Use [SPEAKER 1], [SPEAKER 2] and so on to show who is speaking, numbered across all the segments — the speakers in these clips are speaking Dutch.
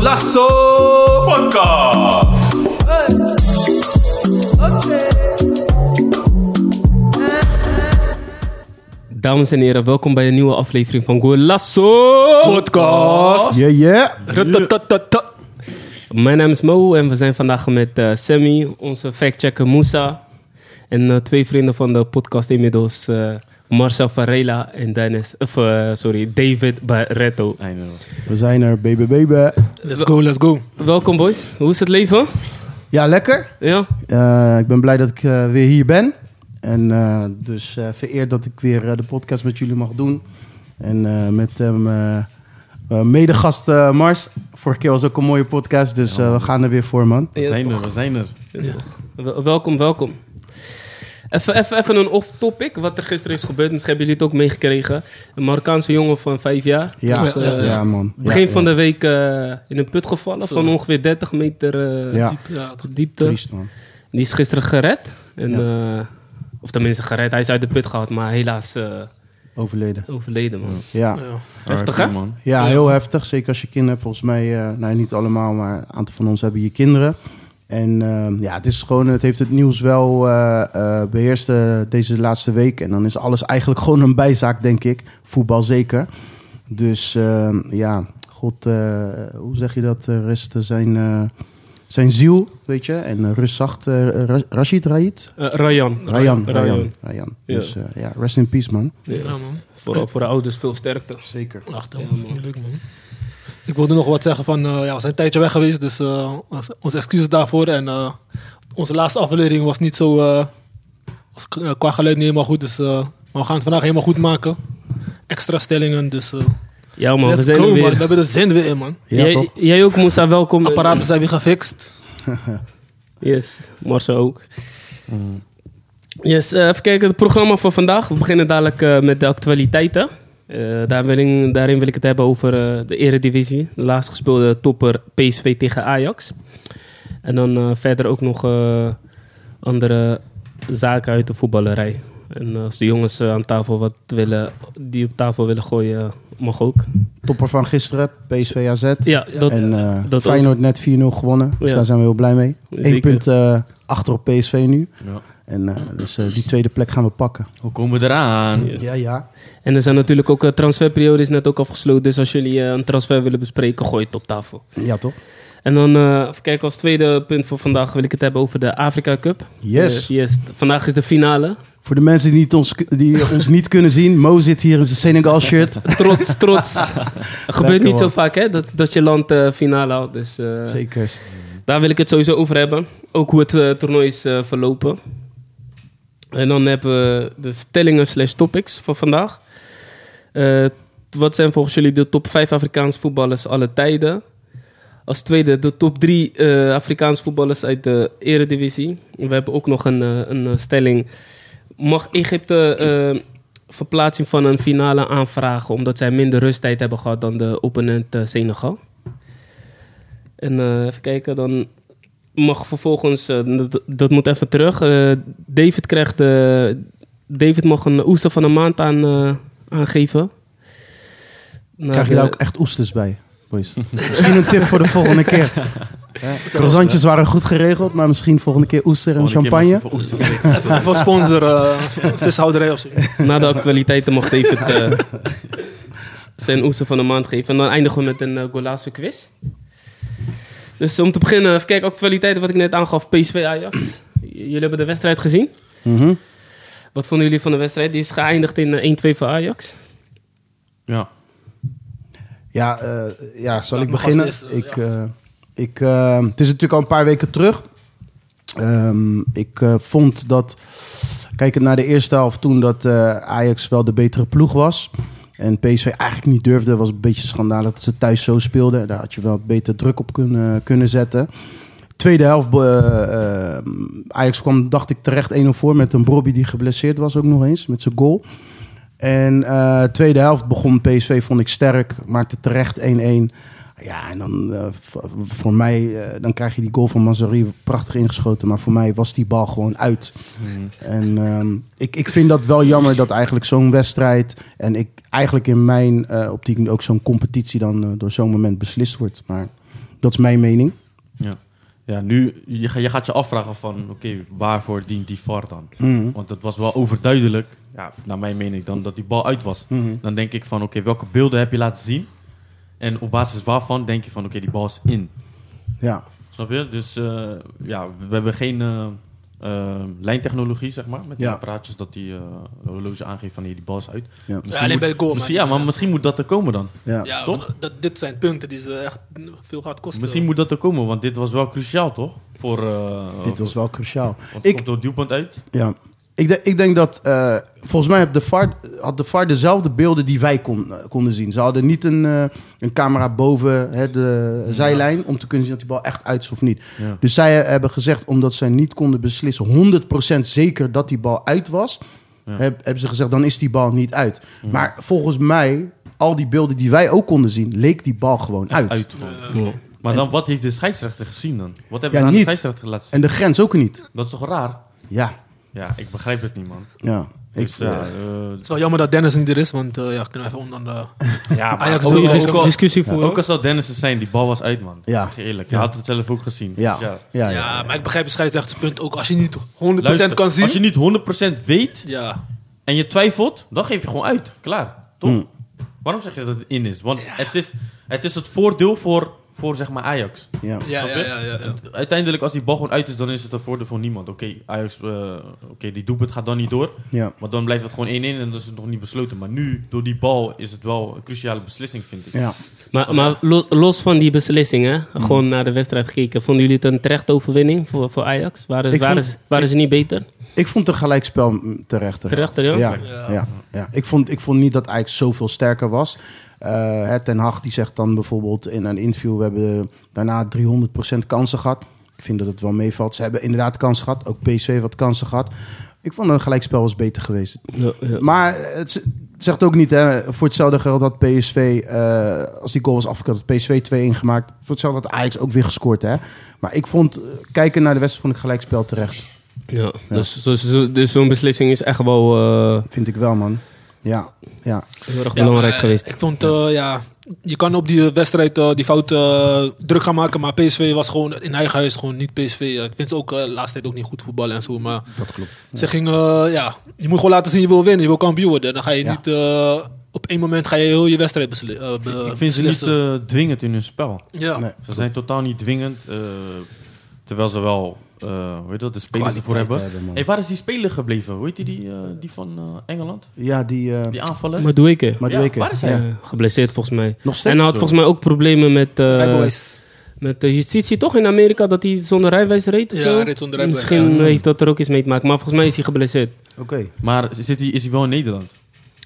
[SPEAKER 1] Lasso Podcast.
[SPEAKER 2] Dames en heren, welkom bij een nieuwe aflevering van Golasso
[SPEAKER 1] Podcast.
[SPEAKER 3] Yeah, yeah.
[SPEAKER 1] Rutatatatat.
[SPEAKER 2] Mijn naam is Mo en we zijn vandaag met eh, Sammy, onze factchecker Moussa en eh, twee vrienden van de podcast inmiddels, eh, Marcel Varela en Dennis, of, eh, sorry, David Barretto.
[SPEAKER 3] We zijn er, baby, baby.
[SPEAKER 1] Let's go, let's go.
[SPEAKER 2] Welkom boys, hoe is het leven?
[SPEAKER 3] Ja, lekker.
[SPEAKER 2] Ja?
[SPEAKER 3] Eh, ik ben blij dat ik eh, weer hier ben. En eh, dus eh, vereerd dat ik weer eh, de podcast met jullie mag doen. En eh, met hem eh, eh, medegast eh, Mars. Vorige keer was ook een mooie podcast, dus eh, we gaan er weer voor, man.
[SPEAKER 2] Ja,
[SPEAKER 4] We zijn er, we zijn er.
[SPEAKER 2] Wel- Welkom, welkom. Even, even, even een off-topic, wat er gisteren is gebeurd. Misschien hebben jullie het ook meegekregen. Een Marokkaanse jongen van vijf jaar.
[SPEAKER 3] Ja,
[SPEAKER 2] is, eh,
[SPEAKER 3] ja man. Ja,
[SPEAKER 2] Begin
[SPEAKER 3] ja.
[SPEAKER 2] van de week eh, in een put gevallen van ongeveer 30 meter eh,
[SPEAKER 3] Ja.
[SPEAKER 2] diep-
[SPEAKER 1] Ja, dat-
[SPEAKER 2] diepte.
[SPEAKER 3] Triest, man.
[SPEAKER 2] Die is gisteren gered. En, eh, of tenminste gered, hij is uit de put gehaald, maar helaas eh,
[SPEAKER 3] Overleden.
[SPEAKER 2] overleden man.
[SPEAKER 3] Ja.
[SPEAKER 1] ja.
[SPEAKER 2] Heftig, hè?
[SPEAKER 4] RIP, man.
[SPEAKER 3] Ja, heel heftig. Zeker als je kinderen hebt. Volgens mij, eh, nou niet allemaal, maar een aantal van ons hebben hier kinderen. En eh, ja, het is gewoon, het heeft het nieuws wel eh, eh, beheerst eh, deze laatste week. En dan is alles eigenlijk gewoon een bijzaak, denk ik. Voetbal zeker. Dus eh, ja, God, eh, hoe zeg je dat? Eh, Rest zijn, eh, zijn ziel, weet je. En eh, rust zacht. eh, Ra- Rashid Raid?
[SPEAKER 2] Eh, Rayan.
[SPEAKER 3] Rayan. Rayan.
[SPEAKER 2] Rayan.
[SPEAKER 3] Rayan.
[SPEAKER 2] Ja.
[SPEAKER 3] Dus eh, ja, rest in peace, man.
[SPEAKER 2] Ja.
[SPEAKER 1] Ja, man.
[SPEAKER 2] Voor, voor de ouders veel sterkte.
[SPEAKER 3] Zeker.
[SPEAKER 1] Ach, dat man. Niet Leuk, man. Ik wilde nog wat zeggen van, eh, ja, we zijn een tijdje weg geweest, dus eh, ons- onze excuses daarvoor. En eh, onze laatste aflevering was niet zo, eh, was k- eh, qua geluid niet helemaal goed, dus eh, maar we gaan het vandaag helemaal goed maken. Extra stellingen, dus eh,
[SPEAKER 2] Ja man, we
[SPEAKER 1] let's
[SPEAKER 2] zijn
[SPEAKER 1] go,
[SPEAKER 2] er
[SPEAKER 1] man.
[SPEAKER 2] weer.
[SPEAKER 1] We hebben de zin weer in, man.
[SPEAKER 3] Ja,
[SPEAKER 2] jij,
[SPEAKER 3] toch?
[SPEAKER 2] jij ook Moussa, welkom.
[SPEAKER 1] Apparaten zijn weer gefixt.
[SPEAKER 2] Yes, Marcel ook. Yes, eh, even kijken, het programma van vandaag. We beginnen dadelijk eh, met de actualiteiten. Eh, daar wil ik- daarin wil ik het hebben over eh, de eredivisie. De laatst gespeelde topper PSV tegen Ajax. En dan eh, verder ook nog eh, andere zaken uit de voetballerij. En als de jongens eh, aan tafel wat willen, die op tafel willen gooien, eh, mag ook.
[SPEAKER 3] Topper van gisteren, PSV AZ.
[SPEAKER 2] Ja, dat,
[SPEAKER 3] en eh,
[SPEAKER 2] dat
[SPEAKER 3] Feyenoord net 4-0 gewonnen. Dus
[SPEAKER 2] Ja.
[SPEAKER 3] daar zijn we heel blij mee.
[SPEAKER 2] Zeker.
[SPEAKER 3] Eén punt eh, achter op PSV nu.
[SPEAKER 4] Ja.
[SPEAKER 3] En eh, dus eh, die tweede plek gaan we pakken.
[SPEAKER 4] Hoe komen we eraan?
[SPEAKER 2] Yes.
[SPEAKER 3] Ja, ja.
[SPEAKER 2] En er zijn natuurlijk ook eh, transferperiodes net ook afgesloten. Dus als jullie eh, een transfer willen bespreken, gooi het op tafel.
[SPEAKER 3] Ja, toch?
[SPEAKER 2] En dan, eh, even kijken, als tweede punt voor vandaag wil ik het hebben over de Afrika Cup.
[SPEAKER 3] Yes.
[SPEAKER 2] Eh, yes. Vandaag is de finale.
[SPEAKER 3] Voor de mensen die, het ons, die ons niet kunnen zien. Mo zit hier in zijn Senegal shirt.
[SPEAKER 2] Trots, trots. Gebeurt
[SPEAKER 3] Lekker,
[SPEAKER 2] niet zo
[SPEAKER 3] man.
[SPEAKER 2] vaak, hè, dat, dat je land eh, finale haalt. Dus eh,
[SPEAKER 3] Zeker.
[SPEAKER 2] daar wil ik het sowieso over hebben. Ook hoe het eh, toernooi is eh, verlopen. En dan hebben we de stellingen slash topics voor vandaag. Eh, wat zijn volgens jullie de top 5 Afrikaanse voetballers alle tijden? Als tweede de top 3 eh Afrikaanse voetballers uit de eredivisie. We hebben ook nog een, eh, een eh, stelling. Mag Egypte eh, verplaatsing van een finale aanvragen... omdat zij minder rusttijd hebben gehad dan de opponent eh, Senegal? En eh, even kijken, dan mag vervolgens... eh, dat, dat moet even terug. eh, David krijgt... eh, David mag een oester van een maand aan, eh, aangeven. Nou,
[SPEAKER 3] Krijg je
[SPEAKER 2] de-
[SPEAKER 3] daar ook echt oesters bij, boys. misschien een tip voor de volgende keer. Ja, Croissantjes waren goed geregeld, maar misschien volgende keer oester en
[SPEAKER 4] Volgende keer mag je
[SPEAKER 3] champagne.
[SPEAKER 4] voor oesters eten.
[SPEAKER 1] Even even sponsor, eh, vishouderij of zo.
[SPEAKER 2] Na de actualiteiten mocht David eh, s- zijn oester van de maand geven. En dan eindigen we met een eh, Golazo quiz. Dus om te beginnen, even kijken, actualiteiten wat ik net aangaf. PSV Ajax. J- Jullie hebben de wedstrijd gezien.
[SPEAKER 3] Mhm.
[SPEAKER 2] Wat vonden jullie van de wedstrijd? Die is geëindigd in eh, 1-2 voor Ajax.
[SPEAKER 4] Ja.
[SPEAKER 3] Ja, eh, ja zal
[SPEAKER 1] Laat
[SPEAKER 3] ik
[SPEAKER 1] me vast
[SPEAKER 3] beginnen?
[SPEAKER 1] eerst, eh,
[SPEAKER 3] ik, eh, ik, eh, het is natuurlijk al een paar weken terug. Ehm, ik eh, vond dat, kijkend naar de eerste helft toen, dat eh, Ajax wel de betere ploeg was. En PSV eigenlijk niet durfde. was een beetje schandalig dat ze thuis zo speelden. Daar had je wel beter druk op kunnen, eh, kunnen zetten. Tweede helft, eh, eh, Ajax kwam, dacht ik, terecht 1-0 voor met een Brobby die geblesseerd was ook nog eens, met zijn goal. En eh tweede helft begon PSV, vond ik sterk. Maakte terecht 1-1. Ja, en dan eh, v- voor mij, eh, dan krijg je die goal van Mazari prachtig ingeschoten. Maar voor mij was die bal gewoon uit. En ehm, ik, ik vind dat wel jammer dat eigenlijk zo'n wedstrijd... en ik, eigenlijk in mijn eh optiek ook zo'n competitie dan eh, door zo'n moment beslist wordt. Maar Dat is mijn mening.
[SPEAKER 4] Ja. Ja, nu, je, ga- je gaat je afvragen van, oké, waarvoor dient die VAR dan? Want het was wel overduidelijk, ja, naar mijn mening, dan dat die bal uit was. Dan denk ik van, oké, welke beelden heb je laten zien? En op basis waarvan denk je van, oké, die bal is in.
[SPEAKER 3] Ja.
[SPEAKER 4] Snap je? Dus eh, ja, we hebben geen eh, eh, lijntechnologie, zeg maar, met die
[SPEAKER 3] Ja.
[SPEAKER 4] apparaatjes dat die eh, horloge aangeeft van hier, die bal is uit.
[SPEAKER 3] Ja.
[SPEAKER 4] Misschien
[SPEAKER 1] alleen
[SPEAKER 4] moet-
[SPEAKER 1] bij de goal,
[SPEAKER 4] misschien-
[SPEAKER 1] maar-
[SPEAKER 4] Ja, maar misschien moet dat er komen dan.
[SPEAKER 3] Ja.
[SPEAKER 1] Ja,
[SPEAKER 4] Toch?
[SPEAKER 1] want Dat, dit zijn punten die ze echt veel gaat kosten.
[SPEAKER 4] Misschien moet dat er komen, want dit was wel cruciaal, toch? Voor, eh,
[SPEAKER 3] Dit was wel cruciaal.
[SPEAKER 4] Want het
[SPEAKER 3] Ik,
[SPEAKER 4] komt door het duwpunt uit.
[SPEAKER 3] Ja. Ik, denk- ik denk dat, eh, volgens mij heb de VAR, had de VAR dezelfde beelden die wij kon- eh, konden zien. Ze hadden niet een, eh, een camera boven hè, de zijlijn om te kunnen zien of die bal echt uit is of niet.
[SPEAKER 4] Ja.
[SPEAKER 3] Dus zij hebben gezegd, omdat zij niet konden beslissen 100% zeker dat die bal uit was,
[SPEAKER 4] Ja.
[SPEAKER 3] heb- hebben ze gezegd, dan is die bal niet uit. Maar volgens mij, al die beelden die wij ook konden zien, leek die bal gewoon uit.
[SPEAKER 4] uit gewoon.
[SPEAKER 2] Ja.
[SPEAKER 4] Maar dan, wat heeft de scheidsrechter gezien dan? Wat hebben
[SPEAKER 3] Ja,
[SPEAKER 4] ze aan
[SPEAKER 3] niet.
[SPEAKER 4] de scheidsrechter laten zien?
[SPEAKER 3] En de grens ook niet.
[SPEAKER 4] Dat is toch raar?
[SPEAKER 3] Ja,
[SPEAKER 4] Ja, ik begrijp het niet, man.
[SPEAKER 3] ja.
[SPEAKER 4] Dus,
[SPEAKER 3] ik,
[SPEAKER 4] eh,
[SPEAKER 3] ja.
[SPEAKER 4] eh,
[SPEAKER 1] Het is wel jammer dat Dennis niet er is, want eh, ja, kunnen we even onder de...
[SPEAKER 4] ja, maar
[SPEAKER 1] Ajax
[SPEAKER 2] oh,
[SPEAKER 4] ook,
[SPEAKER 1] wil-
[SPEAKER 4] ook,
[SPEAKER 1] is-
[SPEAKER 4] ook, al-
[SPEAKER 2] discussie voor.
[SPEAKER 4] ook al zou Dennis het zijn, die bal was uit, man.
[SPEAKER 3] Ja.
[SPEAKER 4] Ik Zeg je eerlijk, je had het zelf ook gezien.
[SPEAKER 3] Ja.
[SPEAKER 4] Dus
[SPEAKER 3] Ja, ja,
[SPEAKER 1] Ja, maar ik begrijp het scheidsrechterpunt ook. Als je niet 100%
[SPEAKER 4] Luister,
[SPEAKER 1] kan zien...
[SPEAKER 4] Als je niet 100% weet
[SPEAKER 1] Ja,
[SPEAKER 4] en je twijfelt, dan geef je gewoon uit. Klaar, toch? Waarom zeg je dat het in is? Want het, is, het is het voordeel voor, voor zeg maar Ajax.
[SPEAKER 3] ja.
[SPEAKER 1] ja, ja,
[SPEAKER 4] Snap je?
[SPEAKER 1] ja, ja, ja.
[SPEAKER 4] Uiteindelijk, als die bal gewoon uit is, dan is het een voordeel voor niemand. Oké, Ajax, eh, oké, die doelpunt gaat dan niet door.
[SPEAKER 3] Ja.
[SPEAKER 4] Maar dan blijft het gewoon 1-1 en dan is het nog niet besloten. Maar nu, door die bal, is het wel een cruciale beslissing, vind ik.
[SPEAKER 3] ja.
[SPEAKER 2] Maar, maar los, los van die beslissing, hè, gewoon naar de wedstrijd gekeken. Vonden jullie het een terechte overwinning voor, voor Ajax? Waren,
[SPEAKER 3] Ik
[SPEAKER 2] waren,
[SPEAKER 3] vond-
[SPEAKER 2] ze- waren ze niet beter?
[SPEAKER 3] Ik vond een gelijkspel mm, terechter.
[SPEAKER 2] Terechter, ja?
[SPEAKER 3] Ja,
[SPEAKER 1] Ja.
[SPEAKER 3] ja, ja. Ik, vond, ik vond niet dat Ajax zoveel sterker was. Eh, hè, Ten Hag die zegt dan bijvoorbeeld in een interview... we hebben daarna 300% kansen gehad. Ik vind dat het wel meevalt. Ze hebben inderdaad kansen gehad. Ook PSV heeft wat kansen gehad. Ik vond een gelijkspel was beter geweest.
[SPEAKER 2] Ja, ja.
[SPEAKER 3] Maar het z- zegt ook niet, hè, voor hetzelfde geld had PSV, eh, als die goal was afgekeurd, had PSV 2-1 gemaakt. Voor hetzelfde had Ajax ook weer gescoord. Hè. Maar ik vond, eh, kijken naar de wedstrijd, vond ik gelijkspel terecht.
[SPEAKER 2] Ja, Dus, dus, dus zo'n beslissing is echt wel eh,
[SPEAKER 3] Vind ik wel, man. Ja, ja.
[SPEAKER 2] heel erg
[SPEAKER 1] Ja,
[SPEAKER 2] belangrijk
[SPEAKER 1] maar,
[SPEAKER 2] geweest.
[SPEAKER 1] Ik vond, eh, ja, je kan op die wedstrijd eh, die fout eh, druk gaan maken. Maar PSV was gewoon in eigen huis gewoon niet PSV. eh. ik vind ze ook eh, de laatste tijd ook niet goed voetballen en zo. Maar
[SPEAKER 3] Dat klopt.
[SPEAKER 1] ze gingen, eh, ja, je moet gewoon laten zien je wil winnen. Je wil kampioen worden. Dan ga je
[SPEAKER 3] Ja.
[SPEAKER 1] niet, eh, op één moment ga je heel je wedstrijd besli- eh, be-
[SPEAKER 4] Ik vind ze niet
[SPEAKER 1] beslissen.
[SPEAKER 4] eh, dwingend in hun spel.
[SPEAKER 1] ja.
[SPEAKER 3] Nee.
[SPEAKER 4] Ze zijn totaal niet dwingend. eh, terwijl ze wel, eh hoe heet dat, de spelers ervoor
[SPEAKER 3] Kwaliteit
[SPEAKER 4] hebben.
[SPEAKER 3] hebben, man.
[SPEAKER 4] hey, waar is die speler gebleven? Hoe heet die, die, eh, die van eh, Engeland?
[SPEAKER 3] Ja, die... eh
[SPEAKER 4] Die aanvaller?
[SPEAKER 2] Maar doe ik het.
[SPEAKER 3] maar
[SPEAKER 4] Ja,
[SPEAKER 3] doe ik het.
[SPEAKER 4] waar is hij?
[SPEAKER 3] Ja.
[SPEAKER 2] Eh, geblesseerd volgens mij.
[SPEAKER 3] Nog steeds
[SPEAKER 2] En hij had
[SPEAKER 3] zo.
[SPEAKER 2] volgens mij ook problemen met, eh,
[SPEAKER 1] Rijbewijs.
[SPEAKER 2] met de justitie, toch? In Amerika, dat hij zonder rijwijs reed of
[SPEAKER 1] Ja,
[SPEAKER 2] zo?
[SPEAKER 1] hij reed zonder rijbewijs,
[SPEAKER 2] Misschien
[SPEAKER 1] ja.
[SPEAKER 2] heeft dat er ook iets mee te maken. Maar volgens mij is hij geblesseerd.
[SPEAKER 3] Oké.
[SPEAKER 4] Maar zit hij, is hij wel in Nederland?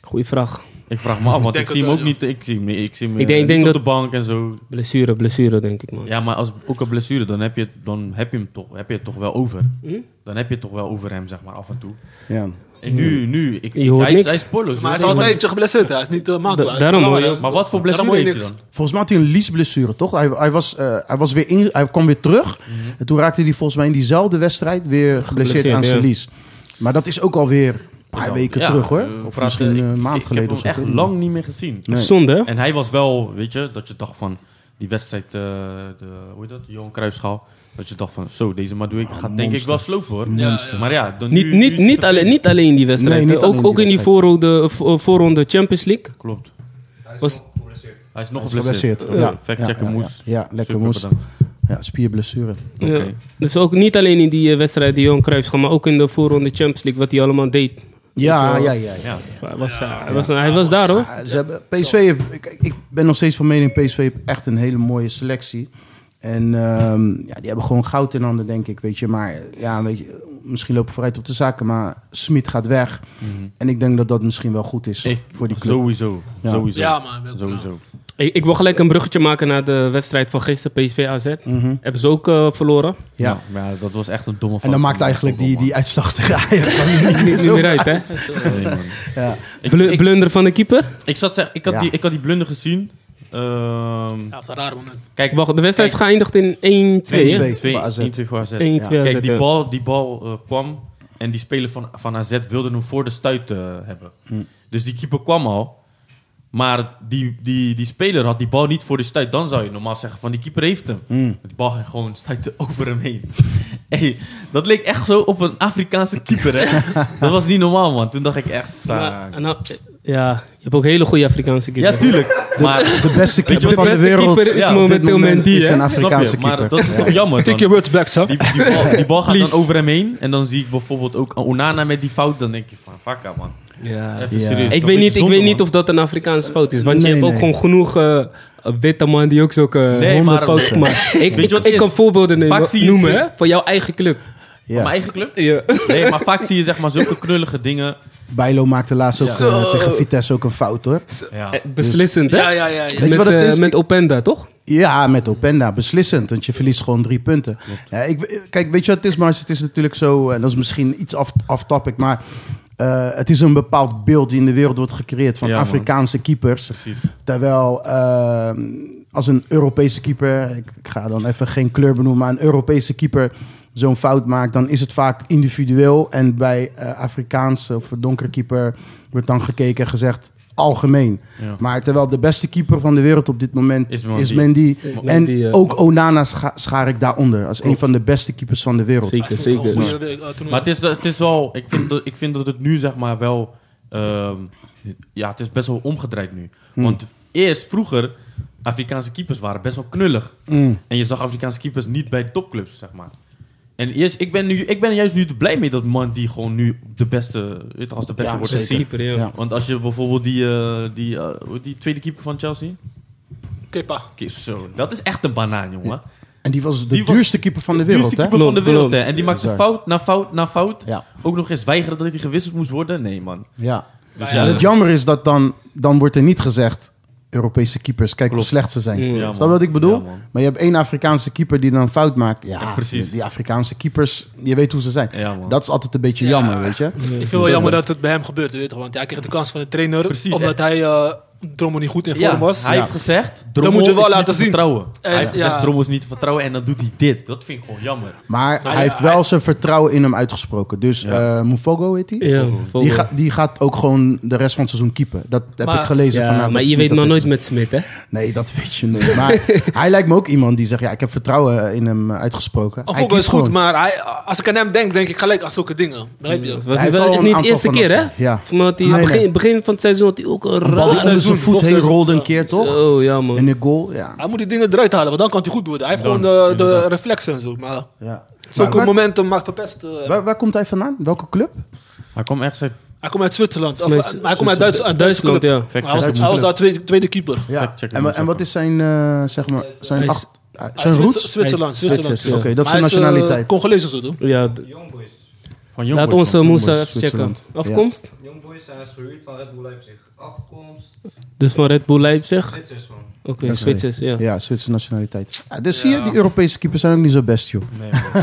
[SPEAKER 2] Goeie vraag.
[SPEAKER 4] Ik vraag me af, want ik,
[SPEAKER 1] denk
[SPEAKER 4] zie
[SPEAKER 1] het
[SPEAKER 4] hem ook
[SPEAKER 1] wel,
[SPEAKER 4] niet. Ik zie hem, ik zie hem
[SPEAKER 2] Ik
[SPEAKER 4] eh,
[SPEAKER 2] denk- ik
[SPEAKER 4] niet
[SPEAKER 2] denk
[SPEAKER 4] op de bank en zo.
[SPEAKER 2] Blessure, blessure, denk ik, man.
[SPEAKER 4] Ja, maar als ook een blessure, dan heb je het, dan heb je hem toch, heb je het toch wel over.
[SPEAKER 2] Hm?
[SPEAKER 4] Dan heb je het toch wel over hem, zeg maar, af en toe.
[SPEAKER 3] Ja.
[SPEAKER 4] En nu, nu, ik,
[SPEAKER 2] Je hoort
[SPEAKER 4] hij, is-
[SPEAKER 2] niks.
[SPEAKER 4] hij is spoorloos.
[SPEAKER 1] Maar hij
[SPEAKER 4] je
[SPEAKER 1] is
[SPEAKER 4] hoort
[SPEAKER 1] al een
[SPEAKER 4] niks.
[SPEAKER 1] tijdje geblesseerd. Hij is niet eh, maandelijk.
[SPEAKER 2] Da- daarom hoor je
[SPEAKER 4] Maar wat voor blessure
[SPEAKER 1] Daarom
[SPEAKER 4] heeft
[SPEAKER 1] hoor
[SPEAKER 4] hij
[SPEAKER 1] je
[SPEAKER 4] dan?
[SPEAKER 3] Volgens mij had hij een liesblessure, toch? Hij, hij, was, eh, hij, was weer in, hij kwam weer terug.
[SPEAKER 4] Mhm.
[SPEAKER 3] En toen raakte hij volgens mij in diezelfde wedstrijd weer geblesseerd
[SPEAKER 2] Geblesseerd,
[SPEAKER 3] aan zijn
[SPEAKER 2] ja.
[SPEAKER 3] lies. Maar dat is ook alweer een paar
[SPEAKER 4] Zo,
[SPEAKER 3] weken
[SPEAKER 4] ja,
[SPEAKER 3] terug, hoor.
[SPEAKER 4] eh,
[SPEAKER 3] Of
[SPEAKER 4] praat,
[SPEAKER 3] misschien
[SPEAKER 4] eh,
[SPEAKER 3] eh, een maand geleden
[SPEAKER 4] Ik
[SPEAKER 3] of
[SPEAKER 4] heb
[SPEAKER 3] zo.
[SPEAKER 4] hem echt lang niet meer gezien.
[SPEAKER 3] Nee.
[SPEAKER 2] Zonde, hè?
[SPEAKER 4] En hij was wel, weet je, dat je dacht van die wedstrijd, eh, de, hoe heet dat, Johan Cruijffschaal. Dat je dacht van, zo, deze Madueke gaat denk ik
[SPEAKER 3] monster.
[SPEAKER 4] wel slopen hoor.
[SPEAKER 1] Monster.
[SPEAKER 4] Maar ja, dan nu-
[SPEAKER 2] Niet,
[SPEAKER 4] nu
[SPEAKER 2] niet,
[SPEAKER 4] is het
[SPEAKER 2] niet, alleen, niet alleen die wedstrijd.
[SPEAKER 3] Nee, niet
[SPEAKER 2] hè.
[SPEAKER 3] alleen
[SPEAKER 2] ook
[SPEAKER 3] die
[SPEAKER 2] ook in die
[SPEAKER 3] wedstrijd.
[SPEAKER 2] voorronde, voor- voorronde Champions League.
[SPEAKER 4] Klopt.
[SPEAKER 2] Was,
[SPEAKER 4] Hij is nog
[SPEAKER 3] Hij is
[SPEAKER 4] geblesseerd.
[SPEAKER 3] geblesseerd, ja.
[SPEAKER 4] Oké, Fact-checken
[SPEAKER 3] Ja, ja,
[SPEAKER 4] moest.
[SPEAKER 3] ja. Ja, lekker
[SPEAKER 4] Super,
[SPEAKER 3] moest.
[SPEAKER 4] bedankt.
[SPEAKER 3] Ja, spierblessure.
[SPEAKER 2] ja.
[SPEAKER 4] Oké.
[SPEAKER 2] Dus ook niet alleen in die eh, wedstrijd die Johan Cruijff schoot, maar ook in de voorronde Champions League, wat hij allemaal deed.
[SPEAKER 3] Ja, ja, ja. ja.
[SPEAKER 4] Ja.
[SPEAKER 2] Hij was, hij was, hij was daar, hoor.
[SPEAKER 3] Ah, Ze hebben, PSV heeft, ik, ik ben nog steeds van mening, PSV heeft echt een hele mooie selectie. En ehm, ja, die hebben gewoon goud in handen, denk ik. Weet je. Maar eh, ja, weet je, misschien lopen we vooruit op de zaken, maar Smit gaat weg.
[SPEAKER 4] Mhm.
[SPEAKER 3] En ik denk dat dat misschien wel goed is
[SPEAKER 4] Ik-
[SPEAKER 3] voor die club.
[SPEAKER 4] Sowieso.
[SPEAKER 3] Ja.
[SPEAKER 4] Sowieso.
[SPEAKER 1] Ja, maar welke
[SPEAKER 4] Sowieso.
[SPEAKER 2] Ik, ik wil gelijk een bruggetje maken naar de wedstrijd van gisteren, PSV AZ.
[SPEAKER 3] Mhm.
[SPEAKER 2] Hebben ze ook eh, verloren.
[SPEAKER 3] Ja.
[SPEAKER 4] Ja. Nou, Maar ja, dat was echt een domme
[SPEAKER 3] En
[SPEAKER 4] fout.
[SPEAKER 3] dan maakt
[SPEAKER 4] van
[SPEAKER 3] eigenlijk die,
[SPEAKER 4] Bommel,
[SPEAKER 3] die uitslag tegen Ajax van niet meer
[SPEAKER 2] Niet
[SPEAKER 3] zo.
[SPEAKER 2] meer uit, hè?
[SPEAKER 4] man. Nee, man.
[SPEAKER 3] Ja.
[SPEAKER 4] Ik-
[SPEAKER 2] Blu-
[SPEAKER 4] ik-
[SPEAKER 2] blunder van de keeper.
[SPEAKER 4] Ik zat zeg- ik had
[SPEAKER 3] Ja.
[SPEAKER 4] die- ik had die blunder gezien. Ehm,
[SPEAKER 1] Ja, dat is een raar moment.
[SPEAKER 4] Kijk,
[SPEAKER 2] Wacht, de wedstrijd is geëindigd in 1-2.
[SPEAKER 3] Twee,
[SPEAKER 2] hè?
[SPEAKER 3] twee.
[SPEAKER 4] 2
[SPEAKER 3] voor AZ.
[SPEAKER 4] 1-2 voor AZ.
[SPEAKER 2] 1-2
[SPEAKER 4] Ja.
[SPEAKER 2] AZ,
[SPEAKER 4] Kijk, die
[SPEAKER 2] ja.
[SPEAKER 4] bal, die bal eh, kwam en
[SPEAKER 3] Hm.
[SPEAKER 4] die speler van, van AZ wilde hem voor de stuit eh, hebben. Dus die keeper kwam al. Maar die, die, die speler had die bal niet voor de stuit. Dan zou je normaal zeggen van die keeper heeft hem.
[SPEAKER 3] Hm.
[SPEAKER 4] Die bal ging gewoon stuiten over hem heen. Hey, dat leek echt zo op een Afrikaanse keeper. Hè? dat was niet normaal, man. Toen dacht ik echt...
[SPEAKER 2] Maar,
[SPEAKER 4] "Sa-
[SPEAKER 2] en nou, pst, ja, je hebt ook hele goede Afrikaanse
[SPEAKER 4] Ja,
[SPEAKER 2] keeper.
[SPEAKER 4] tuurlijk. Maar
[SPEAKER 3] De beste keeper
[SPEAKER 2] de
[SPEAKER 3] van de
[SPEAKER 2] beste
[SPEAKER 3] wereld
[SPEAKER 2] keeper is
[SPEAKER 4] Ja, op
[SPEAKER 3] op dit
[SPEAKER 2] momenteel
[SPEAKER 3] moment
[SPEAKER 2] Mendy,
[SPEAKER 3] is
[SPEAKER 2] hè?
[SPEAKER 4] Snap
[SPEAKER 3] een
[SPEAKER 4] je?
[SPEAKER 3] Afrikaanse
[SPEAKER 4] Maar
[SPEAKER 3] keeper.
[SPEAKER 4] dat is toch jammer
[SPEAKER 1] Take
[SPEAKER 4] dan?
[SPEAKER 1] your words back, son.
[SPEAKER 4] Die, die bal, die bal gaat
[SPEAKER 2] Please.
[SPEAKER 4] dan over hem heen. En dan zie ik bijvoorbeeld ook Onana met die fout. Dan denk je van, fuck ja, man.
[SPEAKER 2] Ja.
[SPEAKER 4] Even
[SPEAKER 3] Ja.
[SPEAKER 4] serieus.
[SPEAKER 2] Ik
[SPEAKER 4] Dat
[SPEAKER 2] weet,
[SPEAKER 4] is
[SPEAKER 2] niet, ik
[SPEAKER 4] zonde,
[SPEAKER 2] weet
[SPEAKER 4] man.
[SPEAKER 2] niet of dat een Afrikaanse fout is. Want
[SPEAKER 3] Nee,
[SPEAKER 2] je hebt ook
[SPEAKER 3] nee.
[SPEAKER 2] gewoon genoeg eh, witte man die ook zulke
[SPEAKER 4] Nee,
[SPEAKER 2] honden
[SPEAKER 4] maar-
[SPEAKER 2] fouten maakt. Ik,
[SPEAKER 4] je wat
[SPEAKER 2] ik,
[SPEAKER 4] het
[SPEAKER 2] ik
[SPEAKER 4] is?
[SPEAKER 2] kan voorbeelden nemen,
[SPEAKER 4] Vaak zie je
[SPEAKER 2] noemen
[SPEAKER 4] ze-
[SPEAKER 2] hè, van jouw eigen club.
[SPEAKER 4] Van Mijn
[SPEAKER 3] Ja.
[SPEAKER 4] eigen club?
[SPEAKER 2] Ja.
[SPEAKER 4] Nee, maar vaak zie je zeg maar zulke knullige dingen.
[SPEAKER 3] Bijlo maakte laatst ook
[SPEAKER 2] Zo.
[SPEAKER 3] eh, tegen Vitesse ook een fout hoor.
[SPEAKER 4] Ja.
[SPEAKER 2] Eh, Beslissend, hè?
[SPEAKER 1] ja, ja.
[SPEAKER 3] Weet je
[SPEAKER 2] Met,
[SPEAKER 3] wat het
[SPEAKER 2] eh,
[SPEAKER 3] is?
[SPEAKER 2] met Openda, toch?
[SPEAKER 3] Ja, met Openda, beslissend. Want je verliest gewoon drie punten. Ja, ik, kijk, weet je wat het is, Mars? Het is natuurlijk zo, en dat is misschien iets af, off-topic, maar eh, het is een bepaald beeld die in de wereld wordt gecreëerd van
[SPEAKER 4] Ja, man.
[SPEAKER 3] Afrikaanse keepers.
[SPEAKER 4] Precies.
[SPEAKER 3] Terwijl ehm, als een Europese keeper, ik, ik ga dan even geen kleur benoemen, maar een Europese keeper zo'n fout maakt, dan is het vaak individueel. En bij eh, Afrikaanse of donkere keeper wordt dan gekeken en gezegd algemeen.
[SPEAKER 4] Ja.
[SPEAKER 3] Maar terwijl de beste keeper van de wereld op dit moment
[SPEAKER 4] Is Mendy.
[SPEAKER 3] is Mendy.
[SPEAKER 2] Mendy,
[SPEAKER 3] en
[SPEAKER 2] ja.
[SPEAKER 3] ook Onana scha- schaar ik daaronder als een van de beste keepers van de wereld.
[SPEAKER 2] Zeker, zeker.
[SPEAKER 4] Maar het is, het is wel, ik vind, dat, ik vind dat het nu zeg maar wel, ehm, ja, het is best wel omgedraaid nu.
[SPEAKER 2] Hmm.
[SPEAKER 4] Want eerst, vroeger, Afrikaanse keepers waren best wel knullig.
[SPEAKER 2] Hmm.
[SPEAKER 3] Mm.
[SPEAKER 4] En je zag Afrikaanse keepers niet bij topclubs, zeg maar. En eerst, ik ben, nu, ik ben juist nu blij mee dat man die gewoon nu de beste, weet je, als de beste wordt gezien.
[SPEAKER 2] Keeper, ja.
[SPEAKER 3] Ja.
[SPEAKER 4] Want als je bijvoorbeeld die, eh, die, eh, hoe heet die tweede keeper van Chelsea,
[SPEAKER 1] Kepa.
[SPEAKER 4] Oké, zo, dat is echt een banaan, jongen.
[SPEAKER 3] En die was de
[SPEAKER 4] Die was-
[SPEAKER 3] duurste keeper van de
[SPEAKER 4] De
[SPEAKER 3] wereld,
[SPEAKER 4] duurste
[SPEAKER 3] hè?
[SPEAKER 4] keeper van de
[SPEAKER 2] Klopt,
[SPEAKER 4] wereld, hè.
[SPEAKER 2] klopt.
[SPEAKER 4] En die
[SPEAKER 3] Ja,
[SPEAKER 4] maakte
[SPEAKER 3] bizar.
[SPEAKER 4] fout na fout na fout.
[SPEAKER 3] Ja.
[SPEAKER 4] Ook nog eens weigeren dat hij gewisseld moest worden. Nee, man.
[SPEAKER 3] Ja.
[SPEAKER 4] Dus
[SPEAKER 2] Ja,
[SPEAKER 3] En
[SPEAKER 4] ja,
[SPEAKER 3] het jammer is dat dan, dan wordt er niet gezegd... Europese keepers, kijk
[SPEAKER 4] Klopt. Mm.
[SPEAKER 3] hoe slecht ze zijn.
[SPEAKER 4] Ja,
[SPEAKER 3] Snap
[SPEAKER 4] man.
[SPEAKER 3] je wat ik bedoel?
[SPEAKER 4] Ja, man.
[SPEAKER 3] maar je hebt één Afrikaanse keeper die dan een fout maakt. Ja,
[SPEAKER 4] Ja, precies.
[SPEAKER 3] Die Afrikaanse keepers, je weet hoe ze zijn.
[SPEAKER 4] Ja, man.
[SPEAKER 3] dat is altijd een beetje jammer, weet je?
[SPEAKER 1] Ik vind het wel jammer dat het bij hem gebeurt, weet je, toch, want hij kreeg de kans van de trainer,
[SPEAKER 4] Precies,
[SPEAKER 1] omdat hij eh Drommel niet goed in vorm
[SPEAKER 4] Ja,
[SPEAKER 1] was.
[SPEAKER 4] hij
[SPEAKER 1] Ja.
[SPEAKER 4] heeft gezegd,
[SPEAKER 1] Dan
[SPEAKER 4] Drommel
[SPEAKER 1] moet je wel
[SPEAKER 4] is
[SPEAKER 1] laten
[SPEAKER 4] niet te
[SPEAKER 1] zien.
[SPEAKER 4] vertrouwen.
[SPEAKER 1] En-
[SPEAKER 4] hij heeft gezegd,
[SPEAKER 1] ja.
[SPEAKER 4] Drommel is niet te vertrouwen en dan doet hij dit. Dat vind ik gewoon jammer.
[SPEAKER 3] Maar
[SPEAKER 4] Zou-
[SPEAKER 3] hij heeft wel zijn vertrouwen in hem uitgesproken. Dus eh Mufogo heet hij?
[SPEAKER 2] Ja,
[SPEAKER 3] Die,
[SPEAKER 2] volgende.
[SPEAKER 3] ga- die gaat ook gewoon de rest van het seizoen keepen. Dat heb
[SPEAKER 1] Maar-
[SPEAKER 3] ik gelezen.
[SPEAKER 2] Ja,
[SPEAKER 3] van, nou,
[SPEAKER 2] maar
[SPEAKER 3] dat
[SPEAKER 2] je
[SPEAKER 3] is niet
[SPEAKER 2] weet maar
[SPEAKER 3] dat
[SPEAKER 2] nooit
[SPEAKER 3] het-
[SPEAKER 2] met Smit, hè?
[SPEAKER 3] Nee, dat weet je niet. Maar hij lijkt me ook iemand die zegt... ja, ik heb vertrouwen in hem eh, uitgesproken. Hij
[SPEAKER 1] Fogo Oh, is
[SPEAKER 3] kiest
[SPEAKER 1] goed,
[SPEAKER 3] gewoon.
[SPEAKER 1] maar hij, als ik aan hem denk, denk ik gelijk aan zulke dingen. Begrijp
[SPEAKER 4] Mm,
[SPEAKER 1] je?
[SPEAKER 2] Het was
[SPEAKER 3] Hij heeft
[SPEAKER 2] niet, wel,
[SPEAKER 3] al
[SPEAKER 2] is
[SPEAKER 3] een
[SPEAKER 2] niet de
[SPEAKER 3] aantal
[SPEAKER 2] eerste
[SPEAKER 3] van
[SPEAKER 2] keer,
[SPEAKER 3] dat
[SPEAKER 2] hè?
[SPEAKER 3] soort- ja.
[SPEAKER 2] Van dat hij
[SPEAKER 3] Nee,
[SPEAKER 2] begin,
[SPEAKER 3] nee.
[SPEAKER 2] begin van het seizoen had hij ook een
[SPEAKER 3] Een bal die
[SPEAKER 2] raar...
[SPEAKER 3] onder zijn
[SPEAKER 1] seizoen,
[SPEAKER 3] voet heen
[SPEAKER 1] topseizoen.
[SPEAKER 3] rolde een keer, toch?
[SPEAKER 2] Oh, ja, man.
[SPEAKER 3] En de goal, ja.
[SPEAKER 1] Hij moet die dingen eruit halen, want dan kan hij goed worden. Hij heeft
[SPEAKER 4] Dan,
[SPEAKER 1] gewoon eh, de
[SPEAKER 4] inderdaad.
[SPEAKER 1] reflexen en zo. Maar
[SPEAKER 3] ja. Maar
[SPEAKER 1] zulke
[SPEAKER 3] waar,
[SPEAKER 1] momenten maakt verpest. eh.
[SPEAKER 3] waar, waar komt hij vandaan? Welke club?
[SPEAKER 4] Hij kwam echt uit
[SPEAKER 1] hij komt uit Zwitserland. Of,
[SPEAKER 2] Nee,
[SPEAKER 1] eh, maar hij komt uit Duits, uit
[SPEAKER 2] Duitsland,
[SPEAKER 1] Duitsland.
[SPEAKER 2] ja.
[SPEAKER 1] Hij was,
[SPEAKER 4] fact
[SPEAKER 1] hij was daar tweede, tweede keeper.
[SPEAKER 3] Ja.
[SPEAKER 4] Fact check
[SPEAKER 3] En, wa- en wat is zijn, eh, zeg maar,
[SPEAKER 2] Hij
[SPEAKER 3] zijn,
[SPEAKER 2] is-
[SPEAKER 3] acht, eh,
[SPEAKER 1] Hij
[SPEAKER 3] zijn
[SPEAKER 1] is Zwitser-
[SPEAKER 3] roots?
[SPEAKER 1] Zwitserland. Zwitserland.
[SPEAKER 2] Zwitsers, ja.
[SPEAKER 3] Oké, dat is zijn
[SPEAKER 1] Maar hij eh,
[SPEAKER 3] nationaliteit.
[SPEAKER 1] Congolees en zo, toch?
[SPEAKER 2] Ja, d-
[SPEAKER 5] Youngboys.
[SPEAKER 4] Van
[SPEAKER 2] laat
[SPEAKER 4] jongens.
[SPEAKER 2] ons eh, Moussa
[SPEAKER 3] Boys,
[SPEAKER 2] even checken.
[SPEAKER 3] Zwitserland.
[SPEAKER 2] Afkomst?
[SPEAKER 5] Youngboys zijn gehuurd van Red Bull Leipzig. Afkomst,
[SPEAKER 2] Dus van Red Bull Leipzig.
[SPEAKER 5] Zwitsers van.
[SPEAKER 2] Oké,
[SPEAKER 3] Ja, sorry.
[SPEAKER 2] Zwitsers, ja.
[SPEAKER 3] Ja, Zwitserse nationaliteit. Ja, dus zie je, die Europese keepers zijn ook niet zo best, joh.
[SPEAKER 4] Nee, man.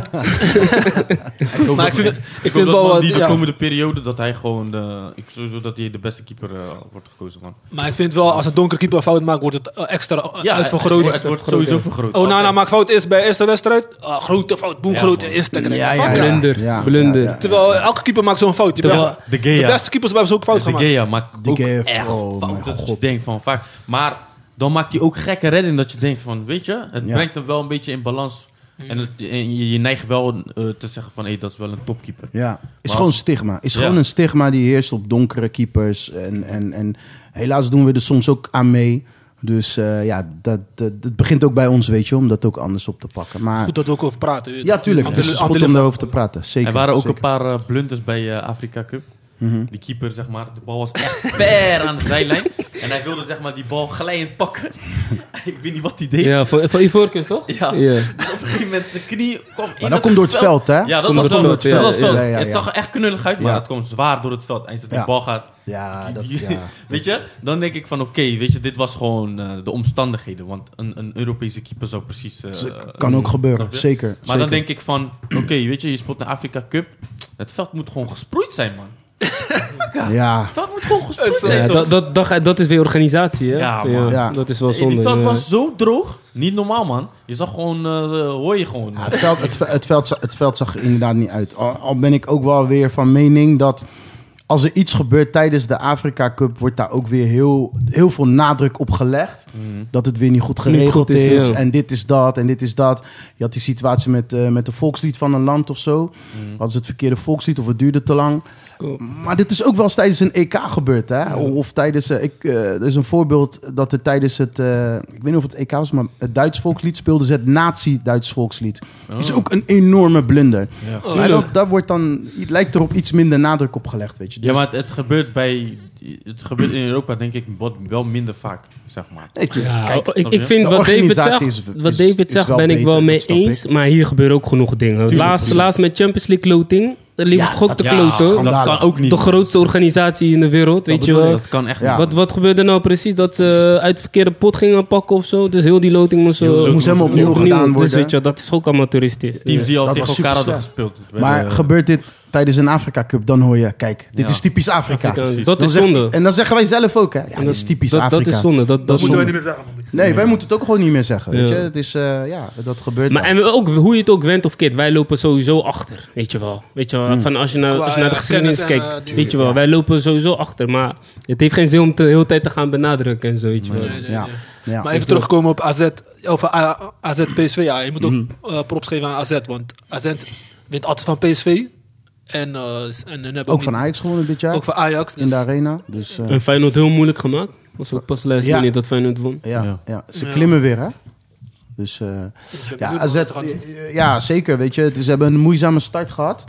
[SPEAKER 4] ik hoop
[SPEAKER 1] Maar ik
[SPEAKER 4] dat-
[SPEAKER 1] vind, ik
[SPEAKER 4] ik
[SPEAKER 1] vind
[SPEAKER 4] vind
[SPEAKER 1] het wel...
[SPEAKER 4] wel
[SPEAKER 1] wat-
[SPEAKER 4] die de
[SPEAKER 1] ja.
[SPEAKER 4] komende periode dat hij gewoon de, ik sowieso dat hij de beste keeper eh, wordt gekozen man.
[SPEAKER 1] Maar ik vind wel, als een donkere keeper een fout maakt, wordt het eh, extra ja,
[SPEAKER 4] het
[SPEAKER 1] uitvergroot.
[SPEAKER 4] wordt- Het wordt sowieso vergroot.
[SPEAKER 1] Onana
[SPEAKER 4] Altijd.
[SPEAKER 1] maakt nou, fout eerst bij de eerste wedstrijd. Ah, grote fout, boem,
[SPEAKER 4] Ja,
[SPEAKER 1] grote
[SPEAKER 4] man.
[SPEAKER 1] Instagram.
[SPEAKER 3] Ja,
[SPEAKER 1] Fuck
[SPEAKER 3] ja,
[SPEAKER 1] ja.
[SPEAKER 3] ja.
[SPEAKER 2] Blunder, blunder.
[SPEAKER 3] ja, ja.
[SPEAKER 1] Terwijl eh, elke keeper maakt zo'n fout. Je
[SPEAKER 2] Terwijl-
[SPEAKER 1] bent-
[SPEAKER 4] De
[SPEAKER 1] de
[SPEAKER 4] Gea.
[SPEAKER 1] beste keepers hebben ze ook fout
[SPEAKER 4] De
[SPEAKER 1] gemaakt.
[SPEAKER 4] Gea maakt
[SPEAKER 3] Die
[SPEAKER 4] ook
[SPEAKER 3] Gea heeft-
[SPEAKER 4] echt
[SPEAKER 3] oh
[SPEAKER 4] fouten.
[SPEAKER 3] mijn
[SPEAKER 4] Dat je
[SPEAKER 3] god.
[SPEAKER 4] denkt van vaak. Maar dan maakt hij ook gekke redding dat je denkt van, weet je, het
[SPEAKER 3] Ja.
[SPEAKER 4] brengt hem wel een beetje in balans. En, het- en je, je neigt wel eh, te zeggen van, hé, dat is wel een topkeeper.
[SPEAKER 3] Ja, is
[SPEAKER 4] Maar
[SPEAKER 3] gewoon
[SPEAKER 4] als-
[SPEAKER 3] stigma. Is
[SPEAKER 4] Ja.
[SPEAKER 3] gewoon een stigma die heerst op donkere keepers. En, en, en helaas doen we er soms ook aan mee. Dus eh, ja, dat, dat, het begint ook bij ons, weet je, om dat ook anders op te pakken. Maar
[SPEAKER 1] Goed dat we ook over praten. weet je.
[SPEAKER 3] ja, tuurlijk.
[SPEAKER 1] Want
[SPEAKER 3] Het is
[SPEAKER 1] het-
[SPEAKER 3] goed
[SPEAKER 1] want het-
[SPEAKER 3] om daarover te praten. Zeker.
[SPEAKER 4] er waren ook
[SPEAKER 3] zeker. Mhm.
[SPEAKER 4] een paar eh, blunders bij eh, Afrika Cup. Die keeper, zeg maar, de bal was echt ver aan de zijlijn. En hij wilde, zeg maar, die bal glijend pakken. ik weet niet wat hij deed.
[SPEAKER 2] Ja, van, van Ivorcus, toch?
[SPEAKER 4] Ja. Dus
[SPEAKER 2] ja.
[SPEAKER 4] Op een gegeven moment zijn knie kwam in
[SPEAKER 3] Maar dat komt door het veld, hè?
[SPEAKER 4] Ja, dat
[SPEAKER 2] Komt
[SPEAKER 4] was
[SPEAKER 2] door
[SPEAKER 4] wel
[SPEAKER 2] het
[SPEAKER 4] dat
[SPEAKER 2] veld, ja,
[SPEAKER 4] was
[SPEAKER 2] ja,
[SPEAKER 4] wel.
[SPEAKER 3] ja, ja,
[SPEAKER 4] Het
[SPEAKER 3] ja.
[SPEAKER 4] zag er echt knullig uit, maar
[SPEAKER 3] Ja.
[SPEAKER 4] het kwam zwaar door het veld. En die
[SPEAKER 3] Ja.
[SPEAKER 4] bal gaat
[SPEAKER 3] Ja, dat,
[SPEAKER 4] Die-
[SPEAKER 3] ja.
[SPEAKER 4] weet je, dan denk ik van oké, weet je, dit was gewoon eh, de omstandigheden. Want een, een Europese keeper zou precies... eh,
[SPEAKER 3] Dat kan ook gebeuren,
[SPEAKER 4] snap je?
[SPEAKER 3] zeker.
[SPEAKER 4] Maar dan denk ik van, oké, weet je, je speelt naar Afrika Cup. Het veld moet gewoon gesproeid zijn, man.
[SPEAKER 3] Ja,
[SPEAKER 4] Het veld moet gewoon gesproeid zijn,
[SPEAKER 2] Ja,
[SPEAKER 4] toch?
[SPEAKER 2] dat, dat, dat, dat is weer organisatie, hè?
[SPEAKER 4] Ja, man.
[SPEAKER 3] Ja.
[SPEAKER 2] Dat is wel
[SPEAKER 4] Hey,
[SPEAKER 2] zonde.
[SPEAKER 4] die veld
[SPEAKER 2] ja.
[SPEAKER 4] was zo droog. Niet normaal, man. Je zag gewoon, eh, hoor je gewoon.
[SPEAKER 3] Ja, het, veld, het, ve- het, veld, za- het veld zag er inderdaad niet uit. Al, al ben ik ook wel weer van mening dat als er iets gebeurt tijdens de Afrika Cup, wordt daar ook weer heel, heel veel nadruk op gelegd.
[SPEAKER 4] Mm.
[SPEAKER 3] Dat het weer niet goed
[SPEAKER 2] Niet
[SPEAKER 3] geregeld
[SPEAKER 2] goed is,
[SPEAKER 3] is.
[SPEAKER 2] ja.
[SPEAKER 3] En dit is dat en dit is dat. Je had die situatie met, eh, met de volkslied van een land of zo. Hadden ze het verkeerde volkslied of het duurde te lang.
[SPEAKER 2] Cool.
[SPEAKER 3] Maar dit is ook wel eens tijdens een EK gebeurd. Hè? Of of tijdens. eh, Ik, eh, er is een voorbeeld dat er tijdens het. eh, ik weet niet of het EK was, maar het Duits volkslied speelden ze het Nazi-Duits volkslied. Is ook een enorme blunder.
[SPEAKER 2] Oh,
[SPEAKER 3] maar
[SPEAKER 2] leuk.
[SPEAKER 3] dat, daar wordt dan. Het lijkt erop iets minder nadruk op gelegd, weet je. Dus-
[SPEAKER 4] Ja, maar het, het gebeurt bij... Het gebeurt in Europa, denk ik, wat- wel minder vaak, zeg maar.
[SPEAKER 3] Nee, tuurlijk.
[SPEAKER 2] Ja, oh,
[SPEAKER 3] Kijk,
[SPEAKER 2] ik,
[SPEAKER 4] snap
[SPEAKER 2] ik
[SPEAKER 4] je?
[SPEAKER 2] vind
[SPEAKER 3] De
[SPEAKER 2] wat David
[SPEAKER 3] organisatie
[SPEAKER 2] zegt,
[SPEAKER 3] is-
[SPEAKER 2] wat
[SPEAKER 3] is-
[SPEAKER 2] David
[SPEAKER 3] is
[SPEAKER 2] zegt
[SPEAKER 3] wel
[SPEAKER 2] ben ik
[SPEAKER 3] beter,
[SPEAKER 2] wel mee
[SPEAKER 3] dat snap
[SPEAKER 2] eens. Maar hier gebeuren ook genoeg dingen. Laatst, laatst met Champions League loting. Dat liep
[SPEAKER 3] Ja,
[SPEAKER 2] het toch ook
[SPEAKER 3] dat
[SPEAKER 2] te
[SPEAKER 3] is
[SPEAKER 2] kloten.
[SPEAKER 3] schandalig.
[SPEAKER 4] dat kan ook niet.
[SPEAKER 2] De grootste organisatie in de wereld, weet je
[SPEAKER 4] bedoel ik,
[SPEAKER 2] wel.
[SPEAKER 4] Dat kan echt
[SPEAKER 3] Ja.
[SPEAKER 4] niet.
[SPEAKER 2] Wat, wat gebeurde nou precies? Dat ze uit de verkeerde pot gingen pakken of zo. Dus heel die loting moest, eh,
[SPEAKER 4] loting
[SPEAKER 3] moest helemaal opnieuw gedaan
[SPEAKER 2] Dus
[SPEAKER 3] worden.
[SPEAKER 2] weet je, wel, dat is ook amateuristisch. Eh,
[SPEAKER 4] Teams die al
[SPEAKER 3] Dat
[SPEAKER 4] tegen
[SPEAKER 3] was
[SPEAKER 4] elkaar
[SPEAKER 3] super
[SPEAKER 4] hadden gespeeld.
[SPEAKER 3] Maar
[SPEAKER 4] Eh,
[SPEAKER 3] gebeurt dit tijdens een Afrika Cup, dan hoor je, kijk, dit
[SPEAKER 4] Ja.
[SPEAKER 3] is typisch Afrika.
[SPEAKER 2] Ja,
[SPEAKER 4] precies.
[SPEAKER 2] dat
[SPEAKER 3] Dan
[SPEAKER 2] is
[SPEAKER 3] zeg-
[SPEAKER 2] zonde.
[SPEAKER 3] En dan zeggen wij zelf ook, hè? Ja, dit is typisch
[SPEAKER 2] dat,
[SPEAKER 3] Afrika.
[SPEAKER 2] dat is zonde. Dat, dat
[SPEAKER 3] is
[SPEAKER 2] is
[SPEAKER 3] zonde.
[SPEAKER 6] moeten wij
[SPEAKER 2] zonde.
[SPEAKER 6] niet meer zeggen, man.
[SPEAKER 3] Nee, wij moeten het ook gewoon niet meer zeggen. Weet
[SPEAKER 2] Ja.
[SPEAKER 3] je? Het is, eh, ja, dat gebeurt.
[SPEAKER 2] Maar
[SPEAKER 3] wel.
[SPEAKER 2] en ook, hoe je het ook went of keert, wij lopen sowieso achter, weet je wel. Weet je wel,
[SPEAKER 3] Hmm.
[SPEAKER 2] van als je naar,
[SPEAKER 1] Qua,
[SPEAKER 2] als je naar de
[SPEAKER 1] eh,
[SPEAKER 2] geschiedenis
[SPEAKER 1] kennis en,
[SPEAKER 2] kijkt,
[SPEAKER 1] eh, dingen,
[SPEAKER 2] weet je wel, wij lopen sowieso achter. Maar het heeft geen zin om de hele tijd te gaan benadrukken en zo, weet je wel.
[SPEAKER 3] ja. Ja.
[SPEAKER 1] Maar even terugkomen op AZ, of eh, AZ PSV. Ja, je moet ook
[SPEAKER 3] Mhm.
[SPEAKER 1] eh, props geven aan AZ, want AZ wint altijd van PSV. En, eh, s- en hun hebben
[SPEAKER 3] Ook van
[SPEAKER 1] niet-
[SPEAKER 3] Ajax gewonnen dit jaar.
[SPEAKER 1] ook van Ajax.
[SPEAKER 3] in
[SPEAKER 1] Dus
[SPEAKER 3] de arena. Dus eh,
[SPEAKER 2] En Feyenoord heel moeilijk gemaakt. Was ook pas laatst
[SPEAKER 3] Ja.
[SPEAKER 2] manier dat Feyenoord won.
[SPEAKER 3] ja, ja.
[SPEAKER 4] Ja.
[SPEAKER 3] ze
[SPEAKER 1] Ja.
[SPEAKER 3] klimmen weer, hè? Dus eh,
[SPEAKER 1] ben
[SPEAKER 3] ja,
[SPEAKER 1] benieuwd
[SPEAKER 3] AZ,
[SPEAKER 1] wat er gaat-
[SPEAKER 3] eh, ja, zeker. Weet je, het is- ze hebben een moeizame start gehad.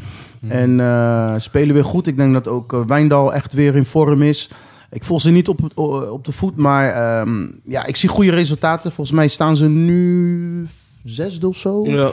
[SPEAKER 3] En eh, spelen weer goed. Ik denk dat ook eh, Wijndal echt weer in vorm is. Ik volg ze niet op, het- o- op de voet, maar ehm, ja, ik zie goede resultaten. Volgens mij staan ze nu zesde of zo.
[SPEAKER 2] Ja,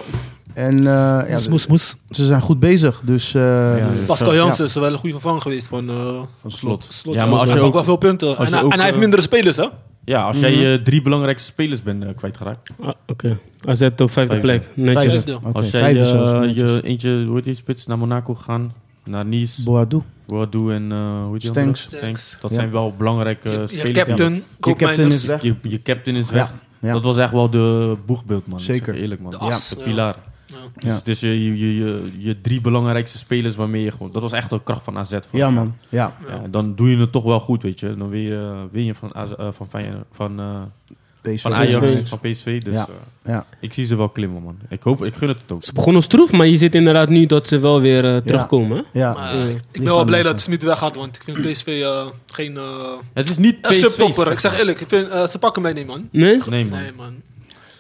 [SPEAKER 3] En eh, ja,
[SPEAKER 1] moes, moes, moes.
[SPEAKER 3] ze zijn goed bezig. Dus eh,
[SPEAKER 4] ja.
[SPEAKER 1] Pascal
[SPEAKER 3] Ja.
[SPEAKER 1] Jansen is wel een goede vervanger geweest van eh,
[SPEAKER 3] van slot.
[SPEAKER 4] slot.
[SPEAKER 1] Slot.
[SPEAKER 4] Ja, maar als je
[SPEAKER 1] ook,
[SPEAKER 4] ook-
[SPEAKER 1] wel veel punten.
[SPEAKER 4] als
[SPEAKER 1] En,
[SPEAKER 4] je
[SPEAKER 1] hij-
[SPEAKER 4] ook,
[SPEAKER 1] en hij heeft
[SPEAKER 4] eh,
[SPEAKER 1] mindere spelers, hè?
[SPEAKER 4] Ja, als
[SPEAKER 3] Mhm.
[SPEAKER 4] jij je drie belangrijkste spelers bent eh, kwijtgeraakt.
[SPEAKER 2] Ah, oké. AZ op vijfde
[SPEAKER 4] Vijfde.
[SPEAKER 2] plek, netjes.
[SPEAKER 1] Vijfde.
[SPEAKER 3] Oké,
[SPEAKER 4] als jij
[SPEAKER 3] vijfde
[SPEAKER 4] eh,
[SPEAKER 3] zelfs, netjes.
[SPEAKER 4] je eentje, hoe heet die spits, naar Monaco gegaan. Naar Nice,
[SPEAKER 3] Boadu.
[SPEAKER 4] Boadu en eh hoe heet die
[SPEAKER 3] Stanks.
[SPEAKER 4] andere? Stanks. Dat
[SPEAKER 3] Ja.
[SPEAKER 4] zijn wel belangrijke
[SPEAKER 1] Je- je,
[SPEAKER 4] spelers.
[SPEAKER 1] captain,
[SPEAKER 3] Je captain is
[SPEAKER 1] Koopmeiners.
[SPEAKER 3] weg.
[SPEAKER 4] Je, je captain is weg.
[SPEAKER 3] ja.
[SPEAKER 4] Dat was echt wel de boegbeeld, man. Ik
[SPEAKER 3] Zeker.
[SPEAKER 4] zeg je Eerlijk, man.
[SPEAKER 1] De
[SPEAKER 4] De,
[SPEAKER 1] as,
[SPEAKER 4] de
[SPEAKER 1] ja.
[SPEAKER 4] pilaar.
[SPEAKER 1] Ja.
[SPEAKER 4] Dus,
[SPEAKER 3] Ja.
[SPEAKER 4] dus je, je, je, je, je drie belangrijkste spelers waarmee je gewoon... Dat was echt de kracht van AZ. Voor
[SPEAKER 3] Ja, man. Ja.
[SPEAKER 4] Ja, dan doe je het toch wel goed, weet je. Dan win je, win je van, AZ eh, van, Feyenoord- van, eh,
[SPEAKER 3] PSV.
[SPEAKER 4] van Ajax,
[SPEAKER 2] PSV.
[SPEAKER 4] van PSV. Dus
[SPEAKER 3] Ja.
[SPEAKER 4] eh,
[SPEAKER 3] Ja.
[SPEAKER 4] ik zie ze wel klimmen, man. Ik hoop, ik gun het het ook.
[SPEAKER 2] Ze begonnen stroef, maar je ziet inderdaad nu dat ze wel weer eh, terugkomen. hè?
[SPEAKER 3] Ja. eh,
[SPEAKER 1] Maar eh,
[SPEAKER 2] Ja.
[SPEAKER 1] ik
[SPEAKER 3] gaan
[SPEAKER 1] ben wel blij
[SPEAKER 3] lopen.
[SPEAKER 1] dat Smit weggaat, want ik vind PSV eh, geen eh,
[SPEAKER 4] Het is niet
[SPEAKER 1] een
[SPEAKER 4] PSV.
[SPEAKER 1] subtopper.
[SPEAKER 4] zeg
[SPEAKER 1] Ik zeg
[SPEAKER 4] maar.
[SPEAKER 1] eerlijk, ik vind, eh, ze pakken mij niet, man.
[SPEAKER 2] Nee?
[SPEAKER 4] Nee, man.
[SPEAKER 1] Nee, man.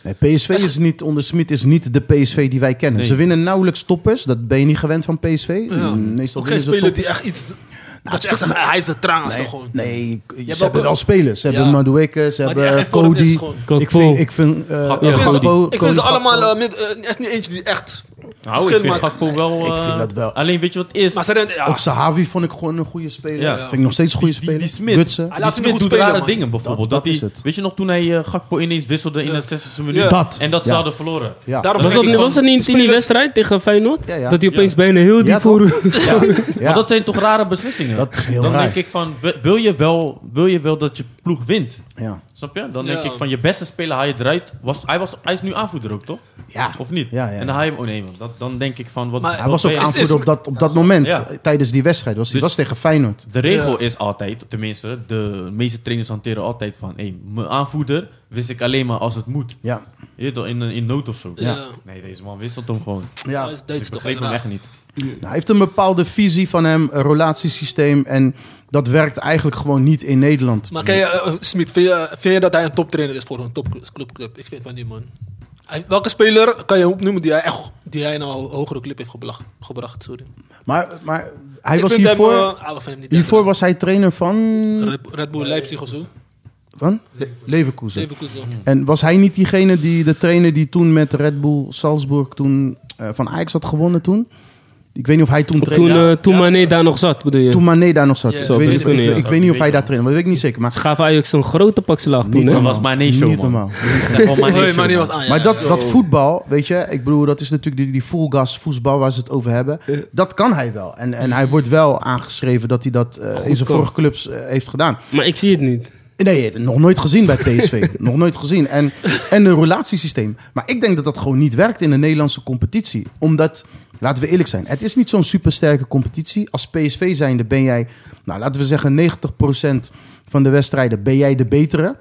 [SPEAKER 3] Nee, PSV is niet, onder Smit is niet de PSV die wij kennen.
[SPEAKER 4] Nee.
[SPEAKER 3] Ze winnen nauwelijks toppers. Dat ben je niet gewend van PSV.
[SPEAKER 1] Ja.
[SPEAKER 3] Mm, Meestal
[SPEAKER 1] Ook geen
[SPEAKER 3] winnen ze
[SPEAKER 1] speler
[SPEAKER 3] toppers.
[SPEAKER 1] die echt iets... dat je echt zegt, hij is de traas
[SPEAKER 3] Nee,
[SPEAKER 1] toch gewoon.
[SPEAKER 3] nee, ze
[SPEAKER 1] hebt
[SPEAKER 3] hebben
[SPEAKER 1] ook-
[SPEAKER 3] wel spelers. Ze
[SPEAKER 1] Ja.
[SPEAKER 3] hebben Madueke, ze
[SPEAKER 1] Maar die
[SPEAKER 3] hebben eh,
[SPEAKER 1] echt in vorm is
[SPEAKER 3] Cody.
[SPEAKER 1] gewoon. Ik
[SPEAKER 3] Ik vind, ik vind, eh,
[SPEAKER 4] Gakpo.
[SPEAKER 3] ja,
[SPEAKER 1] vind ze-
[SPEAKER 3] Gakpo-
[SPEAKER 1] Ik vind ze
[SPEAKER 3] Cody
[SPEAKER 1] allemaal...
[SPEAKER 3] Gakpo.
[SPEAKER 1] eh, mid- eh, Er is niet eentje die echt...
[SPEAKER 4] Nou,
[SPEAKER 1] Verschil
[SPEAKER 4] ik vind
[SPEAKER 1] maakt-
[SPEAKER 4] Gakpo wel...
[SPEAKER 3] Ik
[SPEAKER 4] eh,
[SPEAKER 3] vind dat wel.
[SPEAKER 4] Alleen weet je wat het is?
[SPEAKER 1] Maar ze rennen... Ja,
[SPEAKER 3] Ook Sahavi vond ik gewoon een goede speler.
[SPEAKER 4] Ja.
[SPEAKER 3] Vind ik nog steeds een goede
[SPEAKER 4] Die- die-
[SPEAKER 3] speler.
[SPEAKER 4] die Smit.
[SPEAKER 3] Gutsen.
[SPEAKER 1] Hij laat
[SPEAKER 4] Die
[SPEAKER 1] ze niet goed
[SPEAKER 4] doet
[SPEAKER 1] spelen,
[SPEAKER 4] rare
[SPEAKER 1] man.
[SPEAKER 4] dingen bijvoorbeeld.
[SPEAKER 3] Dat-
[SPEAKER 4] Dat,
[SPEAKER 3] dat
[SPEAKER 4] hij-
[SPEAKER 3] is het.
[SPEAKER 4] Weet je nog toen hij eh, Gakpo ineens wisselde in de 60e minuut?
[SPEAKER 1] Ja.
[SPEAKER 3] Dat.
[SPEAKER 4] En dat ze
[SPEAKER 3] Ja.
[SPEAKER 4] hadden verloren.
[SPEAKER 3] Ja.
[SPEAKER 1] Daarom
[SPEAKER 2] Was
[SPEAKER 1] denk
[SPEAKER 2] dat,
[SPEAKER 1] ik
[SPEAKER 2] was
[SPEAKER 1] van,
[SPEAKER 2] dat niet in die
[SPEAKER 1] spelers-
[SPEAKER 2] wedstrijd tegen Feyenoord?
[SPEAKER 3] Ja, ja.
[SPEAKER 2] Dat hij opeens bijna heel diep
[SPEAKER 3] Ja, toch?
[SPEAKER 2] voor...
[SPEAKER 3] Ja.
[SPEAKER 4] Maar dat zijn toch rare beslissingen?
[SPEAKER 3] Dat is heel
[SPEAKER 4] Dan
[SPEAKER 3] raar.
[SPEAKER 4] denk ik van, wi- wil je, wel, wil je wel dat je ploeg wint?
[SPEAKER 3] Ja.
[SPEAKER 4] Snap je? Dan
[SPEAKER 1] Ja.
[SPEAKER 4] denk ik van, je beste speler haal je eruit. Was, hij, was, hij is nu aanvoerder ook, toch?
[SPEAKER 3] Ja.
[SPEAKER 4] Of niet?
[SPEAKER 3] Ja, ja,
[SPEAKER 4] En dan haal je hem... Oh nee, man. Dat, dan denk ik van... Wat,
[SPEAKER 1] Maar-
[SPEAKER 3] Hij
[SPEAKER 4] wat
[SPEAKER 3] was
[SPEAKER 4] ben
[SPEAKER 3] ook
[SPEAKER 4] je-
[SPEAKER 3] aanvoerder op dat, op dat moment.
[SPEAKER 4] Ja.
[SPEAKER 3] eh, Tijdens die wedstrijd. Was, die
[SPEAKER 4] Dus-
[SPEAKER 3] was tegen Feyenoord.
[SPEAKER 4] De regel
[SPEAKER 1] Ja.
[SPEAKER 4] is altijd, tenminste, de meeste trainers hanteren altijd van... Hé, mijn aanvoerder wist ik alleen maar als het moet.
[SPEAKER 3] Ja.
[SPEAKER 4] Je weet wel, in, in nood of zo.
[SPEAKER 1] Ja.
[SPEAKER 4] Nee, deze man wisselt hem gewoon.
[SPEAKER 1] Ja,
[SPEAKER 3] ja.
[SPEAKER 1] dat is
[SPEAKER 4] Dus
[SPEAKER 1] Duits
[SPEAKER 4] ik
[SPEAKER 1] toch
[SPEAKER 4] begreep hem
[SPEAKER 1] inderdaad.
[SPEAKER 4] echt niet.
[SPEAKER 3] Nou, hij heeft een bepaalde visie van hem, een relatiesysteem. En dat werkt eigenlijk gewoon niet in Nederland.
[SPEAKER 1] Maar kijk, eh, Smit, vind, je- vind je dat hij een toptrainer is voor een topclubclub? Ik vind van die man. Hij- Welke speler kan je opnoemen die hij, echt, die hij naar een hogere club heeft geblag- gebracht? Sorry.
[SPEAKER 3] Maar, maar hij
[SPEAKER 1] Ik
[SPEAKER 3] was
[SPEAKER 1] vind hem,
[SPEAKER 3] hiervoor,
[SPEAKER 1] eh, ah, we vinden hem niet
[SPEAKER 3] hiervoor
[SPEAKER 1] lekker.
[SPEAKER 3] was hij trainer van,
[SPEAKER 1] Red, Red Bull Leipzig of zo.
[SPEAKER 3] van? Leverkusen.
[SPEAKER 1] Leverkusen.
[SPEAKER 3] En was hij niet diegene die de trainer die toen met Red Bull Salzburg toen, eh, van Ajax had gewonnen toen? Ik weet niet of hij toen
[SPEAKER 2] Toen,
[SPEAKER 3] trainde.
[SPEAKER 2] eh, toen Mané daar nog zat, bedoel je?
[SPEAKER 3] Toen Mané daar nog zat.
[SPEAKER 1] Ja,
[SPEAKER 3] ik
[SPEAKER 1] zou
[SPEAKER 3] weet, niet,
[SPEAKER 2] best
[SPEAKER 3] ik,
[SPEAKER 2] kunnen,
[SPEAKER 3] ik-
[SPEAKER 2] ja.
[SPEAKER 3] ik weet niet of hij daar trainde, maar dat weet ik niet zeker. Maar
[SPEAKER 2] Ze gaven Ajax een grote pak slaag
[SPEAKER 3] niet
[SPEAKER 2] toen, hè?
[SPEAKER 4] Dat
[SPEAKER 3] normaal.
[SPEAKER 4] was Mané show,
[SPEAKER 3] Niet
[SPEAKER 4] man.
[SPEAKER 3] normaal.
[SPEAKER 4] Echt wel Mané
[SPEAKER 1] Nee,
[SPEAKER 4] show,
[SPEAKER 1] maar die
[SPEAKER 4] man.
[SPEAKER 1] was aan. ja.
[SPEAKER 3] Maar dat, dat voetbal, weet je, ik bedoel, dat is natuurlijk die, die full gas voetbal waar ze het over hebben. Dat kan hij wel. En, en hij wordt wel aangeschreven dat hij dat eh, in zijn
[SPEAKER 2] kan.
[SPEAKER 3] vorige clubs eh, heeft gedaan.
[SPEAKER 2] Maar ik zie het niet.
[SPEAKER 3] Nee, het- nog nooit gezien bij PSV. nog nooit gezien. En, en een relatiesysteem. Maar ik denk dat dat gewoon niet werkt in de Nederlandse competitie. Omdat Laten we eerlijk zijn. Het is niet zo'n supersterke competitie. Als PSV zijnde ben jij, nou, laten we zeggen 90% van de wedstrijden ben jij de betere.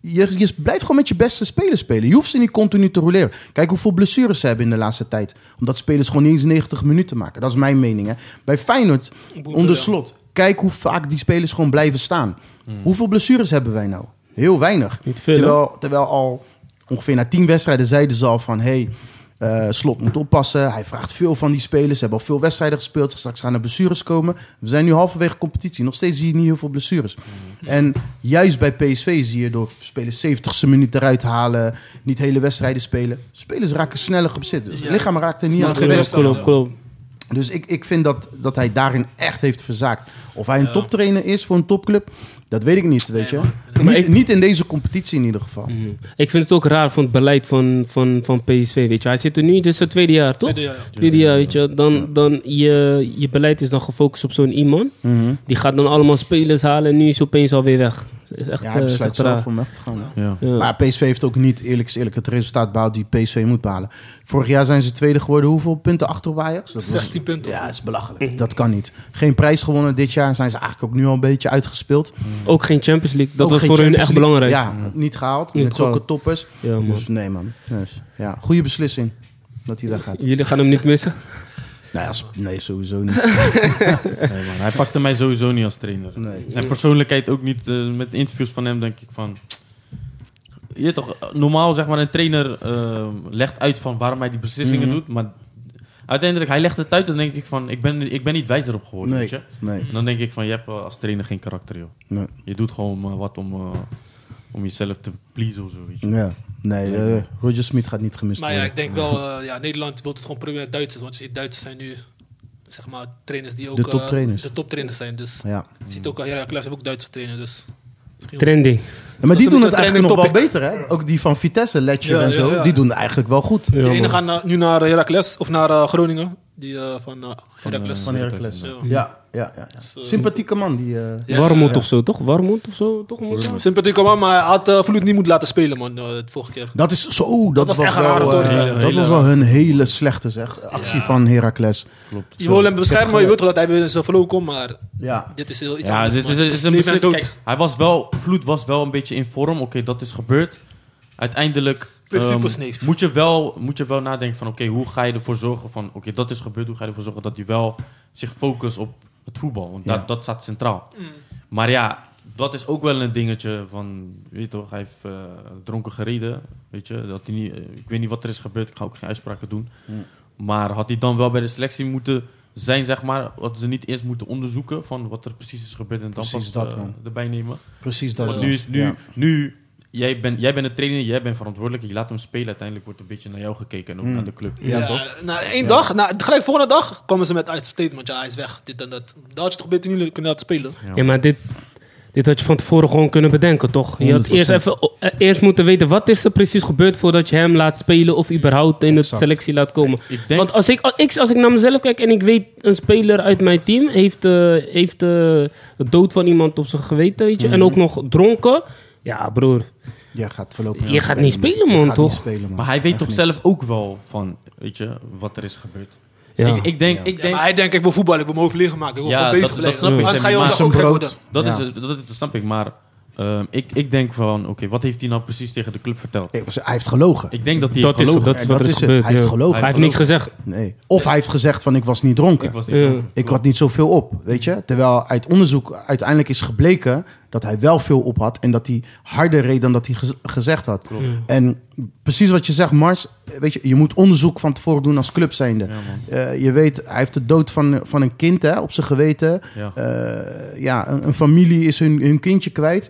[SPEAKER 3] Je, je blijft gewoon met je beste spelers spelen. Je hoeft ze niet continu te roleren. Kijk hoeveel blessures ze hebben in de laatste tijd. Omdat spelers gewoon niet eens 90 minuten maken. Dat is mijn mening. Hè. Bij Feyenoord, onder slot, kijk hoe vaak die spelers gewoon blijven staan. Hoeveel blessures hebben wij nou? Heel weinig.
[SPEAKER 2] Hmm. Niet veel, hè?
[SPEAKER 3] terwijl, terwijl al ongeveer na 10 wedstrijden zeiden ze al van... Hey, eh, slot moet oppassen. Hij vraagt veel van die spelers. Ze hebben al veel wedstrijden gespeeld. Straks gaan er blessures komen. We zijn nu halverwege competitie. Nog steeds zie je niet heel veel blessures. En juist bij PSV zie je door spelers 70ste minuut eruit halen. Niet hele wedstrijden spelen. Spelers raken sneller op zitten. Het lichaam raakt er niet aan
[SPEAKER 1] geen
[SPEAKER 3] gewend.
[SPEAKER 1] rust.
[SPEAKER 2] Klopt, klopt.
[SPEAKER 3] Dus ik, ik vind dat, dat hij daarin echt heeft verzaakt. Of hij een toptrainer is voor een topclub, dat weet ik niet, weet je.
[SPEAKER 2] Maar
[SPEAKER 3] niet,
[SPEAKER 2] ik-
[SPEAKER 3] niet in deze competitie in ieder geval.
[SPEAKER 2] Ik vind het ook raar van het beleid van, van, van PSV, weet je. Hij zit er nu, dit is het tweede jaar, toch?
[SPEAKER 1] Tweede jaar, ja.
[SPEAKER 2] Tweede jaar, weet je. Dan, dan je, je beleid is dan gefocust op zo'n iemand.
[SPEAKER 3] Mhm.
[SPEAKER 2] Die gaat dan allemaal spelers halen en nu is opeens alweer weg. Dat is echt,
[SPEAKER 3] Ja,
[SPEAKER 2] eh,
[SPEAKER 3] hij
[SPEAKER 2] is
[SPEAKER 3] besluit
[SPEAKER 2] echt raar.
[SPEAKER 3] zelf om weg te gaan. hè.
[SPEAKER 4] Ja.
[SPEAKER 2] Ja.
[SPEAKER 3] Maar PSV heeft ook niet, eerlijk is eerlijk, het resultaat behaald die PSV moet behalen. Vorig jaar zijn ze tweede geworden. Hoeveel punten achter op Ajax? Dat was-
[SPEAKER 1] 16 punten.
[SPEAKER 3] Ja, dat is
[SPEAKER 2] Mhm.
[SPEAKER 3] belachelijk. Dat kan niet. Geen prijs gewonnen dit jaar. Zijn ze eigenlijk ook nu al een beetje uitgespeeld.
[SPEAKER 2] Ook geen Champions League, dat
[SPEAKER 3] Ook
[SPEAKER 2] was
[SPEAKER 3] geen
[SPEAKER 2] voor hun
[SPEAKER 3] Champions
[SPEAKER 2] echt
[SPEAKER 3] League.
[SPEAKER 2] belangrijk. Ja,
[SPEAKER 3] Ja, niet gehaald.
[SPEAKER 2] Niet
[SPEAKER 3] met zulke
[SPEAKER 2] gehaald.
[SPEAKER 3] toppers.
[SPEAKER 2] man.
[SPEAKER 3] Dus nee, man. Dus, ja, goede beslissing dat hij daar gaat.
[SPEAKER 2] Jullie gaan hem niet missen?
[SPEAKER 3] Nou, als, nee, sowieso niet.
[SPEAKER 4] Nee, man, hij pakte mij sowieso niet als trainer.
[SPEAKER 3] Nee.
[SPEAKER 4] Zijn persoonlijkheid ook niet. eh, met interviews van hem denk ik van... Je weet toch, eh, normaal zeg maar een trainer eh, legt uit van waarom hij die beslissingen
[SPEAKER 3] Mhm.
[SPEAKER 4] doet. Maar uiteindelijk, hij legt het uit en denk ik van... Ik ben, ik ben niet wijzer op geworden,
[SPEAKER 3] Nee,
[SPEAKER 4] weet je.
[SPEAKER 3] nee,
[SPEAKER 4] En dan denk ik van, je hebt eh, als trainer geen karakter, joh.
[SPEAKER 3] nee.
[SPEAKER 4] Je doet gewoon eh, wat om, eh, om jezelf te pleasen of zo, weet je.
[SPEAKER 3] Ja, nee eh, Roger Smit gaat niet gemist
[SPEAKER 1] Maar ja,
[SPEAKER 3] worden.
[SPEAKER 1] ik denk wel, eh, ja, Nederland wil het gewoon proberen met Duitsers. Want je ziet, Duitsers zijn nu zeg maar trainers die ook
[SPEAKER 3] De
[SPEAKER 1] eh,
[SPEAKER 3] toptrainers.
[SPEAKER 1] de toptrainers zijn. Dus
[SPEAKER 3] Ja.
[SPEAKER 1] je ziet ook al Herakles heeft ook Duitse trainen. Dus misschien
[SPEAKER 2] Trending.
[SPEAKER 3] Ja, maar die
[SPEAKER 1] een
[SPEAKER 3] doen
[SPEAKER 1] beetje
[SPEAKER 3] het
[SPEAKER 1] een
[SPEAKER 3] eigenlijk nog wel
[SPEAKER 1] trending
[SPEAKER 3] beter, hè? Ook die van Vitesse, Letje
[SPEAKER 1] Ja,
[SPEAKER 3] en
[SPEAKER 1] ja,
[SPEAKER 3] zo,
[SPEAKER 1] ja.
[SPEAKER 3] die doen het eigenlijk wel goed.
[SPEAKER 1] de ene
[SPEAKER 2] man.
[SPEAKER 1] gaat naar- eh, nu naar Herakles of naar eh, Groningen. Die eh, van eh Heracles.
[SPEAKER 3] Van Heracles.
[SPEAKER 1] Ja.
[SPEAKER 3] Ja, ja, ja. ja.
[SPEAKER 1] Dus, eh,
[SPEAKER 3] Sympathieke man, die... eh,
[SPEAKER 1] Ja.
[SPEAKER 2] Warmoed of zo, toch? Warmoed of zo, toch? moet je-
[SPEAKER 1] Sympathieke man, maar hij had eh, Vloed niet moeten laten spelen, man, eh, de vorige keer.
[SPEAKER 3] Dat is zo, dat,
[SPEAKER 1] was
[SPEAKER 3] was,
[SPEAKER 1] echt een
[SPEAKER 3] wel,
[SPEAKER 1] rare
[SPEAKER 3] eh,
[SPEAKER 1] toernooi.
[SPEAKER 4] Hele-
[SPEAKER 3] dat
[SPEAKER 4] hele
[SPEAKER 3] was wel hun hele slechte zeg, actie van Heracles.
[SPEAKER 1] Je wil hem beschermen, maar je wilt wel dat hij weer in zijn flow komt, maar
[SPEAKER 3] Ja,
[SPEAKER 1] dit is heel iets
[SPEAKER 4] Ja,
[SPEAKER 1] anders.
[SPEAKER 4] dit
[SPEAKER 1] man.
[SPEAKER 4] is, dit is een
[SPEAKER 1] leven en
[SPEAKER 4] beslissing.
[SPEAKER 1] dood.
[SPEAKER 4] Kijk, hij was wel, Vloed was wel een beetje in vorm. Oké, dat is gebeurd. Uiteindelijk
[SPEAKER 1] Principes
[SPEAKER 4] ehm,
[SPEAKER 1] niet.
[SPEAKER 4] moet, je wel, moet je wel nadenken van... Oké, hoe ga je ervoor zorgen van... Oké, dat is gebeurd. Hoe ga je ervoor zorgen dat hij wel zich focust op het voetbal? Want
[SPEAKER 3] Ja.
[SPEAKER 4] dat, dat staat centraal. Maar ja, dat is ook wel een dingetje van... Weet je toch, hij heeft eh, dronken gereden. Weet je, dat hij niet, eh, ik weet niet wat er is gebeurd. Ik ga ook geen uitspraken doen. Maar had hij dan wel bij de selectie moeten zijn, zeg maar... Hadden ze niet eerst moeten onderzoeken van wat er precies is gebeurd... en dan
[SPEAKER 3] Precies
[SPEAKER 4] pas
[SPEAKER 3] dat,
[SPEAKER 4] eh,
[SPEAKER 3] man.
[SPEAKER 4] erbij nemen.
[SPEAKER 3] precies dat.
[SPEAKER 4] Want nu is nu,
[SPEAKER 3] Ja.
[SPEAKER 4] nu jij bent jij bent de trainer, jij bent verantwoordelijk, je laat hem spelen. Uiteindelijk wordt een beetje naar jou gekeken en ook naar de club.
[SPEAKER 3] Hmm. Ja,
[SPEAKER 1] Ja,
[SPEAKER 3] toch?
[SPEAKER 1] Na één dag, na, gelijk volgende dag, komen ze met uit statement. Ja, hij is weg, dit en dat. Dat had je toch beter niet kunnen laten spelen?
[SPEAKER 2] Ja, maar dit, dit had je van tevoren gewoon kunnen bedenken, toch? Je had eerst, even, eh, eerst moeten weten wat is er precies gebeurd voordat je hem laat spelen of überhaupt in de
[SPEAKER 3] Exact.
[SPEAKER 2] selectie laat komen.
[SPEAKER 4] Ik denk-
[SPEAKER 2] Want als ik, als ik, als ik naar mezelf kijk en ik weet een speler uit mijn team heeft, eh heeft eh, de dood van iemand op zijn geweten, weet je, en ook nog dronken. Ja, broer,
[SPEAKER 3] Jij gaat voorlopig
[SPEAKER 2] Je gaat niet spelen, man,
[SPEAKER 3] Je gaat niet
[SPEAKER 2] toch?
[SPEAKER 3] spelen, man.
[SPEAKER 4] Maar hij weet
[SPEAKER 3] Echt
[SPEAKER 4] toch
[SPEAKER 3] niet.
[SPEAKER 4] zelf ook wel van, weet je, wat er is gebeurd.
[SPEAKER 2] ja.
[SPEAKER 4] Ik, ik denk, ik
[SPEAKER 1] Ja,
[SPEAKER 4] denk
[SPEAKER 1] maar hij denkt, ik wil voetballen, ik wil mijn hoofd liggen maken. Ik wil
[SPEAKER 4] Ja,
[SPEAKER 1] gewoon bezig
[SPEAKER 4] dat-
[SPEAKER 1] blijven.
[SPEAKER 4] dat snap ik,
[SPEAKER 1] Anders ga
[SPEAKER 4] zeg
[SPEAKER 1] je
[SPEAKER 4] maar.
[SPEAKER 1] ook
[SPEAKER 3] Maar
[SPEAKER 1] ook
[SPEAKER 3] zijn
[SPEAKER 1] gek
[SPEAKER 3] brood...
[SPEAKER 4] dat,
[SPEAKER 1] worden.
[SPEAKER 3] Ja.
[SPEAKER 4] is, het- dat, is- dat snap ik, maar ehm, ik, ik denk van, oké, wat heeft hij nou precies tegen de club verteld?
[SPEAKER 3] Ik was- Hij heeft gelogen.
[SPEAKER 4] Ik denk dat hij
[SPEAKER 2] dat,
[SPEAKER 4] heeft
[SPEAKER 2] is,
[SPEAKER 4] gelogen.
[SPEAKER 2] dat is
[SPEAKER 3] En
[SPEAKER 2] wat
[SPEAKER 3] dat
[SPEAKER 2] er is
[SPEAKER 3] is het.
[SPEAKER 2] gebeurd.
[SPEAKER 3] Hij heeft
[SPEAKER 2] ja.
[SPEAKER 3] gelogen.
[SPEAKER 2] Hij heeft niks gezegd. eh.
[SPEAKER 3] Nee. Of hij heeft gezegd van ik was niet dronken.
[SPEAKER 4] Ik was niet
[SPEAKER 2] Ja.
[SPEAKER 3] Ik had niet zoveel op, weet je. Terwijl uit onderzoek uiteindelijk is gebleken dat hij wel veel op had. En dat hij harder reed dan dat hij gez- gezegd had. En precies wat je zegt, Mars. Weet je, je moet onderzoek van tevoren doen als club zijnde. Eh, je weet, hij heeft de dood van, van een kind hè, op zijn geweten.
[SPEAKER 4] Ja.
[SPEAKER 3] Eh, ja, een, een familie is hun, hun kindje kwijt.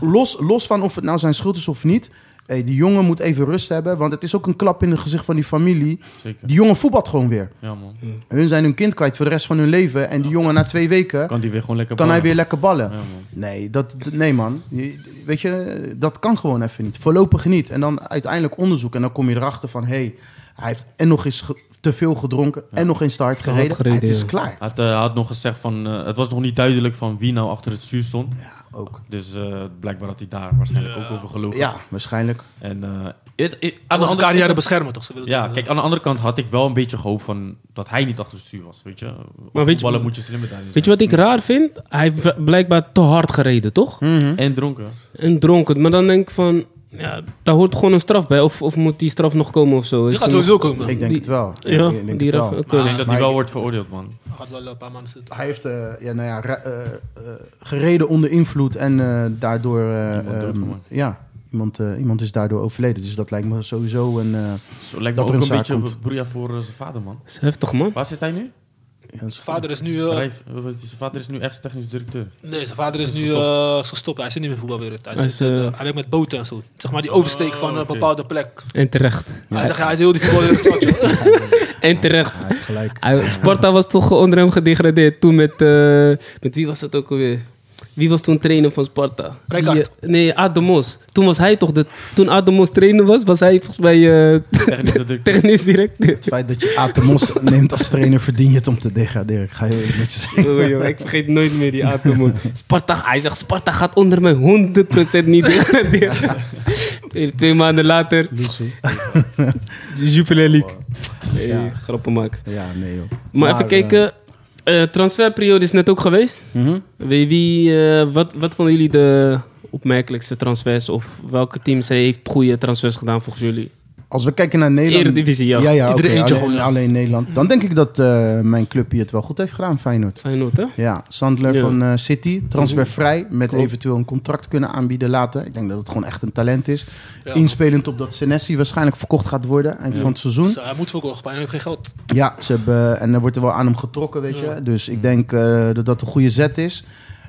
[SPEAKER 3] Los, los van of het nou zijn schuld is of niet. eh, die jongen moet even rust hebben. Want het is ook een klap in het gezicht van die familie.
[SPEAKER 4] Zeker.
[SPEAKER 3] Die jongen voetbalt gewoon weer.
[SPEAKER 4] Ja, man.
[SPEAKER 3] Hun zijn hun kind kwijt voor de rest van hun leven. En die jongen na twee weken
[SPEAKER 4] Kan die weer gewoon lekker
[SPEAKER 3] kan hij
[SPEAKER 4] ballen?
[SPEAKER 3] weer lekker ballen.
[SPEAKER 4] Ja, man.
[SPEAKER 3] Nee, dat, d- nee man. Je- Weet je, dat kan gewoon even niet. Voorlopig niet. En dan uiteindelijk onderzoek. En dan kom je erachter van... hé, hey, hij heeft en nog eens ge- te veel gedronken... en nog eens te hard gereden.
[SPEAKER 2] gereden,
[SPEAKER 3] het is
[SPEAKER 2] ja.
[SPEAKER 3] klaar.
[SPEAKER 4] Hij had, eh, had nog gezegd van, eh, het was nog niet duidelijk van wie nou achter het stuur stond.
[SPEAKER 3] Ja, ook.
[SPEAKER 4] Dus eh, blijkbaar had hij daar waarschijnlijk ook over gelogen.
[SPEAKER 3] Ja, waarschijnlijk.
[SPEAKER 4] En eh, het- het- aan de
[SPEAKER 1] Anders
[SPEAKER 4] andere
[SPEAKER 1] elkaar niet aan
[SPEAKER 4] kant-
[SPEAKER 1] de beschermen, toch? Ze willen
[SPEAKER 4] ja,
[SPEAKER 1] het-
[SPEAKER 4] kijk, aan de andere kant had ik wel een beetje gehoopt van dat hij niet achter het stuur was, weet je.
[SPEAKER 2] weet
[SPEAKER 4] Maar
[SPEAKER 2] je-
[SPEAKER 4] weet ballen moet je slimmer daarin
[SPEAKER 2] Weet je wat ik raar vind? Hij heeft bl- blijkbaar te hard gereden, toch?
[SPEAKER 4] zijn. En dronken.
[SPEAKER 2] En dronken. Maar dan denk ik van, ja, daar hoort gewoon een straf bij. Of, of moet die straf nog komen of zo?
[SPEAKER 1] Die
[SPEAKER 2] Is
[SPEAKER 4] Dus-
[SPEAKER 1] gaat
[SPEAKER 2] er
[SPEAKER 1] sowieso komen.
[SPEAKER 3] Ik denk
[SPEAKER 2] Die-
[SPEAKER 3] het wel.
[SPEAKER 2] nog- Ja,
[SPEAKER 3] Ik denk het
[SPEAKER 2] die
[SPEAKER 3] wel.
[SPEAKER 2] raf. oké.
[SPEAKER 4] ik denk dat
[SPEAKER 3] maar
[SPEAKER 4] hij wel
[SPEAKER 3] ik-
[SPEAKER 4] wordt veroordeeld, man.
[SPEAKER 1] gaat wel een paar maanden zitten.
[SPEAKER 3] Hij heeft eh, ja, nou ja, ra- eh, eh, gereden onder invloed en eh, daardoor... eh,
[SPEAKER 4] Iemand
[SPEAKER 3] ehm,
[SPEAKER 4] doodgemaakt.
[SPEAKER 3] ja, iemand, eh, iemand is daardoor overleden. Dus dat lijkt me sowieso een... eh,
[SPEAKER 4] Zo lijkt me
[SPEAKER 3] Dat
[SPEAKER 4] ook
[SPEAKER 3] er een
[SPEAKER 4] een
[SPEAKER 3] zaak
[SPEAKER 4] beetje
[SPEAKER 3] komt.
[SPEAKER 4] broeia voor eh, zijn vader, man.
[SPEAKER 2] Dat is heftig, man.
[SPEAKER 4] Waar zit hij nu?
[SPEAKER 3] ja, dat is-
[SPEAKER 1] Vader is nu... eh,
[SPEAKER 4] Rijf, eh, wat- zijn vader is nu echt technisch directeur.
[SPEAKER 1] nee, zijn vader is
[SPEAKER 4] Is
[SPEAKER 1] nu
[SPEAKER 4] gestopt.
[SPEAKER 1] eh, is gestopt. Hij zit niet meer in de voetbalwereld. Hij,
[SPEAKER 2] Hij
[SPEAKER 1] zit,
[SPEAKER 2] is,
[SPEAKER 1] eh,
[SPEAKER 2] eh,
[SPEAKER 1] hij werkt met boten en zo. Zeg maar die oversteek van een
[SPEAKER 4] oké.
[SPEAKER 1] bepaalde plek.
[SPEAKER 2] En terecht.
[SPEAKER 1] Hij zegt, ja, hij is heel die voetbalwereld zat, joh.
[SPEAKER 2] En terecht.
[SPEAKER 3] Hij heeft gelijk.
[SPEAKER 2] Hij- Sparta was toch onder hem gedegradeerd toen met... eh, met wie was dat ook alweer? Wie was toen trainer van Sparta?
[SPEAKER 1] Rijkaard.
[SPEAKER 2] Die, eh, nee, Ademos. Toen was hij toch de... Toen Ademos trainer was, was hij volgens mij eh,
[SPEAKER 4] Technisch directeur.
[SPEAKER 2] technisch directeur.
[SPEAKER 3] Het feit dat je Atemos neemt als trainer verdien je het om te degraderen. Ik ga heel eerlijk met je zeggen.
[SPEAKER 2] Oh, joh, ik vergeet nooit meer die Ademos. Sparta, hij zegt, Sparta gaat onder mij 100% niet degraderen. twee, twee maanden later, Jupiler League. Nee,
[SPEAKER 3] Ja.
[SPEAKER 2] grappen maken.
[SPEAKER 3] Ja, nee joh.
[SPEAKER 2] Maar, even
[SPEAKER 3] eh,
[SPEAKER 2] kijken. eh, transferperiode is net ook geweest.
[SPEAKER 3] mhm.
[SPEAKER 2] Wie, wie, eh, wat, wat vonden jullie de opmerkelijkste transfers? Of welke teams heeft goede transfers gedaan volgens jullie?
[SPEAKER 3] Als we kijken naar Nederland...
[SPEAKER 2] Eredivisie, ja.
[SPEAKER 3] Ja, ja,
[SPEAKER 1] Iedereen
[SPEAKER 3] oké,
[SPEAKER 1] eentje
[SPEAKER 3] alleen,
[SPEAKER 1] gewoon, ja.
[SPEAKER 3] alleen Nederland. Dan denk ik dat eh, mijn clubje het wel goed heeft gedaan, Feyenoord.
[SPEAKER 2] Feyenoord, hè?
[SPEAKER 3] Ja, Sandler
[SPEAKER 2] Ja.
[SPEAKER 3] van eh, City, transfervrij, met
[SPEAKER 2] Klopt.
[SPEAKER 3] eventueel een contract kunnen aanbieden later. Ik denk dat het gewoon echt een talent is.
[SPEAKER 1] Ja.
[SPEAKER 3] Inspelend op dat Senesi waarschijnlijk verkocht gaat worden eind van het seizoen.
[SPEAKER 1] Dus, eh, Hij moet verkocht, maar hij heeft geen geld.
[SPEAKER 3] Ja, ze hebben, en er wordt er wel aan hem getrokken, weet je. Dus ik denk eh, dat dat een goede zet is.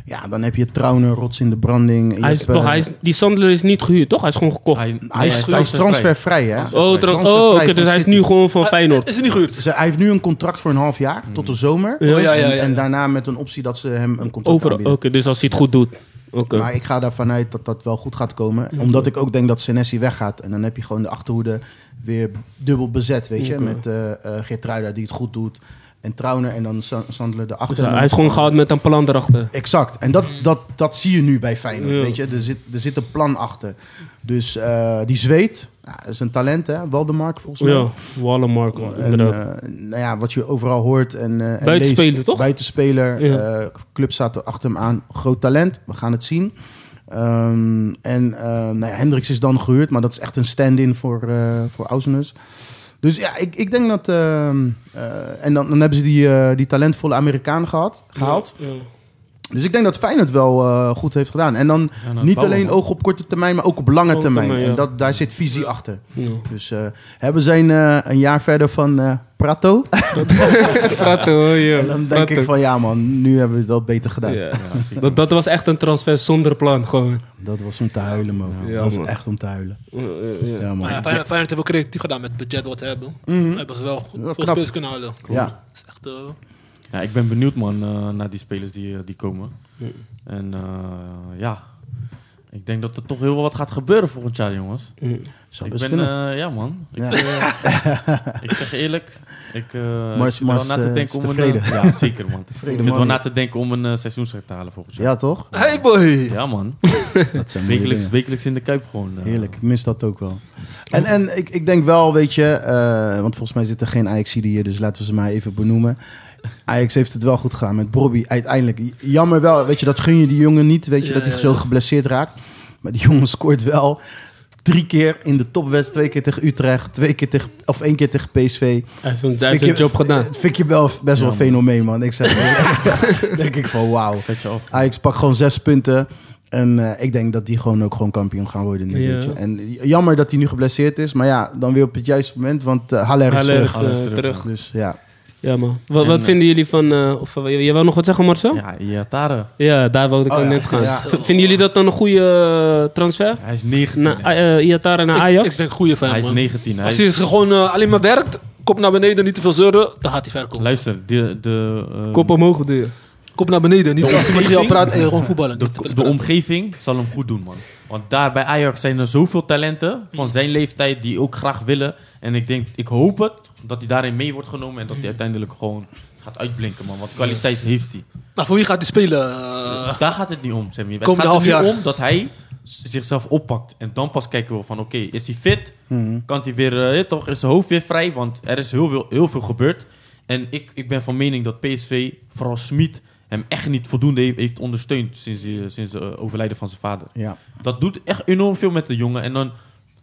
[SPEAKER 3] Ja, dan heb je Trauner, Rots in de Branding. Je
[SPEAKER 2] Hij is,
[SPEAKER 3] hebt, eh,
[SPEAKER 2] toch, hij is, die Sandler is niet gehuurd, toch? Hij is gewoon gekocht.
[SPEAKER 4] Hij,
[SPEAKER 3] hij is, hij is transfervrij, hè?
[SPEAKER 2] oh, trans-
[SPEAKER 3] transfervrij
[SPEAKER 2] oh oké,
[SPEAKER 3] van
[SPEAKER 2] dus hij is
[SPEAKER 3] City.
[SPEAKER 2] nu gewoon van Feyenoord.
[SPEAKER 1] Is hij niet gehuurd?
[SPEAKER 3] Ze- hij heeft nu een contract voor een half jaar, tot de zomer.
[SPEAKER 2] Ja.
[SPEAKER 1] Oh, ja, ja,
[SPEAKER 3] En-
[SPEAKER 1] ja,
[SPEAKER 3] En
[SPEAKER 1] ja.
[SPEAKER 3] daarna met een optie dat ze hem een contract
[SPEAKER 2] Overal. Oké,
[SPEAKER 3] aanbieden.
[SPEAKER 2] dus als hij het goed doet. Oké.
[SPEAKER 3] Maar ik ga ervan uit dat dat wel goed gaat komen. Omdat ik ook denk dat Senesi weggaat. En dan heb je gewoon de achterhoede weer dubbel bezet, weet je.
[SPEAKER 2] Oké.
[SPEAKER 3] Met eh eh, Geertruida die het goed doet. En Trauner en dan Sa- Sandler
[SPEAKER 2] Dus
[SPEAKER 3] erachter. En
[SPEAKER 2] hij
[SPEAKER 3] dan-
[SPEAKER 2] hij is gewoon gehaald met een plan erachter.
[SPEAKER 3] Exact. En dat, dat, dat zie je nu bij Feyenoord,
[SPEAKER 2] Mm. Ja.
[SPEAKER 3] weet je. Er zit, er zit een plan achter. Dus eh, die zweet, ja, is een talent hè, Waldemark volgens mij.
[SPEAKER 2] Ja, Wallenmark,
[SPEAKER 3] En,
[SPEAKER 2] inderdaad.
[SPEAKER 3] eh, nou ja, wat je overal hoort en, eh en
[SPEAKER 2] Buitenspeler,
[SPEAKER 3] leest.
[SPEAKER 2] toch?
[SPEAKER 3] Buitenspeler.
[SPEAKER 2] Ja.
[SPEAKER 3] eh, club staat er achter hem aan. Groot talent. We gaan het zien. Ehm, en eh, nou ja, Hendricks is dan gehuurd, maar dat is echt een stand-in voor, eh voor Ausnes. Dus ja, ik, ik denk dat... ehm, eh, en dan, dan hebben ze die, eh, die talentvolle Amerikaan gehad, gehaald.
[SPEAKER 2] Ja.
[SPEAKER 3] Dus ik denk dat Feyenoord wel eh, goed heeft gedaan. En dan niet alleen oog op korte termijn, maar ook op lange
[SPEAKER 2] Lange
[SPEAKER 3] termijn.
[SPEAKER 2] termijn, ja.
[SPEAKER 3] En dat, daar zit visie achter.
[SPEAKER 2] Ja.
[SPEAKER 3] Dus eh, hè, we zijn eh, een jaar verder van eh, Prato.
[SPEAKER 2] Praten, hoor, ja.
[SPEAKER 3] En dan denk ik
[SPEAKER 2] Praten.
[SPEAKER 3] van ja man, nu hebben we het wel beter gedaan.
[SPEAKER 2] Ja. Dat, dat was echt een transfer zonder plan, gewoon.
[SPEAKER 3] Dat was om te huilen man.
[SPEAKER 2] Ja,
[SPEAKER 3] dat was
[SPEAKER 2] man.
[SPEAKER 3] echt om te huilen.
[SPEAKER 2] Ja, ja, ja.
[SPEAKER 3] Ja man.
[SPEAKER 4] Ah,
[SPEAKER 1] Maar ja,
[SPEAKER 3] Ja,
[SPEAKER 1] Feyenoord heeft wel creatief gedaan met het budget wat ze hebben. Hebben ze wel goed
[SPEAKER 3] knap.
[SPEAKER 1] veel spelers kunnen halen.
[SPEAKER 3] ja.
[SPEAKER 1] Dat is echt... eh,
[SPEAKER 4] Ja, ik ben benieuwd, man, eh, naar die spelers die, eh, die komen. En eh, ja, ik denk dat er toch heel wat gaat gebeuren volgend jaar, jongens.
[SPEAKER 3] zou
[SPEAKER 4] ik ben,
[SPEAKER 3] best kunnen.
[SPEAKER 4] eh, ja, man. Ik,
[SPEAKER 3] Ja.
[SPEAKER 4] eh, ik zeg je eerlijk, ik, eh ik
[SPEAKER 3] Mars-
[SPEAKER 4] zit er wel
[SPEAKER 3] Mars,
[SPEAKER 4] na te
[SPEAKER 3] eh,
[SPEAKER 4] denken
[SPEAKER 3] is
[SPEAKER 4] om een...
[SPEAKER 3] tevreden.
[SPEAKER 4] eh, ja, zeker, man. ik zit wel
[SPEAKER 3] man,
[SPEAKER 4] na
[SPEAKER 3] ja.
[SPEAKER 4] te denken om een eh, seizoensrecht te halen volgend jaar.
[SPEAKER 3] ja toch?
[SPEAKER 1] Hey boy!
[SPEAKER 4] Ja, man.
[SPEAKER 3] Dat zijn mooie
[SPEAKER 4] Wekelijks,
[SPEAKER 3] dingen.
[SPEAKER 4] wekelijks in de Kuip gewoon. eh.
[SPEAKER 3] Heerlijk, ik mis dat ook wel. En, en ik, ik denk wel, weet je, eh, want volgens mij zitten geen ajax hier, dus laten we ze maar even benoemen. Ajax heeft het wel goed gedaan met Bobby uiteindelijk. Jammer wel, weet je, dat gun je die jongen niet, weet je,
[SPEAKER 1] Ja,
[SPEAKER 3] dat hij
[SPEAKER 1] ja,
[SPEAKER 3] zo
[SPEAKER 1] ja.
[SPEAKER 3] geblesseerd raakt. Maar die jongen scoort wel drie keer in de topwedstrijd, twee keer tegen Utrecht, twee keer tegen, of één keer tegen PSV.
[SPEAKER 2] Hij heeft zijn- hij heeft
[SPEAKER 3] Vind
[SPEAKER 2] zijn
[SPEAKER 3] je-
[SPEAKER 2] job gedaan.
[SPEAKER 3] Dat vind je wel best wel een fenomeen, man. Ik zeg, denk ik van wauw.
[SPEAKER 4] Zet je af.
[SPEAKER 3] Ajax pakt gewoon zes punten. En eh, ik denk dat die gewoon ook gewoon kampioen gaan worden nu.
[SPEAKER 2] Ja.
[SPEAKER 3] weet je. En jammer dat hij nu geblesseerd is. Maar ja, dan weer op het juiste moment. Want eh Haller is
[SPEAKER 2] Haller
[SPEAKER 3] terug.
[SPEAKER 2] is, eh,
[SPEAKER 4] Alles terug.
[SPEAKER 2] terug.
[SPEAKER 3] Dus ja.
[SPEAKER 2] Ja, man. Wat,
[SPEAKER 4] En,
[SPEAKER 2] wat
[SPEAKER 4] eh,
[SPEAKER 2] vinden jullie van... eh of, eh, jij wou nog wat zeggen, Marcel? Ja,
[SPEAKER 4] Ja, Iatare.
[SPEAKER 2] daar wilde ik
[SPEAKER 3] Oh,
[SPEAKER 2] ook
[SPEAKER 3] ja.
[SPEAKER 2] net gaan.
[SPEAKER 3] Ja.
[SPEAKER 2] V- Vinden jullie dat dan een goede eh, transfer?
[SPEAKER 4] Hij is 19.
[SPEAKER 2] Na, eh, Iatare naar
[SPEAKER 1] Ik, ik
[SPEAKER 2] Ajax?
[SPEAKER 1] denk goede fan,
[SPEAKER 4] hij is
[SPEAKER 1] Nou, eh, man.
[SPEAKER 4] 19. Hij
[SPEAKER 1] Als
[SPEAKER 4] is-
[SPEAKER 1] hij gewoon eh, alleen maar werkt, kop naar beneden, niet te veel zeuren, dan gaat hij ver komen.
[SPEAKER 4] Luister, de, de, eh,
[SPEAKER 2] Kop omhoog, doe je.
[SPEAKER 1] Kop naar beneden, niet als hij met jou praat en gewoon voetballen.
[SPEAKER 4] de,
[SPEAKER 1] Niet te veel
[SPEAKER 4] de
[SPEAKER 1] praten.
[SPEAKER 4] omgeving zal hem goed doen, man. Want daar bij Ajax zijn er zoveel talenten van zijn leeftijd die ook graag willen. En ik denk, ik hoop het, dat hij daarin mee wordt genomen en dat hij uiteindelijk gewoon gaat uitblinken, man. Want kwaliteit heeft hij.
[SPEAKER 1] Maar Nou, voor wie gaat hij spelen? eh,
[SPEAKER 4] Daar gaat het niet om, Sammy. Het
[SPEAKER 1] Komende
[SPEAKER 4] gaat er
[SPEAKER 1] half
[SPEAKER 4] niet
[SPEAKER 1] jaar.
[SPEAKER 4] om dat hij z- zichzelf oppakt. En dan pas kijken we van, oké, is hij fit?
[SPEAKER 1] Mhm.
[SPEAKER 4] Kan hij weer, eh, toch, is zijn hoofd weer vrij? Want er is heel veel, heel veel gebeurd. En ik, ik ben van mening dat PSV, vooral Smit, hem echt niet voldoende heeft, heeft ondersteund sinds, eh, sinds het overlijden van zijn vader.
[SPEAKER 3] Ja.
[SPEAKER 4] Dat doet echt enorm veel met de jongen. En dan,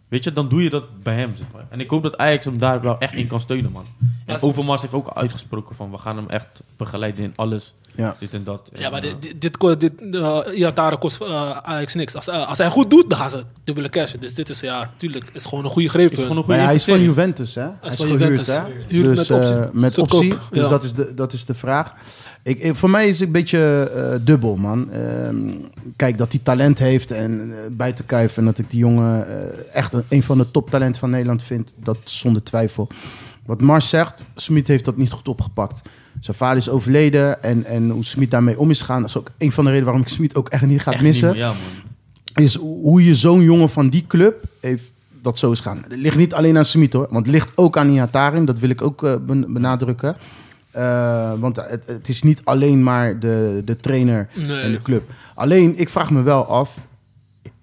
[SPEAKER 4] weet je, dan doe je dat bij hem. zeg maar. En ik hoop dat Ajax hem daar wel echt in kan steunen, man. En Overmars heeft ook uitgesproken van, we gaan hem echt begeleiden in alles.
[SPEAKER 3] Ja.
[SPEAKER 4] Dit en dat.
[SPEAKER 1] Ja, maar
[SPEAKER 4] En,
[SPEAKER 1] dit, dit, dit, ko- dit eh, Iataren kost eh, Ajax niks. Als, eh, als hij goed doet, dan gaan ze dubbele cashen. Dus dit is, ja, tuurlijk, is gewoon een goede greep.
[SPEAKER 4] eh, is
[SPEAKER 1] voor
[SPEAKER 4] gewoon
[SPEAKER 1] hun.
[SPEAKER 4] een
[SPEAKER 3] Maar
[SPEAKER 4] goede
[SPEAKER 3] ja, hij is van
[SPEAKER 4] investering.
[SPEAKER 3] Juventus, hè? Hij is
[SPEAKER 1] van
[SPEAKER 3] gehuurd,
[SPEAKER 1] Juventus.
[SPEAKER 3] hè?
[SPEAKER 1] Huurd met
[SPEAKER 3] dus,
[SPEAKER 1] optie.
[SPEAKER 3] eh, met
[SPEAKER 1] Te
[SPEAKER 3] optie.
[SPEAKER 1] koop,
[SPEAKER 3] Dus
[SPEAKER 1] ja.
[SPEAKER 3] dat is de, dat is de vraag. Ik, ik- voor mij is het een beetje eh, dubbel, man. Ehm, kijk, dat hij talent heeft en eh, bij te kuiven. En dat ik die jongen eh, echt een, een van de toptalenten van Nederland vind. Dat zonder twijfel. Wat Mars zegt, Smit heeft dat niet goed opgepakt. Zijn vader is overleden en, en hoe Smit daarmee om is gegaan... dat is ook een van de redenen waarom ik Smit ook echt niet ga
[SPEAKER 4] Echt niet
[SPEAKER 3] missen
[SPEAKER 4] meer, ja, man.
[SPEAKER 3] is hoe je zo'n jongen van die club heeft dat zo is gaan. Het ligt niet alleen aan Smit hoor, want het ligt ook aan Iatarin. Dat wil ik ook eh, ben- benadrukken. Eh, want het, het is niet alleen maar de, de trainer
[SPEAKER 1] Nee.
[SPEAKER 3] en de club. Alleen, ik vraag me wel af,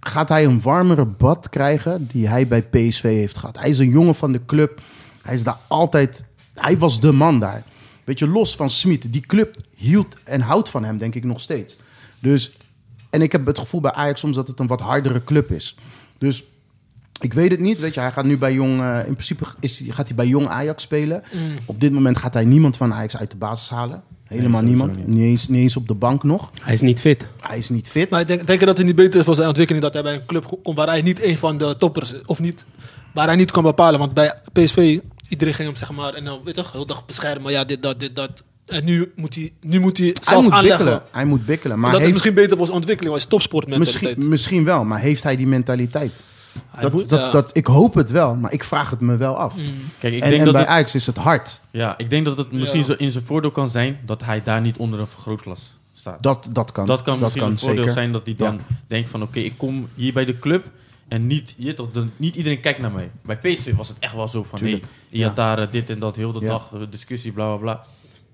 [SPEAKER 3] gaat hij een warmere bad krijgen die hij bij PSV heeft gehad? Hij is een jongen van de club. Hij is daar altijd... Hij was de man daar. Weet je, los van Smit. Die club hield en houdt van hem, denk ik, nog steeds. Dus... En ik heb het gevoel bij Ajax soms dat het een wat hardere club is. Dus ik weet het niet. Weet je, hij gaat nu bij jong. eh, in principe is, hij- gaat hij bij jong Ajax spelen.
[SPEAKER 1] Mm.
[SPEAKER 3] Op dit moment gaat hij niemand van Ajax uit de basis halen. Helemaal
[SPEAKER 4] sowieso
[SPEAKER 3] niemand. Niet.
[SPEAKER 4] niet.
[SPEAKER 3] eens, niet eens op de bank nog.
[SPEAKER 2] Hij is niet fit.
[SPEAKER 3] Hij is niet fit.
[SPEAKER 1] Maar ik denk, denk je dat het niet beter is voor zijn ontwikkeling dat hij bij een club komt waar hij niet een van de toppers is? Of niet, waar hij niet kan bepalen? Want bij PSV, iedereen ging hem zeg maar, en dan weet je toch, heel dag bescheiden, maar ja, dit, dat, dit, dat. En nu moet hij, nu moet hij
[SPEAKER 3] hij
[SPEAKER 1] zelf
[SPEAKER 3] moet
[SPEAKER 1] aanleggen.
[SPEAKER 3] bikkelen. Hij moet bikkelen. Maar
[SPEAKER 1] dat is
[SPEAKER 3] heeft,
[SPEAKER 1] misschien beter voor zijn ontwikkeling, want hij is topsportmentaliteit.
[SPEAKER 3] misschien, misschien wel. Maar heeft hij die mentaliteit?
[SPEAKER 1] Hij
[SPEAKER 3] Dat,
[SPEAKER 1] moet,
[SPEAKER 3] dat,
[SPEAKER 1] ja.
[SPEAKER 3] dat, ik hoop het wel, maar ik vraag het me wel af.
[SPEAKER 4] Kijk, Mm. ik
[SPEAKER 3] en
[SPEAKER 4] denk
[SPEAKER 3] en
[SPEAKER 4] dat
[SPEAKER 3] bij
[SPEAKER 4] het-
[SPEAKER 3] Ajax is het hard.
[SPEAKER 4] Ja, ik denk dat het misschien
[SPEAKER 1] Ja.
[SPEAKER 4] zo in zijn voordeel kan zijn dat hij daar niet onder een vergrootglas staat. Dat,
[SPEAKER 3] Dat, dat kan.
[SPEAKER 4] kan misschien een voordeel
[SPEAKER 3] zeker.
[SPEAKER 4] zijn dat hij dan denkt van oké, ik kom hier bij de club en niet, je, weet toch, dan- niet iedereen kijkt naar mij. Bij PSV was het echt wel zo van nee,
[SPEAKER 3] Tuurlijk,
[SPEAKER 4] je
[SPEAKER 3] ja.
[SPEAKER 4] had daar eh, dit en dat, heel de
[SPEAKER 3] Ja.
[SPEAKER 4] dag eh, discussie, bla bla bla.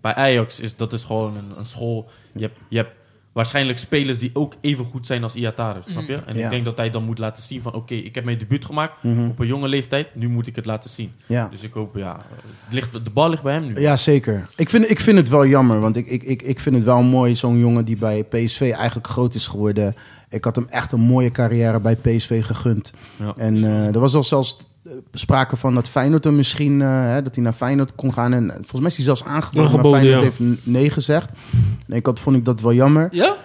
[SPEAKER 4] Bij Ajax is dat is gewoon een, een school. Je hebt, je hebt waarschijnlijk spelers die ook even goed zijn als Iataren, snap je? En
[SPEAKER 3] Ja. Mhm.
[SPEAKER 4] ik denk dat hij dan moet laten zien van oké, ik heb mijn debuut gemaakt op een jonge leeftijd, nu moet ik het laten zien.
[SPEAKER 3] Ja.
[SPEAKER 4] Dus ik hoop, ja, het ligt, de bal ligt bij hem nu.
[SPEAKER 3] Ja, zeker. Ik vind, ik vind het wel jammer, want ik, ik, ik, ik vind het wel mooi, zo'n jongen die bij PSV eigenlijk groot is geworden. Ik had hem echt een mooie carrière bij PSV gegund.
[SPEAKER 4] Ja.
[SPEAKER 3] En eh, er was al zelfs eh, sprake van dat Feyenoord hem misschien, eh, hè, dat hij naar Feyenoord kon gaan. En eh, volgens mij is hij zelfs aangeboden, maar
[SPEAKER 2] Aangeboden,
[SPEAKER 3] Feyenoord
[SPEAKER 2] ja.
[SPEAKER 3] heeft n- nee gezegd. En ik had, vond ik dat wel jammer.
[SPEAKER 1] Ja?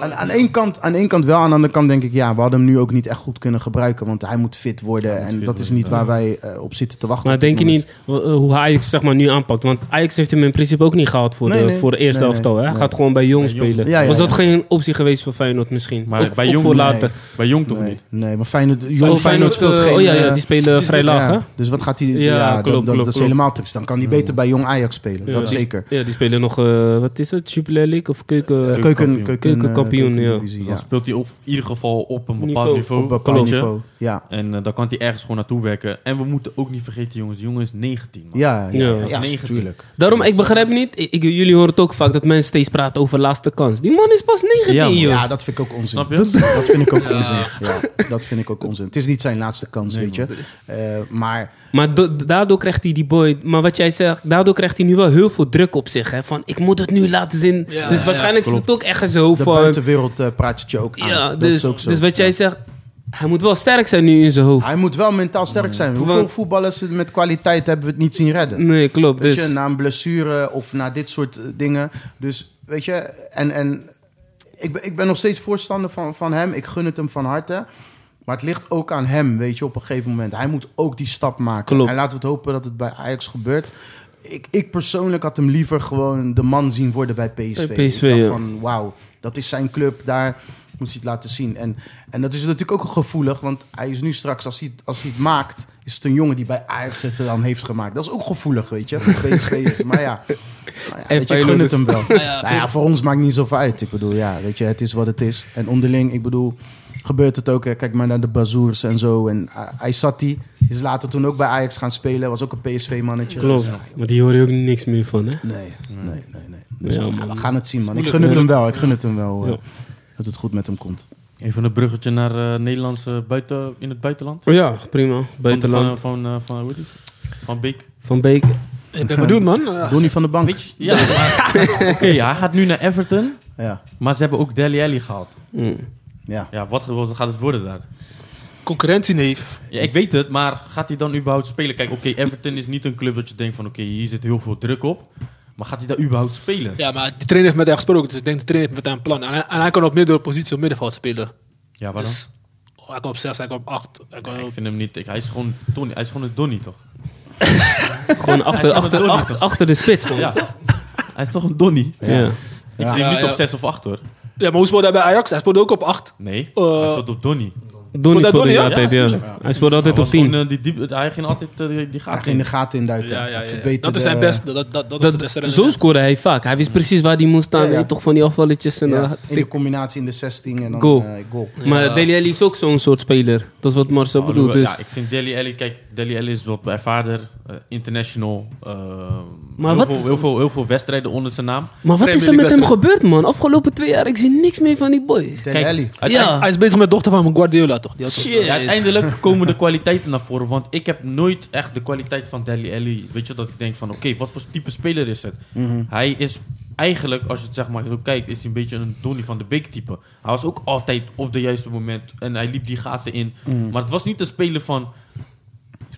[SPEAKER 3] Aan, aan, één kant, aan één kant wel, aan de andere kant denk ik, ja, we hadden hem nu ook niet echt goed kunnen gebruiken. Want hij moet fit worden en
[SPEAKER 4] fit
[SPEAKER 3] dat is
[SPEAKER 4] worden,
[SPEAKER 3] niet waar wij eh, op zitten te wachten.
[SPEAKER 2] Maar
[SPEAKER 3] op dit
[SPEAKER 2] denk je
[SPEAKER 3] moment.
[SPEAKER 2] niet eh, hoe Ajax zeg maar, nu aanpakt? Want Ajax heeft hem in principe ook niet gehaald voor,
[SPEAKER 3] Nee,
[SPEAKER 2] de,
[SPEAKER 3] nee.
[SPEAKER 2] voor de eerste
[SPEAKER 3] Nee,
[SPEAKER 2] elftal. Hè? Hij
[SPEAKER 3] nee.
[SPEAKER 2] gaat gewoon bij Jong
[SPEAKER 4] Bij Jong.
[SPEAKER 2] spelen.
[SPEAKER 3] Ja, ja,
[SPEAKER 2] Was dat
[SPEAKER 3] ja.
[SPEAKER 2] geen optie geweest voor Feyenoord misschien?
[SPEAKER 4] Maar
[SPEAKER 2] Ook-
[SPEAKER 4] bij
[SPEAKER 2] ook
[SPEAKER 4] Jong-
[SPEAKER 2] voor
[SPEAKER 4] Nee.
[SPEAKER 2] later.
[SPEAKER 4] Bij Jong toch
[SPEAKER 3] Nee,
[SPEAKER 4] niet?
[SPEAKER 3] nee, maar Feyenoord, jong
[SPEAKER 2] Oh,
[SPEAKER 3] Feyenoord, speelt
[SPEAKER 2] eh,
[SPEAKER 3] geen...
[SPEAKER 2] Oh ja, ja,
[SPEAKER 3] eh,
[SPEAKER 2] die spelen vrij laag, hè?
[SPEAKER 3] ja, Dus wat gaat hij... Ja,
[SPEAKER 2] Ja,
[SPEAKER 3] dat-
[SPEAKER 2] klopt,
[SPEAKER 3] dat, dat
[SPEAKER 2] klopt,
[SPEAKER 3] is
[SPEAKER 2] klopt.
[SPEAKER 3] helemaal triest. Dan kan hij beter bij Jong Ajax spelen,
[SPEAKER 2] Ja.
[SPEAKER 3] dat
[SPEAKER 2] Die-
[SPEAKER 3] zeker.
[SPEAKER 2] Ja, die spelen nog, eh, wat is het, Jupiler League of Keuken?
[SPEAKER 3] Eh, Keuken, keuken,
[SPEAKER 2] Keukenkampioen,
[SPEAKER 3] eh,
[SPEAKER 2] ja.
[SPEAKER 3] keukendivisie,
[SPEAKER 4] Dus Dan speelt hij op, in ieder geval op een bepaald
[SPEAKER 2] Niveau.
[SPEAKER 4] niveau.
[SPEAKER 3] Op bepaald
[SPEAKER 4] weet je.
[SPEAKER 3] niveau, ja.
[SPEAKER 4] En eh, dan kan hij ergens gewoon naartoe werken. En we moeten ook niet vergeten, jongens, die jongen is 19. man.
[SPEAKER 3] Ja, ja,
[SPEAKER 2] Ja,
[SPEAKER 3] ja,
[SPEAKER 2] dat is
[SPEAKER 3] ja,
[SPEAKER 4] 19.
[SPEAKER 3] tuurlijk.
[SPEAKER 2] Daarom, ik begrijp niet, ik, ik- jullie horen het ook vaak dat mensen steeds praten over laatste kans. Die man is pas 19,
[SPEAKER 4] Ja, man.
[SPEAKER 2] joh.
[SPEAKER 3] Ja, dat vind ik ook onzin.
[SPEAKER 4] Snap je?
[SPEAKER 3] Dat vind ik ook onzin. Ja, dat vind ik ook onzin. Het is niet zijn laatste kans, weet je. Eh, maar
[SPEAKER 2] Maar do- daardoor krijgt hij die boy. Maar wat jij zegt, daardoor krijgt hij nu wel heel veel druk op zich. Hè? Van ik moet het nu laten zien.
[SPEAKER 1] Ja,
[SPEAKER 2] dus
[SPEAKER 1] ja,
[SPEAKER 2] waarschijnlijk zit het ook echt in zijn hoofd
[SPEAKER 3] de
[SPEAKER 2] van.
[SPEAKER 3] buitenwereld eh, praat het je ook aan.
[SPEAKER 2] Ja,
[SPEAKER 3] dat
[SPEAKER 2] dus,
[SPEAKER 3] is ook zo.
[SPEAKER 2] dus wat jij zegt, hij moet wel sterk zijn nu in zijn hoofd.
[SPEAKER 3] Hij moet wel mentaal sterk zijn. Hoeveel
[SPEAKER 2] Want-
[SPEAKER 3] voetballers met kwaliteit hebben we het niet zien redden?
[SPEAKER 2] Nee, klopt.
[SPEAKER 3] Weet
[SPEAKER 2] Dus,
[SPEAKER 3] je, na een blessure of na dit soort eh, dingen. Dus weet je, en, en ik, ben, ik ben nog steeds voorstander van, van hem. Ik gun het hem van harte. Maar het ligt ook aan hem, weet je, op een gegeven moment. Hij moet ook die stap maken.
[SPEAKER 2] Klopt.
[SPEAKER 3] En laten we het hopen dat het bij Ajax gebeurt. Ik, ik persoonlijk had hem liever gewoon de man zien worden bij PSV.
[SPEAKER 2] Bij PSV,
[SPEAKER 3] ik dacht
[SPEAKER 2] ja.
[SPEAKER 3] van, wauw, dat is zijn club, daar moet hij het laten zien. En, en dat is natuurlijk ook gevoelig, want hij is nu straks, als hij, het- als hij het maakt... is het een jongen die bij Ajax het dan heeft gemaakt. Dat is ook gevoelig, weet je, voor PSV'ers. Maar ja, maar ja, weet je, ik gun het hem wel.
[SPEAKER 1] Ah ja,
[SPEAKER 3] Nou ja, voor ons maakt niet zoveel uit. Ik bedoel, ja, weet je, het is wat het is. En onderling, ik bedoel, gebeurt het ook. hè. Kijk maar naar de Bazoers en zo. En eh, Aysati is later toen ook bij Ajax gaan spelen. Was ook een PSV-mannetje.
[SPEAKER 2] klopt. Maar die hoor je ook niks meer van. Hè?
[SPEAKER 3] Nee, nee, nee. nee. Dus
[SPEAKER 2] Ja,
[SPEAKER 3] we-
[SPEAKER 2] man.
[SPEAKER 3] we gaan het zien, man. Ik
[SPEAKER 1] moeilijk,
[SPEAKER 3] gun het hem
[SPEAKER 1] moeilijk.
[SPEAKER 3] wel. Ik gun het hem wel eh,
[SPEAKER 2] Ja.
[SPEAKER 3] dat het goed met hem komt.
[SPEAKER 4] Even een bruggetje naar eh, Nederlandse buiten, in het buitenland.
[SPEAKER 2] Ja, prima. Buitenland.
[SPEAKER 4] Van, van, van, eh, van, hoe heet die? Van Beek.
[SPEAKER 2] Van Beek.
[SPEAKER 1] Ik ben benieuwd, man. Ja.
[SPEAKER 3] Donny van de bank.
[SPEAKER 4] Weet je, ja, maar- Oké, ja, hij gaat nu naar Everton,
[SPEAKER 3] Ja,
[SPEAKER 4] maar ze hebben ook Deli Alli gehaald.
[SPEAKER 2] Mm.
[SPEAKER 3] ja.
[SPEAKER 4] Ja, wat, wat gaat het worden daar?
[SPEAKER 1] Concurrentieneef.
[SPEAKER 4] Ja, ik weet het, maar gaat hij dan überhaupt spelen? Kijk, oké, Everton is niet een club dat je denkt van... Oké, hier zit heel veel druk op. Maar gaat hij daar überhaupt spelen?
[SPEAKER 1] Ja, maar die trainer heeft met hem gesproken. Dus ik denk de trainer heeft met hem een plan. En hij, en hij kan op meerdere posities op middenveld spelen.
[SPEAKER 4] Ja, waarom?
[SPEAKER 1] Dus oh, hij kan op 6, hij kan op 8. Hij kan
[SPEAKER 4] ik
[SPEAKER 1] op...
[SPEAKER 4] vind hem niet... Ik, hij, is gewoon Tony, hij is gewoon een Donny, toch?
[SPEAKER 2] Gewoon achter,
[SPEAKER 4] gaat
[SPEAKER 2] achter,
[SPEAKER 4] het door,
[SPEAKER 2] achter,
[SPEAKER 4] toch?
[SPEAKER 2] achter de spits. gewoon.
[SPEAKER 4] Ja. hij is toch een Donny?
[SPEAKER 2] Ja.
[SPEAKER 4] Ik zie
[SPEAKER 1] Ja,
[SPEAKER 4] hem niet
[SPEAKER 1] ja.
[SPEAKER 4] op 6 of 8, hoor.
[SPEAKER 1] Ja, maar hoe speelde hij bij Ajax? Hij speelde ook op 8.
[SPEAKER 4] Nee,
[SPEAKER 1] Eh,
[SPEAKER 4] hij staat op Donny.
[SPEAKER 2] Donny
[SPEAKER 1] Moet dat
[SPEAKER 2] speelde
[SPEAKER 1] Donny, ja?
[SPEAKER 2] altijd, ja. Hij speelde
[SPEAKER 4] Hij,
[SPEAKER 2] altijd op
[SPEAKER 4] was
[SPEAKER 2] 10.
[SPEAKER 4] gewoon, eh, die diep, hij ging altijd eh, die- die
[SPEAKER 3] Hij
[SPEAKER 4] gaten
[SPEAKER 3] ging de
[SPEAKER 4] in.
[SPEAKER 3] gaten induiken.
[SPEAKER 1] Ja, ja, ja, ja.
[SPEAKER 3] Verbeterde-
[SPEAKER 1] Dat is zijn beste. Dat, dat, dat, was de
[SPEAKER 2] Dat,
[SPEAKER 1] beste
[SPEAKER 2] zo
[SPEAKER 1] renner.
[SPEAKER 2] scoorde hij vaak. Hij wist precies waar hij moest staan.
[SPEAKER 3] Ja, ja.
[SPEAKER 2] Hij had toch van die afvalletjes. En
[SPEAKER 3] Ja,
[SPEAKER 2] dan-
[SPEAKER 3] in de combinatie in de 16 en dan
[SPEAKER 2] Goal.
[SPEAKER 3] eh, goal.
[SPEAKER 2] Maar Dele Alli is ook zo'n soort speler. Dat is wat Marcel
[SPEAKER 4] Oh,
[SPEAKER 2] bedoelt.
[SPEAKER 4] nu-
[SPEAKER 2] Dus.
[SPEAKER 4] Ja, ik vind Deli Alli... Kijk, Deli Alli is wat bij vader, international. eh,
[SPEAKER 2] Maar
[SPEAKER 4] heel,
[SPEAKER 2] wat-
[SPEAKER 4] Veel, heel, veel, heel veel wedstrijden onder zijn naam.
[SPEAKER 2] Maar wat
[SPEAKER 1] Premier
[SPEAKER 2] is er met
[SPEAKER 1] League
[SPEAKER 2] hem gebeurd, man? Afgelopen twee jaar, ik zie niks meer van die boy.
[SPEAKER 3] Dele Alli.
[SPEAKER 2] Ja.
[SPEAKER 1] Hij is bezig met de dochter van Guardiola, toch? Die had ook-
[SPEAKER 2] Shit.
[SPEAKER 4] Ja, uiteindelijk komen de kwaliteiten naar voren. Want ik heb nooit echt de kwaliteit van Deli Alli. Weet je, dat ik denk van, oké, wat voor type speler is het?
[SPEAKER 3] Mhm.
[SPEAKER 4] Hij is eigenlijk, als je het zeg maar zo kijkt, is hij een beetje een Donny van de Beek type. Hij was ook altijd op de juiste moment. En hij liep die gaten in.
[SPEAKER 3] Mhm.
[SPEAKER 4] Maar het was niet een speler van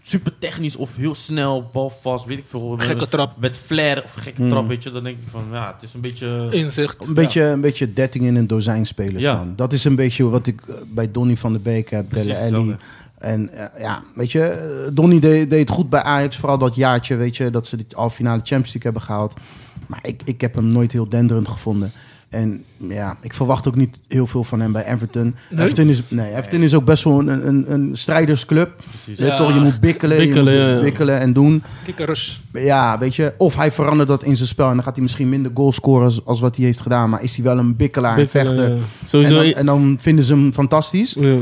[SPEAKER 4] super technisch of heel snel, balvast, weet ik veel.
[SPEAKER 1] Gekke
[SPEAKER 4] met,
[SPEAKER 1] trap.
[SPEAKER 4] Met flair of gekke
[SPEAKER 3] Mhm.
[SPEAKER 4] trap, weet je. Dan denk ik van, ja, het is een beetje...
[SPEAKER 1] Inzicht.
[SPEAKER 3] Een beetje, een beetje 13 in een dozijn spelers.
[SPEAKER 4] Ja.
[SPEAKER 3] Man. Dat is een beetje wat ik eh, bij Donny van der Beek heb,
[SPEAKER 4] Precies
[SPEAKER 3] Dele Alli.
[SPEAKER 4] hetzelfde.
[SPEAKER 3] En eh, ja, weet je, eh, Donny deed, deed het goed bij Ajax. Vooral dat jaartje, weet je, dat ze die halffinale Champions League hebben gehaald. Maar ik, ik heb hem nooit heel denderend gevonden. En ja, ik verwacht ook niet heel veel van hem bij Everton.
[SPEAKER 1] Nee?
[SPEAKER 3] Everton, is, nee, Everton is ook best wel een, een, een strijdersclub.
[SPEAKER 4] Precies.
[SPEAKER 3] Je weet toch, je moet bikkelen,
[SPEAKER 2] Bikkelen,
[SPEAKER 3] je moet
[SPEAKER 2] ja, ja.
[SPEAKER 3] bikkelen en doen.
[SPEAKER 1] Kikkerus.
[SPEAKER 3] Ja, weet je. Of hij verandert dat in zijn spel. En dan gaat hij misschien minder goals scoren als, als wat hij heeft gedaan. Maar is hij wel een bikkelaar en
[SPEAKER 2] Bikkelen,
[SPEAKER 3] vechter.
[SPEAKER 2] ja.
[SPEAKER 3] En,
[SPEAKER 2] Sowieso.
[SPEAKER 3] dan, en dan vinden ze hem fantastisch.
[SPEAKER 2] ja.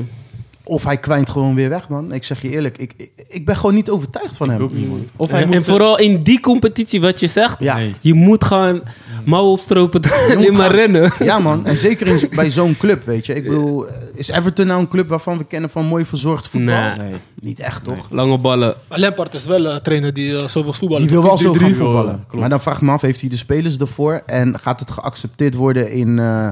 [SPEAKER 3] Of hij kwijnt gewoon weer weg, man. Ik zeg je eerlijk. Ik, ik, ik ben gewoon niet overtuigd van
[SPEAKER 4] Ik
[SPEAKER 3] hem.
[SPEAKER 4] ook niet, man. Of hij
[SPEAKER 2] en
[SPEAKER 4] moet...
[SPEAKER 2] vooral in die competitie, wat je zegt.
[SPEAKER 3] Ja.
[SPEAKER 4] Nee.
[SPEAKER 2] Je moet gaan mouwen opstropen en
[SPEAKER 3] moet
[SPEAKER 2] alleen maar
[SPEAKER 3] gaan-
[SPEAKER 2] rennen.
[SPEAKER 3] Ja, man. En zeker in, bij zo'n club, weet je. Ik bedoel, eh, is Everton nou een club waarvan we kennen van mooi verzorgd voetbal?
[SPEAKER 2] Nee.
[SPEAKER 4] Nee.
[SPEAKER 3] Niet echt, toch?
[SPEAKER 2] Lange ballen.
[SPEAKER 1] Maar Lampard is wel een trainer die eh, zoveel voetbal
[SPEAKER 3] Die wil wel zo gaan
[SPEAKER 4] joh.
[SPEAKER 3] voetballen.
[SPEAKER 4] Klopt.
[SPEAKER 3] Maar dan vraag ik me af, heeft hij de spelers ervoor? En gaat het geaccepteerd worden in, eh,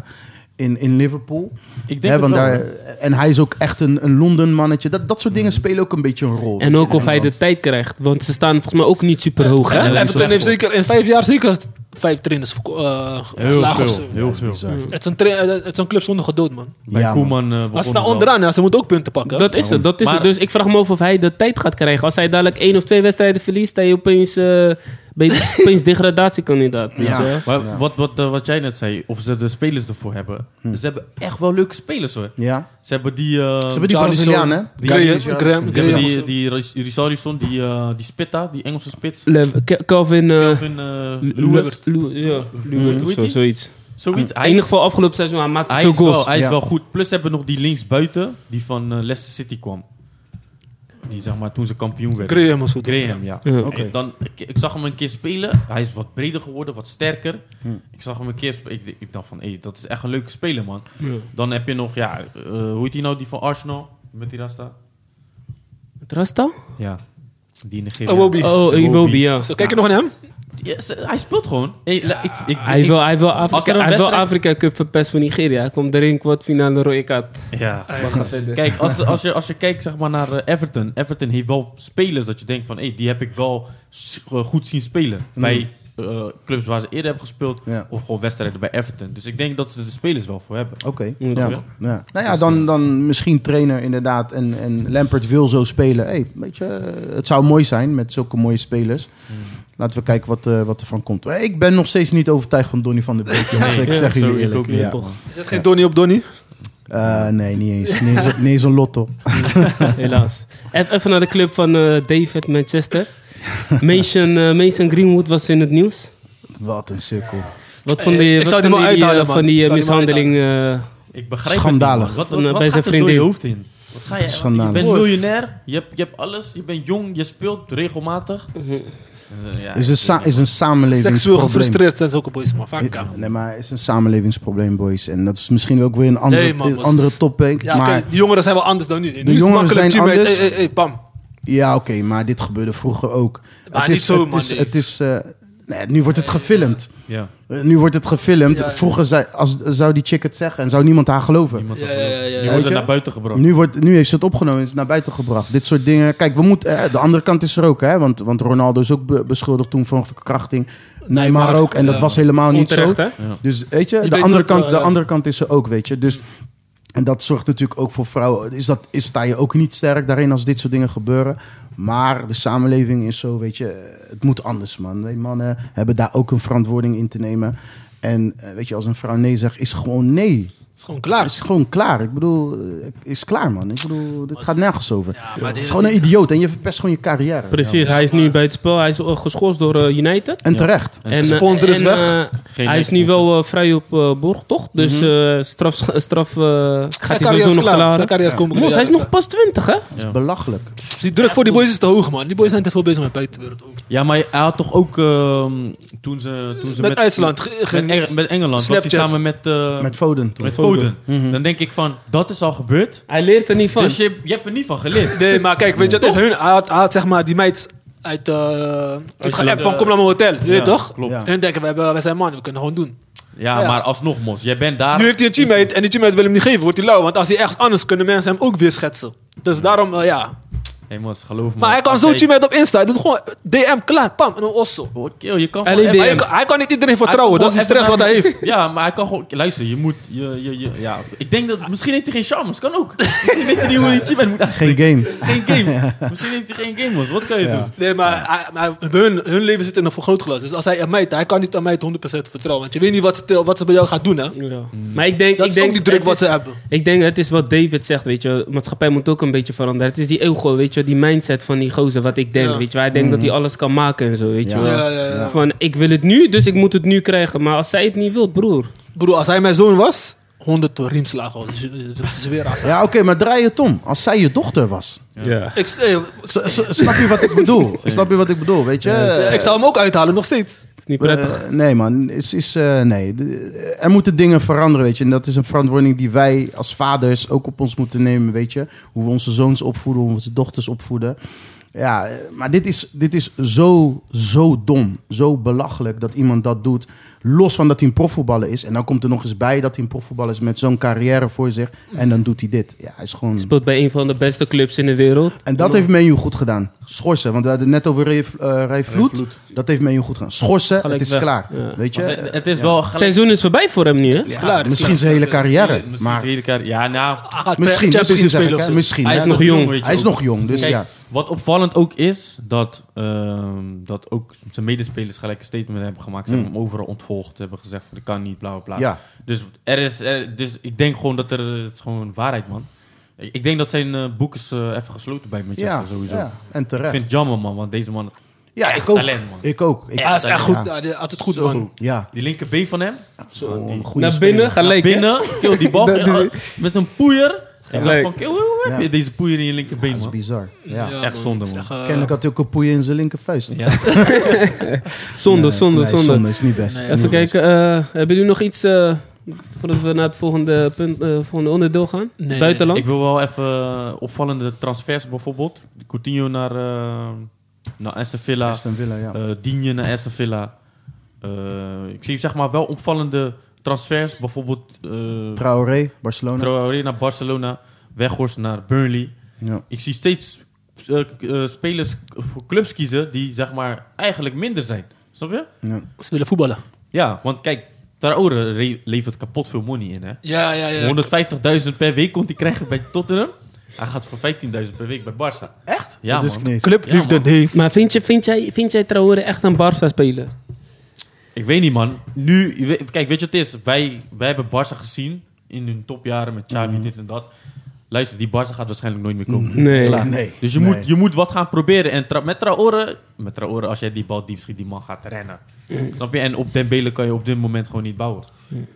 [SPEAKER 3] in, in Liverpool?
[SPEAKER 4] Ik denk
[SPEAKER 3] Hè,
[SPEAKER 4] het
[SPEAKER 3] want
[SPEAKER 4] wel,
[SPEAKER 3] daar,
[SPEAKER 4] man.
[SPEAKER 3] en hij is ook echt een, een Londen mannetje. Dat, dat soort dingen spelen ook een beetje een rol.
[SPEAKER 2] En ook of hij de tijd krijgt. Want ze staan volgens mij ook niet super hoog.
[SPEAKER 1] En
[SPEAKER 2] Hè?
[SPEAKER 1] Everton heeft zeker in vijf jaar zeker vijf trainers eh
[SPEAKER 4] Heel
[SPEAKER 1] geslagen.
[SPEAKER 4] veel, heel veel.
[SPEAKER 1] Het is, een tra- eh, het is een club zonder gedood, man.
[SPEAKER 4] Bij
[SPEAKER 3] Ja,
[SPEAKER 4] Koeman eh,
[SPEAKER 1] Maar ze
[SPEAKER 4] begonnen
[SPEAKER 1] staan
[SPEAKER 4] ze al.
[SPEAKER 1] onderaan, ja, ze moeten ook punten pakken.
[SPEAKER 2] Dat is het, dat is
[SPEAKER 4] Maar-
[SPEAKER 2] het. Dus ik vraag me af of hij de tijd gaat krijgen. Als hij dadelijk één of twee wedstrijden verliest, dan je opeens, eh, ben je opeens degradatiekandidaat.
[SPEAKER 3] Ja.
[SPEAKER 2] Weet je wel?
[SPEAKER 4] Maar wat, wat, eh, wat jij net zei, of ze de spelers ervoor hebben. Ze hebben echt wel leuke spelers hoor.
[SPEAKER 3] Ja.
[SPEAKER 4] Ze hebben die... eh,
[SPEAKER 3] Ze hebben die
[SPEAKER 1] Jarlison,
[SPEAKER 3] Braziliaan, hè?
[SPEAKER 1] die- Graham- Graham-
[SPEAKER 4] ze hebben
[SPEAKER 1] Graham.
[SPEAKER 4] die, die Ris- Richarlison, die, eh, die Spitta, die Engelse spits.
[SPEAKER 2] Le- Ke- Calvin eh,
[SPEAKER 4] Kevin, eh,
[SPEAKER 2] Lewis.
[SPEAKER 4] Lewis.
[SPEAKER 2] Lew- Ja, Lewis
[SPEAKER 4] Hoe
[SPEAKER 2] of
[SPEAKER 4] heet
[SPEAKER 2] zo,
[SPEAKER 4] die?
[SPEAKER 2] zoiets.
[SPEAKER 4] Zoiets.
[SPEAKER 2] In
[SPEAKER 4] Hij,
[SPEAKER 2] ieder geval afgelopen seizoen, hij maakte
[SPEAKER 4] hij
[SPEAKER 2] veel
[SPEAKER 4] is, wel,
[SPEAKER 2] goals.
[SPEAKER 4] hij is
[SPEAKER 3] Ja.
[SPEAKER 4] wel goed. Plus ze hebben nog die linksbuiten, die van eh, Leicester City kwam. Die zeg maar toen ze kampioen werden.
[SPEAKER 1] Graham was goed.
[SPEAKER 4] Graham, ja.
[SPEAKER 2] Ja.
[SPEAKER 4] En dan, ik, ik zag hem een keer spelen. Hij is wat breder geworden, wat sterker. Ik zag hem een keer spelen. Ik, ik dacht van, hé, dat is echt een leuke speler, man. Dan heb je nog, ja, eh, hoe heet die nou, die van Arsenal? Met die rasta?
[SPEAKER 2] Rasta?
[SPEAKER 4] Ja. Die Nigeria.
[SPEAKER 1] Iwobi.
[SPEAKER 2] Oh, Iwobi, ja.
[SPEAKER 1] Zo, kijk je nog naar hem?
[SPEAKER 4] Ja, ze- hij speelt gewoon. Hé, la- ik, ik,
[SPEAKER 2] Hij
[SPEAKER 4] ik-
[SPEAKER 2] wil, hij wil Afrika,
[SPEAKER 4] er een
[SPEAKER 2] hij wil
[SPEAKER 4] wedstrijd-
[SPEAKER 2] Afrika Cup verpest van Nigeria. Hij komt erin kwartfinale rode kaart.
[SPEAKER 4] Ja.
[SPEAKER 2] Maar ga verder.
[SPEAKER 4] Kijk, als, als, je, als je kijkt zeg maar, naar eh, Everton. Everton heeft wel spelers dat je denkt van... Hey, die heb ik wel s- eh, goed zien spelen. Bij eh, clubs waar ze eerder hebben gespeeld.
[SPEAKER 3] Ja.
[SPEAKER 4] Of gewoon wedstrijden bij Everton. Dus ik denk dat ze de spelers wel voor hebben.
[SPEAKER 3] Oké.
[SPEAKER 2] Ja,
[SPEAKER 3] Ja.
[SPEAKER 4] toch?
[SPEAKER 3] Ja. Nou ja, dan, dan misschien trainer inderdaad. En, en Lampert wil zo spelen. Hey, weet je, eh, het zou mooi zijn met zulke mooie spelers. Laten we kijken wat, eh, wat er van komt. Ik ben nog steeds niet overtuigd van Donny van der Beek. jongens.
[SPEAKER 4] Nee,
[SPEAKER 3] ik zeg
[SPEAKER 4] zo,
[SPEAKER 3] jullie
[SPEAKER 4] ik
[SPEAKER 3] eerlijk.
[SPEAKER 4] ook niet,
[SPEAKER 3] Ja.
[SPEAKER 2] toch.
[SPEAKER 1] Is dat geen Donny op Donny?
[SPEAKER 3] Eh, nee, niet eens. Niet eens, niet eens een lotto.
[SPEAKER 2] Helaas. Even even naar de club van eh, David Manchester. Mason, eh, Mason Greenwood was in het nieuws.
[SPEAKER 3] Wat een sukkel.
[SPEAKER 2] Wat vond
[SPEAKER 1] Eh,
[SPEAKER 2] je
[SPEAKER 1] ik
[SPEAKER 2] wat
[SPEAKER 1] zou die
[SPEAKER 2] vond
[SPEAKER 1] maar
[SPEAKER 2] je die, eh,
[SPEAKER 1] uithalen, man.
[SPEAKER 2] van die
[SPEAKER 1] Ik
[SPEAKER 2] eh,
[SPEAKER 1] zou die maar
[SPEAKER 2] mishandeling? eh,
[SPEAKER 4] Ik begrijp
[SPEAKER 3] Schandalig.
[SPEAKER 4] het niet, man. Wat,
[SPEAKER 2] Van, eh,
[SPEAKER 4] wat, wat
[SPEAKER 2] bij
[SPEAKER 4] gaat
[SPEAKER 2] zijn
[SPEAKER 4] er door je
[SPEAKER 2] vriendin.
[SPEAKER 4] hoofd in? Wat ga je,
[SPEAKER 3] Schandalig.
[SPEAKER 4] je bent
[SPEAKER 1] Boos. Mhm.
[SPEAKER 4] miljonair, je hebt, je hebt alles, je bent jong, je speelt regelmatig. eh, ja,
[SPEAKER 3] Is een, sa- is een samenlevingsprobleem.
[SPEAKER 1] Seksueel gefrustreerd zijn zulke boys, maar vaak
[SPEAKER 3] Ja,
[SPEAKER 1] aan.
[SPEAKER 3] Nee, maar het is een samenlevingsprobleem, boys. En dat is misschien ook weer een andere,
[SPEAKER 1] Nee, man,
[SPEAKER 3] een
[SPEAKER 1] was-
[SPEAKER 3] andere topic.
[SPEAKER 1] Ja, oké,
[SPEAKER 3] maar
[SPEAKER 1] die jongeren zijn wel anders dan nu. Nu is het
[SPEAKER 3] jongeren zijn
[SPEAKER 1] makkelijk, teammate,
[SPEAKER 3] anders.
[SPEAKER 1] hey, hey, hey, bam.
[SPEAKER 3] ja, oké, maar dit gebeurde vroeger ook.
[SPEAKER 1] Maar niet zo,
[SPEAKER 3] het
[SPEAKER 1] man,
[SPEAKER 3] Is,
[SPEAKER 1] nee.
[SPEAKER 3] het is, eh, nee, nu wordt het gefilmd.
[SPEAKER 4] Ja,
[SPEAKER 3] Eh, Nu wordt het gefilmd.
[SPEAKER 1] Ja, ja.
[SPEAKER 3] Vroeger zei, als, zou die chick het zeggen en zou niemand haar geloven.
[SPEAKER 4] niemand
[SPEAKER 1] Ja,
[SPEAKER 4] zag
[SPEAKER 1] ja, ja,
[SPEAKER 4] het.
[SPEAKER 1] ja,
[SPEAKER 4] Je
[SPEAKER 1] ja.
[SPEAKER 4] wordt
[SPEAKER 3] Weet
[SPEAKER 4] er
[SPEAKER 3] je?
[SPEAKER 4] naar buiten gebracht.
[SPEAKER 3] Nu, wordt, nu heeft ze het opgenomen en is het naar buiten gebracht. Dit soort dingen. Kijk, we moeten, eh, de andere kant is er ook, hè? Want, want Ronaldo is ook be- beschuldigd toen van verkrachting. Neymar
[SPEAKER 1] maar-
[SPEAKER 3] ook. En dat
[SPEAKER 1] ja.
[SPEAKER 3] was helemaal niet zo.
[SPEAKER 2] eh, Onterecht, hè?
[SPEAKER 3] Dus weet je,
[SPEAKER 1] Je
[SPEAKER 3] de,
[SPEAKER 1] weet
[SPEAKER 3] andere,
[SPEAKER 1] nooit
[SPEAKER 3] kant,
[SPEAKER 2] eh,
[SPEAKER 1] wel,
[SPEAKER 3] de
[SPEAKER 1] ja.
[SPEAKER 3] andere kant is er ook, weet je. Dus, en dat zorgt natuurlijk ook voor vrouwen. Is dat, is, sta je ook niet sterk daarin als dit soort dingen gebeuren. Maar de samenleving is zo, weet je. Het moet anders, man. Wij mannen hebben daar ook een verantwoording in te nemen. En eh, weet je, als een vrouw nee zegt, is gewoon nee.
[SPEAKER 1] is gewoon klaar.
[SPEAKER 3] Is gewoon klaar. Ik bedoel, eh, is klaar, man. Ik bedoel, dit gaat nergens over.
[SPEAKER 1] Ja, maar
[SPEAKER 3] Het
[SPEAKER 1] dit-
[SPEAKER 3] is gewoon een idioot en je verpest gewoon je carrière.
[SPEAKER 2] Precies, hij is nu bij het spel. Hij is eh, geschorst door eh, United.
[SPEAKER 3] En terecht.
[SPEAKER 2] En, eh,
[SPEAKER 1] Sponsor is
[SPEAKER 2] en,
[SPEAKER 1] weg.
[SPEAKER 2] eh,
[SPEAKER 4] Geen
[SPEAKER 2] hij is nu
[SPEAKER 4] lekker
[SPEAKER 2] wel eh, vrij op eh borgtocht. Dus eh, straf, straf eh,
[SPEAKER 1] Zijn
[SPEAKER 2] gaat hij
[SPEAKER 1] carrière
[SPEAKER 2] sowieso
[SPEAKER 1] Mhm. is
[SPEAKER 2] nog
[SPEAKER 1] klaar. Zijn
[SPEAKER 2] klaren.
[SPEAKER 1] carrière is komen
[SPEAKER 2] Mos, hij is nog pas 20, hè?
[SPEAKER 3] Belachelijk.
[SPEAKER 1] Die druk voor die boys is te hoog, man. Die boys zijn te veel bezig met buitenwereld ook.
[SPEAKER 4] Ja, maar hij had toch ook ehm, toen ze, toen ze
[SPEAKER 1] Met IJsland ge-
[SPEAKER 4] met,
[SPEAKER 1] ging-
[SPEAKER 4] Eng- met Engeland, was hij
[SPEAKER 1] Snapchat. Mhm.
[SPEAKER 4] samen met, eh,
[SPEAKER 3] Met Foden toen.
[SPEAKER 4] met Foden. Dan denk ik van, dat is al gebeurd.
[SPEAKER 2] Hij leert er niet van.
[SPEAKER 4] Dus je, je hebt er niet van geleerd.
[SPEAKER 1] Nee, maar kijk, weet je, dat is hun. Hij had, hij had, zeg maar die meid uit. eh het geapp van kom naar mijn hotel, je weet
[SPEAKER 4] Ja,
[SPEAKER 1] toch?
[SPEAKER 4] Klopt.
[SPEAKER 3] Ja.
[SPEAKER 1] En denken, we, hebben, we zijn man, we kunnen gewoon doen.
[SPEAKER 4] Ja,
[SPEAKER 1] Ja.
[SPEAKER 4] maar alsnog, Mos. Jij bent daar.
[SPEAKER 1] Nu heeft hij een teammate en die teammate wil hem niet geven, wordt hij lauw. Want als hij ergens anders, kunnen mensen hem ook weer schetsen. Dus daarom, eh, ja.
[SPEAKER 4] Hey, Mos, geloof me.
[SPEAKER 1] Maar hij kan
[SPEAKER 4] Als
[SPEAKER 1] zo'n
[SPEAKER 4] jij-
[SPEAKER 1] teammate op Insta, hij doet gewoon DM, klaar, pam, en een osso.
[SPEAKER 4] Hoor, kerel, je kan
[SPEAKER 2] Alleen
[SPEAKER 4] gewoon-
[SPEAKER 1] Maar
[SPEAKER 2] DM.
[SPEAKER 1] hij, kan- hij kan niet iedereen vertrouwen, dat is die
[SPEAKER 4] Hij kan
[SPEAKER 1] stress wat hij heeft.
[SPEAKER 4] Ja, maar hij kan gewoon... Luister, je moet... Je, je, je, ja. Ik denk dat... Misschien heeft hij geen charmes. Kan ook. Misschien weet hij niet hoe hij teammate moet aanspreken.
[SPEAKER 3] Geen game.
[SPEAKER 4] Geen game. Misschien heeft hij geen game, Mos. Wat kan je
[SPEAKER 3] Ja.
[SPEAKER 4] doen?
[SPEAKER 1] Nee, maar, hij- maar hun, hun leven zit in een vergrootglas. Dus als hij een meid, hij kan niet aan meid 100% vertrouwen. Want je weet niet wat ze, wat ze bij jou gaat doen, hè?
[SPEAKER 2] Ja. Maar ik denk,
[SPEAKER 1] Dat
[SPEAKER 2] ik
[SPEAKER 1] is
[SPEAKER 2] denk,
[SPEAKER 1] ook die druk
[SPEAKER 2] het
[SPEAKER 1] wat
[SPEAKER 2] is-
[SPEAKER 1] ze hebben.
[SPEAKER 2] Ik denk, het is wat David zegt, weet je. De maatschappij moet ook een beetje veranderen. Het is die ego, weet je. Die mindset van die gozer, wat ik denk,
[SPEAKER 1] Ja.
[SPEAKER 2] weet je. Hij denkt dat hij alles kan maken en zo, weet je
[SPEAKER 3] Ja.
[SPEAKER 2] wel.
[SPEAKER 1] Ja, ja, ja.
[SPEAKER 2] Van, ik wil het nu, dus ik moet het nu krijgen. Maar als zij het niet wil, broer.
[SPEAKER 1] Broer, als hij mijn zoon was, 100 door riemslagen. hoor. Dus, eh, Dat is weer als hij-
[SPEAKER 3] Ja, oké, maar draai het om. Als zij je dochter was.
[SPEAKER 2] Ja.
[SPEAKER 1] Ik, eh,
[SPEAKER 3] S- s- Snap je wat ik bedoel? Snap je wat ik bedoel, weet je?
[SPEAKER 1] eh, ik zou hem ook uithalen, nog steeds.
[SPEAKER 2] Is niet
[SPEAKER 3] Eh,
[SPEAKER 2] prettig.
[SPEAKER 3] eh, nee, man. Is, is, eh, nee. De- eh, er moeten dingen veranderen, weet je. En dat is een verantwoording die wij als vaders ook op ons moeten nemen, weet je. Hoe we onze zoons opvoeden, hoe we onze dochters opvoeden. Ja, eh, maar dit is, dit is zo, zo dom, zo belachelijk dat iemand dat doet. Los van dat hij een profvoetballer is. En dan komt er nog eens bij dat hij een profvoetballer is met zo'n carrière voor zich. En dan doet hij dit. Ja, hij is gewoon...
[SPEAKER 2] Speelt bij een van de beste clubs in de wereld.
[SPEAKER 3] En dat heeft Menu goed gedaan. Schorsen, want we hadden het net over Rijf- eh, Rijvloed. dat heeft Menu goed gedaan. Schorsen,
[SPEAKER 2] Gelijk
[SPEAKER 3] het is
[SPEAKER 2] weg.
[SPEAKER 3] klaar.
[SPEAKER 2] Ja.
[SPEAKER 3] Weet je?
[SPEAKER 4] Maar ze- het is wel...
[SPEAKER 2] Het seizoen is voorbij voor hem nu, hè?
[SPEAKER 1] Is
[SPEAKER 3] Ja,
[SPEAKER 1] klaar, is
[SPEAKER 3] misschien zijn hele carrière.
[SPEAKER 4] Misschien
[SPEAKER 3] Maar
[SPEAKER 4] zie je elkaar- Ja, nou...
[SPEAKER 1] Hij gaat
[SPEAKER 3] misschien,
[SPEAKER 1] Champions
[SPEAKER 3] misschien,
[SPEAKER 1] League
[SPEAKER 3] zeg
[SPEAKER 1] spelen
[SPEAKER 3] ik,
[SPEAKER 1] of
[SPEAKER 3] hè.
[SPEAKER 1] zo.
[SPEAKER 3] misschien.
[SPEAKER 4] Hij
[SPEAKER 3] hè.
[SPEAKER 4] is
[SPEAKER 2] nog
[SPEAKER 4] nog
[SPEAKER 2] jong.
[SPEAKER 4] jong. weet je
[SPEAKER 3] Hij is
[SPEAKER 4] ook.
[SPEAKER 3] nog jong, dus
[SPEAKER 4] Kijk,
[SPEAKER 3] ja.
[SPEAKER 4] Wat opvallend ook is, dat, ehm, dat ook zijn medespelers gelijk een statement hebben gemaakt.
[SPEAKER 3] Mm.
[SPEAKER 4] Ze hebben hem overal ontvolgd, hebben gezegd van, dat kan niet, bla bla bla.
[SPEAKER 3] Ja.
[SPEAKER 4] Dus, er is, er- dus ik denk gewoon dat er, het is gewoon waarheid man. Ik, ik denk dat zijn eh, boek is eh, even gesloten bij Manchester
[SPEAKER 3] Ja,
[SPEAKER 4] sowieso.
[SPEAKER 3] ja, en
[SPEAKER 4] Ik
[SPEAKER 3] terecht.
[SPEAKER 4] vind het jammer man, want deze man,
[SPEAKER 3] Ja, ik
[SPEAKER 4] echt
[SPEAKER 3] ook.
[SPEAKER 4] talent, man.
[SPEAKER 3] Ik ook. Ik-
[SPEAKER 1] Hij is echt goed.
[SPEAKER 3] Ja.
[SPEAKER 1] Ja, die- altijd goed,
[SPEAKER 4] Zo.
[SPEAKER 1] man.
[SPEAKER 3] Ja,
[SPEAKER 4] die linkerbeen van hem,
[SPEAKER 3] zo een goede
[SPEAKER 2] Naar
[SPEAKER 3] speler.
[SPEAKER 2] binnen, gelijk. hè?
[SPEAKER 4] binnen, kill die bal
[SPEAKER 2] Dat doe
[SPEAKER 4] eh, met een poeier. Ik dacht
[SPEAKER 2] Leuk.
[SPEAKER 4] van, kill, hoe heb je
[SPEAKER 3] Ja.
[SPEAKER 4] deze poeier in je linkerbeen
[SPEAKER 3] Dat is
[SPEAKER 4] man?
[SPEAKER 3] bizar. Ja.
[SPEAKER 1] Ja,
[SPEAKER 4] echt
[SPEAKER 1] man.
[SPEAKER 4] zonde,
[SPEAKER 1] Is
[SPEAKER 4] man.
[SPEAKER 1] echt, eh,
[SPEAKER 3] Kennelijk had hij ook een poeien in zijn linkervuist.
[SPEAKER 4] Ja.
[SPEAKER 2] Zonde, zonde,
[SPEAKER 3] Nee,
[SPEAKER 2] zonde.
[SPEAKER 3] is niet best.
[SPEAKER 1] Nee.
[SPEAKER 2] Even kijken, eh, hebben jullie nog iets eh, voordat we naar het volgende, punt, eh, volgende onderdeel gaan?
[SPEAKER 1] Nee.
[SPEAKER 2] Buitenland?
[SPEAKER 4] Ik wil wel even eh, opvallende transfers bijvoorbeeld. Coutinho naar, eh naar Aston Villa.
[SPEAKER 3] Aston Villa, ja.
[SPEAKER 4] eh, Digne naar Aston Villa. Eh, ik zie zeg maar wel opvallende transfers. Bijvoorbeeld eh
[SPEAKER 3] Traoré, Barcelona.
[SPEAKER 4] Traoré naar Barcelona. Weghorst naar Burnley.
[SPEAKER 3] Ja.
[SPEAKER 4] Ik zie steeds eh, eh, spelers voor clubs kiezen die zeg maar eigenlijk minder zijn. Snap je?
[SPEAKER 3] Ja.
[SPEAKER 1] Ze willen voetballen.
[SPEAKER 4] Ja, want kijk, Traoré re- levert kapot veel money in hè.
[SPEAKER 1] Ja, ja, ja.
[SPEAKER 4] 150.000 per week komt hij krijgen bij Tottenham. Hij gaat voor 15.000 per week bij Barça. Echt? Ja,
[SPEAKER 3] Dat is
[SPEAKER 4] man.
[SPEAKER 3] niet eens.
[SPEAKER 1] Clubliefde,
[SPEAKER 4] Ja, man.
[SPEAKER 1] nee.
[SPEAKER 2] Maar vind, je, vind, jij, vind jij Traoré echt een Barça speler?
[SPEAKER 4] Ik weet niet, man. Nu, je weet- kijk, weet je wat het is? Wij, wij hebben Barça gezien in hun topjaren met
[SPEAKER 3] Mhm.
[SPEAKER 4] Xavi, dit en dat. Luister, die Barça gaat waarschijnlijk nooit meer komen.
[SPEAKER 2] Nee.
[SPEAKER 4] Klaar.
[SPEAKER 3] Nee.
[SPEAKER 4] Dus je,
[SPEAKER 3] Nee.
[SPEAKER 4] moet, je moet wat gaan proberen. En tra- met Traoré, met Traoré, als jij die bal diep schiet, die man gaat rennen. Snap je? En op Dembele kan je op dit moment gewoon niet bouwen.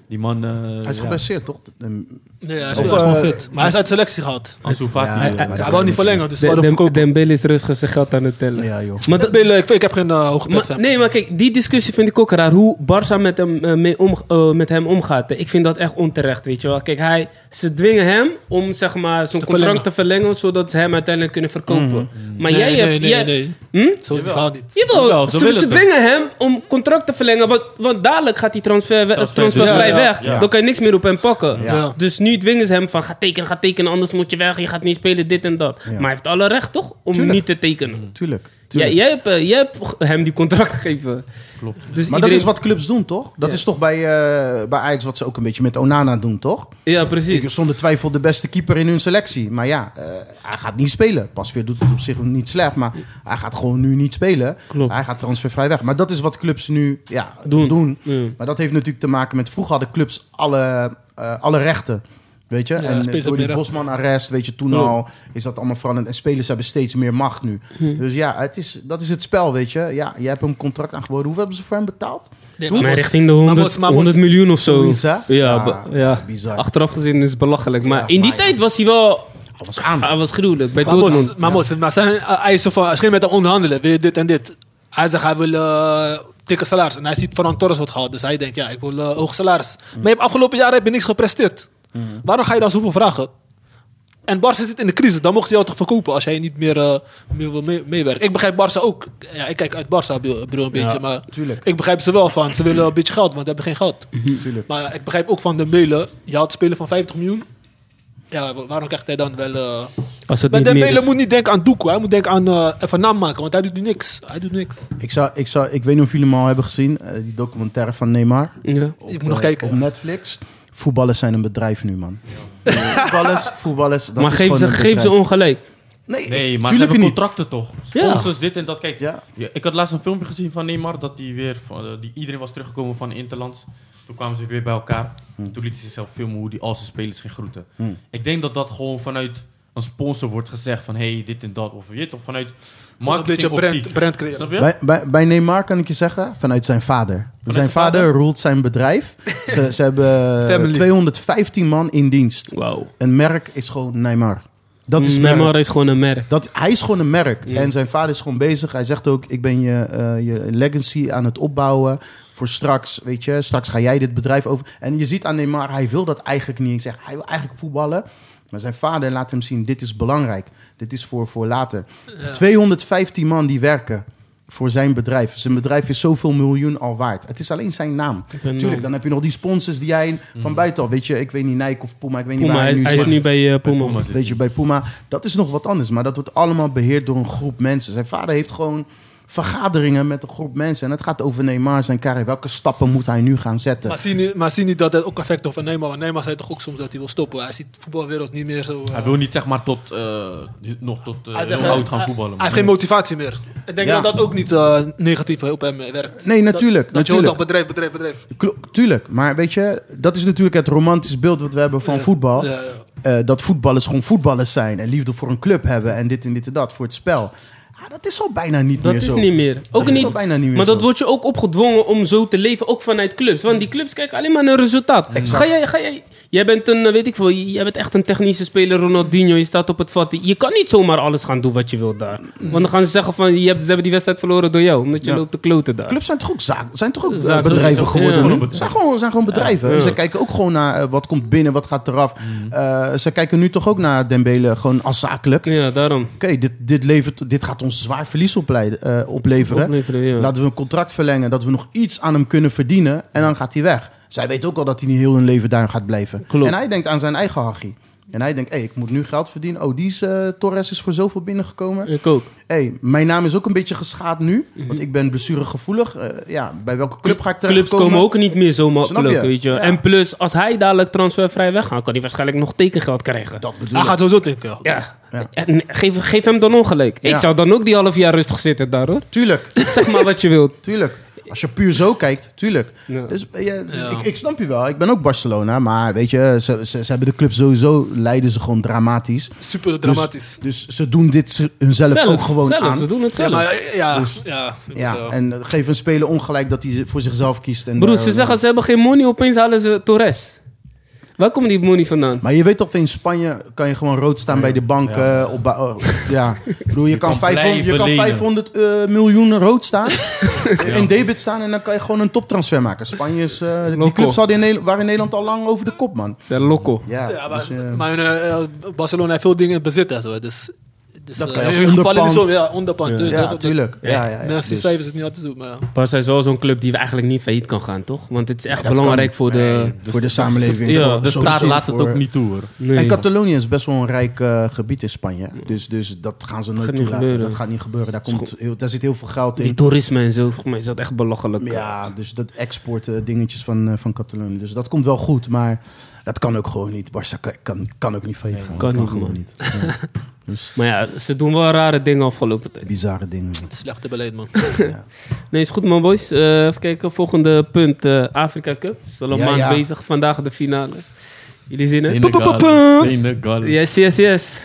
[SPEAKER 4] Die man... eh,
[SPEAKER 3] Hij is
[SPEAKER 4] ja,
[SPEAKER 3] geblesseerd, toch? En-
[SPEAKER 1] Nee, hij is,
[SPEAKER 3] Of,
[SPEAKER 1] hij is gewoon
[SPEAKER 3] eh,
[SPEAKER 1] fit. Maar hij is uit selectie gehad.
[SPEAKER 4] Ansu Fati,
[SPEAKER 3] Ja,
[SPEAKER 4] eh,
[SPEAKER 3] maar dat
[SPEAKER 1] Hij
[SPEAKER 3] kan
[SPEAKER 1] wou niet
[SPEAKER 3] niks
[SPEAKER 1] verlengen, dus hij
[SPEAKER 2] Dem-
[SPEAKER 1] wilde
[SPEAKER 2] Dem-
[SPEAKER 1] verkopen.
[SPEAKER 2] Dembele is rustig zijn geld aan het tellen.
[SPEAKER 3] Ja, joh.
[SPEAKER 2] Maar dat-
[SPEAKER 1] Dembele, ik, vind- ik heb geen eh, hoge pet
[SPEAKER 2] Maar- nee, maar kijk, die discussie vind ik ook raar. Hoe Barça met hem, eh, mee om, eh, met hem omgaat. Ik vind dat echt onterecht, weet je wel. Kijk, hij, ze dwingen hem om zeg maar, zijn
[SPEAKER 1] Te
[SPEAKER 2] contract
[SPEAKER 1] verlengen.
[SPEAKER 2] te verlengen... zodat ze hem uiteindelijk kunnen verkopen.
[SPEAKER 3] Mm.
[SPEAKER 2] Maar
[SPEAKER 1] Nee,
[SPEAKER 2] jij
[SPEAKER 1] nee,
[SPEAKER 2] hebt...
[SPEAKER 1] nee,
[SPEAKER 2] jij,
[SPEAKER 1] nee,
[SPEAKER 2] Hm?
[SPEAKER 1] Zo is het verhaal niet.
[SPEAKER 2] Jawel,
[SPEAKER 4] Jawel, ze
[SPEAKER 2] ze,
[SPEAKER 4] willen
[SPEAKER 2] ze
[SPEAKER 4] toch?
[SPEAKER 2] dwingen hem om contract te verlengen. Want, want dadelijk gaat die transfer,
[SPEAKER 4] Transfer-
[SPEAKER 2] transfervrij
[SPEAKER 1] ja, ja,
[SPEAKER 2] weg.
[SPEAKER 4] ja.
[SPEAKER 2] Dan kan je niks meer op hem pakken.
[SPEAKER 3] Ja.
[SPEAKER 1] Ja.
[SPEAKER 2] Dus nu dwingen ze hem van ga tekenen, ga tekenen, anders moet je weg, je gaat niet spelen, dit en dat.
[SPEAKER 3] Ja.
[SPEAKER 2] Maar hij heeft alle recht toch om
[SPEAKER 3] Tuurlijk.
[SPEAKER 2] niet te tekenen.
[SPEAKER 3] Tuurlijk.
[SPEAKER 2] Jij,
[SPEAKER 3] tuurlijk.
[SPEAKER 2] jij, hebt, eh, jij hebt hem die contract gegeven.
[SPEAKER 4] Klopt.
[SPEAKER 2] Dus
[SPEAKER 3] maar
[SPEAKER 2] iedereen-
[SPEAKER 3] dat is wat clubs doen, toch? Dat
[SPEAKER 2] Ja.
[SPEAKER 3] is toch bij, eh, bij Ajax wat ze ook een beetje met Onana doen, toch?
[SPEAKER 2] Ja,
[SPEAKER 3] Ik
[SPEAKER 2] precies.
[SPEAKER 3] heb zonder twijfel de beste keeper in hun selectie. Maar ja, eh, hij gaat niet spelen. Pasveer doet het op zich niet slecht, maar hij gaat gewoon nu niet spelen.
[SPEAKER 2] Klopt.
[SPEAKER 3] Hij gaat transfervrij weg. Maar dat is wat clubs nu ja,
[SPEAKER 2] Doen.
[SPEAKER 3] doen.
[SPEAKER 2] Ja.
[SPEAKER 3] Maar dat heeft natuurlijk te maken met... Vroeger hadden clubs alle, eh, alle rechten. Weet je?
[SPEAKER 1] Ja,
[SPEAKER 3] en
[SPEAKER 1] spelers
[SPEAKER 3] eh, door
[SPEAKER 1] hebben
[SPEAKER 3] die
[SPEAKER 1] meer
[SPEAKER 3] Bosman-arrest, weet je, toen
[SPEAKER 2] Ja.
[SPEAKER 3] al is dat allemaal veranderd. En spelers hebben steeds meer macht nu.
[SPEAKER 2] Hm.
[SPEAKER 3] Dus ja, het is, dat is het spel, weet je. Ja, jij hebt hem een contract aangeboden. Hoeveel hebben ze voor hem betaald?
[SPEAKER 1] Nee,
[SPEAKER 2] Maar
[SPEAKER 1] Mos-
[SPEAKER 2] richting de
[SPEAKER 1] maar
[SPEAKER 2] 100,
[SPEAKER 1] Mos- maar Mos-
[SPEAKER 2] 100 miljoen of zo.
[SPEAKER 3] Zoiets, hè?
[SPEAKER 2] Ja,
[SPEAKER 3] Ja,
[SPEAKER 2] ba- ja.
[SPEAKER 3] bizar.
[SPEAKER 2] achteraf gezien is het belachelijk. Maar
[SPEAKER 3] Ja,
[SPEAKER 2] in die
[SPEAKER 3] maar ja.
[SPEAKER 2] tijd was hij wel...
[SPEAKER 3] Alles aan.
[SPEAKER 2] Hij was gruwelijk bij
[SPEAKER 1] Maar
[SPEAKER 2] Dortmund.
[SPEAKER 1] Mos, maar, Mos, maar zijn eh, eisen van, hij is geen met hem onderhandelen, wil je dit en dit. Hij zegt, hij wil eh dikke salaris. En hij ziet Ferran Torres wordt gehaald, dus hij denkt, ja, ik wil eh, hoog salaris. Maar je hebt afgelopen jaren heb je niks gepresteerd. Waarom ga je dan zoveel vragen? En Barca zit in de crisis, dan mocht hij jou toch verkopen als jij niet meer, eh, meer wil mee- meewerken. Ik begrijp Barca ook. Ja, ik kijk uit Barca bril bril een beetje, maar
[SPEAKER 3] tuurlijk.
[SPEAKER 1] ik begrijp ze wel van. Ze willen een beetje geld, want ze hebben geen geld.
[SPEAKER 3] Tuurlijk.
[SPEAKER 1] Maar ik begrijp ook van de mailen, je had spelen van 50 miljoen. Ja, wa- waarom krijgt hij dan wel... eh,
[SPEAKER 2] Als het
[SPEAKER 1] maar
[SPEAKER 2] niet meer
[SPEAKER 1] Dembele
[SPEAKER 2] is.
[SPEAKER 1] moet niet denken aan Doekoe. Hij moet denken aan eh even naam maken, want hij doet nu niks. Hij doet niks.
[SPEAKER 3] Ik, zou, ik, zou, ik weet niet of jullie hem al hebben gezien, eh, die documentaire van Neymar.
[SPEAKER 2] Ja.
[SPEAKER 3] Op,
[SPEAKER 1] Ik moet nog
[SPEAKER 3] eh,
[SPEAKER 1] kijken.
[SPEAKER 3] Op Netflix. Voetballers zijn een bedrijf nu, man. voetballers, voetballers. Dat
[SPEAKER 2] Maar
[SPEAKER 3] is
[SPEAKER 2] geef
[SPEAKER 3] gewoon
[SPEAKER 2] ze,
[SPEAKER 3] een
[SPEAKER 2] geef ze
[SPEAKER 3] bedrijf.
[SPEAKER 2] ongelijk.
[SPEAKER 3] Nee,
[SPEAKER 4] Nee,
[SPEAKER 3] ik-
[SPEAKER 4] maar ze
[SPEAKER 3] tuurlijk
[SPEAKER 4] hebben
[SPEAKER 3] niet.
[SPEAKER 4] contracten toch? Sponsors, dit en dat. Kijk,
[SPEAKER 3] Ja.
[SPEAKER 4] ja, ik had laatst een filmpje gezien van Neymar. Dat die weer, van, eh, die, iedereen was teruggekomen van Interlands. Toen kwamen ze weer bij elkaar. Toen liet hij zichzelf filmen hoe die al zijn spelers ging groeten. Ik denk dat dat gewoon vanuit een sponsor wordt gezegd van... hey, dit en dat. Of je weet toch, vanuit
[SPEAKER 1] Een beetje brand,
[SPEAKER 4] marketingoptiek.
[SPEAKER 1] brand creëren.
[SPEAKER 4] Snap je?
[SPEAKER 3] Bij, bij, bij Neymar kan ik je zeggen, vanuit zijn vader. zijn
[SPEAKER 4] zijn
[SPEAKER 3] vader
[SPEAKER 4] vader?
[SPEAKER 3] roelt zijn bedrijf. ze, ze hebben
[SPEAKER 1] Family.
[SPEAKER 3] 215 man in dienst.
[SPEAKER 2] Wauw.
[SPEAKER 3] Een merk is gewoon Neymar. Dat is merk.
[SPEAKER 2] Neymar is gewoon een merk.
[SPEAKER 3] Dat, hij is gewoon een merk. En zijn vader is gewoon bezig. Hij zegt ook, ik ben je, eh, je legacy aan het opbouwen. Voor straks, weet je. Straks ga jij dit bedrijf over. En je ziet aan Neymar, hij wil dat eigenlijk niet. Ik zeg, hij wil eigenlijk voetballen. Maar zijn vader laat hem zien, dit is belangrijk. Dit is voor, voor later. 215 man die werken voor zijn bedrijf. Zijn bedrijf is zoveel miljoen al waard. Het is alleen zijn naam.
[SPEAKER 2] is een
[SPEAKER 3] Tuurlijk,
[SPEAKER 2] naam. Mm.
[SPEAKER 3] dan heb je nog die sponsors die jij van buitenaf... Weet je, ik weet niet, Nike of Puma, ik weet niet
[SPEAKER 2] Puma,
[SPEAKER 3] waar
[SPEAKER 2] hij,
[SPEAKER 3] hij nu
[SPEAKER 2] hij
[SPEAKER 3] zit.
[SPEAKER 2] is nu bij eh Puma.
[SPEAKER 4] Puma zit
[SPEAKER 3] Weet je, bij Puma, dat is nog wat anders. Maar dat wordt allemaal beheerd door een groep mensen. Zijn vader heeft gewoon vergaderingen met een groep mensen. En het gaat over Neymar, zijn carrière. Welke stappen moet hij nu gaan zetten?
[SPEAKER 1] Maar zie, niet, maar zie niet dat het ook effect heeft op Neymar. Want Neymar zei toch ook soms dat hij wil stoppen. Hij ziet de voetbalwereld niet meer zo... eh,
[SPEAKER 4] Hij wil niet zeg maar tot, eh, nog tot eh,
[SPEAKER 1] hij zegt,
[SPEAKER 4] heel oud
[SPEAKER 1] eh,
[SPEAKER 4] gaan
[SPEAKER 1] hij-
[SPEAKER 4] voetballen.
[SPEAKER 1] Hij heeft geen motivatie meer. Ik denk
[SPEAKER 3] Ja.
[SPEAKER 1] dat dat ook niet eh, negatief op hem eh, werkt.
[SPEAKER 3] Nee,
[SPEAKER 1] Dat-
[SPEAKER 3] natuurlijk,
[SPEAKER 1] Dat, je hoort
[SPEAKER 3] natuurlijk.
[SPEAKER 1] dat bedrijf, bedrijf, bedrijf.
[SPEAKER 3] Klo- tuurlijk, maar weet je, dat is natuurlijk het romantisch beeld wat we hebben van
[SPEAKER 1] Ja.
[SPEAKER 3] voetbal.
[SPEAKER 1] Ja, ja.
[SPEAKER 3] Eh, dat voetballers gewoon voetballers zijn en liefde voor een club hebben en dit en dit en dat voor het spel. Ah, dat is al bijna niet
[SPEAKER 2] Dat
[SPEAKER 3] meer
[SPEAKER 2] is
[SPEAKER 3] zo.
[SPEAKER 2] niet meer. Ook
[SPEAKER 3] dat
[SPEAKER 2] niet,
[SPEAKER 3] is al bijna niet meer
[SPEAKER 2] maar dat
[SPEAKER 3] zo.
[SPEAKER 2] word je ook opgedwongen om zo te leven, ook vanuit clubs. Want die clubs kijken alleen maar naar resultaat. Ga jij, ga jij, jij bent een, eh, weet ik veel, jij bent echt een technische speler, Ronaldinho, je staat op het vat. Je kan niet zomaar alles gaan doen wat je wilt daar. Want dan gaan ze zeggen van, je hebt, ze hebben die wedstrijd verloren door jou, omdat je
[SPEAKER 3] Ja.
[SPEAKER 2] loopt te kloten daar.
[SPEAKER 3] Clubs zijn toch ook, zaak, zijn toch ook eh,
[SPEAKER 2] Zaken.
[SPEAKER 3] bedrijven
[SPEAKER 2] Ja.
[SPEAKER 3] geworden?
[SPEAKER 4] Ja.
[SPEAKER 3] nu? Ze zijn gewoon, zijn gewoon bedrijven. Ze kijken ook gewoon naar eh, wat komt binnen, wat gaat eraf. Eh, ze kijken nu toch ook naar Dembele gewoon als zakelijk. Oké,
[SPEAKER 2] Ja, daarom.
[SPEAKER 3] dit, dit, levert, dit gaat ons zwaar verlies opleiden, eh, opleveren.
[SPEAKER 2] Opleveren, ja.
[SPEAKER 3] Laten we een contract verlengen, dat we nog iets aan hem kunnen verdienen. En dan gaat hij weg. Zij weet ook al dat hij niet heel hun leven daar gaat blijven.
[SPEAKER 2] Klopt.
[SPEAKER 3] En hij denkt aan zijn eigen hachie. En hij denkt, hey, ik moet nu geld verdienen. Oh, die is, eh, Torres is voor zoveel binnengekomen
[SPEAKER 2] Ik ook.
[SPEAKER 3] hey, mijn naam is ook een beetje geschaad nu. Want ik ben blessuregevoelig. Eh, ja, bij welke club ga ik terecht
[SPEAKER 2] Mhm. Clubs komen ook niet meer zo
[SPEAKER 3] Snap
[SPEAKER 2] makkelijk,
[SPEAKER 3] je?
[SPEAKER 2] weet je.
[SPEAKER 3] Ja.
[SPEAKER 2] En plus, als hij dadelijk transfervrij weggaat, kan hij waarschijnlijk nog tekengeld krijgen.
[SPEAKER 3] Dat bedoel
[SPEAKER 1] Hij
[SPEAKER 3] ik.
[SPEAKER 1] gaat sowieso denken. ja.
[SPEAKER 2] Ja.
[SPEAKER 3] Ja.
[SPEAKER 2] En geef, geef hem dan ongelijk.
[SPEAKER 3] Ja.
[SPEAKER 2] Ik zou dan ook die half jaar rustig zitten daar hoor.
[SPEAKER 3] Tuurlijk,
[SPEAKER 2] Zeg maar wat je wilt.
[SPEAKER 3] tuurlijk. Als je puur zo kijkt, tuurlijk.
[SPEAKER 2] Ja.
[SPEAKER 3] Dus, eh, ja, dus
[SPEAKER 1] Ja.
[SPEAKER 3] Ik, ik snap je wel. Ik ben ook Barcelona. Maar weet je, ze, ze, ze hebben de club sowieso... leiden ze gewoon dramatisch.
[SPEAKER 1] Super dramatisch.
[SPEAKER 3] Dus ze doen dit ze- hunzelf ook gewoon
[SPEAKER 2] zelf,
[SPEAKER 3] aan.
[SPEAKER 2] Ze doen het
[SPEAKER 1] Ja,
[SPEAKER 2] zelf.
[SPEAKER 1] maar eh, ja,
[SPEAKER 3] Dus-
[SPEAKER 1] ja, ik moet,
[SPEAKER 3] Ja,
[SPEAKER 1] eh,
[SPEAKER 3] en eh, geef een speler ongelijk dat hij voor zichzelf kiest. En
[SPEAKER 2] Broer,
[SPEAKER 3] daar-
[SPEAKER 2] ze zeggen ze hebben geen money, opeens halen ze Torres. Waar komt die money vandaan?
[SPEAKER 3] Maar je weet toch, in Spanje kan je gewoon rood staan bij de bank. Ja, op ba- eh, ja. Ik bedoel, je, kan,
[SPEAKER 4] kan
[SPEAKER 3] 500, je
[SPEAKER 4] blijven
[SPEAKER 3] kan
[SPEAKER 4] lenen.
[SPEAKER 3] 500 eh, miljoen rood staan. In debit staan en dan kan je gewoon een toptransfer maken. Spanje is... eh, die
[SPEAKER 2] Loco.
[SPEAKER 3] clubs hadden in Nederland, waren in Nederland al lang over de kop, man.
[SPEAKER 2] Ze zijn loco.
[SPEAKER 3] Ja,
[SPEAKER 1] ja, maar,
[SPEAKER 3] dus, eh,
[SPEAKER 1] maar eh, eh, Barcelona heeft veel dingen in bezit en zo. Dus, dus
[SPEAKER 3] Dat
[SPEAKER 1] eh,
[SPEAKER 3] kan je als
[SPEAKER 1] in ieder geval
[SPEAKER 3] onderpand.
[SPEAKER 1] in de zon, ja, onderpand. Dus dat-
[SPEAKER 3] ja,
[SPEAKER 1] dat-
[SPEAKER 3] tuurlijk. Ja, ja, ja,
[SPEAKER 1] Naast die
[SPEAKER 3] Dus-
[SPEAKER 1] cijfers is het niet altijd te doen, maar ja.
[SPEAKER 2] Barca is wel zo'n club die eigenlijk niet failliet kan gaan, toch? Want het is echt
[SPEAKER 3] dat
[SPEAKER 2] belangrijk
[SPEAKER 3] kan
[SPEAKER 2] voor de...
[SPEAKER 4] Dus
[SPEAKER 3] voor de
[SPEAKER 4] dat-
[SPEAKER 3] samenleving.
[SPEAKER 2] ja,
[SPEAKER 4] De
[SPEAKER 3] Sowieso
[SPEAKER 4] staat laat het
[SPEAKER 3] dus- voor-
[SPEAKER 4] ook niet toe, hoor.
[SPEAKER 2] Nee.
[SPEAKER 3] En Catalonië is best wel een rijk eh, gebied in Spanje. Dus, dus dat gaan ze nooit
[SPEAKER 2] Gaat niet
[SPEAKER 3] toelaten.
[SPEAKER 2] gebeuren.
[SPEAKER 3] Dat gaat niet gebeuren. Daar,
[SPEAKER 2] Is
[SPEAKER 3] komt heel, daar zit heel veel geld
[SPEAKER 2] Die
[SPEAKER 3] in.
[SPEAKER 2] toerisme en zo, volgens mij is dat echt belachelijk.
[SPEAKER 3] Ja, dus dat export eh, dingetjes van, eh, van Catalonië. Dus dat komt wel goed, maar dat kan ook gewoon niet. Barça kan, kan, kan ook niet failliet gaan.
[SPEAKER 2] kan
[SPEAKER 3] Dat
[SPEAKER 2] niet,
[SPEAKER 3] gewoon
[SPEAKER 2] man.
[SPEAKER 3] niet. Ja. Dus
[SPEAKER 2] Maar ja, ze doen wel rare dingen afgelopen tijd.
[SPEAKER 3] bizarre dingen.
[SPEAKER 1] Slechte beleid, man.
[SPEAKER 2] Nee, is goed man boys. Eh, even kijken, volgende punt. eh, Afrika Cup. Is al een
[SPEAKER 3] Ja,
[SPEAKER 2] maand
[SPEAKER 3] ja.
[SPEAKER 2] bezig. Vandaag de finale. Jullie zin in?
[SPEAKER 4] Senegal. Senegal.
[SPEAKER 2] Yes, yes, yes.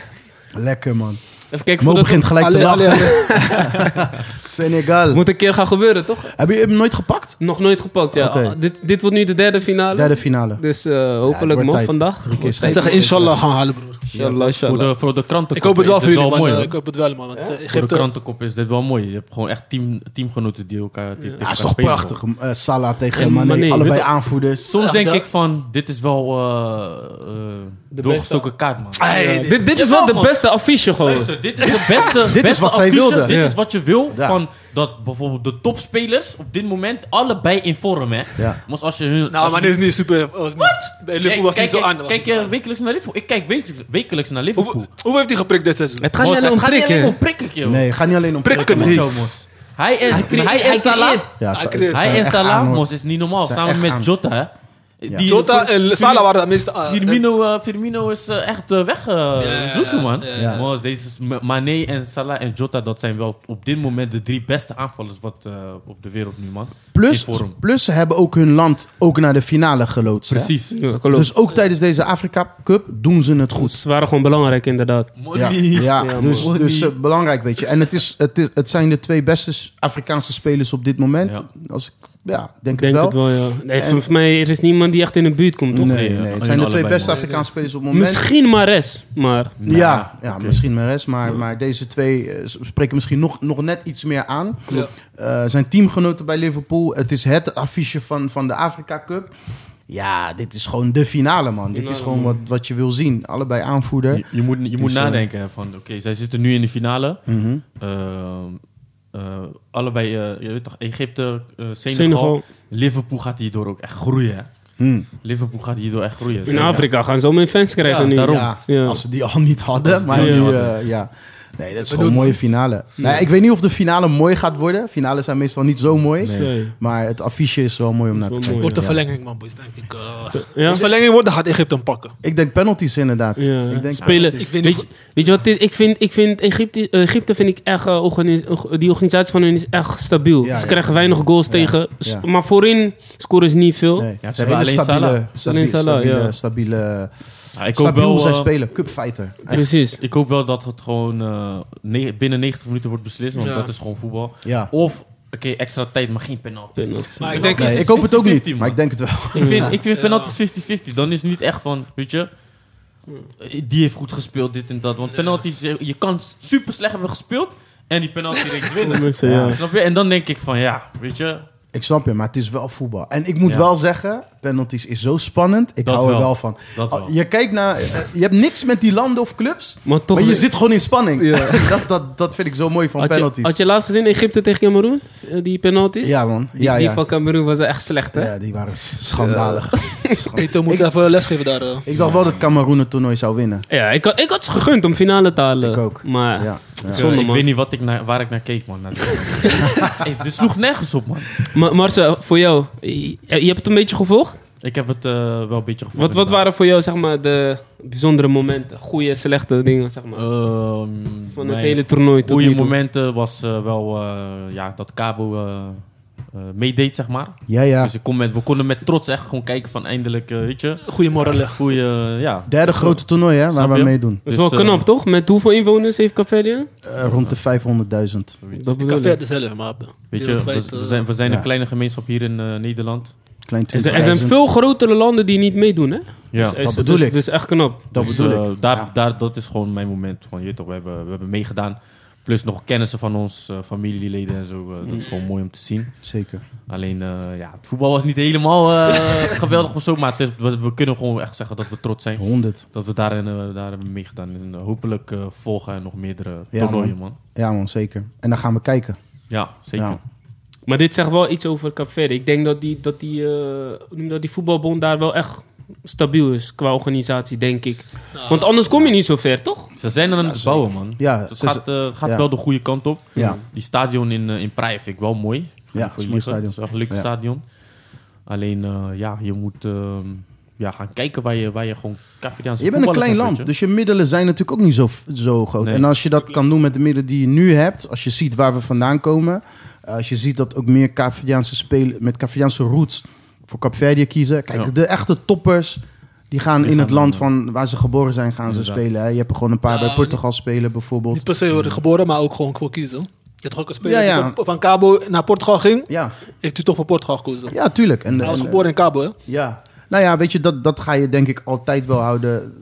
[SPEAKER 3] Lekker, man.
[SPEAKER 2] Even kijken,
[SPEAKER 3] Mo
[SPEAKER 2] voordat
[SPEAKER 3] begint gelijk te
[SPEAKER 1] Allee,
[SPEAKER 3] lachen.
[SPEAKER 1] allee, allee.
[SPEAKER 3] Senegal.
[SPEAKER 2] het moet een keer gaan gebeuren, toch?
[SPEAKER 3] Heb je hem nooit gepakt?
[SPEAKER 2] Nog nooit gepakt, ja.
[SPEAKER 3] Oké.
[SPEAKER 2] Ah, dit, dit wordt nu de derde finale.
[SPEAKER 3] Derde finale.
[SPEAKER 2] Dus eh, hopelijk
[SPEAKER 3] wordt
[SPEAKER 2] man
[SPEAKER 3] tijd.
[SPEAKER 2] vandaag.
[SPEAKER 3] Drie keer
[SPEAKER 2] Wordt
[SPEAKER 1] Ik
[SPEAKER 2] tijd.
[SPEAKER 3] schrijven.
[SPEAKER 1] zeg inshallah gaan halen, broer.
[SPEAKER 2] Inshallah,
[SPEAKER 4] Voor
[SPEAKER 2] inshallah.
[SPEAKER 4] de, voor de krantenkop
[SPEAKER 1] Ik hoop het wel
[SPEAKER 4] is
[SPEAKER 1] voor
[SPEAKER 4] dit
[SPEAKER 1] jullie, man.
[SPEAKER 4] mooi,
[SPEAKER 1] eh,
[SPEAKER 4] hoor.
[SPEAKER 1] Ik hoop het wel, man. Want, eh,
[SPEAKER 4] Voor de
[SPEAKER 1] Egypte-
[SPEAKER 4] krantenkop is dit wel mooi. Je hebt gewoon echt team, teamgenoten die elkaar... die
[SPEAKER 3] Ja,
[SPEAKER 4] tegen
[SPEAKER 3] is
[SPEAKER 4] elkaar
[SPEAKER 3] toch
[SPEAKER 4] spelen.
[SPEAKER 3] prachtig. Eh, Salah tegen
[SPEAKER 2] En
[SPEAKER 3] Mané.
[SPEAKER 2] Mané.
[SPEAKER 3] Allebei
[SPEAKER 4] Weet-
[SPEAKER 3] aanvoerders.
[SPEAKER 4] Soms
[SPEAKER 1] Ja,
[SPEAKER 4] denk
[SPEAKER 1] dat-
[SPEAKER 4] ik van, dit is wel eh, eh, doorgestoken kaart, man.
[SPEAKER 1] Ai, dit-
[SPEAKER 2] Dit, dit is wel
[SPEAKER 4] Jawel,
[SPEAKER 2] de
[SPEAKER 4] man.
[SPEAKER 2] beste affiche gewoon.
[SPEAKER 4] Luister, dit is de beste.
[SPEAKER 3] Dit is
[SPEAKER 4] beste
[SPEAKER 3] wat zij
[SPEAKER 4] affiche.
[SPEAKER 3] wilden.
[SPEAKER 4] Dit
[SPEAKER 2] Ja.
[SPEAKER 4] is wat je wil.
[SPEAKER 3] Ja.
[SPEAKER 4] Van dat bijvoorbeeld de topspelers op dit moment allebei in vorm, hè?
[SPEAKER 3] Ja.
[SPEAKER 4] Maar als je hun.
[SPEAKER 1] Nou,
[SPEAKER 4] als
[SPEAKER 1] maar
[SPEAKER 4] je-
[SPEAKER 1] dit is niet super. was niet- Bij Liverpool was
[SPEAKER 4] Kijk-
[SPEAKER 1] niet zo
[SPEAKER 4] kijk-
[SPEAKER 1] aan. was
[SPEAKER 4] Kijk eh,
[SPEAKER 1] niet zo
[SPEAKER 4] je
[SPEAKER 1] aan.
[SPEAKER 4] wekelijks naar Liverpool? Ik kijk wekelijks, wekelijks naar Liverpool.
[SPEAKER 1] Hoeveel- Hoeveel heeft hij geprikt dit seizoen?
[SPEAKER 2] Het gaat
[SPEAKER 4] Mos,
[SPEAKER 2] niet alleen om
[SPEAKER 4] gaat niet alleen
[SPEAKER 2] prikken.
[SPEAKER 4] om prikken, joh.
[SPEAKER 3] Nee, ga niet alleen om
[SPEAKER 1] Prikken.
[SPEAKER 3] prikken, man.
[SPEAKER 1] Nee.
[SPEAKER 4] Zo, Mos. Hij en, hij
[SPEAKER 2] creëert- hij
[SPEAKER 4] en Salah.
[SPEAKER 2] creëert.
[SPEAKER 3] Ja,
[SPEAKER 1] Hij
[SPEAKER 3] ze-
[SPEAKER 1] creëert-
[SPEAKER 3] ze
[SPEAKER 4] Hij
[SPEAKER 3] zijn
[SPEAKER 4] en
[SPEAKER 3] echt aan,
[SPEAKER 4] Salah,
[SPEAKER 3] hoor.
[SPEAKER 4] Mos, is niet normaal.
[SPEAKER 3] Zijn
[SPEAKER 4] Samen
[SPEAKER 3] echt
[SPEAKER 4] met
[SPEAKER 3] aan.
[SPEAKER 4] Jota, hè? Die-
[SPEAKER 1] Jota en Salah waren de meeste. ah,
[SPEAKER 4] Firmino, eh, Firmino is eh, echt eh, weg. eh
[SPEAKER 1] ja,
[SPEAKER 4] is loesoe, man.
[SPEAKER 1] ja,
[SPEAKER 3] ja.
[SPEAKER 4] Maar deze is M- Mane en Salah en Jota, dat zijn wel op dit moment de drie beste aanvallers wat, eh, op de wereld nu, man.
[SPEAKER 3] Plus,
[SPEAKER 4] In vorm.
[SPEAKER 3] plus ze hebben ook hun land ook naar de finale geloodst. hè?
[SPEAKER 4] Precies.
[SPEAKER 2] Ja, klopt.
[SPEAKER 3] Dus ook tijdens deze Afrika Cup doen ze het goed.
[SPEAKER 2] Ze waren gewoon belangrijk inderdaad.
[SPEAKER 3] Ja, ja,
[SPEAKER 2] Ja,
[SPEAKER 3] dus,
[SPEAKER 4] man.
[SPEAKER 3] dus eh, belangrijk, weet je. En het, is, het, is, het zijn de twee beste s- Afrikaanse spelers op dit moment.
[SPEAKER 4] Ja.
[SPEAKER 3] Als ik, ja, denk,
[SPEAKER 2] Ik denk
[SPEAKER 3] het
[SPEAKER 2] het
[SPEAKER 3] wel.
[SPEAKER 2] wel, ja. Nee, volgens mij er is niemand die echt in de buurt komt, toch?
[SPEAKER 3] nee,
[SPEAKER 4] Nee,
[SPEAKER 3] nee,
[SPEAKER 4] ja.
[SPEAKER 3] het zijn de twee
[SPEAKER 4] Allebei,
[SPEAKER 3] beste
[SPEAKER 4] man.
[SPEAKER 3] Afrikaanse spelers op het moment.
[SPEAKER 2] Misschien Mares, maar...
[SPEAKER 3] Ja, ja,
[SPEAKER 4] oké.
[SPEAKER 3] misschien Mares, maar, maar deze twee eh, s- spreken misschien nog, nog net iets meer aan. Eh, zijn teamgenoten bij Liverpool. Het is het affiche van, van de Afrika Cup. Ja, dit is gewoon de finale, man. Dit is
[SPEAKER 2] Finale,
[SPEAKER 3] gewoon wat, wat je wil zien. Allebei aanvoerder.
[SPEAKER 4] Je, je moet, je moet
[SPEAKER 3] Dus, eh,
[SPEAKER 4] nadenken hè, van, oké, zij zitten nu in de finale.
[SPEAKER 3] Mhm.
[SPEAKER 4] Ehm, eh, allebei, eh, je weet toch, Egypte, eh, Senegal.
[SPEAKER 2] Senegal.
[SPEAKER 4] Liverpool gaat hierdoor ook echt groeien. hè.
[SPEAKER 3] Hm.
[SPEAKER 4] Liverpool gaat hierdoor echt groeien.
[SPEAKER 2] In Afrika gaan ze al mijn fans krijgen
[SPEAKER 4] Ja,
[SPEAKER 2] nu.
[SPEAKER 4] daarom.
[SPEAKER 3] Ja,
[SPEAKER 2] Ja.
[SPEAKER 3] als ze die al niet hadden.
[SPEAKER 4] die
[SPEAKER 3] maar
[SPEAKER 4] al
[SPEAKER 3] nu,
[SPEAKER 4] niet
[SPEAKER 3] eh,
[SPEAKER 4] hadden.
[SPEAKER 3] ja. Nee, dat is gewoon een mooie finale. Nou, ik weet niet of de finale mooi gaat worden. Finales zijn meestal niet zo mooi.
[SPEAKER 2] Nee.
[SPEAKER 3] Maar het affiche is wel mooi om naar te
[SPEAKER 2] wel
[SPEAKER 3] kijken.
[SPEAKER 2] mooi.
[SPEAKER 1] Wordt de
[SPEAKER 2] Ja.
[SPEAKER 1] verlenging, man, boys, denk ik. eh.
[SPEAKER 2] Ja?
[SPEAKER 1] Als verlenging wordt, dan gaat Egypte hem pakken.
[SPEAKER 3] Ik denk penalties inderdaad.
[SPEAKER 2] Ja.
[SPEAKER 3] Ik denk
[SPEAKER 2] Spelen.
[SPEAKER 1] Ik
[SPEAKER 2] weet,
[SPEAKER 1] weet niet
[SPEAKER 2] je, weet je wat het is? Ik vind, ik vind Egypte, Egypte vind ik echt, eh, organis- org- die organisatie van hen is echt stabiel.
[SPEAKER 3] Ja,
[SPEAKER 2] ze
[SPEAKER 3] ja.
[SPEAKER 2] krijgen weinig goals tegen. S- Maar voorin scoren ze niet veel.
[SPEAKER 4] Ja,
[SPEAKER 3] Nee, het
[SPEAKER 4] ze
[SPEAKER 3] is
[SPEAKER 4] hebben
[SPEAKER 3] hele
[SPEAKER 4] alleen
[SPEAKER 3] stabiele,
[SPEAKER 4] Salah.
[SPEAKER 3] stabiele,
[SPEAKER 2] Alleen Salah,
[SPEAKER 3] stabiele,
[SPEAKER 2] ja.
[SPEAKER 3] stabiele,
[SPEAKER 4] Ja, ik hoop
[SPEAKER 3] stabiel
[SPEAKER 4] wel,
[SPEAKER 3] zijn
[SPEAKER 4] eh,
[SPEAKER 3] spelen. Cupfighter. Eh,
[SPEAKER 2] Precies.
[SPEAKER 4] Ik hoop wel dat het gewoon eh, ne- binnen 90 minuten wordt beslist, want
[SPEAKER 1] Ja.
[SPEAKER 4] dat is gewoon voetbal.
[SPEAKER 3] Ja.
[SPEAKER 4] Of, oké, extra tijd, maar geen penalty.
[SPEAKER 2] Penalty.
[SPEAKER 1] Maar ik denk,
[SPEAKER 3] Nee,
[SPEAKER 1] het is-
[SPEAKER 3] ik hoop het ook
[SPEAKER 4] 50-50,
[SPEAKER 3] niet, maar ik denk het wel.
[SPEAKER 4] Ik vind, ik vind penalties 50-50. Dan is het niet echt van, weet je... Die heeft goed gespeeld, dit en dat. Want penalties, eh, je kan super slecht hebben gespeeld... en die penalty reeks winnen.
[SPEAKER 2] Mensen, ja.
[SPEAKER 4] Snap je? En dan denk ik van, ja, weet je...
[SPEAKER 3] Ik snap je, maar het is wel voetbal. En ik moet
[SPEAKER 4] Ja.
[SPEAKER 3] wel zeggen, penalties is zo spannend. Ik
[SPEAKER 4] Dat
[SPEAKER 3] hou er
[SPEAKER 4] wel.
[SPEAKER 3] wel van. Oh,
[SPEAKER 4] Dat
[SPEAKER 2] Ah,
[SPEAKER 4] wel.
[SPEAKER 3] Je kijkt naar, eh, je hebt niks met die landen of clubs,
[SPEAKER 2] Maar toch
[SPEAKER 3] maar je
[SPEAKER 2] weer-
[SPEAKER 3] zit gewoon in spanning.
[SPEAKER 2] Ja.
[SPEAKER 3] dat, dat, dat vind ik zo mooi van
[SPEAKER 2] Had je,
[SPEAKER 3] penalties.
[SPEAKER 2] had je laatst gezien Egypte tegen Cameroen? Eh, Die penalties?
[SPEAKER 3] ja man,
[SPEAKER 2] Die,
[SPEAKER 3] ja,
[SPEAKER 2] die
[SPEAKER 3] ja.
[SPEAKER 2] van Cameroen was echt slecht, hè?
[SPEAKER 3] ja, die waren schandalig. Schand-
[SPEAKER 1] Eto'o moet even lesgeven daar. eh.
[SPEAKER 3] Ik dacht wel dat Cameroen het toernooi zou winnen.
[SPEAKER 2] Ja, ik, had, ik had ze gegund om finale te halen.
[SPEAKER 3] Ik ook.
[SPEAKER 2] Maar
[SPEAKER 3] Ja, ja.
[SPEAKER 4] Ik, eh,
[SPEAKER 2] zonde,
[SPEAKER 4] ik
[SPEAKER 2] man.
[SPEAKER 4] weet niet wat ik naar, waar ik naar keek, man. Naar hey, dit sloeg nergens op, man.
[SPEAKER 2] Maar Marcel, voor jou, je, je hebt het een beetje gevolgd?
[SPEAKER 4] Ik heb het eh, wel een beetje gevoeld.
[SPEAKER 2] Wat, wat waren voor jou zeg maar, de bijzondere momenten? Goede, slechte dingen, zeg maar.
[SPEAKER 4] Ehm,
[SPEAKER 2] van het
[SPEAKER 4] mijn
[SPEAKER 2] hele toernooi tot
[SPEAKER 4] goede
[SPEAKER 2] nu toe.
[SPEAKER 4] momenten was eh, wel eh, ja, dat Cabo eh, eh, meedeed, zeg maar.
[SPEAKER 3] Ja, ja.
[SPEAKER 4] Dus ik kon met, we konden met trots echt gewoon kijken van eindelijk, eh weet je,
[SPEAKER 1] Goede morrelen.
[SPEAKER 4] goeie, eh, ja.
[SPEAKER 3] Derde grote toernooi hè,
[SPEAKER 4] Snap
[SPEAKER 3] waar we
[SPEAKER 4] je?
[SPEAKER 3] meedoen.
[SPEAKER 2] Dat is
[SPEAKER 4] Dus,
[SPEAKER 2] wel knap,
[SPEAKER 4] eh,
[SPEAKER 2] toch? Met hoeveel inwoners heeft Café
[SPEAKER 3] Eh, rond de 500.000.
[SPEAKER 2] Dat
[SPEAKER 1] Ik
[SPEAKER 2] bedoel
[SPEAKER 1] kan
[SPEAKER 2] ik.
[SPEAKER 1] verder zelf, maar...
[SPEAKER 4] Weet je,
[SPEAKER 1] wereldwijd,
[SPEAKER 4] we,
[SPEAKER 1] eh,
[SPEAKER 4] we zijn, we zijn
[SPEAKER 3] ja.
[SPEAKER 4] een kleine gemeenschap hier in eh, Nederland.
[SPEAKER 3] Klein
[SPEAKER 2] Er
[SPEAKER 3] 20.000.
[SPEAKER 2] zijn- er zijn veel grotere landen die niet meedoen, hè?
[SPEAKER 4] Ja,
[SPEAKER 2] Dus- dus-
[SPEAKER 3] bedoel
[SPEAKER 2] dus-
[SPEAKER 3] ik.
[SPEAKER 2] Dus echt knap.
[SPEAKER 3] Dat
[SPEAKER 4] eh, Dus,
[SPEAKER 3] bedoel ik.
[SPEAKER 4] eh, daar,
[SPEAKER 3] Ja.
[SPEAKER 4] daar, dat is gewoon mijn moment. Van, je weet toch, we, hebben, we hebben meegedaan. Plus nog kennissen van ons, eh, familieleden en zo. eh, Dat is gewoon mooi om te zien.
[SPEAKER 3] Zeker.
[SPEAKER 4] Alleen, eh, ja, het voetbal was niet helemaal eh, geweldig of zo. Maar het is- we, we kunnen gewoon echt zeggen dat we trots zijn.
[SPEAKER 3] 100.
[SPEAKER 4] Dat we daarin, eh, daar hebben meegedaan. En eh, hopelijk eh, volgen er nog meerdere
[SPEAKER 3] Ja,
[SPEAKER 4] toernooien, man.
[SPEAKER 3] Ja man, zeker. En dan gaan we kijken.
[SPEAKER 4] Ja, zeker.
[SPEAKER 3] Ja.
[SPEAKER 2] Maar dit zegt wel iets over Capverde. Ik denk dat die, dat, die, eh, hoe noem je dat die voetbalbond daar wel echt stabiel is qua organisatie, denk ik. Want anders kom je niet zo ver, toch?
[SPEAKER 4] Ze zijn er aan het bouwen, man.
[SPEAKER 3] Ja,
[SPEAKER 4] Het
[SPEAKER 3] ze-
[SPEAKER 4] gaat, eh, gaat
[SPEAKER 3] ja.
[SPEAKER 4] wel de goede kant op.
[SPEAKER 3] Ja.
[SPEAKER 4] Die stadion in, eh, in Praia vind ik wel mooi.
[SPEAKER 3] Ja, het is een mooi stadion.
[SPEAKER 4] Het is wel een leuk
[SPEAKER 3] Ja.
[SPEAKER 4] stadion. Alleen, eh, ja, je moet eh, ja, gaan kijken waar je, waar je gewoon Capriaanse
[SPEAKER 3] Je bent een
[SPEAKER 4] voetballers
[SPEAKER 3] klein
[SPEAKER 4] hebt,
[SPEAKER 3] land,
[SPEAKER 4] weet je.
[SPEAKER 3] dus je middelen zijn natuurlijk ook niet zo, zo groot.
[SPEAKER 4] Nee.
[SPEAKER 3] En als je dat kan doen met de middelen die je nu hebt, als je ziet waar we vandaan komen, eh, als je ziet dat ook meer Caviaanse spelen met Caviaanse roots voor Capverdië kiezen. Kijk,
[SPEAKER 4] Ja.
[SPEAKER 3] de echte toppers die gaan
[SPEAKER 4] Die
[SPEAKER 3] in
[SPEAKER 4] gaan
[SPEAKER 3] het land
[SPEAKER 4] dan, eh,
[SPEAKER 3] van waar ze geboren zijn gaan ze
[SPEAKER 4] Inderdaad.
[SPEAKER 3] spelen. Hè? Je hebt er gewoon een paar bij
[SPEAKER 1] Ja,
[SPEAKER 3] Portugal spelen bijvoorbeeld.
[SPEAKER 1] Niet per se worden geboren, maar ook gewoon voor kiezen. Je hebt toch ook een speler
[SPEAKER 3] Ja, ja.
[SPEAKER 1] die van- van Cabo naar Portugal ging,
[SPEAKER 3] Ja,
[SPEAKER 1] heeft u toch voor Portugal gekozen.
[SPEAKER 3] ja, tuurlijk. En,
[SPEAKER 1] Hij was
[SPEAKER 3] en-
[SPEAKER 1] geboren in Cabo, hè?
[SPEAKER 3] Ja, nou ja, weet je, dat, dat ga je denk ik altijd wel houden.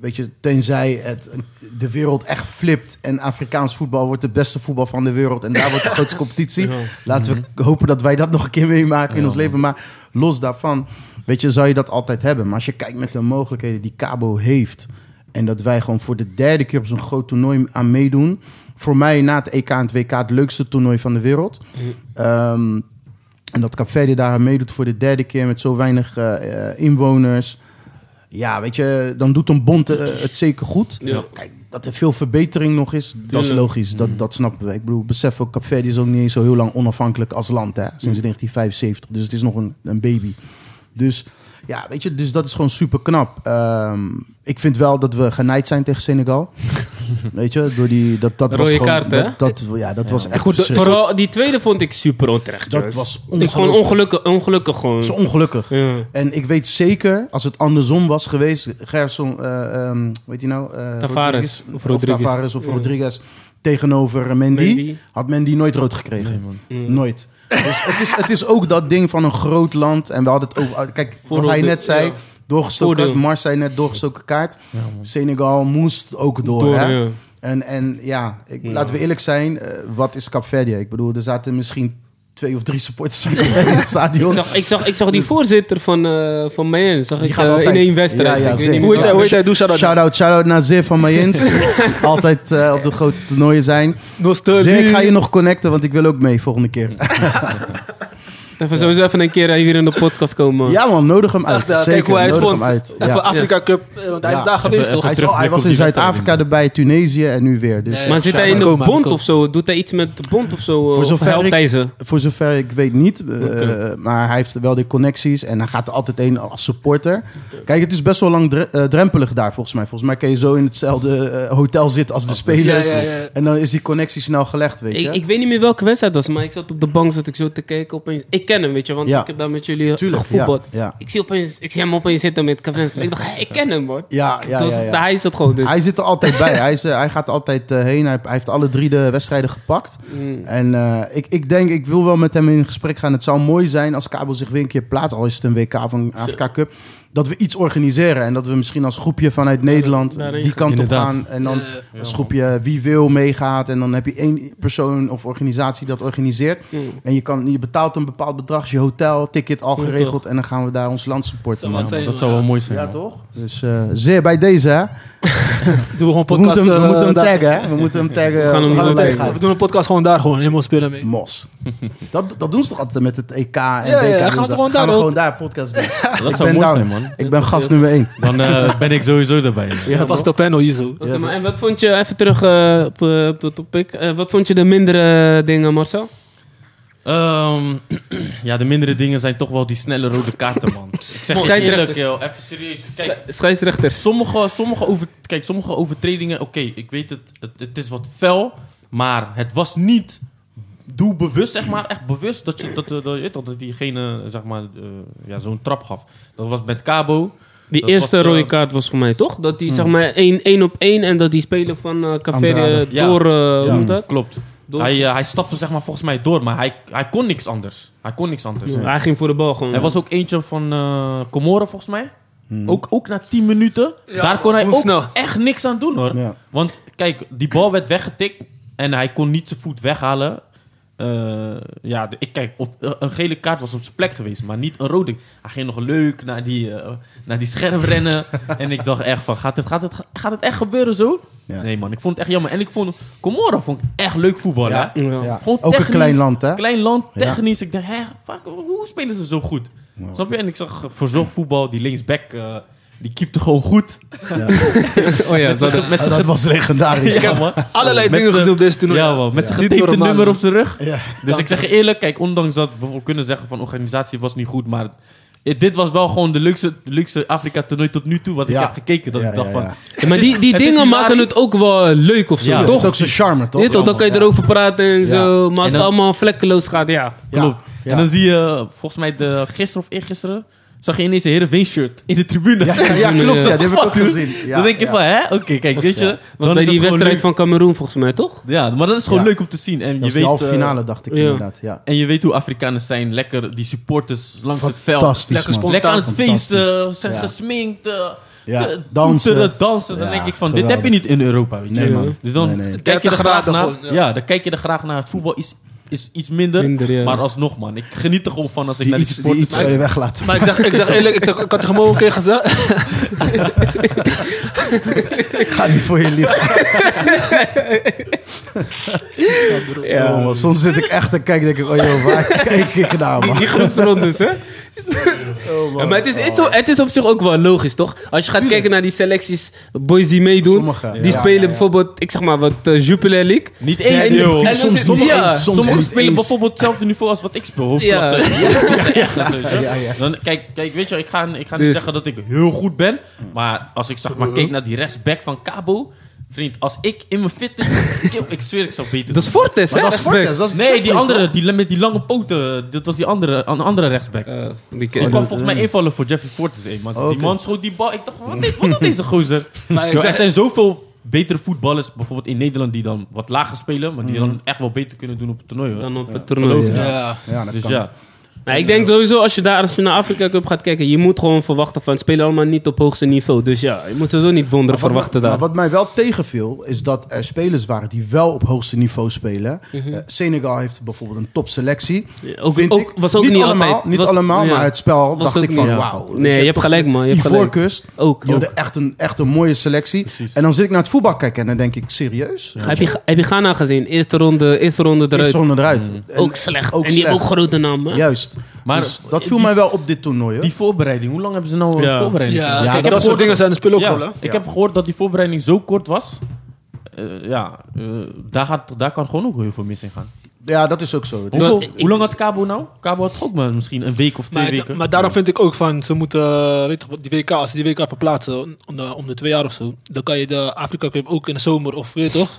[SPEAKER 3] Weet je, tenzij het, de wereld echt flipt en Afrikaans voetbal wordt het beste voetbal van de wereld en daar wordt de grootste competitie. Laten we hopen dat wij dat nog een keer meemaken in ons leven. Maar los daarvan, weet je, zou je dat altijd hebben. Maar als je kijkt met de mogelijkheden die Cabo heeft en dat wij gewoon voor de derde keer op zo'n groot toernooi aan meedoen. Voor mij na het EK en het WK het leukste toernooi van de wereld. Ehm, en dat Capverdi daar aan meedoet voor de derde keer met zo weinig eh, eh, inwoners. Ja, weet je, dan doet een bond eh, het zeker goed.
[SPEAKER 2] Ja.
[SPEAKER 3] Kijk, dat er veel verbetering nog is, dat is
[SPEAKER 2] Tuurlijk.
[SPEAKER 3] logisch. Dat, dat snappen we. Ik bedoel, besef ook, Capverdi is ook niet eens zo heel lang onafhankelijk als land. Hè? Sinds 1975, dus het is nog een, een baby. Dus ja, weet je, dus dat is gewoon super knap. Ehm, ik vind wel dat we genaaid zijn tegen Senegal. weet je, door die... Dat, dat was
[SPEAKER 2] Rode
[SPEAKER 3] gewoon,
[SPEAKER 2] kaart, hè?
[SPEAKER 3] Dat, dat, ja, dat was echt
[SPEAKER 1] Goed, dat-
[SPEAKER 3] verschrikkelijk.
[SPEAKER 2] Vooral die tweede vond ik super onterecht.
[SPEAKER 3] Dat
[SPEAKER 2] Joyce.
[SPEAKER 3] was
[SPEAKER 2] Het is gewoon ongelukkig, ongelukkig
[SPEAKER 3] Dat
[SPEAKER 2] gewoon.
[SPEAKER 3] is ongelukkig.
[SPEAKER 2] Ja.
[SPEAKER 3] En ik weet zeker, als het andersom was geweest, Gerson, eh weet je nou? eh,
[SPEAKER 2] Tavares
[SPEAKER 3] Rodriguez,
[SPEAKER 2] of Rodriguez.
[SPEAKER 3] Tavares of
[SPEAKER 2] Ja.
[SPEAKER 3] Rodriguez tegenover Mendy,
[SPEAKER 2] Mendy.
[SPEAKER 3] had Mendy nooit rood gekregen.
[SPEAKER 4] Nee, man.
[SPEAKER 3] Nooit. Dus het is, het is ook dat ding van een groot land. En we hadden het over. ah, Kijk, wat
[SPEAKER 2] Voordeel,
[SPEAKER 3] hij net zei.
[SPEAKER 2] ja.
[SPEAKER 3] Doorgestoken,
[SPEAKER 2] Voordeel.
[SPEAKER 3] Marseille net doorgestoken kaart. Senegal moest ook door.
[SPEAKER 2] Door,
[SPEAKER 3] hè?
[SPEAKER 2] ja.
[SPEAKER 3] En, en ja, ik, laten we eerlijk zijn. eh, wat is Capverdië? Ik bedoel, er zaten misschien twee of drie supporters van in het
[SPEAKER 2] Ik
[SPEAKER 3] stadion.
[SPEAKER 2] zag, ik, zag, ik zag die voorzitter van, eh van Mayen,
[SPEAKER 3] Dus-
[SPEAKER 2] zag
[SPEAKER 3] Die
[SPEAKER 2] ik
[SPEAKER 3] gaat
[SPEAKER 2] eh, in
[SPEAKER 3] altijd-
[SPEAKER 2] één wedstrijd.
[SPEAKER 3] Ja, ja,
[SPEAKER 2] Ik weet
[SPEAKER 3] zeker.
[SPEAKER 2] niet
[SPEAKER 1] Hoe heet
[SPEAKER 2] meer
[SPEAKER 1] hij? Hoe
[SPEAKER 2] waar.
[SPEAKER 1] heet hij? Doe shout-out.
[SPEAKER 3] Shout-out, shout-out naar Zeer van Mayens. Altijd eh, op de grote toernooien zijn.
[SPEAKER 1] Nostalgie.
[SPEAKER 3] Zeer, ik ga je nog connecten, want ik wil ook mee volgende keer.
[SPEAKER 2] Even sowieso even een keer eh, hier in de podcast komen.
[SPEAKER 3] Ja man, nodig hem uit.
[SPEAKER 1] Echt, eh,
[SPEAKER 3] Zeker,
[SPEAKER 1] kijk hoe hij het
[SPEAKER 3] nodig
[SPEAKER 1] vond.
[SPEAKER 3] hem uit.
[SPEAKER 1] Even
[SPEAKER 3] Ja.
[SPEAKER 1] Afrika Cup, eh, want hij
[SPEAKER 3] Ja.
[SPEAKER 1] is daar geweest,
[SPEAKER 4] Even-
[SPEAKER 1] toch?
[SPEAKER 3] Hij, is al- hij
[SPEAKER 4] terugblik
[SPEAKER 3] was
[SPEAKER 4] op
[SPEAKER 3] in
[SPEAKER 4] die wedstrijd.
[SPEAKER 3] Zuid-Afrika erbij, Tunesië en nu weer. Dus
[SPEAKER 1] Nee.
[SPEAKER 2] Maar zit hij in
[SPEAKER 1] maar
[SPEAKER 2] de
[SPEAKER 1] komen,
[SPEAKER 2] bond
[SPEAKER 1] komen.
[SPEAKER 2] of zo? Doet hij iets met de bond of zo? eh,
[SPEAKER 3] Voor
[SPEAKER 2] of
[SPEAKER 3] zover
[SPEAKER 2] helpt
[SPEAKER 3] ik-
[SPEAKER 2] hij ze?
[SPEAKER 3] voor zover ik weet niet. eh,
[SPEAKER 2] Oké.
[SPEAKER 3] Maar hij heeft wel de connecties en hij gaat er altijd een als supporter. Kijk, het is best wel lang dre- eh, drempelig daar volgens mij. Volgens mij kan je zo in hetzelfde eh, hotel zitten als de spelers.
[SPEAKER 1] Ja, ja, ja.
[SPEAKER 3] En dan is die connectie snel gelegd, weet je.
[SPEAKER 2] Ik, ik weet niet meer welke wedstrijd dat was, maar ik zat op de bank, zat ik zo te kijken. Opeens, ik ken hem, weet je, want
[SPEAKER 3] Ja.
[SPEAKER 2] ik heb daar met jullie eh,
[SPEAKER 3] Tuurlijk,
[SPEAKER 2] gevoetbald.
[SPEAKER 3] ja, ja.
[SPEAKER 2] Ik, zie opeens, ik zie hem opeens zitten met Kevin. Ik dacht, hé, ik ken hem, hoor.
[SPEAKER 3] ja, ja,
[SPEAKER 2] Dus
[SPEAKER 3] ja, ja.
[SPEAKER 2] Hij is dat gewoon, dus.
[SPEAKER 3] Hij zit er altijd bij. hij, is, eh, hij gaat er altijd eh, heen. Hij, hij heeft alle drie de wedstrijden gepakt.
[SPEAKER 2] Mm.
[SPEAKER 3] En eh, ik, ik denk, ik wil wel met hem in gesprek gaan. Het zou mooi zijn als Kabel zich weer een keer plaatst. Al is het een WK van Afrika Cup. Dat we iets organiseren. En dat we misschien als groepje vanuit Nederland
[SPEAKER 2] daarin
[SPEAKER 3] die
[SPEAKER 2] gaan.
[SPEAKER 3] kant op
[SPEAKER 4] Inderdaad.
[SPEAKER 3] gaan. En dan
[SPEAKER 1] Ja,
[SPEAKER 3] als groepje wie wil meegaat. En dan heb je één persoon of organisatie dat organiseert.
[SPEAKER 2] Mm.
[SPEAKER 3] En je, kan, je betaalt een bepaald bedrag. Is je hotel, ticket al
[SPEAKER 2] Ja,
[SPEAKER 3] geregeld. En dan gaan we daar ons land supporten.
[SPEAKER 1] Zo, wat
[SPEAKER 3] man.
[SPEAKER 1] zijn- eh,
[SPEAKER 4] Dat zou wel mooi zijn,
[SPEAKER 3] Ja,
[SPEAKER 4] man.
[SPEAKER 3] toch? Dus eh, zeer bij deze, hè?
[SPEAKER 1] Doen we gewoon
[SPEAKER 3] We
[SPEAKER 1] podcast.
[SPEAKER 3] moeten, hem, we
[SPEAKER 1] eh,
[SPEAKER 3] moeten hem
[SPEAKER 1] daar-
[SPEAKER 3] taggen, hè? We moeten hem taggen.
[SPEAKER 2] gaan
[SPEAKER 3] als
[SPEAKER 2] hem
[SPEAKER 3] hij
[SPEAKER 2] gewoon
[SPEAKER 3] online
[SPEAKER 2] taggen.
[SPEAKER 3] gaat.
[SPEAKER 1] We doen een podcast gewoon daar gewoon, helemaal spelen mee.
[SPEAKER 3] Mos. Dat, dat doen ze toch altijd met het EK en WK?
[SPEAKER 1] ja,
[SPEAKER 3] doen
[SPEAKER 1] gaan we
[SPEAKER 3] ze-
[SPEAKER 1] het gewoon
[SPEAKER 3] gaan
[SPEAKER 1] daar
[SPEAKER 3] we
[SPEAKER 1] ook-
[SPEAKER 3] gewoon daar podcast doen.
[SPEAKER 4] Dat
[SPEAKER 3] ben
[SPEAKER 4] zou mooi
[SPEAKER 3] down.
[SPEAKER 4] zijn, man.
[SPEAKER 3] Ik ben gast nummer 1.
[SPEAKER 4] Dan eh, ben ik sowieso erbij. man.
[SPEAKER 1] dat was de panel hier zo.
[SPEAKER 2] Oké, maar en wat vond je, even terug eh, op, eh, op de topic, Eh, wat vond je de mindere dingen, Marcel?
[SPEAKER 4] Ehm, ja, de mindere dingen zijn toch wel die snelle rode kaarten, man. Ik zeg je
[SPEAKER 2] Scheidsrechter.
[SPEAKER 4] eerlijk, joh. Even serieus. Kijk,
[SPEAKER 2] Scheidsrechters.
[SPEAKER 4] sommige, sommige, over, kijk, sommige overtredingen, oké, ik weet het, het, het is wat fel, maar het was niet doe bewust, zeg maar, echt bewust dat, je, dat, eh, dat, dat, je weet toch, dat diegene zeg maar, eh, ja, zo'n trap gaf. Dat was met Cabo.
[SPEAKER 2] Die
[SPEAKER 4] Dat
[SPEAKER 2] eerste
[SPEAKER 4] was, eh,
[SPEAKER 2] rode kaart was voor mij, toch? Dat
[SPEAKER 3] Hmm.
[SPEAKER 2] die, zeg maar, één, één op één en dat die speler van eh Café
[SPEAKER 3] Andrade.
[SPEAKER 4] Ja.
[SPEAKER 2] door... eh, hoe
[SPEAKER 4] Ja,
[SPEAKER 2] moet dat?
[SPEAKER 4] Klopt.
[SPEAKER 2] Door-
[SPEAKER 4] Hij, eh, hij stapte zeg maar, volgens mij door, maar hij, hij kon niks anders. Hij kon niks anders.
[SPEAKER 2] Hij ging voor de bal gewoon.
[SPEAKER 4] Er was ook eentje van eh Comoren, volgens mij.
[SPEAKER 3] Hmm.
[SPEAKER 4] Ook, ook na 10 minuten. daar kon hij
[SPEAKER 1] hoe
[SPEAKER 4] ook
[SPEAKER 1] snel.
[SPEAKER 4] echt niks aan doen hoor.
[SPEAKER 3] Ja.
[SPEAKER 4] Want kijk, die bal werd weggetikt en hij kon niet zijn voet weghalen. Eh, ja, de- ik kijk, op, eh, een gele kaart was op zijn plek geweest, maar niet een rode. Hij ging nog leuk naar die, eh, naar die scherm rennen. en ik dacht echt van, gaat het, gaat het, gaat het echt gebeuren zo?
[SPEAKER 3] Ja.
[SPEAKER 4] Nee man, ik vond het echt jammer. En ik vond, Comoren vond ik echt leuk voetballen.
[SPEAKER 3] Ja.
[SPEAKER 4] hè?
[SPEAKER 2] Ja.
[SPEAKER 3] Ja.
[SPEAKER 4] Gewoon
[SPEAKER 3] Ah, Ook een
[SPEAKER 4] technisch,
[SPEAKER 3] klein land, hè?
[SPEAKER 4] Klein land,
[SPEAKER 3] Ja.
[SPEAKER 4] technisch. Ik dacht, hè, fuck, hoe spelen ze zo goed?
[SPEAKER 3] Ja.
[SPEAKER 4] Snap je? En ik zag eh, verzorgd voetbal, die linksback, eh, die keepte gewoon goed.
[SPEAKER 2] Oh ja,
[SPEAKER 4] Met
[SPEAKER 2] dat,
[SPEAKER 4] zijn- met
[SPEAKER 3] Ah,
[SPEAKER 4] zijn
[SPEAKER 3] dat was legendarisch.
[SPEAKER 1] Ik heb allerlei
[SPEAKER 4] Met
[SPEAKER 1] dingen
[SPEAKER 4] z'n-
[SPEAKER 1] gezien op deze toernooi.
[SPEAKER 4] Ja, man. Met zijn
[SPEAKER 1] Niet
[SPEAKER 4] getapte
[SPEAKER 1] normaal,
[SPEAKER 4] nummer
[SPEAKER 1] man.
[SPEAKER 4] op zijn rug.
[SPEAKER 3] Ja.
[SPEAKER 4] Dus ik zeg je eerlijk, kijk, ondanks dat we bijvoorbeeld kunnen zeggen van organisatie was niet goed, maar eh, dit was wel gewoon de leukste, leukste Afrika toernooi tot nu toe wat
[SPEAKER 3] Ja.
[SPEAKER 4] ik heb gekeken. Dat
[SPEAKER 3] Ja,
[SPEAKER 4] ik dacht
[SPEAKER 3] ja,
[SPEAKER 4] van,
[SPEAKER 3] ja.
[SPEAKER 2] maar die, die
[SPEAKER 4] Het is
[SPEAKER 2] dingen maken
[SPEAKER 4] hilarisch.
[SPEAKER 2] het ook wel leuk of zo,
[SPEAKER 4] Ja.
[SPEAKER 3] Dat
[SPEAKER 2] toch?
[SPEAKER 3] is ook zijn charme, toch?
[SPEAKER 2] Weet je toch? Dan kan je
[SPEAKER 3] Ja.
[SPEAKER 2] erover praten en zo. Maar als
[SPEAKER 4] En
[SPEAKER 2] het
[SPEAKER 4] dan-
[SPEAKER 2] allemaal vlekkeloos gaat, ja.
[SPEAKER 3] Ja.
[SPEAKER 4] klopt.
[SPEAKER 3] Ja.
[SPEAKER 4] En dan zie je, volgens mij de, gisteren of eergisteren, zag je ineens een Heerenveen-shirt in de tribune.
[SPEAKER 3] Ja, ja, ja, klopt.
[SPEAKER 2] Ja,
[SPEAKER 3] Ja,
[SPEAKER 4] Dat
[SPEAKER 3] die
[SPEAKER 4] is
[SPEAKER 3] heb ik ook
[SPEAKER 4] wat, dude.
[SPEAKER 3] gezien. Ja,
[SPEAKER 4] dan denk je
[SPEAKER 3] ja.
[SPEAKER 4] van, hè? Oké, kijk, weet je.
[SPEAKER 3] ja.
[SPEAKER 4] dan
[SPEAKER 2] Was bij
[SPEAKER 4] is
[SPEAKER 2] die
[SPEAKER 4] het gewoon
[SPEAKER 2] wedstrijd van Cameroen volgens mij, toch?
[SPEAKER 4] leuk. Ja, maar dat is gewoon
[SPEAKER 3] Ja.
[SPEAKER 4] leuk om te zien. En
[SPEAKER 3] Dat
[SPEAKER 4] je
[SPEAKER 3] was de
[SPEAKER 4] weet...
[SPEAKER 3] halve
[SPEAKER 4] eh,
[SPEAKER 3] finale, dacht ik
[SPEAKER 2] ja.
[SPEAKER 3] inderdaad. Ja.
[SPEAKER 4] en je weet hoe Afrikanen zijn. Lekker die supporters langs het veld.
[SPEAKER 3] Fantastisch,
[SPEAKER 1] Lekker
[SPEAKER 3] man.
[SPEAKER 1] spontaan.
[SPEAKER 4] Lekker aan het
[SPEAKER 3] Fantastisch.
[SPEAKER 4] feesten, zijn
[SPEAKER 3] Ja.
[SPEAKER 4] gesminkt, eh,
[SPEAKER 3] Ja,
[SPEAKER 4] eh,
[SPEAKER 3] dansen.
[SPEAKER 4] toeteren, dansen. Dan
[SPEAKER 3] Ja,
[SPEAKER 4] denk ik van, dit
[SPEAKER 3] geweldig.
[SPEAKER 4] heb je niet in Europa, weet je.
[SPEAKER 3] Nee, man.
[SPEAKER 4] Dus dan
[SPEAKER 3] Nee, nee.
[SPEAKER 4] kijk je er
[SPEAKER 1] 30
[SPEAKER 4] graag
[SPEAKER 1] graden
[SPEAKER 4] naar.
[SPEAKER 1] gewoon, ja.
[SPEAKER 4] nou, ja. dan kijk je er graag naar. Het voetbal is, is iets minder,
[SPEAKER 2] Minder, ja.
[SPEAKER 4] maar alsnog, man. Ik geniet er gewoon van als ik
[SPEAKER 3] Die
[SPEAKER 4] naar
[SPEAKER 3] iets,
[SPEAKER 4] die
[SPEAKER 3] die
[SPEAKER 4] sport...
[SPEAKER 3] iets zou je weglaten.
[SPEAKER 1] Maar ik zeg, ik zeg eerlijk, ik, zeg, ik had tegen Mo een keer gezegd...
[SPEAKER 3] Ik ga niet voor je lief.
[SPEAKER 2] Ja.
[SPEAKER 3] Oh, man, soms zit ik echt en kijk denk ik, oh joh, waar kijk ik naar, man?
[SPEAKER 2] Die groepsrondes, hè?
[SPEAKER 3] Oh, man.
[SPEAKER 2] Ja, maar het is, het, is, zo- het is op zich ook wel logisch, toch? Als je gaat kijken naar die selecties, boys die meedoen.
[SPEAKER 3] Sommige,
[SPEAKER 2] die
[SPEAKER 3] ja.
[SPEAKER 2] spelen
[SPEAKER 3] Ja, ja, ja.
[SPEAKER 2] bijvoorbeeld, ik zeg maar wat, eh, Jupiler League.
[SPEAKER 4] Niet
[SPEAKER 3] Ja,
[SPEAKER 4] één
[SPEAKER 3] en-
[SPEAKER 4] deel.
[SPEAKER 3] en- soms
[SPEAKER 2] niet
[SPEAKER 4] ja,
[SPEAKER 2] eens,
[SPEAKER 3] soms
[SPEAKER 4] sommigen
[SPEAKER 3] niet
[SPEAKER 4] spelen
[SPEAKER 3] eens.
[SPEAKER 4] bijvoorbeeld hetzelfde niveau als wat ik speel. Hoofdklasse.
[SPEAKER 2] Ja.
[SPEAKER 4] Hoofdklasse, echt, weet je.
[SPEAKER 3] Ja, ja.
[SPEAKER 4] Dan, kijk, kijk, weet je, ik ga, ik ga
[SPEAKER 2] Dus-
[SPEAKER 4] niet zeggen dat ik heel goed ben. Maar als ik zeg maar keek naar die rechtsback van Cabo. Vriend, als ik in mijn fitness... ik, ik zweer, ik zou beter
[SPEAKER 2] Dat is Fortes, hè?
[SPEAKER 3] Maar dat is Fortes, dat is
[SPEAKER 4] Nee, die
[SPEAKER 3] Jeffrey,
[SPEAKER 4] andere, die met die lange poten. Dat was die andere, een andere rechtsback.
[SPEAKER 2] Eh, die
[SPEAKER 4] die
[SPEAKER 2] ken-
[SPEAKER 4] kwam volgens mij invallen voor Jeffrey Fortes. hé, Maar
[SPEAKER 3] Oké.
[SPEAKER 4] die man schoot die bal. Ik dacht, wat, dit- wat doet deze gozer?
[SPEAKER 1] Maar ik
[SPEAKER 4] Yo,
[SPEAKER 1] zeg-
[SPEAKER 4] er zijn zoveel betere voetballers, bijvoorbeeld in Nederland, die dan wat lager spelen. Maar die dan echt wel beter kunnen doen op het toernooi. Hoor.
[SPEAKER 2] dan op het toernooi. ja.
[SPEAKER 1] Ja.
[SPEAKER 3] Ja, dat
[SPEAKER 4] dus
[SPEAKER 3] kan.
[SPEAKER 4] ja.
[SPEAKER 2] Maar ik denk sowieso, als je daar als je naar Afrika Cup gaat kijken, je moet gewoon verwachten van, spelen allemaal niet op hoogste niveau. Dus ja, je moet sowieso niet wonderen
[SPEAKER 3] Maar wat
[SPEAKER 2] verwachten
[SPEAKER 3] mij-
[SPEAKER 2] daar.
[SPEAKER 3] maar wat mij wel tegenviel, is dat er spelers waren die wel op hoogste niveau spelen. Eh, Senegal heeft bijvoorbeeld een topselectie.
[SPEAKER 2] Ja, Eh, ook-
[SPEAKER 3] vind
[SPEAKER 2] ook-
[SPEAKER 3] ik.
[SPEAKER 2] was ook
[SPEAKER 3] niet
[SPEAKER 2] niet
[SPEAKER 3] allemaal,
[SPEAKER 2] altijd.
[SPEAKER 3] Niet
[SPEAKER 2] Was-
[SPEAKER 3] allemaal,
[SPEAKER 2] ja.
[SPEAKER 3] maar het spel
[SPEAKER 2] Was ook
[SPEAKER 3] dacht ik
[SPEAKER 2] niet,
[SPEAKER 3] van
[SPEAKER 2] ja.
[SPEAKER 3] wauw.
[SPEAKER 2] Nee, je hebt gelijk, man, je hebt gelijk.
[SPEAKER 3] Ivoorkust,
[SPEAKER 2] Ook,
[SPEAKER 3] die hadden
[SPEAKER 2] ook.
[SPEAKER 3] echt een, echt een mooie selectie.
[SPEAKER 4] Precies.
[SPEAKER 3] En dan zit ik naar het voetbal kijken en dan denk ik, serieus?
[SPEAKER 2] Heb je, heb je Ghana gezien? Eerste ronde, eerste ronde eruit.
[SPEAKER 3] Is zonder eruit. En-
[SPEAKER 2] Mm. ook slecht.
[SPEAKER 3] ook
[SPEAKER 2] en die hebben ook
[SPEAKER 3] slecht.
[SPEAKER 2] grote namen. Ja.
[SPEAKER 3] Juist.
[SPEAKER 4] Maar
[SPEAKER 3] Dus dat viel
[SPEAKER 4] die-
[SPEAKER 3] mij wel op dit toernooi. hoor.
[SPEAKER 4] Die voorbereiding, hoe lang hebben ze nou
[SPEAKER 2] Ja.
[SPEAKER 4] een voorbereiding?
[SPEAKER 1] Ja,
[SPEAKER 4] gedaan?
[SPEAKER 3] Ja, dat
[SPEAKER 1] kijk, dat
[SPEAKER 3] soort-
[SPEAKER 1] soort dingen zijn in het spel ook
[SPEAKER 4] Ja,
[SPEAKER 1] wel, hè?
[SPEAKER 4] ik heb gehoord dat die voorbereiding zo kort was. Eh, ja, eh, daar, gaat, daar kan gewoon ook heel veel mis in gaan.
[SPEAKER 3] Ja, dat is ook zo. Het is-
[SPEAKER 4] Hoeveel-
[SPEAKER 2] ik-
[SPEAKER 4] hoe lang had Cabo nou? Cabo had toch ook maar misschien een week of twee
[SPEAKER 1] Maar, da-
[SPEAKER 4] weken.
[SPEAKER 1] maar daarom vind ik ook van, ze moeten, eh, weet je, wat, die WK, als ze die WK verplaatsen om de, om de twee jaar of zo, dan kan je de Afrika Cup ook in de zomer of weet je toch?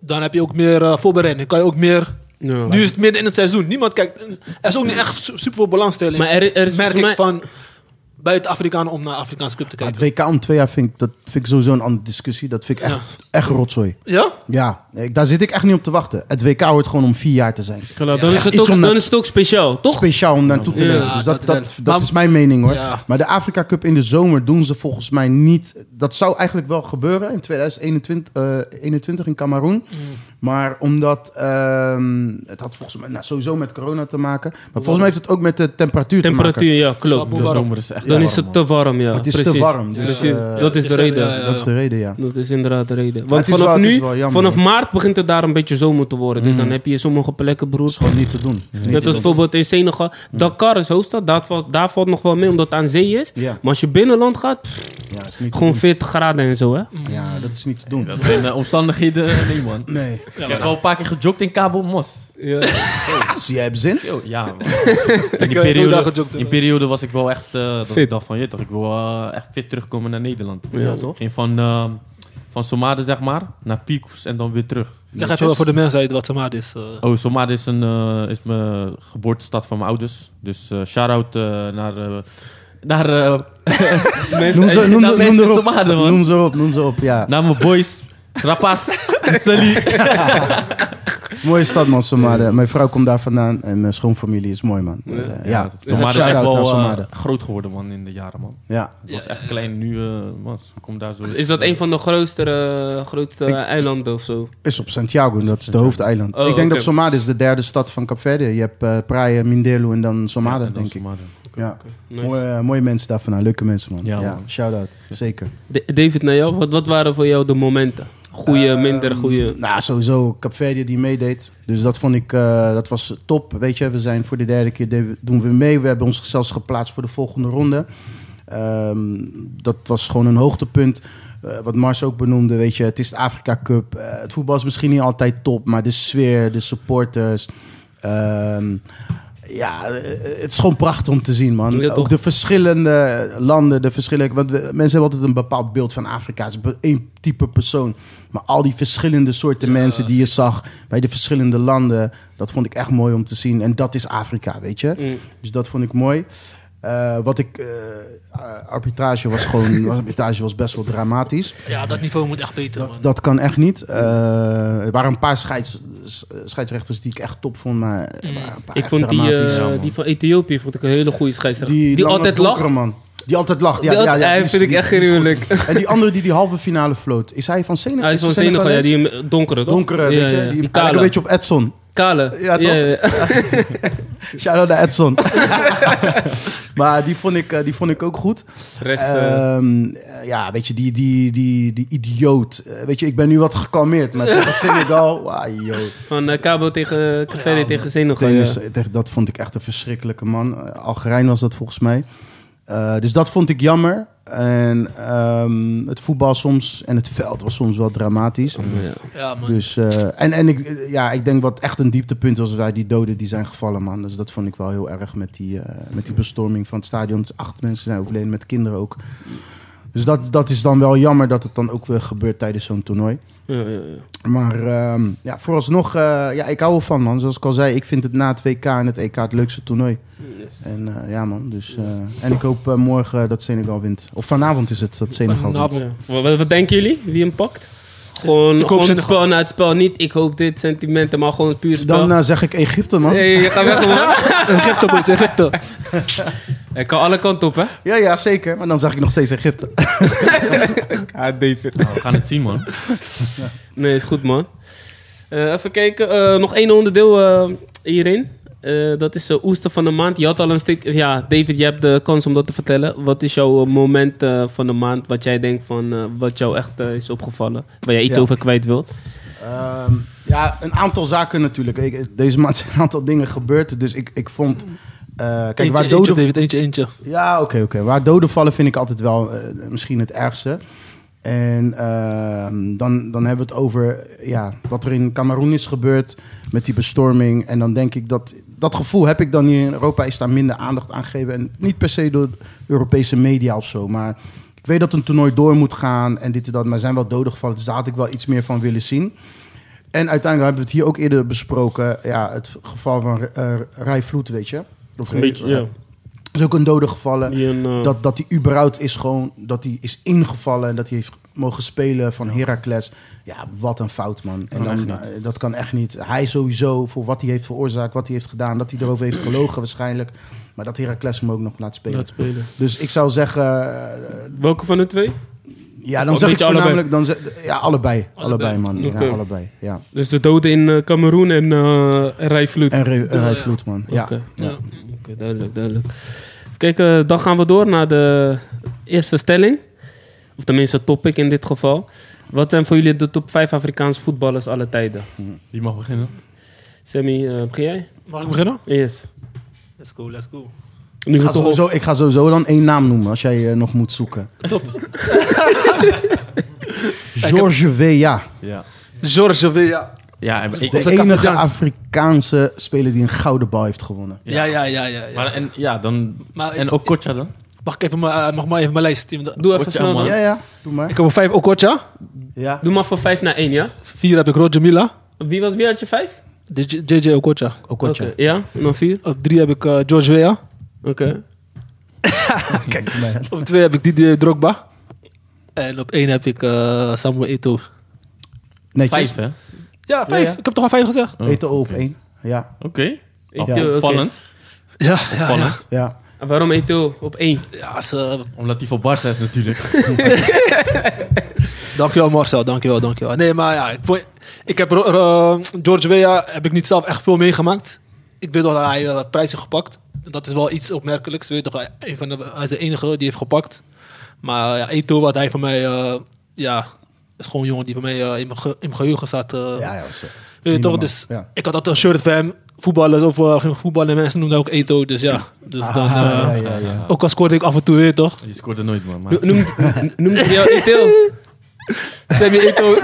[SPEAKER 1] Dan heb je ook meer eh, voorbereiding, kan je ook meer. Nu is het midden in het seizoen, niemand kijkt. Er is ook niet echt su- super veel belangstelling.
[SPEAKER 2] Maar er, er is
[SPEAKER 1] merk
[SPEAKER 2] volgens mij...
[SPEAKER 1] ik van buiten Afrikanen om naar Afrikaanse Cup te
[SPEAKER 3] Maar het
[SPEAKER 1] kijken.
[SPEAKER 3] WK om twee jaar vind ik, dat vind ik sowieso een andere discussie. Dat vind ik echt, echt rotzooi.
[SPEAKER 1] Ja?
[SPEAKER 3] Ja, nee, daar zit ik echt niet op te wachten. Het WK hoort gewoon om vier jaar te zijn.
[SPEAKER 2] Geluid, dan, is het
[SPEAKER 3] Iets
[SPEAKER 2] ook,
[SPEAKER 3] om
[SPEAKER 2] dan
[SPEAKER 3] dat-
[SPEAKER 2] is het ook speciaal, toch?
[SPEAKER 3] Speciaal om naartoe te
[SPEAKER 2] Ja,
[SPEAKER 3] leven. Dus dat, dat,
[SPEAKER 1] dat wel.
[SPEAKER 3] dat
[SPEAKER 1] Maar-
[SPEAKER 3] is mijn mening hoor.
[SPEAKER 1] Ja.
[SPEAKER 3] Maar de Afrika Cup in de zomer doen ze volgens mij niet. Dat zou eigenlijk wel gebeuren in 2021 eh, 21 in Cameroen. Maar omdat ehm, het had volgens mij nou, sowieso met corona te maken. Maar volgens mij heeft het ook met de temperatuur, te maken.
[SPEAKER 2] Temperatuur, ja, klopt.
[SPEAKER 1] Slaap
[SPEAKER 4] de
[SPEAKER 1] warm.
[SPEAKER 4] zomer is echt
[SPEAKER 2] Dan
[SPEAKER 4] warm,
[SPEAKER 2] is het
[SPEAKER 4] man.
[SPEAKER 2] te warm, ja.
[SPEAKER 3] Het is te
[SPEAKER 2] precies.
[SPEAKER 3] warm, dus,
[SPEAKER 2] Precies,
[SPEAKER 3] eh,
[SPEAKER 2] dat is de
[SPEAKER 1] is er-
[SPEAKER 2] reden.
[SPEAKER 1] ja, ja.
[SPEAKER 3] Dat is de reden, ja.
[SPEAKER 2] Dat is inderdaad de reden.
[SPEAKER 3] het
[SPEAKER 2] Want
[SPEAKER 3] is wel-
[SPEAKER 2] vanaf
[SPEAKER 3] het is
[SPEAKER 2] nu,
[SPEAKER 3] wel jammer,
[SPEAKER 2] vanaf
[SPEAKER 3] hoor. Mm.
[SPEAKER 2] maart begint het daar een beetje zomer te worden. Dus dan heb je sommige plekken,
[SPEAKER 3] Dat
[SPEAKER 2] broer.
[SPEAKER 3] is gewoon niet te doen. Niet
[SPEAKER 2] Net
[SPEAKER 3] te
[SPEAKER 2] als
[SPEAKER 3] doen. Mm.
[SPEAKER 2] bijvoorbeeld in Senegal. Dakar is hoofdstad, daar valt, daar valt nog wel mee omdat het aan zee is.
[SPEAKER 3] Ja.
[SPEAKER 2] Maar als je binnenland gaat, pff,
[SPEAKER 3] Ja, dat is niet te
[SPEAKER 2] gewoon
[SPEAKER 3] doen.
[SPEAKER 2] 40 graden en zo, hè?
[SPEAKER 3] Ja, dat is niet te doen.
[SPEAKER 4] Dat zijn eh, omstandigheden, nee man.
[SPEAKER 3] Nee.
[SPEAKER 4] ik heb al een paar keer gejogd in Cabo Mos.
[SPEAKER 3] Dus jij hebt zin?
[SPEAKER 4] Yo, ja, man.
[SPEAKER 1] heb
[SPEAKER 4] In die
[SPEAKER 1] nooit daar
[SPEAKER 4] periode,
[SPEAKER 1] gejogd,
[SPEAKER 4] in die
[SPEAKER 1] hoor.
[SPEAKER 4] periode was ik wel echt... eh, dat
[SPEAKER 2] Fit.
[SPEAKER 4] ik dacht van, je toch, ik wil eh, echt fit terugkomen naar Nederland.
[SPEAKER 3] Ja, toch?
[SPEAKER 4] Geen van... eh, Van Somade, zeg maar, naar Picos en dan weer terug.
[SPEAKER 1] Leg even wel voor de mensen uit wat Samad is. eh.
[SPEAKER 4] Oh, Somade is, een, eh, is mijn geboortestad van mijn ouders. Dus eh shout-out eh, naar... eh, naar eh,
[SPEAKER 3] Noem ze, noem,
[SPEAKER 4] naar
[SPEAKER 3] ze- noem,
[SPEAKER 4] mensen in
[SPEAKER 3] erop,
[SPEAKER 4] Somade, man.
[SPEAKER 3] noem ze op, noem ze op, ja.
[SPEAKER 4] Naar mijn boys, Rapas, Sally.
[SPEAKER 3] Het is een mooie stad, man, Somade. Mijn vrouw komt daar vandaan en mijn schoonfamilie is mooi, man. Eh, Ja,
[SPEAKER 4] Somade is echt
[SPEAKER 3] Shout-out
[SPEAKER 4] wel
[SPEAKER 3] aan
[SPEAKER 4] eh,
[SPEAKER 3] Somade.
[SPEAKER 4] groot geworden, man, in de jaren, man.
[SPEAKER 3] Ja.
[SPEAKER 4] Het was echt klein. Nu, eh, man, ze komt daar zo...
[SPEAKER 2] Is dat een van de grootste, eh, grootste eilanden of zo?
[SPEAKER 3] Is op Santiago, en dat is de hoofdeiland.
[SPEAKER 2] Oh,
[SPEAKER 3] ik denk
[SPEAKER 2] oké.
[SPEAKER 3] dat Somade is de derde stad van Cape Verde. Je hebt eh Praia, Mindelo en dan
[SPEAKER 4] Ja, en
[SPEAKER 3] Somade,
[SPEAKER 4] dan
[SPEAKER 3] denk ik.
[SPEAKER 4] Somade.
[SPEAKER 3] Ja.
[SPEAKER 2] Nice.
[SPEAKER 3] Mooie, eh, mooie mensen daar vandaan, leuke mensen, man.
[SPEAKER 4] Ja,
[SPEAKER 3] Ja,
[SPEAKER 4] man.
[SPEAKER 3] shout-out. Zeker.
[SPEAKER 2] Da- David, naar jou, wat, wat waren voor jou de momenten? Goeie,
[SPEAKER 3] Ehm,
[SPEAKER 2] minder goeie.
[SPEAKER 3] Nou, sowieso Cape Verde die meedeed. Dus dat vond ik, eh, dat was top. Weet je, we zijn voor de derde keer de- doen we mee. We hebben ons zelfs geplaatst voor de volgende ronde. Ehm, dat was gewoon een hoogtepunt. Eh, wat Mars ook benoemde, weet je, het is de Afrika Cup. Eh, het voetbal is misschien niet altijd top, maar de sfeer, de supporters. ehm, ja, eh, het is gewoon prachtig om te zien, man.
[SPEAKER 2] Ja, toch?
[SPEAKER 3] ook de verschillende landen, de verschillende... Want we- mensen hebben altijd een bepaald beeld van Afrika. Het is één type persoon. Maar al die verschillende soorten mensen die je zag bij de verschillende landen... dat vond ik echt mooi om te zien. En dat is Afrika, weet je?
[SPEAKER 2] Mm.
[SPEAKER 3] Dus dat vond ik mooi. Eh, wat ik... eh, arbitrage was gewoon... arbitrage was best wel dramatisch.
[SPEAKER 1] Ja, dat niveau moet echt beter, man.
[SPEAKER 3] Dat, dat kan echt niet. Eh, er waren een paar scheids, s- scheidsrechters die ik echt top vond, maar er waren een paar
[SPEAKER 2] Ik
[SPEAKER 3] echt
[SPEAKER 2] vond die,
[SPEAKER 3] dramatisch.
[SPEAKER 2] eh,
[SPEAKER 4] Ja, man.
[SPEAKER 2] die van Ethiopië vond ik een hele goede scheidsrechter. Die,
[SPEAKER 3] lange,
[SPEAKER 2] altijd lacht.
[SPEAKER 3] donkere man. Die altijd lacht. Ja,
[SPEAKER 2] Die
[SPEAKER 3] ja,
[SPEAKER 2] al-
[SPEAKER 3] ja,
[SPEAKER 2] hij
[SPEAKER 3] die is-
[SPEAKER 2] vind ik
[SPEAKER 3] die-
[SPEAKER 2] echt
[SPEAKER 3] die is goed.
[SPEAKER 2] gruwelijk.
[SPEAKER 3] En die andere die die halve finale floot, is hij van Senegal?
[SPEAKER 2] Hij is van
[SPEAKER 3] hij
[SPEAKER 2] Senegal, ja,
[SPEAKER 3] Senegalees?
[SPEAKER 2] die eh, donkere, toch?
[SPEAKER 3] donkere,
[SPEAKER 2] Ja,
[SPEAKER 3] weet je?
[SPEAKER 2] ja,
[SPEAKER 3] die, hij
[SPEAKER 2] die
[SPEAKER 3] lijkt
[SPEAKER 2] kale.
[SPEAKER 3] een beetje op Edson.
[SPEAKER 2] Kale.
[SPEAKER 3] Ja, toch? Shout-out naar Edson. maar die vond, ik, eh, die vond ik ook goed.
[SPEAKER 2] Rest,
[SPEAKER 3] Ehm, eh, ja, weet je, die, die, die, die idioot. Eh, weet je, ik ben nu wat gekalmeerd, maar tegen Senegal... wauw, joh.
[SPEAKER 2] van eh, Cabo tegen Caveri tegen Senegal. ja.
[SPEAKER 3] Tennis, echt, eh, dat vond ik echt een verschrikkelijke man. Eh, Algerijn was dat volgens mij. Eh, dus dat vond ik jammer. En ehm, het voetbal soms en het veld was soms wel dramatisch.
[SPEAKER 2] Ja.
[SPEAKER 1] Ja, man.
[SPEAKER 3] Dus, eh, en en ik, eh, ja, ik denk wat echt een dieptepunt was, waar die doden die zijn gevallen, man. Dus dat vond ik wel heel erg met die, eh, met die bestorming van het stadion. Dus Acht mensen zijn overleden, met kinderen ook. Dus dat, dat is dan wel jammer dat het dan ook weer gebeurt tijdens zo'n toernooi.
[SPEAKER 2] Ja, ja, ja.
[SPEAKER 3] Maar ehm, ja, vooralsnog, eh, ja, ik hou ervan, man. Zoals ik al zei, ik vind het na het WK en het EK het leukste toernooi.
[SPEAKER 2] Yes.
[SPEAKER 3] En eh, ja, man. Dus, eh, en ik hoop eh, morgen dat Senegal wint. Of vanavond is het dat Senegal wint.
[SPEAKER 1] Vanavond.
[SPEAKER 2] Ja. Wat, wat- wat denken jullie? Wie hem pakt? Gewoon,
[SPEAKER 3] hoop
[SPEAKER 2] gewoon het
[SPEAKER 3] Senegal.
[SPEAKER 2] spel na het spel. Niet ik hoop dit, sentimenten, maar gewoon het puur spel.
[SPEAKER 3] Dan eh, zeg ik Egypte, man.
[SPEAKER 2] hey, je gaat weg, man.
[SPEAKER 1] Egypte, boys, Egypte.
[SPEAKER 2] Hij kan alle kanten op, hè?
[SPEAKER 3] Ja, ja, zeker. Maar dan zeg ik nog steeds Egypte.
[SPEAKER 2] Ah, David.
[SPEAKER 4] Nou, we gaan het zien, man.
[SPEAKER 2] Nee, is goed, man. Eh, even kijken. eh, nog één onderdeel eh, hierin. Eh, dat is de oester van de maand. Je had al een stuk... Ja, David, je hebt de kans om dat te vertellen. Wat is jouw eh, moment eh, van de maand... wat jij denkt van... eh, wat jou echt eh, is opgevallen? Waar jij iets
[SPEAKER 3] Ja.
[SPEAKER 2] over kwijt wilt?
[SPEAKER 3] Ehm, ja, een aantal zaken natuurlijk. Ik- deze maand zijn een aantal dingen gebeurd. Dus ik, ik vond... eh, kijk,
[SPEAKER 1] Eentje,
[SPEAKER 3] waar
[SPEAKER 1] eentje,
[SPEAKER 3] doden
[SPEAKER 1] David, eentje, eentje.
[SPEAKER 3] Ja, oké, oké. Waar doden vallen vind ik altijd wel eh, misschien het ergste. En ehm, dan, dan hebben we het over ja, wat er in Cameroen is gebeurd met die bestorming. En dan denk ik dat dat gevoel heb ik dan hier in Europa is daar minder aandacht aan gegeven. En niet per se door Europese media of zo. Maar ik weet dat een toernooi door moet gaan en dit en dat. Maar er zijn wel doden gevallen, dus daar had ik wel iets meer van willen zien. En uiteindelijk hebben we het hier ook eerder besproken. Ja, het geval van eh Rai Vloed, weet je. Of
[SPEAKER 2] Een beetje, ja.
[SPEAKER 3] is ook een dode gevallen.
[SPEAKER 2] Die een, eh,
[SPEAKER 3] Dat, dat die überhaupt is gewoon, dat die is ingevallen en dat hij heeft mogen spelen van Heracles. Ja, wat een fout, man. En dan, eh, dat kan echt niet. Hij sowieso, voor wat hij heeft veroorzaakt, wat hij heeft gedaan, dat hij erover heeft gelogen waarschijnlijk. Maar dat Heracles hem ook nog laat spelen.
[SPEAKER 2] laat spelen.
[SPEAKER 3] Dus ik zou zeggen, eh,
[SPEAKER 2] Welke van de twee?
[SPEAKER 3] ja,
[SPEAKER 2] Of
[SPEAKER 3] dan
[SPEAKER 2] een
[SPEAKER 3] zeg ik
[SPEAKER 2] beetje allebei.
[SPEAKER 3] voornamelijk, dan zeg, ja, allebei. Allebei, man.
[SPEAKER 2] Oké.
[SPEAKER 3] Ja, allebei, ja.
[SPEAKER 2] Dus de doden in eh, Cameroen en eh en Rijvloed.
[SPEAKER 3] En Re- en Rai Vloed, man. Ja.
[SPEAKER 2] Oké.
[SPEAKER 3] Ja.
[SPEAKER 2] Oké, duidelijk, duidelijk. Even kijken, dan gaan we door naar de eerste stelling. Of tenminste, topic in dit geval. Wat zijn voor jullie de top 5 Afrikaanse voetballers alle tijden?
[SPEAKER 4] Wie mag beginnen?
[SPEAKER 2] Sammy, eh begin jij?
[SPEAKER 1] Mag ik beginnen?
[SPEAKER 2] Yes.
[SPEAKER 1] Let's go, let's go.
[SPEAKER 2] Nu
[SPEAKER 3] Ik, ga
[SPEAKER 2] we toch
[SPEAKER 3] sowieso, ik ga sowieso dan één naam noemen als jij eh, nog moet zoeken. George Weah.
[SPEAKER 4] Ja.
[SPEAKER 1] George Villa.
[SPEAKER 4] Ja, en ik,
[SPEAKER 3] De
[SPEAKER 1] Is dat
[SPEAKER 3] enige
[SPEAKER 1] Afrikaans?
[SPEAKER 3] Afrikaanse speler die een gouden bal heeft gewonnen.
[SPEAKER 1] Ja, ja, ja, ja. ja.
[SPEAKER 4] maar en, ja, dan,
[SPEAKER 1] Maar
[SPEAKER 4] en
[SPEAKER 1] het-
[SPEAKER 4] Okocha dan?
[SPEAKER 1] Mag ik even mijn, eh, mag maar even mijn lijst?
[SPEAKER 2] Doe even
[SPEAKER 4] Otje,
[SPEAKER 2] snel,
[SPEAKER 4] man.
[SPEAKER 2] man.
[SPEAKER 3] Ja, ja. Doe
[SPEAKER 1] Ik
[SPEAKER 3] maar.
[SPEAKER 1] heb er vijf Okocha.
[SPEAKER 3] Ja.
[SPEAKER 2] Doe maar van 5 naar 1, ja?
[SPEAKER 1] Vier heb ik Roger Mila.
[SPEAKER 2] Wie, was, wie had je 5?
[SPEAKER 1] DJ JJ Okocha.
[SPEAKER 3] Okocha.
[SPEAKER 2] Ja, en dan 4.
[SPEAKER 1] Op drie heb ik eh, George Weah.
[SPEAKER 2] Oké.
[SPEAKER 3] Kijk naar mij.
[SPEAKER 1] Op twee heb ik Didier Drogba. En op één heb ik eh, Samuel Eto'o.
[SPEAKER 3] Netjes.
[SPEAKER 4] Vijf, hè?
[SPEAKER 1] Ja, vijf.
[SPEAKER 3] ja.
[SPEAKER 1] Ik heb toch al vijf gezegd?
[SPEAKER 4] Oh,
[SPEAKER 3] Eten op
[SPEAKER 4] oké.
[SPEAKER 3] één. Ja.
[SPEAKER 4] Oh, Oké.
[SPEAKER 2] Ik,
[SPEAKER 3] Ja.
[SPEAKER 2] eh, oké.
[SPEAKER 4] Opvallend.
[SPEAKER 1] Ja, ja, ja.
[SPEAKER 4] Opvallend.
[SPEAKER 3] Ja.
[SPEAKER 2] En Waarom Eto op 1?
[SPEAKER 1] ja ze,
[SPEAKER 4] Omdat hij van Barca is natuurlijk.
[SPEAKER 1] dankjewel Marcel, dankjewel, dankjewel. Nee, maar ja, ik, vond- ik heb Ro- Ro- George Weah heb ik niet zelf echt veel meegemaakt. Ik weet wel dat hij eh, wat prijzen gepakt. Dat is wel iets opmerkelijks. Weet je toch, hij- een van de, hij is de enige die heeft gepakt. Maar eh, ja, Eto'o, wat hij voor mij, eh, ja, is gewoon een jongen die voor mij eh, in mijn ge- in mijn geheugen staat. eh,
[SPEAKER 3] Ja, ja. zo.
[SPEAKER 1] Weet
[SPEAKER 3] Prima
[SPEAKER 1] je toch?
[SPEAKER 3] man,
[SPEAKER 1] Dus
[SPEAKER 3] ja.
[SPEAKER 1] ik had altijd een shirt van hem. Voetballen, of eh, ging voetballen. Mensen noemden ook Eto. Dus ja. Dus dan,
[SPEAKER 3] Ah,
[SPEAKER 1] eh,
[SPEAKER 3] ja, ja, ja.
[SPEAKER 1] Ook al scoorde ik af en toe weer, toch?
[SPEAKER 4] Je scoorde nooit, man. Maar...
[SPEAKER 2] Noem, noem, noem jou Eto.
[SPEAKER 1] Sammy Eto.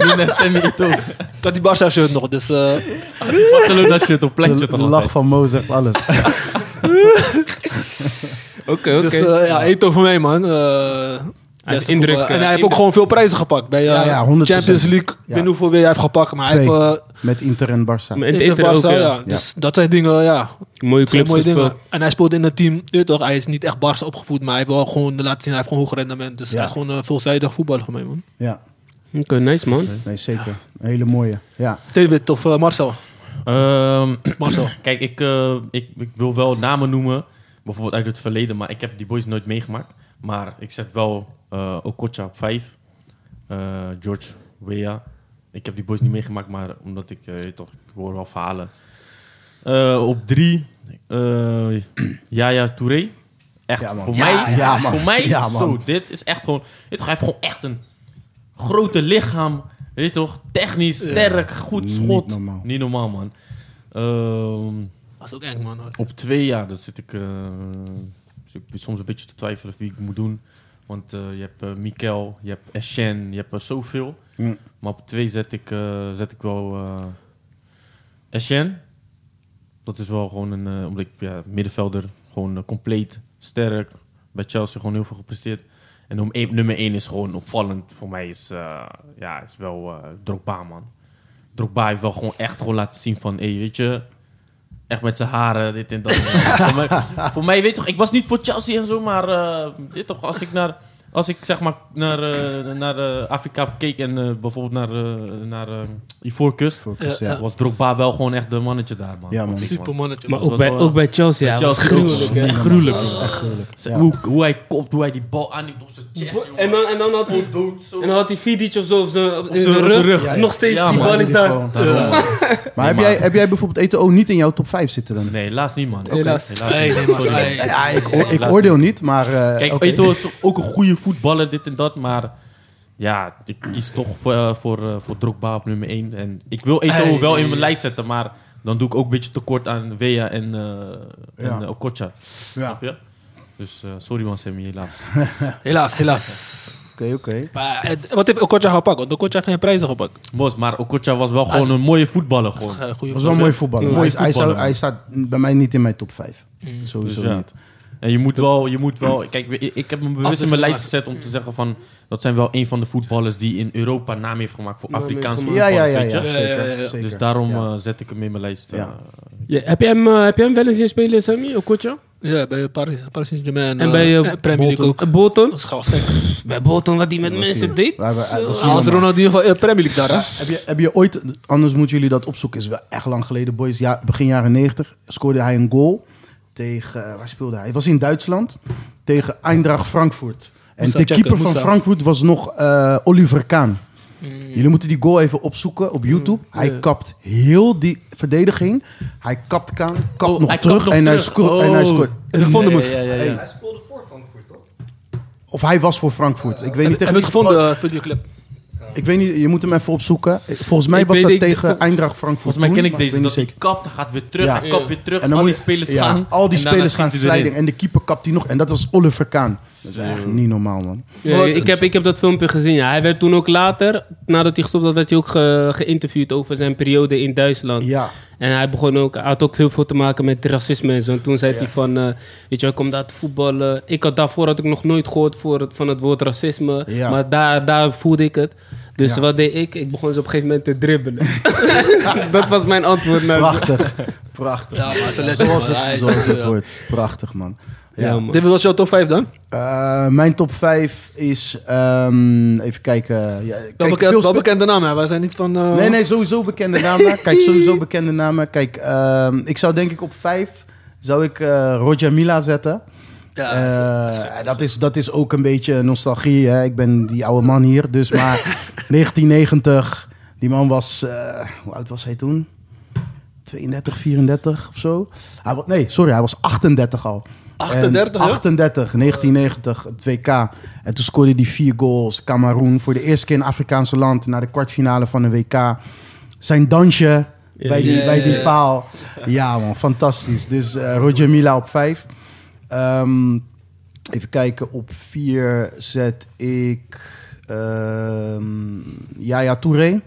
[SPEAKER 4] Doe net Sammy Eto'o.
[SPEAKER 1] ik had die Barca shirt nog. Dus eh,
[SPEAKER 4] Barcelona shit op
[SPEAKER 3] De,
[SPEAKER 4] plekje
[SPEAKER 3] de
[SPEAKER 4] toch
[SPEAKER 3] lach van Mo zegt alles.
[SPEAKER 2] Oké,
[SPEAKER 1] Dus
[SPEAKER 2] oké.
[SPEAKER 1] eh, ja, Eto voor mij, man. Eh,
[SPEAKER 2] Hij heeft
[SPEAKER 1] beste
[SPEAKER 2] indruk,
[SPEAKER 1] voetballer. en
[SPEAKER 2] eh,
[SPEAKER 1] hij heeft ook
[SPEAKER 2] indruk.
[SPEAKER 1] gewoon veel prijzen gepakt. Bij eh,
[SPEAKER 3] Ja, ja, 100%.
[SPEAKER 1] Champions League. Ik
[SPEAKER 3] Ja.
[SPEAKER 1] weet niet hoeveel weer hij heeft gepakt. Maar hij heeft...
[SPEAKER 3] Twee.
[SPEAKER 1] eh,
[SPEAKER 3] Met Inter en Barça.
[SPEAKER 2] En het
[SPEAKER 1] Inter,
[SPEAKER 2] Inter ook,
[SPEAKER 1] Barca,
[SPEAKER 2] ja.
[SPEAKER 1] ja. Dus dat zijn dingen, ja.
[SPEAKER 2] Mooie
[SPEAKER 1] Zijn
[SPEAKER 2] clubs
[SPEAKER 1] mooie dingen.
[SPEAKER 2] gespeeld.
[SPEAKER 1] En hij speelde in een team, je weet toch, hij is niet echt Barca opgevoed, maar hij heeft wel gewoon laten zien, hij heeft gewoon hoog rendement. Dus
[SPEAKER 3] Ja.
[SPEAKER 1] hij is gewoon een veelzijdig voetballer voor mij, man.
[SPEAKER 3] Ja,
[SPEAKER 2] Oké, nice man.
[SPEAKER 3] nee, zeker. Een hele mooie. Ja.
[SPEAKER 1] David of eh, Marcel?
[SPEAKER 4] Ehm,
[SPEAKER 1] Marcel.
[SPEAKER 4] kijk, ik, eh, ik, ik wil wel namen noemen. Bijvoorbeeld uit het verleden. Maar ik heb die boys nooit meegemaakt. Maar ik zet wel eh Okocha op vijf. Eh, George Weah. Ik heb die boys niet meegemaakt. Maar omdat ik... eh, toch, ik hoor wel verhalen. Eh, op drie. eh Yaya Touré. Echt,
[SPEAKER 3] Ja, man.
[SPEAKER 4] voor
[SPEAKER 3] Ja,
[SPEAKER 4] mij...
[SPEAKER 3] ja, man.
[SPEAKER 4] Voor mij,
[SPEAKER 3] Ja, man.
[SPEAKER 4] zo. Dit is echt gewoon... Dit hij heeft gewoon echt een grote lichaam. Weet je toch? Technisch, sterk, goed
[SPEAKER 3] Niet
[SPEAKER 4] schot.
[SPEAKER 3] normaal.
[SPEAKER 4] Niet normaal, man. Ehm,
[SPEAKER 1] Dat is ook eng, man. hoor.
[SPEAKER 4] op twee jaar, dat zit ik, eh, zit ik soms een beetje te twijfelen wie ik moet doen. Want eh, je hebt eh, Mikel, je hebt Eschen, je hebt er zoveel.
[SPEAKER 3] Mm.
[SPEAKER 4] Maar op twee zet ik, eh, zet ik wel eh Eschen. Dat is wel gewoon een, eh, omdat ik ja, middenvelder, gewoon eh, compleet, sterk. Bij Chelsea gewoon heel veel gepresteerd. En om één- nummer één is gewoon opvallend voor mij is, eh, ja, is wel eh Drogba, man. Drogba heeft wel gewoon echt gewoon laten zien van, hey, weet je, echt met zijn haren, dit en dat. voor, mij, voor mij, weet je toch, ik was niet voor Chelsea en zo, maar eh, dit toch, als ik naar, als ik zeg maar naar, eh, naar eh, Afrika keek en eh, bijvoorbeeld naar, eh, naar eh, Ivoorkust,
[SPEAKER 3] Voor Chris, ja.
[SPEAKER 1] Ja,
[SPEAKER 4] was Drogba wel gewoon echt de mannetje daar, man.
[SPEAKER 3] Ja, man.
[SPEAKER 4] Vond ik,
[SPEAKER 1] Super mannetje.
[SPEAKER 2] Maar
[SPEAKER 1] man.
[SPEAKER 2] ook bij, ook bij Chelsea, ja. was
[SPEAKER 4] Chelsea ook,
[SPEAKER 2] gruwelijk,
[SPEAKER 4] man.
[SPEAKER 2] hè.
[SPEAKER 4] Echt gruwelijk,
[SPEAKER 3] Dat is
[SPEAKER 4] man.
[SPEAKER 3] echt gruwelijk.
[SPEAKER 4] Ze-
[SPEAKER 3] Ja.
[SPEAKER 4] Hoe, hoe hij kopt, hoe hij die bal aanneemt op zijn chest, jongen.
[SPEAKER 2] En dan, en dan had hij...
[SPEAKER 4] dood zo.
[SPEAKER 2] En dan had hij Fidic of zo op zijn, op
[SPEAKER 4] zijn-
[SPEAKER 2] zijn
[SPEAKER 4] op zijn
[SPEAKER 2] rug.
[SPEAKER 4] rug.
[SPEAKER 3] Ja, ja.
[SPEAKER 2] Nog steeds,
[SPEAKER 4] Ja,
[SPEAKER 2] die
[SPEAKER 4] man.
[SPEAKER 2] bal is daar.
[SPEAKER 3] Gewoon- Maar, heb,
[SPEAKER 4] maar-
[SPEAKER 3] Jij, heb jij bijvoorbeeld Eto'o niet in jouw top 5 zitten dan?
[SPEAKER 4] Nee, helaas niet, man.
[SPEAKER 2] Helaas.
[SPEAKER 1] Nee, nee,
[SPEAKER 4] niet.
[SPEAKER 1] man.
[SPEAKER 4] Sorry, man.
[SPEAKER 1] Nee.
[SPEAKER 3] Ja, ik, oor- ik
[SPEAKER 4] Laat
[SPEAKER 3] oordeel niet, maar... eh,
[SPEAKER 4] Kijk,
[SPEAKER 3] oké.
[SPEAKER 4] Eto'o is ook een goede voetballer, dit en dat, maar ja, ik kies toch voor, eh, voor, eh, voor Drogba op nummer 1. En ik wil Eto'o
[SPEAKER 1] Hey,
[SPEAKER 4] wel in
[SPEAKER 1] hey.
[SPEAKER 4] mijn lijst zetten, maar dan doe ik ook een beetje tekort aan Wea en, eh,
[SPEAKER 3] Ja.
[SPEAKER 4] en eh, Okocha.
[SPEAKER 3] Ja.
[SPEAKER 4] Snap je? Dus eh, sorry man, Sammy, helaas.
[SPEAKER 1] Helaas, helaas.
[SPEAKER 3] Oké, oké.
[SPEAKER 1] Maar, eh, wat heeft Okocha gepakt? Want Okocha heeft geen prijzen gepakt.
[SPEAKER 4] Mos, maar Okocha was wel
[SPEAKER 1] is-
[SPEAKER 4] gewoon een mooie voetballer.
[SPEAKER 1] Dat is
[SPEAKER 4] Gewoon.
[SPEAKER 1] een goede
[SPEAKER 3] Dat was wel mooi voetballer.
[SPEAKER 4] Ja,
[SPEAKER 3] Mooi,
[SPEAKER 4] hij
[SPEAKER 3] hij, zou,
[SPEAKER 4] voetballer.
[SPEAKER 3] hij staat bij mij niet in mijn top 5.
[SPEAKER 4] Dus
[SPEAKER 3] Sowieso
[SPEAKER 4] ja.
[SPEAKER 3] niet.
[SPEAKER 4] En je moet wel, je moet wel kijk, ik- ik heb me bewust in mijn lijst gezet om te zeggen van, dat zijn wel een van de voetballers die in Europa naam heeft gemaakt voor
[SPEAKER 2] Naam heeft
[SPEAKER 4] Afrikaanse
[SPEAKER 2] gemaakt.
[SPEAKER 3] Ja,
[SPEAKER 4] voetballers,
[SPEAKER 3] ja, ja,
[SPEAKER 4] weet je?
[SPEAKER 3] ja,
[SPEAKER 1] Ja, ja, ja,
[SPEAKER 3] zeker.
[SPEAKER 1] ja.
[SPEAKER 3] zeker.
[SPEAKER 4] Dus daarom
[SPEAKER 3] Ja.
[SPEAKER 4] eh, zet ik hem in mijn lijst. eh,
[SPEAKER 3] Ja.
[SPEAKER 2] Ja, heb, je hem, eh, heb je hem wel eens zien spelen, Sammy? Okocha?
[SPEAKER 1] Ja, bij Paris, Paris Saint-Germain.
[SPEAKER 2] En
[SPEAKER 1] eh,
[SPEAKER 2] bij, eh,
[SPEAKER 1] Premier League ook.
[SPEAKER 2] Eh, Bolton?
[SPEAKER 1] Dat is gewoon gek.
[SPEAKER 2] Bij Bolton, wat hij met mensen deed.
[SPEAKER 3] Waar we- dat is niet
[SPEAKER 1] Als
[SPEAKER 3] normaal.
[SPEAKER 1] Ronaldinho van eh, Premier League daar, hè?
[SPEAKER 3] Heb je, heb je ooit, anders moeten jullie dat opzoeken, is wel echt lang geleden, boys. Ja, begin jaren 90 scoorde hij een goal tegen, eh, waar speelde hij? Het was in Duitsland, tegen Eindracht Frankfurt. En
[SPEAKER 1] Moest
[SPEAKER 3] de
[SPEAKER 1] dat checken,
[SPEAKER 3] keeper van
[SPEAKER 1] moest dat.
[SPEAKER 3] Frankfurt was nog eh, Oliver Kaan. Jullie moeten die goal even opzoeken op YouTube. Hij kapt heel die verdediging. Hij kapt Kaan, kapt
[SPEAKER 4] Oh,
[SPEAKER 3] nog
[SPEAKER 4] hij kapt
[SPEAKER 3] terug
[SPEAKER 4] nog
[SPEAKER 3] en, Hij
[SPEAKER 4] terug.
[SPEAKER 3] scoort, en hij
[SPEAKER 4] Oh,
[SPEAKER 3] scoort.
[SPEAKER 1] Terug van de moes.
[SPEAKER 4] Ja, ja, ja, ja.
[SPEAKER 5] Hij speelde voor Frankfurt, toch?
[SPEAKER 3] Of hij was voor Frankfurt. Ik weet niet
[SPEAKER 1] Heb
[SPEAKER 3] tegen
[SPEAKER 1] je het
[SPEAKER 3] wie- Oh,
[SPEAKER 1] gevonden, eh, videoclip?
[SPEAKER 3] Ik weet niet, je moet hem even opzoeken. Volgens mij
[SPEAKER 2] Ik
[SPEAKER 3] was
[SPEAKER 2] weet
[SPEAKER 3] dat
[SPEAKER 2] niet,
[SPEAKER 3] tegen
[SPEAKER 2] vol-
[SPEAKER 3] Eindracht Frankfurt.
[SPEAKER 4] Volgens mij
[SPEAKER 3] toen,
[SPEAKER 4] ken ik
[SPEAKER 3] maar
[SPEAKER 4] deze.
[SPEAKER 3] weet
[SPEAKER 4] dat
[SPEAKER 3] niet
[SPEAKER 4] hij
[SPEAKER 3] zeker.
[SPEAKER 4] kapt, hij gaat weer terug,
[SPEAKER 3] Ja.
[SPEAKER 4] hij kapt weer terug. al
[SPEAKER 3] moet
[SPEAKER 4] die
[SPEAKER 3] je-
[SPEAKER 4] spelers
[SPEAKER 3] ja,
[SPEAKER 4] gaan.
[SPEAKER 3] Al die
[SPEAKER 4] en daarna
[SPEAKER 3] spelers gaan
[SPEAKER 4] schiet hij erin.
[SPEAKER 3] slijden. En de keeper kapt hij nog. En dat was Oliver Kaan. Dat is echt niet normaal, man.
[SPEAKER 2] Ja,
[SPEAKER 1] Wat-
[SPEAKER 2] ik, heb, ik heb dat filmpje gezien. Ja. Hij werd toen ook later, nadat hij gestopt had, werd hij ook ge- geïnterviewd over zijn periode in Duitsland.
[SPEAKER 3] Ja.
[SPEAKER 2] En hij begon ook, hij had ook heel veel te maken met racisme en zo. En toen zei hij van, eh, weet je, ik kom daar te voetballen. Ik had daarvoor had ik nog nooit gehoord voor het, van het woord racisme.
[SPEAKER 3] Ja.
[SPEAKER 2] Maar daar, daar voelde ik het. Dus
[SPEAKER 3] Ja.
[SPEAKER 2] wat deed ik? Ik begon ze op een gegeven moment te dribbelen. dat was mijn antwoord. Naar
[SPEAKER 3] Prachtig. Prachtig.
[SPEAKER 6] Ja, maar ze letten
[SPEAKER 3] Zoals
[SPEAKER 6] op, hij
[SPEAKER 3] het,
[SPEAKER 6] is-
[SPEAKER 3] zoals het
[SPEAKER 6] ja.
[SPEAKER 3] wordt. Prachtig, man.
[SPEAKER 2] Ja,
[SPEAKER 3] Ja.
[SPEAKER 2] man.
[SPEAKER 1] Dit was jouw top 5 dan?
[SPEAKER 3] Eh, mijn top 5 is... ehm, even kijken. Ja, kijk,
[SPEAKER 1] Wel,
[SPEAKER 3] veel
[SPEAKER 1] bekend, wel
[SPEAKER 3] spe-
[SPEAKER 1] bekende naam, hè? Wij zijn niet van... eh,
[SPEAKER 3] Nee, nee, sowieso bekende namen. Kijk, sowieso bekende namen. Kijk, ehm, ik zou denk ik op 5 zou ik eh, Roger Mila zetten.
[SPEAKER 6] Ja, dat is- dat is
[SPEAKER 3] Eh,
[SPEAKER 6] gek.
[SPEAKER 3] dat, is, dat is ook een beetje nostalgie. Hè? Ik ben die oude man hier. Dus maar 1990, die man was. eh, hoe oud was hij toen? 32, 34 of zo? Hij, wa- nee, sorry, hij was 38 al.
[SPEAKER 1] 38,
[SPEAKER 3] En
[SPEAKER 1] hè?
[SPEAKER 3] 38, 1990, het WK. En toen scoorde hij vier goals. Cameroen voor de eerste keer in Afrikaanse land naar de kwartfinale van een WK. Zijn dansje bij die,
[SPEAKER 6] Ja,
[SPEAKER 3] bij
[SPEAKER 6] ja,
[SPEAKER 3] die
[SPEAKER 6] ja.
[SPEAKER 3] paal. Ja, man, fantastisch. Dus eh, Roger Mila op vijf. Ehm, even kijken, op vier zet ik ehm Yaya Touré.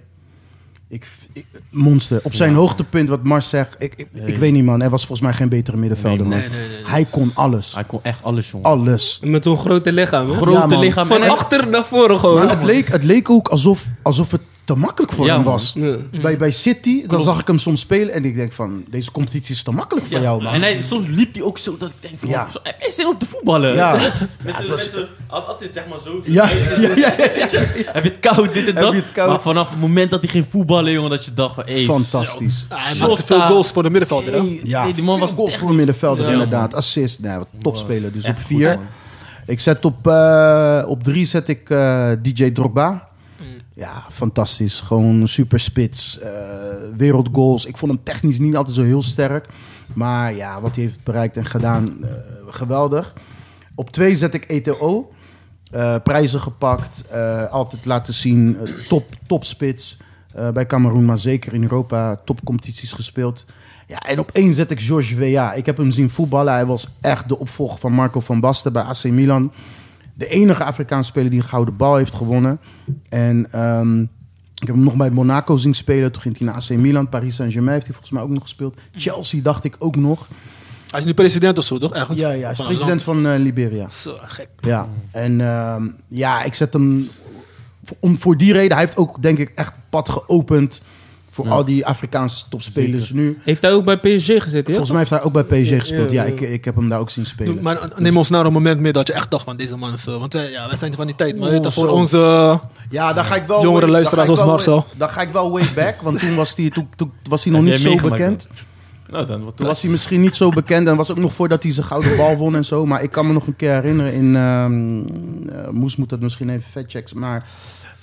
[SPEAKER 3] Ik, ik- monster. Op zijn
[SPEAKER 4] Ja.
[SPEAKER 3] hoogtepunt, wat Mars zegt. Ik, ik,
[SPEAKER 4] Nee.
[SPEAKER 3] ik weet niet, man. Er was volgens mij geen betere middenvelder,
[SPEAKER 4] Nee,
[SPEAKER 3] man.
[SPEAKER 6] Nee, nee, nee.
[SPEAKER 3] Hij kon alles.
[SPEAKER 4] Hij kon echt alles, jongen.
[SPEAKER 3] Alles.
[SPEAKER 2] Met zo'n grote lichaam, hè?
[SPEAKER 3] Grote Ja, man. lichaam.
[SPEAKER 2] Van
[SPEAKER 4] En-
[SPEAKER 2] achter naar voren gewoon.
[SPEAKER 3] Maar het leek, het leek ook alsof, alsof het te makkelijk voor
[SPEAKER 4] Ja,
[SPEAKER 3] hem
[SPEAKER 4] man.
[SPEAKER 3] was.
[SPEAKER 2] Ja.
[SPEAKER 3] Bij, bij City, dan zag ik hem soms spelen en ik denk van... Deze competitie is te makkelijk voor
[SPEAKER 4] Ja,
[SPEAKER 3] jou, man.
[SPEAKER 4] En hij, soms liep hij ook zo dat ik denk van,
[SPEAKER 3] Ja.
[SPEAKER 4] zo- hij is heel op de voetballen.
[SPEAKER 3] Ja.
[SPEAKER 4] met
[SPEAKER 3] Ja, het
[SPEAKER 4] de-
[SPEAKER 3] was-
[SPEAKER 4] met de- hij had altijd zeg maar zo. zo-
[SPEAKER 3] Ja,
[SPEAKER 4] hij-
[SPEAKER 3] ja, ja,
[SPEAKER 4] Heb je het koud, dit en
[SPEAKER 3] Heb
[SPEAKER 4] dat.
[SPEAKER 3] je het koud?
[SPEAKER 4] Maar vanaf het moment dat hij ging voetballen, jongen, dat je dacht van, hey,
[SPEAKER 3] fantastisch.
[SPEAKER 1] Ah, Hij
[SPEAKER 4] Shota.
[SPEAKER 1] maakte veel goals voor de middenvelder, hè?
[SPEAKER 4] Hey,
[SPEAKER 3] Ja,
[SPEAKER 4] nee, die man
[SPEAKER 3] veel
[SPEAKER 4] was
[SPEAKER 3] goals
[SPEAKER 4] echt-
[SPEAKER 3] voor een middenvelder
[SPEAKER 4] Ja,
[SPEAKER 3] inderdaad. Assist, nee, wat topspeler. Dus op
[SPEAKER 4] echt goed,
[SPEAKER 3] vier.
[SPEAKER 4] man.
[SPEAKER 3] ik zet op, eh, op drie zet ik eh, DJ Drogba. Ja, fantastisch. Gewoon super spits. eh, wereldgoals. Ik vond hem technisch niet altijd zo heel sterk. Maar ja, wat hij heeft bereikt en gedaan, eh, geweldig. Op twee zet ik ETO. Eh, prijzen gepakt. eh, altijd laten zien. eh, top, topspits. eh, bij Cameroen, maar zeker in Europa. Topcompetities gespeeld. Ja, en op één zet ik George Weah. Ik heb hem zien voetballen. Hij was echt de opvolger van Marco van Basten bij AC Milan. De enige Afrikaanse speler die een gouden bal heeft gewonnen. En ehm, ik heb hem nog bij Monaco zien spelen. Toen ging hij naar AC Milan. Paris Saint-Germain heeft hij volgens mij ook nog gespeeld. Chelsea dacht ik ook nog.
[SPEAKER 1] Hij is nu president of zo, toch? Ergens?
[SPEAKER 3] Ja, ja, hij is
[SPEAKER 1] Van een
[SPEAKER 3] president van eh, Liberia.
[SPEAKER 1] land. Zo, gek.
[SPEAKER 3] Ja, en ehm, ja, ik zet hem voor- om, voor die reden. Hij heeft ook, denk ik, echt het pad geopend voor al die Afrikaanse topspelers nu.
[SPEAKER 2] Heeft hij ook bij PSG gezeten, ja?
[SPEAKER 3] Volgens mij heeft hij ook bij PSG gespeeld. Ja,
[SPEAKER 2] ja.
[SPEAKER 3] ik, ik heb hem daar ook zien spelen.
[SPEAKER 1] Maar eh, neem ons naar een moment mee dat je echt dacht van deze man is... eh, want wij, ja, wij zijn van die tijd. Maar
[SPEAKER 3] Oeh,
[SPEAKER 1] weet je, voor
[SPEAKER 3] zo.
[SPEAKER 1] onze... eh,
[SPEAKER 3] ja, daar ga ik wel.
[SPEAKER 1] Jongere
[SPEAKER 3] daar
[SPEAKER 1] luisteraars
[SPEAKER 3] ga ik
[SPEAKER 1] als
[SPEAKER 3] wel
[SPEAKER 1] Marcel.
[SPEAKER 3] way- Daar ga ik wel way back, want toen was hij, toen, toen was hij nog
[SPEAKER 4] Heb
[SPEAKER 3] niet
[SPEAKER 4] jij
[SPEAKER 3] zo
[SPEAKER 4] meegemaakt
[SPEAKER 3] bekend.
[SPEAKER 4] Nou dan, wat
[SPEAKER 3] Toen was hij misschien niet zo bekend en was ook nog voordat hij zijn gouden bal won en zo. Maar ik kan me nog een keer herinneren in... ehm, eh, Moes moet dat misschien even vetchecken, maar...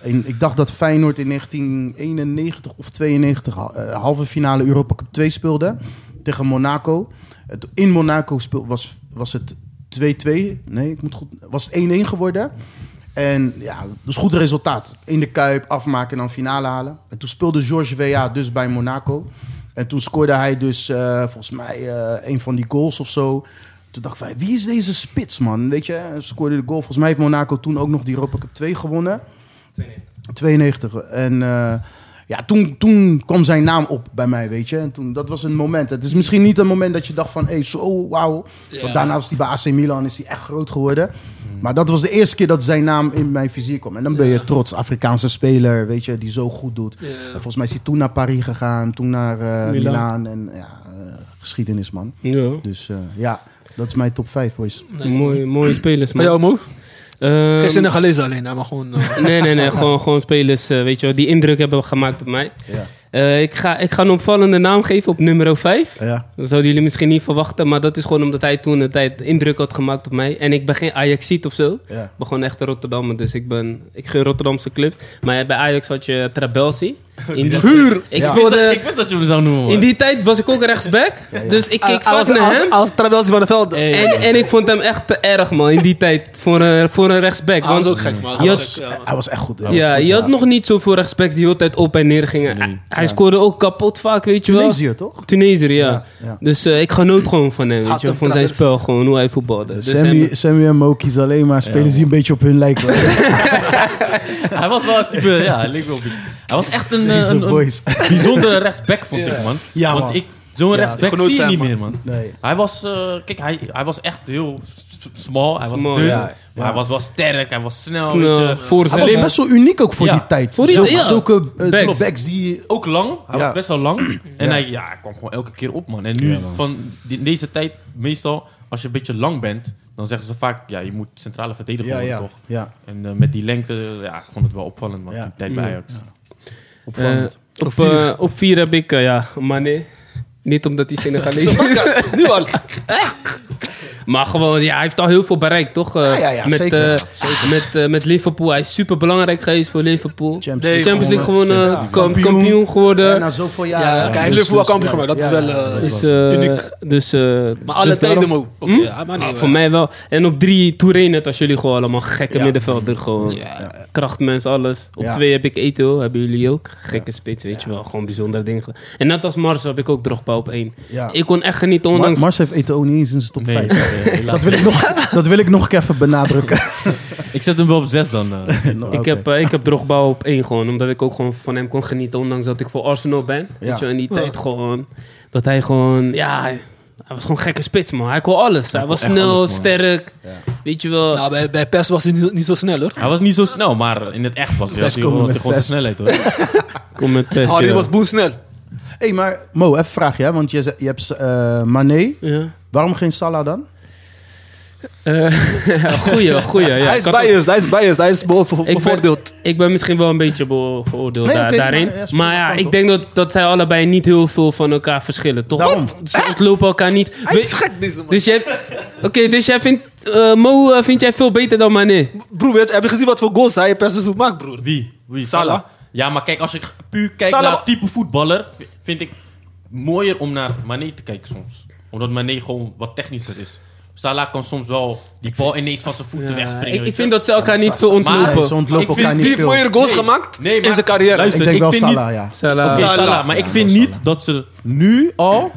[SPEAKER 3] in- ik dacht dat Feyenoord in 1991 of 92 ha- eh, halve finale Europa Cup 2 speelde tegen Monaco. Het- In Monaco speel, was, was het 2-2. Nee, ik moet goed... Was het 1-1 geworden. En ja, dus goed resultaat. In de Kuip, afmaken en dan finale halen. En toen speelde Georges Weah dus bij Monaco. En toen scoorde hij dus eh, volgens mij eh, een van die goals of zo. Toen dacht ik van, wie is deze spits, man? Weet je, hij scoorde de goal. Volgens mij heeft Monaco toen ook nog die Europa Cup 2 gewonnen. 92. En eh, ja, toen, toen kwam zijn naam op bij mij, weet je. En toen, dat was een moment. Het is misschien niet een moment dat je dacht van, hé, hey, zo, wauw.
[SPEAKER 6] Ja.
[SPEAKER 3] Want daarna was hij bij AC Milan, is hij echt groot geworden. Maar dat was de eerste keer dat zijn naam in mijn vizier kwam. En dan ben je
[SPEAKER 6] Ja.
[SPEAKER 3] trots, Afrikaanse speler, weet je, die zo goed doet.
[SPEAKER 6] Ja.
[SPEAKER 3] En volgens mij is hij toen naar Paris gegaan, toen naar eh
[SPEAKER 2] Milaan.
[SPEAKER 3] Milaan. En ja, eh, geschiedenis, man.
[SPEAKER 2] Ja.
[SPEAKER 3] Dus eh, ja, dat is mijn top 5, boys.
[SPEAKER 2] Mooie, mooie spelers,
[SPEAKER 1] Van
[SPEAKER 2] man.
[SPEAKER 1] jou, Mo?
[SPEAKER 2] Ehm,
[SPEAKER 1] Geen Senegalezen alleen, hè, maar gewoon... eh,
[SPEAKER 2] nee, nee, nee. Gewoon, gewoon spelers, eh, weet je wel, die indruk hebben gemaakt op mij.
[SPEAKER 3] Ja.
[SPEAKER 2] Eh, ik, ga, ik ga een opvallende naam geven op nummer 5.
[SPEAKER 3] Ja.
[SPEAKER 2] Dat zouden jullie misschien niet verwachten, maar dat is gewoon omdat hij toen een tijd indruk had gemaakt op mij. En ik ben geen Ajaxiet of zo.
[SPEAKER 3] Ja.
[SPEAKER 2] Ik ben gewoon echt een Rotterdammer, dus ik ben... Ik geen Rotterdamse clubs. Maar bij Ajax had je Trabelsi. In die- Ik
[SPEAKER 3] Ja.
[SPEAKER 2] speelde...
[SPEAKER 4] Ik wist dat je hem zou noemen, man.
[SPEAKER 2] In die tijd was ik ook rechtsback, dus ik keek
[SPEAKER 1] als,
[SPEAKER 2] vaak naar hem.
[SPEAKER 1] als, als Travelsi van de Veld.
[SPEAKER 4] Hey.
[SPEAKER 2] En, en ik vond hem echt te erg, man, in die tijd voor een, voor een rechtsback.
[SPEAKER 1] Ah,
[SPEAKER 2] Want,
[SPEAKER 1] dat is ook gek, man.
[SPEAKER 2] Je
[SPEAKER 1] Dat
[SPEAKER 2] had-
[SPEAKER 1] is ook, ja, man.
[SPEAKER 3] Hij was echt goed. hè?
[SPEAKER 2] ja, je had nog niet zoveel rechtsbacks die de hele tijd op en neer gingen. Hij, Hij scoorde ook kapot vaak, weet je wel.
[SPEAKER 3] Tunesië, toch?
[SPEAKER 2] Tunesiër, ja.
[SPEAKER 3] Ja, ja.
[SPEAKER 2] Dus eh, ik genoot gewoon van hem, weet
[SPEAKER 6] Had
[SPEAKER 2] je,
[SPEAKER 6] hem
[SPEAKER 2] wel, van zijn
[SPEAKER 6] trouwens.
[SPEAKER 2] spel, gewoon hoe hij voetbalde. Dus
[SPEAKER 3] Sammy,
[SPEAKER 2] hem-
[SPEAKER 3] Sammy en Mo kiezen alleen maar spelers die een beetje op hun lijken.
[SPEAKER 4] Hij was wel een type, ja, hij leek wel een beetje. Hij was echt een, eh,
[SPEAKER 3] Deze
[SPEAKER 4] een, een
[SPEAKER 3] boys.
[SPEAKER 4] bijzondere rechtsback, vond ik, man.
[SPEAKER 3] Ja,
[SPEAKER 4] Want
[SPEAKER 3] man.
[SPEAKER 4] ik, zo'n
[SPEAKER 3] Ja,
[SPEAKER 4] rechtsback
[SPEAKER 6] genoot
[SPEAKER 4] zie je
[SPEAKER 6] van
[SPEAKER 4] niet
[SPEAKER 6] hem,
[SPEAKER 4] meer, man.
[SPEAKER 3] Nee.
[SPEAKER 4] Hij was, eh, kijk, hij, hij was echt heel s- s- smal. Hij was
[SPEAKER 2] Smal,
[SPEAKER 4] dun.
[SPEAKER 2] ja,
[SPEAKER 4] maar
[SPEAKER 3] ja.
[SPEAKER 4] Hij was wel sterk, hij was snel.
[SPEAKER 2] Snel,
[SPEAKER 4] weet je.
[SPEAKER 2] voor
[SPEAKER 4] Hij was
[SPEAKER 3] Hij was
[SPEAKER 2] Slim.
[SPEAKER 4] best-
[SPEAKER 3] best wel uniek ook voor
[SPEAKER 4] Ja.
[SPEAKER 3] die tijd.
[SPEAKER 2] Voor die-
[SPEAKER 3] Zulke,
[SPEAKER 2] ja.
[SPEAKER 3] zulke eh,
[SPEAKER 2] Backs.
[SPEAKER 3] backs die...
[SPEAKER 4] ook lang. Hij
[SPEAKER 3] Ja.
[SPEAKER 4] was best wel lang. En
[SPEAKER 3] Ja.
[SPEAKER 4] hij, ja, hij kwam gewoon elke keer op, man. En nu, van die- in deze tijd, meestal, als je een beetje lang bent, dan zeggen ze vaak, ja, je moet centrale verdediger
[SPEAKER 3] Ja,
[SPEAKER 4] worden,
[SPEAKER 3] ja,
[SPEAKER 4] toch?
[SPEAKER 3] ja.
[SPEAKER 4] En eh, met die lengte, eh, ja, ik vond het wel opvallend, man.
[SPEAKER 3] Ja.
[SPEAKER 4] Die tijd bij Ajax.
[SPEAKER 3] Opvallend.
[SPEAKER 2] eh, op, eh, op vier heb ik, eh, ja, Mané. Niet omdat hij Senegalees is.
[SPEAKER 1] Nu al.
[SPEAKER 2] Maar gewoon, ja, hij heeft al heel veel bereikt, toch? Eh,
[SPEAKER 3] Ja, ja, ja,
[SPEAKER 2] met,
[SPEAKER 3] zeker,
[SPEAKER 2] eh,
[SPEAKER 3] ja,
[SPEAKER 2] Met, eh, met Liverpool. Hij is super belangrijk geweest voor Liverpool.
[SPEAKER 3] Champions
[SPEAKER 2] De
[SPEAKER 3] League
[SPEAKER 2] Champions League
[SPEAKER 3] gewonnen.
[SPEAKER 2] gewonnen,
[SPEAKER 3] Ja.
[SPEAKER 2] kam- kampioen.
[SPEAKER 3] Kampioen.
[SPEAKER 2] geworden.
[SPEAKER 3] Ja, nou, na zoveel jaar.
[SPEAKER 1] Ja, kijk,
[SPEAKER 3] dus-
[SPEAKER 1] Liverpool
[SPEAKER 3] dus-
[SPEAKER 1] kampioen gemaakt. Dat is wel, eh,
[SPEAKER 3] dat
[SPEAKER 2] dus,
[SPEAKER 3] wel-
[SPEAKER 2] eh,
[SPEAKER 1] uniek.
[SPEAKER 2] dus, eh,
[SPEAKER 1] Maar alle
[SPEAKER 2] dus
[SPEAKER 1] tijden,
[SPEAKER 2] daarom-
[SPEAKER 1] Mo. Oké, ja, maar
[SPEAKER 2] Ah,
[SPEAKER 1] nee,
[SPEAKER 2] voor
[SPEAKER 1] eh,
[SPEAKER 2] mij wel. En op drie, Touré net als jullie gewoon allemaal gekke middenvelder. Gewoon
[SPEAKER 1] Ja.
[SPEAKER 2] krachtmens, alles. Op
[SPEAKER 3] Ja.
[SPEAKER 2] twee heb ik Eto, hebben jullie ook. Gekke spits, weet je wel. Gewoon bijzondere dingen. gedaan. En net als Mars heb ik ook Drogba op één.
[SPEAKER 3] Ja.
[SPEAKER 2] Ik kon echt genieten,
[SPEAKER 3] Mar-
[SPEAKER 2] ondanks...
[SPEAKER 3] Mars heeft Eto'o niet eens in zijn top
[SPEAKER 4] Nee,
[SPEAKER 3] 5.
[SPEAKER 4] eh, helaas.
[SPEAKER 3] Dat wil, ik nog, dat wil ik nog even benadrukken.
[SPEAKER 4] Eh, Ik zet hem wel op zes dan. eh.
[SPEAKER 3] Nou,
[SPEAKER 2] Ik,
[SPEAKER 3] oké.
[SPEAKER 2] heb, eh, ik heb Drogba op één gewoon, omdat ik ook gewoon van hem kon genieten, ondanks dat ik voor Arsenal ben.
[SPEAKER 3] Ja.
[SPEAKER 2] Weet je, in die tijd gewoon, dat hij gewoon, ja, hij, hij was gewoon gekke spits, man. Hij kon alles. Hij, was
[SPEAKER 4] kon echt
[SPEAKER 2] snel,
[SPEAKER 4] alles, man.
[SPEAKER 2] sterk, weet je wel.
[SPEAKER 1] Nou, bij, bij PES was hij niet, zo- niet zo snel, hoor.
[SPEAKER 4] Hij was niet zo snel, maar in het echt was hij. had hij
[SPEAKER 3] komen
[SPEAKER 4] gewoon,
[SPEAKER 3] met
[SPEAKER 4] gewoon zijn
[SPEAKER 3] pest.
[SPEAKER 4] snelheid hoor.
[SPEAKER 2] Kom met pest,
[SPEAKER 1] Oh, die
[SPEAKER 2] eh, ja.
[SPEAKER 1] was boensnel.
[SPEAKER 3] hey, maar Mo, even een vraagje. Hè? Want je, ze- je hebt eh Mané.
[SPEAKER 2] Ja.
[SPEAKER 3] Waarom geen Salah dan?
[SPEAKER 2] Eh, goeie, goeie. Ja.
[SPEAKER 1] Hij is
[SPEAKER 2] Kan ook-
[SPEAKER 1] biased, hij is biased, hij is bevo-
[SPEAKER 2] ben-
[SPEAKER 1] bevoordeeld.
[SPEAKER 2] Ik ben misschien wel een beetje beo- veroordeeld
[SPEAKER 3] Nee,
[SPEAKER 2] da-
[SPEAKER 3] oké,
[SPEAKER 2] daarin.
[SPEAKER 3] maar,
[SPEAKER 2] Maar
[SPEAKER 3] ja,
[SPEAKER 2] ja,
[SPEAKER 3] speel de kant
[SPEAKER 2] ik
[SPEAKER 3] op.
[SPEAKER 2] denk dat, dat zij allebei niet heel veel van elkaar verschillen, toch?
[SPEAKER 3] Daarom.
[SPEAKER 2] Ze ontlopen elkaar niet.
[SPEAKER 1] Hij
[SPEAKER 2] We-
[SPEAKER 1] is gek, deze man.
[SPEAKER 2] dus jij, oké, dus jij vindt, eh, Mo, eh, vind jij veel beter dan Mané?
[SPEAKER 1] Broer, weet je, heb je gezien wat voor goals hij per seizoen maakt, broer?
[SPEAKER 4] Wie? Wie?
[SPEAKER 1] Salah.
[SPEAKER 4] Ja, maar kijk, als ik puur kijk
[SPEAKER 1] Salah-
[SPEAKER 4] naar het type voetballer, v- vind ik mooier om naar Mané te kijken soms. Omdat Mané gewoon wat technischer is. Salah kan soms wel die bal ineens van zijn voeten
[SPEAKER 2] Ja,
[SPEAKER 4] wegspringen.
[SPEAKER 2] ik,
[SPEAKER 4] weet
[SPEAKER 2] ik
[SPEAKER 4] je.
[SPEAKER 2] vind dat ze elkaar niet veel
[SPEAKER 4] Maar-
[SPEAKER 3] Nee,
[SPEAKER 2] ontlopen.
[SPEAKER 3] ze
[SPEAKER 4] ik
[SPEAKER 3] ontlopen
[SPEAKER 4] vind
[SPEAKER 3] elkaar
[SPEAKER 1] Wie
[SPEAKER 3] niet
[SPEAKER 1] heeft
[SPEAKER 3] veel.
[SPEAKER 1] mooiere goals
[SPEAKER 4] Nee,
[SPEAKER 1] gemaakt
[SPEAKER 4] nee,
[SPEAKER 1] in
[SPEAKER 4] maar-
[SPEAKER 1] zijn carrière?
[SPEAKER 4] Luister,
[SPEAKER 3] Ik denk wel
[SPEAKER 4] vind
[SPEAKER 3] Salah,
[SPEAKER 4] niet-
[SPEAKER 3] ja.
[SPEAKER 2] Salah.
[SPEAKER 4] Oké,
[SPEAKER 1] Salah.
[SPEAKER 4] Salah, maar
[SPEAKER 3] Ja,
[SPEAKER 4] ik vind
[SPEAKER 3] wel
[SPEAKER 4] niet dat ze nu al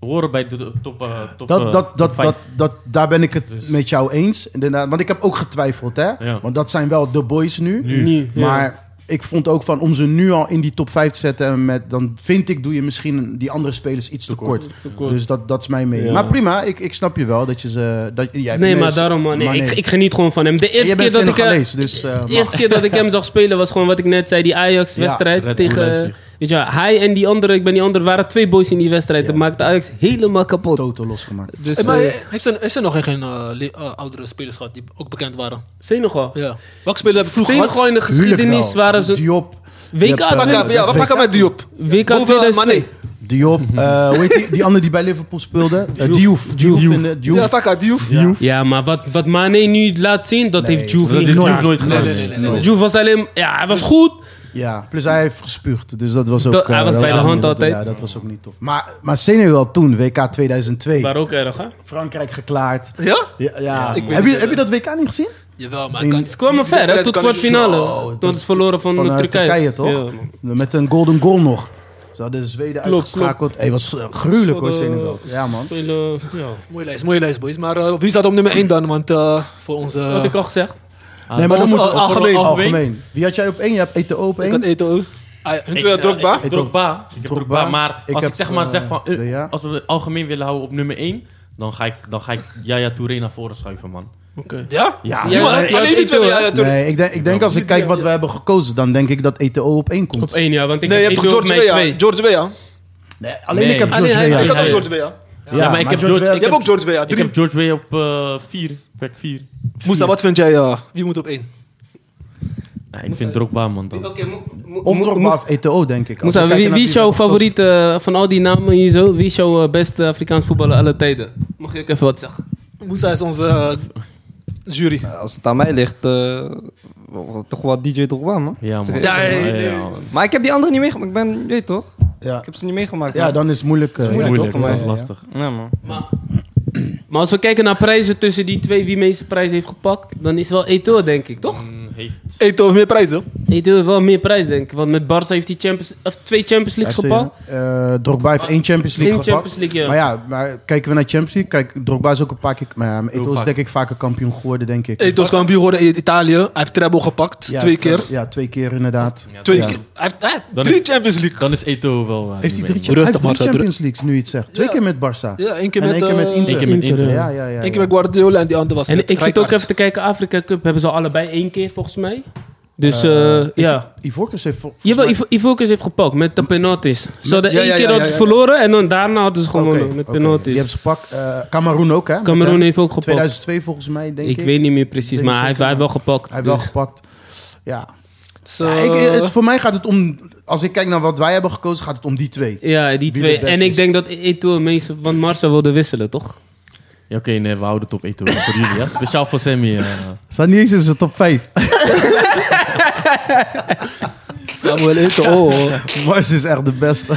[SPEAKER 4] horen bij de de top, eh, top,
[SPEAKER 3] Dat,
[SPEAKER 4] eh,
[SPEAKER 3] dat,
[SPEAKER 4] top
[SPEAKER 3] dat,
[SPEAKER 4] vijf.
[SPEAKER 3] dat, dat, daar ben ik het met jou eens. Inderdaad, want ik heb ook getwijfeld, hè?
[SPEAKER 4] Ja.
[SPEAKER 3] Want dat zijn wel de boys nu.
[SPEAKER 2] Nu, ja.
[SPEAKER 3] Maar ik vond ook van om ze nu al in die top 5 te zetten, en met, dan vind ik, doe je misschien die andere spelers iets te kort.
[SPEAKER 2] kort.
[SPEAKER 3] Dus dat, dat is mijn mening.
[SPEAKER 2] Ja.
[SPEAKER 3] Maar prima, ik, ik snap je wel dat je ze. Dat, jij
[SPEAKER 2] Nee,
[SPEAKER 3] hebt-
[SPEAKER 2] maar daarom, man.
[SPEAKER 3] maar
[SPEAKER 2] Nee, ik,
[SPEAKER 3] nee.
[SPEAKER 2] ik geniet gewoon van hem. De
[SPEAKER 3] En
[SPEAKER 2] eerste,
[SPEAKER 3] jij
[SPEAKER 2] keer
[SPEAKER 3] bent
[SPEAKER 2] dat, ik, eh,
[SPEAKER 3] Senegalees, dus. eh,
[SPEAKER 2] de eerste keer dat ik hem zag spelen was gewoon wat ik net zei. Die Ajax-wedstrijd
[SPEAKER 4] Ja, Red Bull
[SPEAKER 2] tegen...
[SPEAKER 4] Leipzig.
[SPEAKER 2] Weet je wel, hij en die andere, ik ben die andere, waren twee boys in die wedstrijd. Dat maakte Ajax helemaal
[SPEAKER 3] mag
[SPEAKER 2] kapot.
[SPEAKER 3] Toto losgemaakt.
[SPEAKER 2] Dus,
[SPEAKER 1] Hey, maar
[SPEAKER 2] eh,
[SPEAKER 1] heeft er, is er nog geen eh, le- eh, oudere spelers gehad die ook bekend waren?
[SPEAKER 2] Senegal.
[SPEAKER 1] Ja. Welke spelers hebben vroeger
[SPEAKER 2] Senegal
[SPEAKER 1] gehad?
[SPEAKER 2] in de geschiedenis
[SPEAKER 3] Tuurlijk wel.
[SPEAKER 2] waren ze...
[SPEAKER 3] Diop.
[SPEAKER 2] WK
[SPEAKER 3] Je hebt, eh,
[SPEAKER 1] Pak
[SPEAKER 2] Pakka,
[SPEAKER 1] hem, ja, we
[SPEAKER 3] dat
[SPEAKER 1] pakken met Diop.
[SPEAKER 2] WK
[SPEAKER 1] Boven
[SPEAKER 2] 2002.
[SPEAKER 1] Mané.
[SPEAKER 3] Diop. eh, hoe heet die, die andere die bij Liverpool speelde? Eh, Diouf. Diouf. in de- Diouf.
[SPEAKER 1] Ja, Taka, Diouf.
[SPEAKER 2] Ja, maar wat, wat Mane nu laat zien, dat
[SPEAKER 3] Nee,
[SPEAKER 2] heeft Juve
[SPEAKER 4] dat
[SPEAKER 2] niet
[SPEAKER 4] heeft Juve
[SPEAKER 2] gedaan.
[SPEAKER 4] nooit gedaan.
[SPEAKER 1] Nee, nee, nee, nee, nee.
[SPEAKER 2] Juve was alleen... Ja, hij was goed.
[SPEAKER 3] Ja, plus hij heeft gespuugd. Dus dat was ook...
[SPEAKER 2] Dat- hij
[SPEAKER 3] eh,
[SPEAKER 2] was bij
[SPEAKER 3] ook
[SPEAKER 2] de
[SPEAKER 3] niet-
[SPEAKER 2] hand altijd.
[SPEAKER 3] Ja, dat was ook niet tof. Maar, maar Senegal toen, WK 2002.
[SPEAKER 2] Maar ook erg, hè?
[SPEAKER 3] Frankrijk geklaard.
[SPEAKER 1] Ja?
[SPEAKER 3] Ja, ja.
[SPEAKER 1] ik weet
[SPEAKER 3] heb, je,
[SPEAKER 1] het,
[SPEAKER 3] heb je
[SPEAKER 1] eh,
[SPEAKER 3] dat WK niet gezien?
[SPEAKER 1] Jawel, maar
[SPEAKER 3] In-
[SPEAKER 1] kan-
[SPEAKER 2] Ze kwamen
[SPEAKER 1] die
[SPEAKER 2] ver, hè,
[SPEAKER 1] wedstrijd
[SPEAKER 2] tot
[SPEAKER 1] kan- Oh,
[SPEAKER 3] Zo,
[SPEAKER 2] kwartfinale.
[SPEAKER 3] dat-
[SPEAKER 2] Tot ze Oh, verloren van,
[SPEAKER 3] Van
[SPEAKER 2] eh,
[SPEAKER 3] eh,
[SPEAKER 2] Turkije.
[SPEAKER 3] Turkije,
[SPEAKER 2] Ja,
[SPEAKER 3] toch?
[SPEAKER 2] man.
[SPEAKER 3] Met een golden goal nog. Ze hadden Zweden
[SPEAKER 2] Klopt,
[SPEAKER 3] uitgeschakeld. Hij was eh, gruwelijk hoor,
[SPEAKER 2] Ze hadden-
[SPEAKER 3] Senegal. Ja, man.
[SPEAKER 2] Spelen, ja.
[SPEAKER 1] Mooie lijst, mooie lijst, boys. Maar eh, wie staat op nummer 1 dan? Want eh, voor onze...
[SPEAKER 2] Wat ik al gezegd.
[SPEAKER 3] Nee, maar
[SPEAKER 1] Voor
[SPEAKER 3] dat
[SPEAKER 1] ons
[SPEAKER 3] moet
[SPEAKER 1] al- algemeen.
[SPEAKER 3] algemeen. Wie had jij op één? Je hebt Eto'o op
[SPEAKER 1] ik had
[SPEAKER 3] één.
[SPEAKER 1] Eto'o. Ah, ja, Hun twee had Drogba.
[SPEAKER 4] Ik heb Drogba. Ik heb
[SPEAKER 3] Drogba.
[SPEAKER 4] Drogba, maar
[SPEAKER 3] Ik
[SPEAKER 4] als
[SPEAKER 3] heb,
[SPEAKER 4] ik zeg maar
[SPEAKER 3] eh,
[SPEAKER 4] zeg van... eh,
[SPEAKER 3] De Ja.
[SPEAKER 4] Als we het algemeen willen houden op nummer 1, dan ga ik, dan ga ik Yaya Touré naar voren schuiven, man.
[SPEAKER 2] Oké.
[SPEAKER 1] Ja?
[SPEAKER 4] Ja,
[SPEAKER 1] Ja, maar
[SPEAKER 2] ja,
[SPEAKER 1] alleen die twee.
[SPEAKER 2] Eto'o,
[SPEAKER 1] ja,
[SPEAKER 2] hè?
[SPEAKER 1] ja, toen-
[SPEAKER 3] Nee, ik denk, ik denk als ik kijk wat we hebben gekozen, dan denk ik dat Eto'o op één
[SPEAKER 2] Op
[SPEAKER 3] komt.
[SPEAKER 2] één jaar, want ik
[SPEAKER 1] Nee, je
[SPEAKER 2] heb
[SPEAKER 1] hebt
[SPEAKER 2] Edo op
[SPEAKER 1] George
[SPEAKER 2] mijn
[SPEAKER 1] Weah.
[SPEAKER 2] twee.
[SPEAKER 1] George Weah.
[SPEAKER 3] Nee, alleen
[SPEAKER 4] Nee.
[SPEAKER 3] ik heb
[SPEAKER 1] Ah,
[SPEAKER 2] Alleen
[SPEAKER 3] George
[SPEAKER 2] hij-
[SPEAKER 3] Weah.
[SPEAKER 1] Ik had
[SPEAKER 4] Ja,
[SPEAKER 1] ook
[SPEAKER 4] ja.
[SPEAKER 1] George Weah.
[SPEAKER 3] Ja, maar ik heb
[SPEAKER 4] George-
[SPEAKER 3] George
[SPEAKER 4] ik
[SPEAKER 1] Je hebt ook George Weah,
[SPEAKER 4] Ik
[SPEAKER 1] drie.
[SPEAKER 4] heb George Way op eh, 4, plek 4.
[SPEAKER 1] Moussa, wat vind jij? eh, Wie moet op één?
[SPEAKER 4] Nee, ik vind Drogba, man. Dan.
[SPEAKER 3] Of Drogba of Eto'o, denk ik. Als we
[SPEAKER 2] Moussa,
[SPEAKER 3] kijken
[SPEAKER 2] wie,
[SPEAKER 3] naar
[SPEAKER 2] wie is jouw
[SPEAKER 3] we hebben
[SPEAKER 2] favoriet eh, van al die namen hier zo? Wie is jouw eh, beste Afrikaans voetballer aller tijden? Mag je ook even wat zeggen?
[SPEAKER 1] Moussa is onze eh, jury.
[SPEAKER 7] Als het aan mij ligt, eh, wel- toch wel DJ Drogba, man.
[SPEAKER 4] Ja, man.
[SPEAKER 7] Ja,
[SPEAKER 4] Ja, ja, ja.
[SPEAKER 7] Maar ik heb die andere niet meegemaakt. Ik ben, je weet toch?
[SPEAKER 3] Ja.
[SPEAKER 7] Ik heb ze niet meegemaakt.
[SPEAKER 3] Ja,
[SPEAKER 7] man.
[SPEAKER 3] dan is het moeilijk. eh,
[SPEAKER 7] moeilijk,
[SPEAKER 3] ja,
[SPEAKER 7] toch?
[SPEAKER 4] Dat
[SPEAKER 7] Ja,
[SPEAKER 4] is
[SPEAKER 7] ja,
[SPEAKER 4] lastig.
[SPEAKER 7] Ja, man.
[SPEAKER 2] Maar als we kijken naar prijzen tussen die twee, wie meeste prijs heeft gepakt, dan is wel Eto'o, denk ik, toch?
[SPEAKER 4] Mm, Heeft...
[SPEAKER 1] Eto'o heeft meer prijzen.
[SPEAKER 3] Mm.
[SPEAKER 2] Hij doet wel meer prijs, denk ik. Want met Barça heeft hij Champions, of twee Champions Leagues
[SPEAKER 3] FC,
[SPEAKER 2] gepakt.
[SPEAKER 3] hè? Eh, Drogba heeft één Champions League
[SPEAKER 2] Eén
[SPEAKER 3] gepakt.
[SPEAKER 2] Champions League, ja.
[SPEAKER 3] Maar ja, maar kijken we naar Champions League. Kijk, Drogba is ook een paar keer... Maar ja, Eto'o is
[SPEAKER 4] vaak.
[SPEAKER 3] denk ik vaker kampioen geworden, denk ik.
[SPEAKER 1] Eto's kampioen geworden in Italië. Hij heeft treble gepakt,
[SPEAKER 3] Ja,
[SPEAKER 1] twee
[SPEAKER 3] t-
[SPEAKER 1] keer.
[SPEAKER 3] Ja, twee keer inderdaad.
[SPEAKER 4] Ja,
[SPEAKER 1] Twee
[SPEAKER 4] dan-
[SPEAKER 1] keer. Hij heeft hij heeft
[SPEAKER 4] Dan
[SPEAKER 1] drie
[SPEAKER 4] is-
[SPEAKER 1] Champions League.
[SPEAKER 4] Dan is Eto wel... eh,
[SPEAKER 3] Heeft
[SPEAKER 4] niet
[SPEAKER 3] hij
[SPEAKER 4] mee.
[SPEAKER 3] drie, Champions-
[SPEAKER 1] Rustig,
[SPEAKER 3] hij heeft drie
[SPEAKER 1] Marcel,
[SPEAKER 3] Champions Leagues, nu je het zegt. Twee
[SPEAKER 1] Ja.
[SPEAKER 3] keer met Barça.
[SPEAKER 1] Ja, één keer
[SPEAKER 3] en
[SPEAKER 1] met,
[SPEAKER 3] één keer met
[SPEAKER 1] eh,
[SPEAKER 3] Inter.
[SPEAKER 4] Eén keer met Inter.
[SPEAKER 3] Ja, ja, ja.
[SPEAKER 1] Eén keer
[SPEAKER 3] ja.
[SPEAKER 1] met Guardiola en die andere was
[SPEAKER 2] En
[SPEAKER 1] met
[SPEAKER 2] ik zit ook
[SPEAKER 1] Rijkaard.
[SPEAKER 2] even te kijken, Afrika Cup hebben ze allebei één keer volgens mij. Dus
[SPEAKER 3] Eh,
[SPEAKER 2] eh, ja.
[SPEAKER 3] Ivorcus heeft... vol-
[SPEAKER 2] Jawel,
[SPEAKER 3] volgens
[SPEAKER 2] Ivo- Ivocaus heeft gepakt met de penalties. Ze hadden
[SPEAKER 1] ja,
[SPEAKER 2] één
[SPEAKER 1] ja,
[SPEAKER 2] keer
[SPEAKER 1] ja,
[SPEAKER 2] hadden ze
[SPEAKER 1] ja, ja.
[SPEAKER 2] verloren en dan daarna hadden ze
[SPEAKER 3] mij-
[SPEAKER 2] gewonnen
[SPEAKER 3] Oké,
[SPEAKER 2] met
[SPEAKER 3] oké. Die
[SPEAKER 2] penalties.
[SPEAKER 3] hebben ze gepakt. Eh, Cameroen ook, hè?
[SPEAKER 2] Cameroen
[SPEAKER 3] Met,
[SPEAKER 2] heeft ook
[SPEAKER 3] eh,
[SPEAKER 2] gepakt.
[SPEAKER 3] 2002 volgens mij, denk ik.
[SPEAKER 2] Ik weet niet meer precies,
[SPEAKER 3] Denk
[SPEAKER 2] maar
[SPEAKER 3] ik
[SPEAKER 2] hij heeft, hij heeft wel gepakt.
[SPEAKER 3] Hij heeft wel
[SPEAKER 2] Dus-
[SPEAKER 3] gepakt. Ja.
[SPEAKER 1] Dus,
[SPEAKER 3] Ja,
[SPEAKER 1] eh,
[SPEAKER 3] ik, het, voor mij gaat het om... Als ik kijk naar wat wij hebben gekozen, gaat het om die twee.
[SPEAKER 2] dus. Ja, die
[SPEAKER 3] de
[SPEAKER 2] twee.
[SPEAKER 3] beste
[SPEAKER 2] En ik
[SPEAKER 3] is.
[SPEAKER 2] denk dat Eto'o meestal... Want Marcel wilde wisselen, toch?
[SPEAKER 4] Ja, Oké, nee, we houden het op Eto. Voor jullie, ja. Speciaal voor Sammy. eh.
[SPEAKER 3] Staat niet eens in zijn top 5.
[SPEAKER 1] Samuel Oh. Eto'o.
[SPEAKER 3] Mars is echt de beste.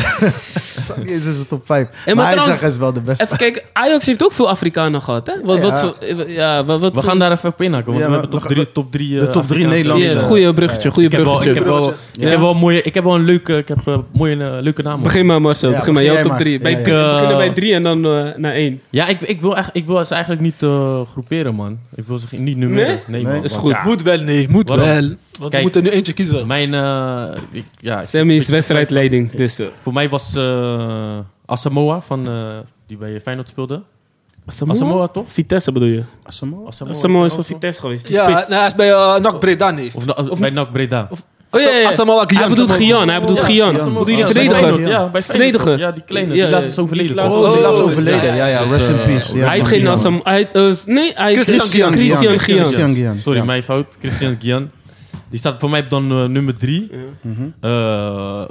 [SPEAKER 3] Staat niet eens in zijn top 5. maar
[SPEAKER 2] maar
[SPEAKER 3] hij
[SPEAKER 2] trouwens-
[SPEAKER 3] zegt, hij is wel de beste.
[SPEAKER 2] Even kijken, Ajax heeft ook veel Afrikanen gehad, hè? Wat,
[SPEAKER 3] Ja.
[SPEAKER 2] wat voor- eh, ja, wat, wat
[SPEAKER 4] We gaan daar even op inhaken, want
[SPEAKER 3] Ja,
[SPEAKER 4] we
[SPEAKER 3] maar
[SPEAKER 4] hebben top
[SPEAKER 3] we gaan-
[SPEAKER 4] drie, top drie,
[SPEAKER 3] de
[SPEAKER 4] eh,
[SPEAKER 3] top drie
[SPEAKER 4] Afrikaanse-
[SPEAKER 3] Nederlandse.
[SPEAKER 2] Ja, dat is een goede bruggetje, goede
[SPEAKER 4] eh, Ik heb wel,
[SPEAKER 2] bruggetje.
[SPEAKER 4] ik heb wel,
[SPEAKER 3] Ja.
[SPEAKER 4] ik heb wel een mooie, ik heb wel een leuke, ik heb eh, mooie, eh, leuke naam.
[SPEAKER 2] Begin maar Marcel,
[SPEAKER 3] Ja,
[SPEAKER 2] begin maar.
[SPEAKER 3] begin jij
[SPEAKER 2] Jouw top
[SPEAKER 3] maar.
[SPEAKER 2] drie.
[SPEAKER 3] Ja,
[SPEAKER 2] Bij,
[SPEAKER 3] ja.
[SPEAKER 2] we beginnen bij drie en dan eh, naar één.
[SPEAKER 4] Ja, ik, ik wil echt, ik wil ze eigenlijk niet eh, groeperen, man. Ik wil ze geen- niet nummeren.
[SPEAKER 2] Nee?
[SPEAKER 4] Nee,
[SPEAKER 3] Nee.
[SPEAKER 4] man,
[SPEAKER 2] Is
[SPEAKER 4] want-
[SPEAKER 2] goed.
[SPEAKER 4] Ja,
[SPEAKER 1] Moet wel, nee, moet
[SPEAKER 4] Waarom?
[SPEAKER 1] wel. Want we
[SPEAKER 4] Kijk.
[SPEAKER 1] moeten nu eentje kiezen.
[SPEAKER 4] mijn, eh, ik, ja, ik-
[SPEAKER 2] Sammy is wedstrijdleiding, dus... eh,
[SPEAKER 4] Voor mij was eh Asamoah van eh, die bij Feyenoord speelde.
[SPEAKER 2] Asamoah?
[SPEAKER 4] Asamoah, toch?
[SPEAKER 2] Vitesse bedoel je?
[SPEAKER 3] Samoa?
[SPEAKER 4] Asamoa
[SPEAKER 2] Samoa is van Vitesse geweest. die
[SPEAKER 1] Ja,
[SPEAKER 2] spits.
[SPEAKER 1] nou, hij is bij eh NAC Breda, nee.
[SPEAKER 4] Of, na- bij NAC Breda.
[SPEAKER 2] Oh ja, ja, ja.
[SPEAKER 1] Asamoah Gyan.
[SPEAKER 2] Hij bedoelt Gian, hij bedoelt
[SPEAKER 4] Ja,
[SPEAKER 2] Gian.
[SPEAKER 3] Gian.
[SPEAKER 4] Asamoah, ja, bij
[SPEAKER 2] Verdediger.
[SPEAKER 4] Ah, Feyenoord, Ja, bij Feyenoord.
[SPEAKER 2] Verdediger.
[SPEAKER 4] Ja, die kleine.
[SPEAKER 2] Ja,
[SPEAKER 4] Die
[SPEAKER 2] ja,
[SPEAKER 4] laatst is
[SPEAKER 2] die
[SPEAKER 4] overleden.
[SPEAKER 2] laatst-
[SPEAKER 4] toch?
[SPEAKER 3] Oh, die laatst
[SPEAKER 1] Oh,
[SPEAKER 3] overleden. Ja, ja,
[SPEAKER 4] Dus,
[SPEAKER 3] rest in
[SPEAKER 4] eh,
[SPEAKER 3] peace. Ja,
[SPEAKER 2] Hij heeft
[SPEAKER 3] van
[SPEAKER 2] geen
[SPEAKER 3] Gian.
[SPEAKER 2] Asam... hij heeft, eh, nee, hij heeft
[SPEAKER 1] Christian Gian.
[SPEAKER 2] Christian
[SPEAKER 3] Christian
[SPEAKER 2] Gian.
[SPEAKER 3] Gian.
[SPEAKER 4] Sorry,
[SPEAKER 3] Ja.
[SPEAKER 4] mijn fout. Christian Gian. Die staat voor mij op dan eh, nummer 3.
[SPEAKER 2] Mhm.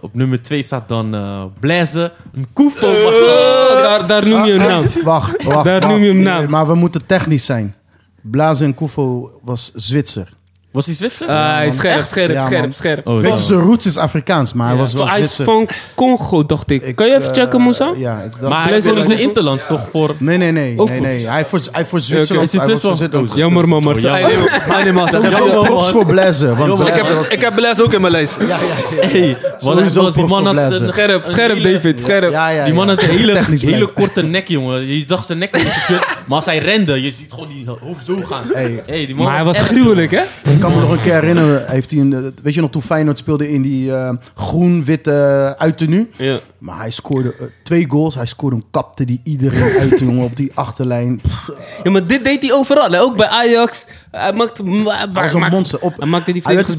[SPEAKER 4] op nummer 2 staat dan eh Blaise Nkufo.
[SPEAKER 2] Oh, daar, daar noem je een
[SPEAKER 3] Ah,
[SPEAKER 2] naam.
[SPEAKER 3] ah, Wacht, wacht.
[SPEAKER 2] Daar
[SPEAKER 3] wacht.
[SPEAKER 2] noem je hem naam.
[SPEAKER 3] Maar we moeten technisch zijn. Blazen en Koufo was Zwitser.
[SPEAKER 4] Was hij Zwitser?
[SPEAKER 2] Ah, hij is scherp, scherp,
[SPEAKER 3] Ja, man.
[SPEAKER 2] scherp, scherp.
[SPEAKER 4] Oh,
[SPEAKER 3] Weet je,
[SPEAKER 4] dan.
[SPEAKER 3] zijn roots is Afrikaans, maar hij was wel
[SPEAKER 2] Hij is
[SPEAKER 3] Zwitser.
[SPEAKER 2] van Congo, dacht ik. Kan je even
[SPEAKER 3] eh,
[SPEAKER 2] checken, Moussa?
[SPEAKER 3] Ja, ik dacht...
[SPEAKER 4] maar hij
[SPEAKER 2] Blaise
[SPEAKER 4] speelde zijn
[SPEAKER 2] Nkufo.
[SPEAKER 4] interlands toch voor...
[SPEAKER 3] Nee, nee, nee.
[SPEAKER 2] Ook
[SPEAKER 3] nee,
[SPEAKER 2] goed.
[SPEAKER 3] nee. Hij voor, hij voor
[SPEAKER 4] Oké,
[SPEAKER 3] Zwitserland.
[SPEAKER 4] is hij
[SPEAKER 3] hij was voor
[SPEAKER 4] Zwitserland?
[SPEAKER 3] Zwitserland.
[SPEAKER 2] Jammer man,
[SPEAKER 4] Oh,
[SPEAKER 2] Marcel.
[SPEAKER 4] ja.
[SPEAKER 1] Maar nee, man, zeg
[SPEAKER 4] Sowieso.
[SPEAKER 1] even-
[SPEAKER 4] man.
[SPEAKER 3] Props voor Blazen. Want
[SPEAKER 1] Ik
[SPEAKER 3] Blazen
[SPEAKER 1] heb,
[SPEAKER 3] was...
[SPEAKER 1] ik heb Blaise ook in mijn lijst.
[SPEAKER 4] Hey, wat
[SPEAKER 3] Sowieso
[SPEAKER 4] was die
[SPEAKER 3] props
[SPEAKER 4] man
[SPEAKER 3] voor
[SPEAKER 4] had
[SPEAKER 3] Blaise.
[SPEAKER 4] een-
[SPEAKER 2] Scherp, scherp
[SPEAKER 4] hele-
[SPEAKER 2] David, scherp.
[SPEAKER 3] Ja, ja,
[SPEAKER 4] Die man
[SPEAKER 3] ja.
[SPEAKER 4] had een hele,
[SPEAKER 3] Technisch
[SPEAKER 4] hele
[SPEAKER 3] blijkt.
[SPEAKER 4] korte nek, jongen. Je zag zijn nek in zijn shirt. Maar als hij rende, je ziet gewoon die hoofd zo gaan.
[SPEAKER 3] Hey.
[SPEAKER 4] Hey, die man
[SPEAKER 2] Maar hij was
[SPEAKER 4] echt-
[SPEAKER 2] gruwelijk, hè?
[SPEAKER 3] Ik kan me nog een keer herinneren. Heeft hij een, eh, weet je nog, toen Feyenoord speelde in die eh, groen-witte eh, uittenu.
[SPEAKER 2] Ja.
[SPEAKER 3] Maar hij scoorde eh, twee goals. Hij scoorde een kapte die iedereen uit, jongen, op die achterlijn. Pff,
[SPEAKER 2] Ja, maar dit deed hij overal. Hè? Ook bij Ajax. Hij maakte... Hij
[SPEAKER 3] hij was een
[SPEAKER 2] maakte-
[SPEAKER 3] monster. Op,
[SPEAKER 2] Hij maakte die
[SPEAKER 3] hij werd
[SPEAKER 2] verdedigers
[SPEAKER 3] in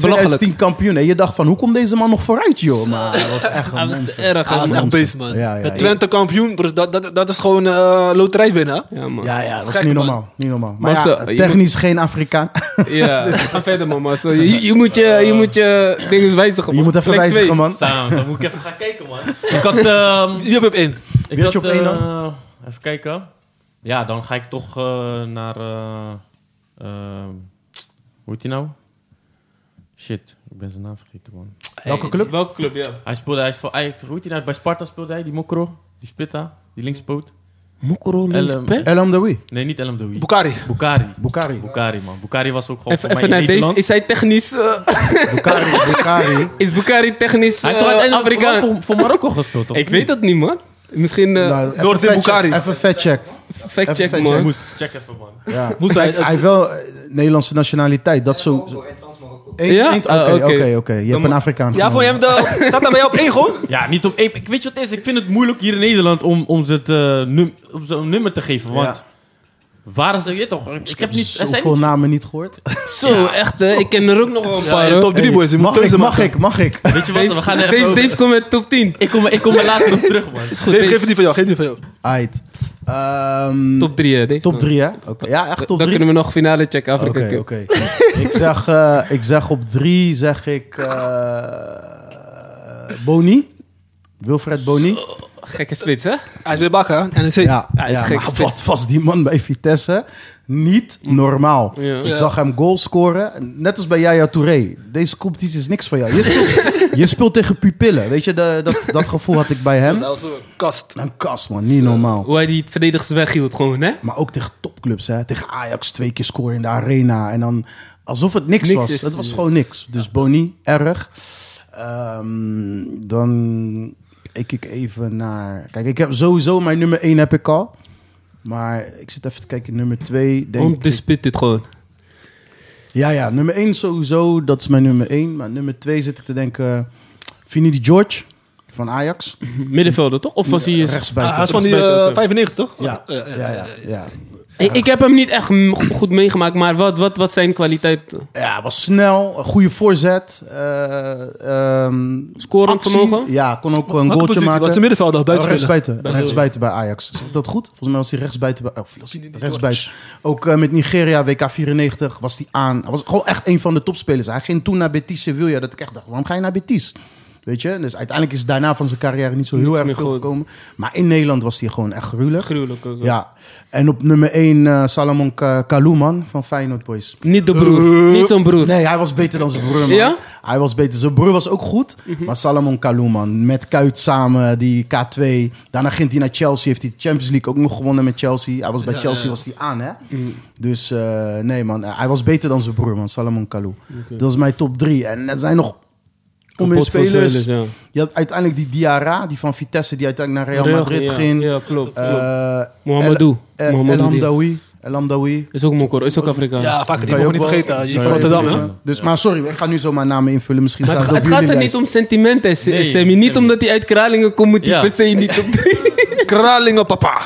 [SPEAKER 3] 2010
[SPEAKER 2] belachelijk.
[SPEAKER 3] kampioen. En je dacht van, hoe komt deze man nog vooruit, joh? Maar hij was echt een
[SPEAKER 2] Hij was te
[SPEAKER 3] monster.
[SPEAKER 2] erg, hè,
[SPEAKER 1] Hij was
[SPEAKER 2] man.
[SPEAKER 1] echt
[SPEAKER 3] Monster.
[SPEAKER 1] beest, man.
[SPEAKER 3] Ja, ja,
[SPEAKER 1] Met Twente kampioen, broers, dat, dat, dat is gewoon eh, loterij winnen. hè?
[SPEAKER 2] Ja, man.
[SPEAKER 3] Ja, ja, dat was
[SPEAKER 1] gek,
[SPEAKER 3] niet
[SPEAKER 1] man.
[SPEAKER 3] normaal. Niet normaal. Maar
[SPEAKER 2] Maar
[SPEAKER 3] ja,
[SPEAKER 2] zo, je
[SPEAKER 3] technisch geen Afrikaan.
[SPEAKER 2] Ja,
[SPEAKER 3] Dus-
[SPEAKER 2] ga verder, man. Marcel. Je, je moet je, je, moet je dingen wijzigen, man.
[SPEAKER 3] je moet even
[SPEAKER 2] Plek
[SPEAKER 3] wijzigen,
[SPEAKER 2] twee.
[SPEAKER 3] man.
[SPEAKER 4] Samen, dan moet ik even gaan kijken, man. Ik had... ehm,
[SPEAKER 1] Je hebt hem in.
[SPEAKER 4] ik
[SPEAKER 3] Wie had je op
[SPEAKER 4] eh,
[SPEAKER 3] één
[SPEAKER 4] Even kijken. Ja, dan ga ik toch eh, naar... eh, ehm, hoe heet hij nou? Shit, ik ben zijn naam vergeten, man.
[SPEAKER 3] Welke club?
[SPEAKER 2] Welke club, ja.
[SPEAKER 4] Hij speelde... Hij, is voor- hij, hoe heet hij nou? Bij Sparta speelde hij, die Mokro. Die Spitta, die linkspoot.
[SPEAKER 2] Mokoro
[SPEAKER 4] Elam.
[SPEAKER 2] linksback?
[SPEAKER 3] El Amdawi.
[SPEAKER 4] Nee, niet El Amdoui.
[SPEAKER 1] Bukari.
[SPEAKER 4] Bukari.
[SPEAKER 3] Bukari.
[SPEAKER 4] Bukari, man. Bukari was ook gewoon
[SPEAKER 2] Even,
[SPEAKER 4] voor
[SPEAKER 2] even
[SPEAKER 4] mij
[SPEAKER 2] naar
[SPEAKER 4] in
[SPEAKER 2] Dave.
[SPEAKER 4] Nederland.
[SPEAKER 2] Is hij technisch... eh,
[SPEAKER 3] Bukari. Bukari.
[SPEAKER 2] is Bukari technisch
[SPEAKER 4] Hij
[SPEAKER 2] eh,
[SPEAKER 4] heeft toch uiteindelijk
[SPEAKER 2] Afrikaan?
[SPEAKER 4] wel voor, voor Marokko gespeeld, toch?
[SPEAKER 2] Ik weet dat niet, man. Misschien eh
[SPEAKER 3] Nou, even
[SPEAKER 1] Noordin
[SPEAKER 3] fact check,
[SPEAKER 1] Bukari.
[SPEAKER 3] Even fact check.
[SPEAKER 2] fact check,
[SPEAKER 3] fact
[SPEAKER 4] Ik
[SPEAKER 2] man.
[SPEAKER 4] moest check even, man.
[SPEAKER 3] Ja.
[SPEAKER 1] Moest
[SPEAKER 3] Hij,
[SPEAKER 1] hij-
[SPEAKER 3] hij heeft wel eh, Nederlandse nationaliteit. Dat zo...
[SPEAKER 5] Marokko, en trans Marokko.
[SPEAKER 3] Eén-
[SPEAKER 2] Ja?
[SPEAKER 3] één- Oké,
[SPEAKER 2] Ah, oké.
[SPEAKER 3] oké, oké. Je hebt een Afrikaan
[SPEAKER 1] Ja, vond
[SPEAKER 3] genomen.
[SPEAKER 1] je hem de... Staat hij bij jou op één gewoon?
[SPEAKER 4] Ja, niet op één. Ik weet je wat het is? Ik vind het moeilijk hier in Nederland om, om ze het, eh, num- om ze een nummer te geven. Want waar is het? Je toch? Ik heb niet. Er zijn
[SPEAKER 3] Zoveel
[SPEAKER 4] niet
[SPEAKER 3] namen niet gehoord.
[SPEAKER 2] Zo, echt, hè. Ik ken er ook nog wel een paar,
[SPEAKER 1] Ja,
[SPEAKER 2] hoor.
[SPEAKER 1] top 3 boys. Je moet
[SPEAKER 3] Mag ik,
[SPEAKER 1] keuze
[SPEAKER 3] mag
[SPEAKER 1] maken.
[SPEAKER 3] ik, mag ik?
[SPEAKER 4] weet je wat?
[SPEAKER 2] Dave,
[SPEAKER 4] We gaan er even
[SPEAKER 2] Dave,
[SPEAKER 4] over.
[SPEAKER 2] Dave, kom met top 10.
[SPEAKER 4] Ik kom, ik kom er later op terug, man.
[SPEAKER 2] Is goed,
[SPEAKER 1] Nee,
[SPEAKER 2] Dave.
[SPEAKER 1] geef het niet van jou, geef het niet van jou.
[SPEAKER 3] Aight. Ehm,
[SPEAKER 2] Top 3, hè, Dave.
[SPEAKER 3] top drie, hè? Oké. Ja, echt top
[SPEAKER 2] Dan
[SPEAKER 3] drie.
[SPEAKER 2] kunnen we nog finale checken,
[SPEAKER 3] Oké,
[SPEAKER 2] Afrika Cup.
[SPEAKER 3] oké. ik, zeg, eh, ik zeg op drie, zeg ik eh, Boni. Wilfred Boni.
[SPEAKER 2] Gekke spits, hè?
[SPEAKER 1] Hij is weer bakken, hè? NEC.
[SPEAKER 3] Ja,
[SPEAKER 2] hij is
[SPEAKER 3] ja,
[SPEAKER 2] gek
[SPEAKER 3] maar
[SPEAKER 2] spits.
[SPEAKER 3] wat was die man bij Vitesse? Niet normaal.
[SPEAKER 2] Ja.
[SPEAKER 3] Ik
[SPEAKER 1] Ja.
[SPEAKER 3] zag hem goal scoren. Net als bij Yaya Touré. Deze competitie is niks van jou. Je speelt, je speelt tegen pupillen. Weet je, de- dat, dat gevoel had ik bij hem.
[SPEAKER 1] Dat was een kast.
[SPEAKER 3] Een kast, man. Niet normaal.
[SPEAKER 2] Hoe hij die verdedigers weghield, gewoon, hè?
[SPEAKER 3] Maar ook tegen topclubs, hè. Tegen Ajax twee keer scoren in de arena. En dan alsof het niks,
[SPEAKER 7] Niks
[SPEAKER 3] was.
[SPEAKER 7] is.
[SPEAKER 3] het was gewoon niks. Dus Boni, erg. Ehm, dan kijk ik even naar... Kijk, ik heb sowieso mijn nummer 1 heb ik al. Maar ik zit even te kijken, nummer 2 denk ik...
[SPEAKER 2] dit gewoon.
[SPEAKER 3] Ja, ja, nummer 1 sowieso, dat is mijn nummer 1. Maar nummer 2 zit ik te denken, Vinnie George van Ajax.
[SPEAKER 2] Middenvelder, toch? Of was hij...
[SPEAKER 3] rechtsbuiten.
[SPEAKER 1] Ah, hij is van die
[SPEAKER 2] Rechtsbuiten ook, ja.
[SPEAKER 1] eh, 95, toch?
[SPEAKER 3] Ja,
[SPEAKER 1] Eh, eh,
[SPEAKER 3] ja, ja, ja.
[SPEAKER 2] Ik, ik heb hem niet echt m- goed meegemaakt, maar wat, wat, wat zijn kwaliteiten?
[SPEAKER 3] Ja, was snel, een goede voorzet. eh, ehm,
[SPEAKER 2] Scorend
[SPEAKER 3] actie.
[SPEAKER 2] vermogen?
[SPEAKER 3] Ja, kon ook een
[SPEAKER 1] Welke
[SPEAKER 3] goaltje
[SPEAKER 1] positie? Wat
[SPEAKER 3] maken.
[SPEAKER 1] is de middenvelder?
[SPEAKER 3] Buiten
[SPEAKER 1] Buiten
[SPEAKER 3] rechtsbuiten, rechtsbuiten bij Ajax. Zeg ik dat goed? Volgens mij was hij rechtsbuiten bij... Oh, was hij rechtsbuiten. Ook eh, met Nigeria, WK 94, was hij aan. Hij was gewoon echt een van de topspelers. Hij ging toen naar Betis Sevilla. Dat ik echt dacht, waarom ga je naar Betis? Weet je? Dus uiteindelijk is daarna van zijn carrière niet zo heel
[SPEAKER 2] Niks
[SPEAKER 3] erg
[SPEAKER 2] meer
[SPEAKER 3] veel
[SPEAKER 2] goed.
[SPEAKER 3] gekomen. Maar in Nederland was hij gewoon echt gruwelijk.
[SPEAKER 2] Gruwelijk ook.
[SPEAKER 3] Ja. En op nummer 1 eh Salomon Ka- Kalou, man, van Feyenoord Boys.
[SPEAKER 2] Niet de broer. Niet zo'n broer.
[SPEAKER 3] Nee, hij was beter dan zijn broer, man.
[SPEAKER 2] Ja? Mhm.
[SPEAKER 3] Hij was beter. Zijn broer was ook goed. Maar Salomon Kalou, man. Met Kuit samen, die K2. Daarna ging hij naar Chelsea. Heeft hij de Champions League ook nog gewonnen met Chelsea. Hij was bij Chelsea was hij aan, hè?
[SPEAKER 2] Mhm.
[SPEAKER 3] Dus eh, nee, man. Hij was beter dan zijn broer, man. Salomon Kalou. Dat is mijn top drie. En er zijn nog
[SPEAKER 2] Kapot voor
[SPEAKER 3] spelers.
[SPEAKER 2] ja.
[SPEAKER 3] Je had uiteindelijk die Diarra, die van Vitesse, die uiteindelijk naar Real, Madrid
[SPEAKER 2] ja.
[SPEAKER 3] ging.
[SPEAKER 2] Ja, klopt.
[SPEAKER 3] Eh,
[SPEAKER 2] klopt.
[SPEAKER 3] El-
[SPEAKER 2] Mohamedou.
[SPEAKER 3] El- El
[SPEAKER 2] Mohamedou die-
[SPEAKER 3] Hamdaoui. El Hamdaoui.
[SPEAKER 2] Is ook Mokor, is ook Afrikaan.
[SPEAKER 1] Ja, vaker. Die
[SPEAKER 3] Kan je
[SPEAKER 1] mogen
[SPEAKER 3] ook
[SPEAKER 1] we niet
[SPEAKER 3] wel-
[SPEAKER 1] vergeten. Je
[SPEAKER 3] kan
[SPEAKER 1] van
[SPEAKER 3] je ook
[SPEAKER 1] Rotterdam,
[SPEAKER 3] wel-
[SPEAKER 1] hè?
[SPEAKER 3] Dus, maar sorry, ik ga nu zomaar namen invullen. Misschien
[SPEAKER 2] Maar
[SPEAKER 3] staat
[SPEAKER 2] het,
[SPEAKER 3] het
[SPEAKER 2] het
[SPEAKER 3] op
[SPEAKER 2] gaat
[SPEAKER 3] jullie
[SPEAKER 2] er
[SPEAKER 3] lijst.
[SPEAKER 2] niet om sentimenten, Sammy.
[SPEAKER 4] Nee,
[SPEAKER 2] Niet
[SPEAKER 4] Sammy.
[SPEAKER 2] omdat hij uit Kralingen komt, moet hij
[SPEAKER 4] Ja.
[SPEAKER 2] per se niet op drie.
[SPEAKER 1] Kralingen, papa.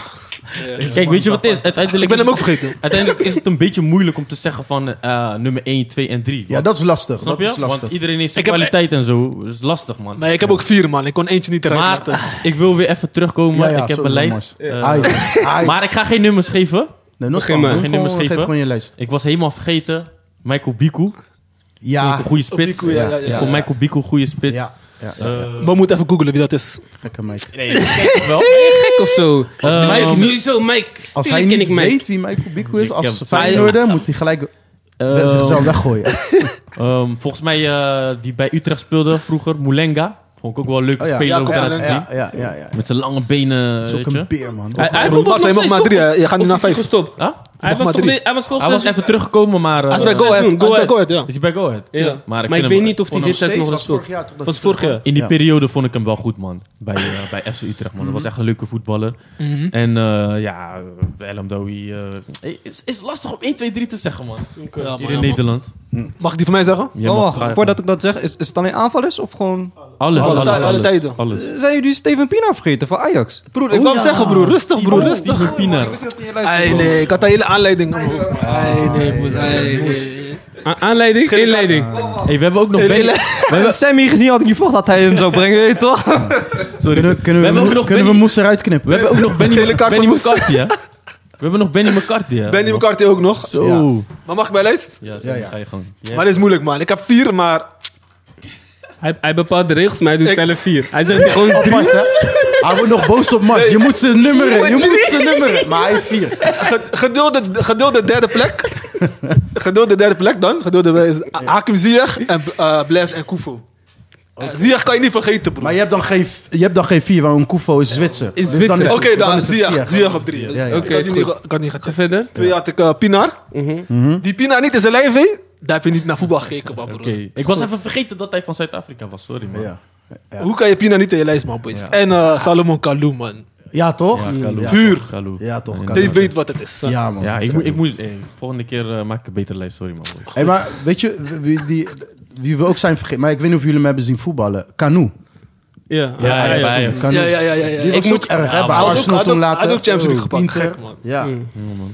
[SPEAKER 4] Kijk, weet je wat het is? Uiteindelijk
[SPEAKER 1] Ik ben
[SPEAKER 4] is
[SPEAKER 1] hem ook
[SPEAKER 4] het-
[SPEAKER 1] vergeten.
[SPEAKER 4] Uiteindelijk is het een beetje moeilijk om te zeggen van eh, nummer 1, 2 en 3.
[SPEAKER 3] Ja, dat is lastig.
[SPEAKER 4] Snap
[SPEAKER 3] dat
[SPEAKER 4] je?
[SPEAKER 3] is lastig.
[SPEAKER 4] Want iedereen heeft zijn
[SPEAKER 1] Ik heb-
[SPEAKER 4] kwaliteit en zo. Dat is lastig, man.
[SPEAKER 1] Nee, ik heb ook vier, man. Ik kon eentje niet eruit
[SPEAKER 4] maar
[SPEAKER 1] laten.
[SPEAKER 4] ik wil weer even terugkomen.
[SPEAKER 3] Ja, ja,
[SPEAKER 4] ik heb
[SPEAKER 3] zo,
[SPEAKER 4] een
[SPEAKER 3] jongens.
[SPEAKER 4] lijst. eh,
[SPEAKER 3] Ai, ai.
[SPEAKER 4] maar ik ga geen nummers geven.
[SPEAKER 3] nee, nog
[SPEAKER 2] Begin
[SPEAKER 3] geen
[SPEAKER 2] maar.
[SPEAKER 4] Geen
[SPEAKER 3] nummers
[SPEAKER 4] nummers
[SPEAKER 3] geven. Geef
[SPEAKER 4] geven.
[SPEAKER 3] gewoon je lijst.
[SPEAKER 4] Ik was helemaal vergeten. Michael Biku.
[SPEAKER 3] Ja,
[SPEAKER 4] Een goede spits.
[SPEAKER 1] Biku, ja, ja, ja.
[SPEAKER 4] Ik vond Michael Biku een goede spits.
[SPEAKER 3] ja, ja, ja.
[SPEAKER 4] Eh,
[SPEAKER 1] Maar we moeten even googlen wie dat is.
[SPEAKER 3] gekke meid.
[SPEAKER 4] nee, dat ken ik wel.
[SPEAKER 2] Gek of zo.
[SPEAKER 4] Eh,
[SPEAKER 2] Mike,
[SPEAKER 3] Mike niet-
[SPEAKER 2] sowieso, Mike.
[SPEAKER 3] Als hij
[SPEAKER 2] Tuurlijk ken
[SPEAKER 3] niet
[SPEAKER 2] ik Mike.
[SPEAKER 3] weet wie Michael Biku is,
[SPEAKER 4] Ik
[SPEAKER 3] als
[SPEAKER 4] heb-
[SPEAKER 3] Feyenoorder, moet hij gelijk
[SPEAKER 4] eh,
[SPEAKER 3] zichzelf weggooien.
[SPEAKER 4] ehm, volgens mij eh, die bij Utrecht speelde vroeger. Moulenga. Vond ik ook wel een leuke
[SPEAKER 3] Oh ja,
[SPEAKER 4] speler om
[SPEAKER 1] Jacob
[SPEAKER 4] daar te
[SPEAKER 1] Moulenga.
[SPEAKER 4] zien.
[SPEAKER 3] Ja, ja, ja. ja.
[SPEAKER 4] Met zijn lange benen.
[SPEAKER 3] Dat is ook
[SPEAKER 4] weet je.
[SPEAKER 3] een beer, man.
[SPEAKER 2] Hij, hij
[SPEAKER 1] Bas,
[SPEAKER 2] voetbalt nog
[SPEAKER 1] hij mag
[SPEAKER 2] steeds,
[SPEAKER 1] maar
[SPEAKER 2] toch?
[SPEAKER 1] drie, hè? Je gaat nu
[SPEAKER 2] Of
[SPEAKER 1] naar
[SPEAKER 2] is hij
[SPEAKER 1] vijf.
[SPEAKER 2] gestopt.
[SPEAKER 4] Huh?
[SPEAKER 2] Hij
[SPEAKER 1] mag
[SPEAKER 2] was,
[SPEAKER 1] maar
[SPEAKER 2] toch
[SPEAKER 1] drie.
[SPEAKER 2] de- hij was volgens
[SPEAKER 4] Hij was
[SPEAKER 2] mij-
[SPEAKER 4] even teruggekomen, maar... eh,
[SPEAKER 1] Hij is bij
[SPEAKER 2] Go
[SPEAKER 1] Go Ahead.
[SPEAKER 2] Ahead.
[SPEAKER 1] Hij is bij Go Ahead, ja.
[SPEAKER 4] Is hij bij Go Ahead?
[SPEAKER 2] Ja. Maar ik,
[SPEAKER 4] vind
[SPEAKER 2] weet
[SPEAKER 4] hem-
[SPEAKER 2] niet of hij
[SPEAKER 4] vond
[SPEAKER 2] dit
[SPEAKER 4] hem-
[SPEAKER 2] tijd nog
[SPEAKER 3] was
[SPEAKER 2] eens speelt.
[SPEAKER 3] vorig jaar. totdat
[SPEAKER 2] Was
[SPEAKER 3] hij
[SPEAKER 2] vorig
[SPEAKER 3] terugkwam.
[SPEAKER 4] In
[SPEAKER 2] jaar.
[SPEAKER 4] die
[SPEAKER 3] Ja.
[SPEAKER 4] periode vond ik hem wel goed, man. Bij, eh, bij FC Utrecht, man. Dat was echt een leuke voetballer. En eh, ja, Elam Dowie... is, is lastig om 1, 2, 3 te zeggen, man.
[SPEAKER 1] Ja,
[SPEAKER 4] Hier
[SPEAKER 1] maar
[SPEAKER 4] in
[SPEAKER 1] ja, man.
[SPEAKER 4] Nederland.
[SPEAKER 1] Mag ik die van mij zeggen?
[SPEAKER 4] Je
[SPEAKER 7] oh,
[SPEAKER 4] mag
[SPEAKER 7] wacht,
[SPEAKER 4] graag-
[SPEAKER 7] voordat ik dat zeg, is, is het alleen aanvallers of gewoon...
[SPEAKER 4] Alles,
[SPEAKER 1] Alle
[SPEAKER 4] alles,
[SPEAKER 1] tijden, alle
[SPEAKER 4] alles.
[SPEAKER 1] tijden.
[SPEAKER 4] alles.
[SPEAKER 7] Zijn jullie Steven Pienaar vergeten van Ajax?
[SPEAKER 1] Broer,
[SPEAKER 3] Oh
[SPEAKER 1] ik wou hem zeggen, broer. Rustig, broer. Rustig.
[SPEAKER 4] Steven Pienaar.
[SPEAKER 1] Ei, nee. Ik had daar hele aanleiding aan mijn hoofd. Ei, Ah, nee, moes. Ei, nee.
[SPEAKER 2] A- Aanleiding, inleiding.
[SPEAKER 4] Hey, we hebben ook nog Benny,
[SPEAKER 7] Eh, Sammy gezien had ik niet verwacht dat hij hem zou brengen, weet je toch?
[SPEAKER 4] sorry,
[SPEAKER 3] Kunnen, kunnen we,
[SPEAKER 4] hebben ook
[SPEAKER 3] Mo-
[SPEAKER 4] nog
[SPEAKER 3] kunnen we
[SPEAKER 4] Benny-
[SPEAKER 3] Moes eruit knippen?
[SPEAKER 4] we hebben ook nog Benny,
[SPEAKER 1] Gele kaart
[SPEAKER 4] Benny
[SPEAKER 1] van Moes.
[SPEAKER 4] McCarthy, hè? We hebben nog Benny McCarthy, hè?
[SPEAKER 1] Benny McCarthy ook nog.
[SPEAKER 4] Zo.
[SPEAKER 1] Maar mag ik bij lijst?
[SPEAKER 4] Ja,
[SPEAKER 3] Ja,
[SPEAKER 4] zo
[SPEAKER 3] ja.
[SPEAKER 4] ga je gewoon.
[SPEAKER 1] Maar dit is moeilijk, man. Ik heb vier, maar...
[SPEAKER 2] Hij, hij bepaalt de regels, maar hij doet
[SPEAKER 1] Ik-
[SPEAKER 2] zelf vier. Hij zegt gewoon drie.
[SPEAKER 3] Apart, hè? Hij wordt nog boos op Mars. Je moet zijn nummeren. Je moet zijn nummeren. Maar hij heeft vier.
[SPEAKER 1] Ge- Gedulde, gedulde derde plek. gedulde derde plek dan. Gedulde eh, is Hakim Ziyech en eh Blaise en Koufo. Eh, Ziyech kan je niet vergeten, broer.
[SPEAKER 3] Maar je hebt dan geen, je hebt dan geen vier, want Koefo is Zwitser. Dus
[SPEAKER 2] Is
[SPEAKER 3] dan
[SPEAKER 2] Zwitser.
[SPEAKER 3] het-
[SPEAKER 1] Oké, dan
[SPEAKER 3] is het
[SPEAKER 1] Ziyech. Ziyech op drie.
[SPEAKER 3] Ja, ja.
[SPEAKER 1] Ik
[SPEAKER 2] Oké,
[SPEAKER 1] had
[SPEAKER 2] is
[SPEAKER 1] die niet
[SPEAKER 2] goed.
[SPEAKER 1] ge- ik had niet
[SPEAKER 2] Ga
[SPEAKER 1] gecheckt.
[SPEAKER 2] verder.
[SPEAKER 1] Twee had ik eh, Pinar.
[SPEAKER 2] Mhm.
[SPEAKER 1] Die Pinar niet in zijn lijf, hé. daar heb je niet naar voetbal gekeken, man, broer.
[SPEAKER 4] Oké. Ik was even vergeten dat hij van Zuid-Afrika was. Sorry, man.
[SPEAKER 3] Ja. Ja.
[SPEAKER 1] Hoe kan je Pinar niet in je lijst, man, boys?
[SPEAKER 4] Ja.
[SPEAKER 1] En eh, Salomon Kalou, man.
[SPEAKER 3] Ja, toch?
[SPEAKER 4] Ja, Kalou.
[SPEAKER 3] Ja.
[SPEAKER 1] Vuur.
[SPEAKER 4] Kalou.
[SPEAKER 3] Ja, toch,
[SPEAKER 4] Ja,
[SPEAKER 3] Kalou.
[SPEAKER 1] Die
[SPEAKER 4] inderdaad.
[SPEAKER 1] weet wat het is.
[SPEAKER 3] Ja, man.
[SPEAKER 4] Ja, ik moet, ik moet, eh, volgende keer eh, maak ik een betere lijst, sorry man. boys.
[SPEAKER 3] Hey, maar weet je, wie, die, wie we ook zijn vergeten, maar ik weet niet of jullie hem hebben zien voetballen. Kanoe.
[SPEAKER 2] Ja,
[SPEAKER 4] Ja,
[SPEAKER 2] ja,
[SPEAKER 4] ja,
[SPEAKER 2] ja.
[SPEAKER 4] bij-
[SPEAKER 3] Kanoe.
[SPEAKER 1] Ja, ja, ja, ja. ja.
[SPEAKER 3] Die was
[SPEAKER 2] Ik
[SPEAKER 3] ook
[SPEAKER 2] moet-
[SPEAKER 4] Ja,
[SPEAKER 3] erg, hè? Bij
[SPEAKER 4] maar
[SPEAKER 1] hij was
[SPEAKER 3] Arsenal
[SPEAKER 1] ook-
[SPEAKER 3] toen
[SPEAKER 1] hij had
[SPEAKER 3] later.
[SPEAKER 1] ook Champions League
[SPEAKER 3] Oh,
[SPEAKER 1] gepakt.
[SPEAKER 3] Inter.
[SPEAKER 1] Gek, man.
[SPEAKER 3] Ja.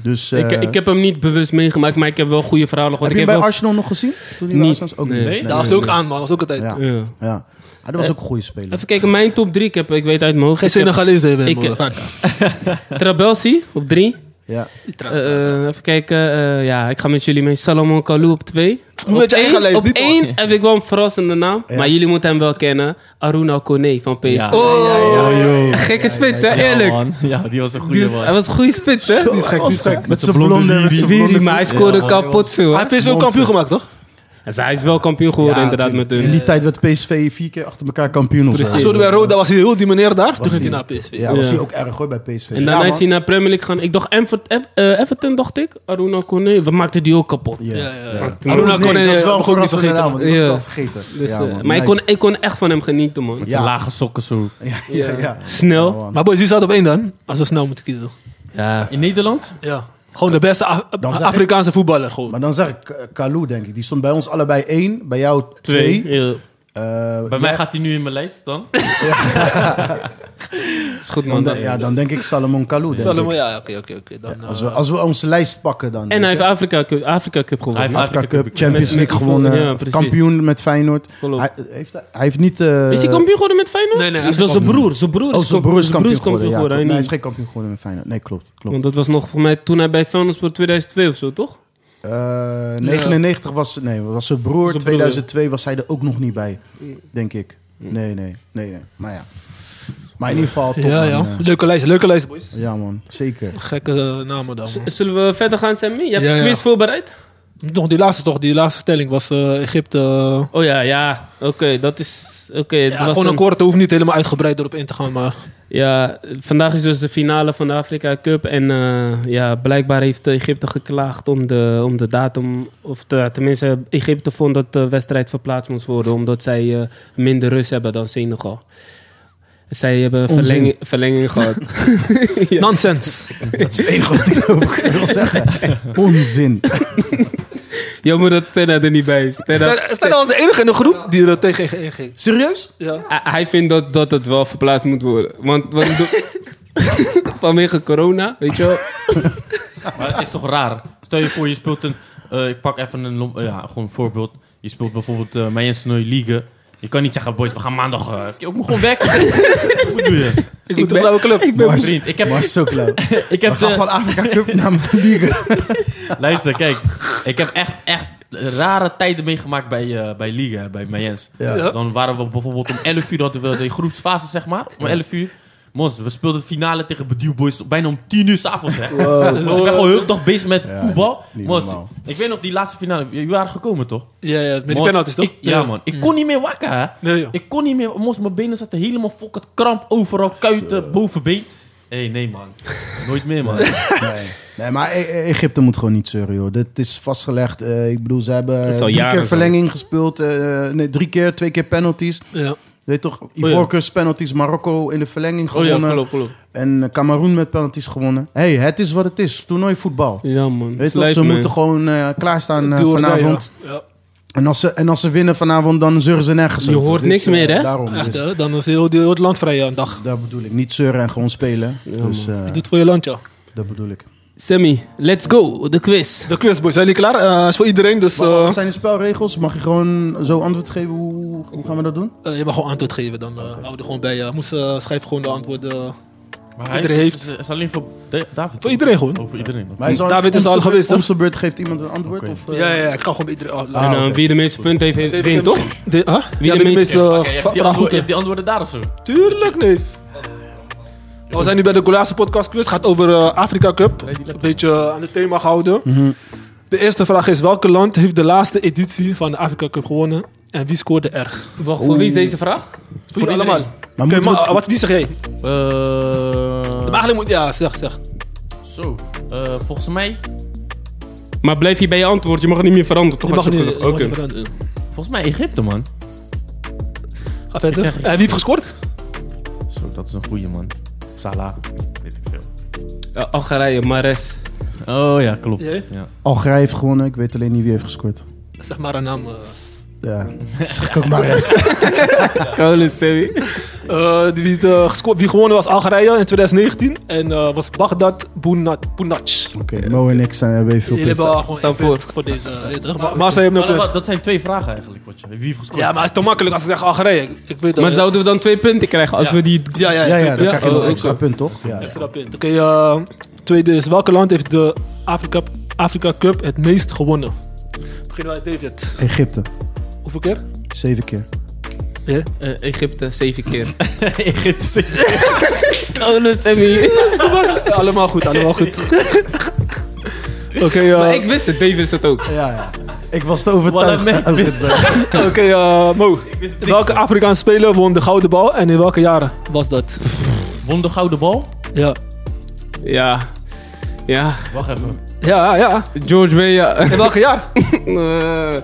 [SPEAKER 3] Dus, eh,
[SPEAKER 2] Ik, ik heb hem niet bewust meegemaakt, maar ik heb wel goede verhalen
[SPEAKER 3] heb
[SPEAKER 2] gehoord.
[SPEAKER 3] je hem
[SPEAKER 2] ik
[SPEAKER 3] bij
[SPEAKER 2] heb
[SPEAKER 3] Arsenal
[SPEAKER 2] wel...
[SPEAKER 3] nog gezien? Toen hij bij
[SPEAKER 2] Niet.
[SPEAKER 3] Arsenal was? Ook
[SPEAKER 2] Nee.
[SPEAKER 3] niet.
[SPEAKER 4] Nee?
[SPEAKER 1] Daar was hij ook aan, man. Dat was ook altijd.
[SPEAKER 3] Ja.
[SPEAKER 2] Ja.
[SPEAKER 3] Ja. Ah, dat was ook een goede speler.
[SPEAKER 2] Even kijken, mijn top 3. Ik, heb, ik weet uit mijn hoofd.
[SPEAKER 1] Geen
[SPEAKER 2] Ik heb
[SPEAKER 1] Senegalees, hè,
[SPEAKER 2] Ik- eh,
[SPEAKER 1] broer. Vaak.
[SPEAKER 2] Trabelsi op 3.
[SPEAKER 3] Ja.
[SPEAKER 2] eh,
[SPEAKER 1] Oh,
[SPEAKER 2] even kijken. eh, ja, ik ga met jullie mee. Salomon Kalou op 2.
[SPEAKER 1] Moet je eigen lijst,
[SPEAKER 2] Op
[SPEAKER 1] niet
[SPEAKER 2] 1 heb ik wel een verrassende naam. Maar jullie moeten hem wel kennen. Aruna Kone van PSV.
[SPEAKER 4] Ja.
[SPEAKER 2] eh,
[SPEAKER 1] Oh,
[SPEAKER 2] Een gekke spits, hè?
[SPEAKER 4] Ja,
[SPEAKER 2] Eerlijk.
[SPEAKER 4] man. Ja, die was een
[SPEAKER 2] Die
[SPEAKER 4] goede
[SPEAKER 2] is- hij
[SPEAKER 4] man.
[SPEAKER 2] was een goede spits, hè?
[SPEAKER 3] Die is gek, die is gek. Met zijn
[SPEAKER 4] blonde
[SPEAKER 3] blonde... met zijn
[SPEAKER 2] Wiri,
[SPEAKER 3] blonde
[SPEAKER 2] maar hij
[SPEAKER 3] broek.
[SPEAKER 2] scoorde
[SPEAKER 3] Ja, man.
[SPEAKER 2] kapot veel,
[SPEAKER 1] Hij
[SPEAKER 2] hè?
[SPEAKER 1] heeft PSV ook kampioen gemaakt, toch?
[SPEAKER 2] En zij is wel kampioen geworden,
[SPEAKER 3] Ja,
[SPEAKER 2] inderdaad,
[SPEAKER 3] tuurlijk.
[SPEAKER 2] met hun.
[SPEAKER 3] In die tijd werd PSV vier keer achter elkaar kampioen of zo.
[SPEAKER 1] Zo, bij Roda was hij heel die meneer daar. Toen ging hij naar PSV.
[SPEAKER 3] Ja, was
[SPEAKER 2] Ja.
[SPEAKER 3] hij ook erg hoor bij PSV.
[SPEAKER 2] En daarna
[SPEAKER 3] ja,
[SPEAKER 2] is hij naar Premier League gaan. Ik dacht Everton, Everton dacht ik. Aruna Kone, we maakten die ook kapot.
[SPEAKER 3] man. Ja.
[SPEAKER 1] ja, ja.
[SPEAKER 2] Maakten
[SPEAKER 3] Aruna
[SPEAKER 1] Aruna
[SPEAKER 3] nee,
[SPEAKER 1] Kone,
[SPEAKER 3] dat is
[SPEAKER 1] eh,
[SPEAKER 3] wel
[SPEAKER 1] mag
[SPEAKER 3] een
[SPEAKER 1] ik ook
[SPEAKER 3] verrassende
[SPEAKER 1] niet vergeten.
[SPEAKER 3] naam, want die was
[SPEAKER 2] Ja.
[SPEAKER 3] ik al vergeten.
[SPEAKER 2] Dus,
[SPEAKER 3] Ja,
[SPEAKER 2] eh,
[SPEAKER 3] man,
[SPEAKER 2] maar ik,
[SPEAKER 3] nice.
[SPEAKER 2] kon, ik kon echt van hem genieten, man.
[SPEAKER 4] Zijn
[SPEAKER 3] Ja.
[SPEAKER 4] lage sokken zo.
[SPEAKER 3] Ja, ja.
[SPEAKER 2] Snel.
[SPEAKER 3] Ja, man.
[SPEAKER 1] Maar boys, wie staat op één dan? Als we snel moeten kiezen.
[SPEAKER 2] Ja.
[SPEAKER 4] In Nederland?
[SPEAKER 1] Ja. Gewoon de beste Af-
[SPEAKER 3] Dan zeg ik-
[SPEAKER 1] Afrikaanse voetballer. Gewoon.
[SPEAKER 3] Maar dan zeg ik eh, Kalou, denk ik. Die stond bij ons allebei één, bij jou twee.
[SPEAKER 2] Twee. Ja.
[SPEAKER 3] Eh,
[SPEAKER 4] Bij
[SPEAKER 3] ja,
[SPEAKER 4] mij gaat hij nu in mijn lijst dan.
[SPEAKER 2] Is goed, man.
[SPEAKER 3] dan, dan- ja, dan denk ik Salomon Kalou. denk
[SPEAKER 1] Salomo,
[SPEAKER 3] ik.
[SPEAKER 1] ja, oké, oké, oké. Dan, eh,
[SPEAKER 3] Als we, als we onze lijst pakken dan.
[SPEAKER 2] En hij
[SPEAKER 3] weet
[SPEAKER 2] heeft
[SPEAKER 3] je.
[SPEAKER 2] Afrika Cup, Afrika Cup gewonnen.
[SPEAKER 4] Hij heeft
[SPEAKER 3] Afrika Cup,
[SPEAKER 4] Met-
[SPEAKER 3] Champions
[SPEAKER 2] met-
[SPEAKER 3] League gewonnen,
[SPEAKER 2] ja, precies.
[SPEAKER 3] kampioen met Feyenoord.
[SPEAKER 2] Klopt.
[SPEAKER 3] Hij heeft, hij heeft niet... eh,
[SPEAKER 2] is hij kampioen geworden met Feyenoord?
[SPEAKER 1] Nee, nee, hij
[SPEAKER 2] Dat
[SPEAKER 1] is
[SPEAKER 2] was zijn broer. Zijn broer
[SPEAKER 3] Oh, zijn broer is kampioen geworden.
[SPEAKER 2] kampioen
[SPEAKER 3] Ja, klopt.
[SPEAKER 2] geworden.
[SPEAKER 3] nee,
[SPEAKER 2] hij
[SPEAKER 3] hij is
[SPEAKER 2] niet.
[SPEAKER 3] geen kampioen geworden met Feyenoord. Nee, klopt. klopt.
[SPEAKER 2] Want dat was nog voor mij toen hij bij Feyenoord 2002 of zo, toch?
[SPEAKER 3] Eh, 99 was, nee, was zijn broer.
[SPEAKER 2] broer,
[SPEAKER 3] 2002 was hij er ook nog niet bij, denk ik. Nee, nee, nee, nee. Maar ja. Maar in ieder geval top,
[SPEAKER 1] ja,
[SPEAKER 3] man.
[SPEAKER 1] ja.
[SPEAKER 3] Eh,
[SPEAKER 1] Leuke lijst, leuke lijst, boys.
[SPEAKER 3] ja, man. Zeker.
[SPEAKER 1] Gekke eh, namen dan.
[SPEAKER 2] Z-
[SPEAKER 1] man.
[SPEAKER 2] Zullen we verder gaan, Sammy? Je hebt
[SPEAKER 1] Ja,
[SPEAKER 2] een
[SPEAKER 1] ja.
[SPEAKER 2] quiz voorbereid?
[SPEAKER 1] Nog die laatste toch, die laatste stelling was eh, Egypte. eh,
[SPEAKER 2] Oh ja, ja. Oké, dat is... Oké, dat
[SPEAKER 1] ja,
[SPEAKER 2] was
[SPEAKER 1] gewoon een
[SPEAKER 2] een-
[SPEAKER 1] korte, hoeft niet helemaal uitgebreid erop in te gaan, maar...
[SPEAKER 2] Ja, vandaag is dus de finale van de Afrika Cup. En eh, ja, blijkbaar heeft Egypte geklaagd om de, om de datum. Of te- tenminste, Egypte vond dat de wedstrijd verplaatst moest worden. Omdat zij eh, minder rust hebben dan Senegal. Zij hebben
[SPEAKER 3] Onzin.
[SPEAKER 2] verlenging, verlenging gehad. Ja.
[SPEAKER 1] Nonsense.
[SPEAKER 3] Dat is het enige wat ik erover wil zeggen. Onzin.
[SPEAKER 2] Jammer dat Stenna er niet bij is. Stenna-
[SPEAKER 1] Stel stel nou als de enige in de groep die er tegen inging.
[SPEAKER 3] Serieus?
[SPEAKER 1] Ja.
[SPEAKER 2] Hij- hij vindt dat, dat het wel verplaatst moet worden. Want wat doe- vanwege corona, weet je wel.
[SPEAKER 4] Maar het is toch raar? Stel je voor, je speelt een... eh, ik pak even een, lom- eh, ja, gewoon een voorbeeld. Je speelt bijvoorbeeld eh Manchester League. Je kan niet zeggen, boys, we gaan maandag... eh, ik moet gewoon weg. Wat doe je?
[SPEAKER 1] Ik moet een blauwe club.
[SPEAKER 2] Ik ben,
[SPEAKER 3] Mars,
[SPEAKER 4] Vriend, ik heb...
[SPEAKER 3] Mars zo klauw.
[SPEAKER 4] Ik
[SPEAKER 3] We
[SPEAKER 4] heb
[SPEAKER 3] gaan
[SPEAKER 4] eh,
[SPEAKER 3] van Afrika Cup naar Liga.
[SPEAKER 4] Luister, kijk. Ik heb echt, echt rare tijden meegemaakt bij, eh, bij Liga, hè, bij Mayens.
[SPEAKER 3] Ja.
[SPEAKER 4] Dan waren we bijvoorbeeld om 11 uur, hadden we de groepsfase, zeg maar. Om 11 uur. Mons, we speelden de finale tegen Bedieu Boys bijna om 10 uur s'avonds, hè. Mons, ik ben gewoon heel de dag bezig met
[SPEAKER 3] Ja,
[SPEAKER 4] voetbal.
[SPEAKER 3] niet
[SPEAKER 4] Mons,
[SPEAKER 3] normaal.
[SPEAKER 4] ik weet nog die laatste finale. Jullie waren gekomen, toch?
[SPEAKER 1] Ja, ja, met die
[SPEAKER 4] Mons,
[SPEAKER 1] penalties toch?
[SPEAKER 4] ik- ja, man. Ik kon niet meer wakker, hè.
[SPEAKER 1] Nee, joh.
[SPEAKER 4] Ik kon niet meer. Mos, mijn benen zaten helemaal fucking kramp overal. Kuiten, bovenbeen. Hé, hey, nee, man. Nooit meer, man.
[SPEAKER 3] Nee. nee, maar E- E- Egypte moet gewoon niet zeuren, joh. Dit is vastgelegd. Eh, ik bedoel, ze hebben
[SPEAKER 2] is al
[SPEAKER 3] drie
[SPEAKER 2] jaren
[SPEAKER 3] keer
[SPEAKER 2] zo.
[SPEAKER 3] verlenging gespeeld. eh, nee, drie keer, twee keer penalties.
[SPEAKER 1] Ja.
[SPEAKER 3] Weet je toch, Ivorcus penalties, Marokko in de verlenging gewonnen.
[SPEAKER 2] Oh ja, klopt, klopt.
[SPEAKER 3] En eh, Cameroen met penalties gewonnen. hey, het is wat het is. Toernooi voetbal.
[SPEAKER 2] Ja, man.
[SPEAKER 3] Weet je toch,
[SPEAKER 2] Slijf,
[SPEAKER 3] ze
[SPEAKER 2] man.
[SPEAKER 3] moeten gewoon eh, klaarstaan eh,
[SPEAKER 1] Doe or die,
[SPEAKER 3] vanavond.
[SPEAKER 1] ja. Ja.
[SPEAKER 3] En, als ze, en als ze winnen vanavond, dan zeuren ze nergens
[SPEAKER 2] Je
[SPEAKER 3] over.
[SPEAKER 2] hoort niks
[SPEAKER 3] eh,
[SPEAKER 2] meer, hè?
[SPEAKER 3] Daarom.
[SPEAKER 1] Echt,
[SPEAKER 3] dus,
[SPEAKER 1] hè? Dan is heel, heel het land vrij eh, een dag.
[SPEAKER 3] dat bedoel ik. Niet zeuren en gewoon spelen. dus eh,
[SPEAKER 1] Je doet voor je land, ja.
[SPEAKER 3] dat bedoel ik.
[SPEAKER 2] Sammy, let's go, de quiz.
[SPEAKER 1] De quiz, boys. Zijn jullie klaar? Eh, is voor iedereen, dus...
[SPEAKER 3] Wat-
[SPEAKER 1] eh,
[SPEAKER 3] wat zijn de spelregels? Mag je gewoon zo antwoord geven? Hoe, hoe gaan we dat doen?
[SPEAKER 1] eh, je mag gewoon antwoord geven, dan eh hou er gewoon bij. je. Moest, eh, schrijf gewoon de antwoorden.
[SPEAKER 4] Maar
[SPEAKER 1] Iedereen heeft-
[SPEAKER 4] Het is alleen voor Da- David.
[SPEAKER 1] Voor iedereen gewoon.
[SPEAKER 4] Over iedereen. man.
[SPEAKER 3] Maar is al-
[SPEAKER 1] David is
[SPEAKER 3] om
[SPEAKER 1] al
[SPEAKER 3] zijn beurt-
[SPEAKER 1] geweest, hè?
[SPEAKER 3] Om zijn beurt geeft iemand een antwoord?
[SPEAKER 4] Oké.
[SPEAKER 3] Of, eh,
[SPEAKER 1] ja, ja, ja, ik kan gewoon bij iedereen... Oh,
[SPEAKER 2] en
[SPEAKER 1] laat-
[SPEAKER 2] eh,
[SPEAKER 3] Ah, oké.
[SPEAKER 2] wie de meeste punten heeft,
[SPEAKER 1] David
[SPEAKER 2] wint,
[SPEAKER 1] heeft-
[SPEAKER 2] toch?
[SPEAKER 1] De, huh?
[SPEAKER 2] Wie
[SPEAKER 1] ja,
[SPEAKER 2] de
[SPEAKER 1] de
[SPEAKER 2] meeste-
[SPEAKER 1] meeste eh,
[SPEAKER 4] Oké, je hebt
[SPEAKER 1] va-
[SPEAKER 4] die
[SPEAKER 1] vandaag
[SPEAKER 4] antwoorden-
[SPEAKER 1] goed,
[SPEAKER 4] je
[SPEAKER 1] hè?
[SPEAKER 4] hebt die antwoorden daar of zo?
[SPEAKER 1] Tuurlijk, nee. We zijn nu bij de Golaarse podcast quiz. Het gaat over eh, Afrika Cup. Een beetje eh, aan het thema gehouden. De eerste vraag is: welke land heeft de laatste editie van de Afrika Cup gewonnen? En wie scoorde er?
[SPEAKER 2] Wacht, voor wie is deze vraag?
[SPEAKER 1] Voor jullie allemaal.
[SPEAKER 3] Maar
[SPEAKER 1] Oké,
[SPEAKER 3] moeten
[SPEAKER 1] maar,
[SPEAKER 3] we-
[SPEAKER 1] eh, wat wie zeg jij?
[SPEAKER 4] Eh,
[SPEAKER 1] Maar eigenlijk moet ja, zeg, zeg.
[SPEAKER 4] zo. Eh, volgens mij,
[SPEAKER 2] Maar blijf hier bij je antwoord, je mag het niet meer veranderen, toch?
[SPEAKER 1] Die mag
[SPEAKER 2] Als je-
[SPEAKER 1] niet.
[SPEAKER 2] Oké.
[SPEAKER 1] mag niet veranderen.
[SPEAKER 4] volgens mij Egypte, man.
[SPEAKER 1] Ga verder.
[SPEAKER 4] Ik zeg-
[SPEAKER 1] En wie heeft gescoord?
[SPEAKER 4] Zo, dat is een goeie, man. Salah. Weet ik veel.
[SPEAKER 2] Eh, Algerije, Mares.
[SPEAKER 4] Oh ja, klopt.
[SPEAKER 1] Jij?
[SPEAKER 4] Ja.
[SPEAKER 3] Algerije heeft gewonnen. Ik weet alleen niet wie heeft gescoord.
[SPEAKER 1] Zeg maar een naam. eh.
[SPEAKER 3] Ja, zeg ik ook maar eens.
[SPEAKER 2] Kolen, Sammy.
[SPEAKER 1] Eh, die, wie, het, eh, gescoord, wie gewonnen was Algerije in 2019 en eh, was Baghdad Bounat- Bounach.
[SPEAKER 3] Oké, Mo en ik zijn, hebben even
[SPEAKER 1] Jullie
[SPEAKER 3] veel punten.
[SPEAKER 1] hebben al gewoon
[SPEAKER 2] Staan
[SPEAKER 1] één punt
[SPEAKER 2] voor.
[SPEAKER 1] voor deze. eh, weet je toch? Maar, maar ze hebben een
[SPEAKER 4] Maar
[SPEAKER 1] punt.
[SPEAKER 4] dat, dat zijn twee vragen eigenlijk. Wat je, wie heeft gescoord?
[SPEAKER 1] Ja, maar het is te makkelijk als ze zeggen Algerije. Ik, ik weet dat.
[SPEAKER 2] Maar zouden we dan twee punten krijgen als we die...
[SPEAKER 1] Ja, ja,
[SPEAKER 3] Ja,
[SPEAKER 1] ja.
[SPEAKER 3] ja, dan
[SPEAKER 2] Ja,
[SPEAKER 3] krijg je nog
[SPEAKER 2] oh,
[SPEAKER 3] een extra
[SPEAKER 2] oké.
[SPEAKER 3] punt, toch? Ja.
[SPEAKER 1] Extra punt. Oké, eh, tweede is. Welke land heeft de Afrika, Afrika Cup het meest gewonnen? Beginnen we met David.
[SPEAKER 3] Egypte,
[SPEAKER 1] Hoeveel keer?
[SPEAKER 3] zeven keer.
[SPEAKER 2] Eh, Egypte, zeven keer.
[SPEAKER 4] Egypte zegt
[SPEAKER 2] Kolen, Sammy.
[SPEAKER 1] allemaal goed, allemaal goed. Oké, eh,
[SPEAKER 2] Maar ik wist het, Dave wist het ook.
[SPEAKER 3] Ja, ja. Ik Ik was te
[SPEAKER 4] Wat
[SPEAKER 3] overtuigd.
[SPEAKER 4] een match mist.
[SPEAKER 1] Oké, eh, Mo.
[SPEAKER 4] Ik wist niks.
[SPEAKER 1] Welke Afrikaanse speler won de gouden bal en in welke jaren?
[SPEAKER 6] was dat?
[SPEAKER 4] Won de gouden bal?
[SPEAKER 6] Ja.
[SPEAKER 2] Ja. Ja.
[SPEAKER 4] Wacht even.
[SPEAKER 1] Ja, ja.
[SPEAKER 2] George Weah.
[SPEAKER 1] In welke jaar?
[SPEAKER 2] Eh,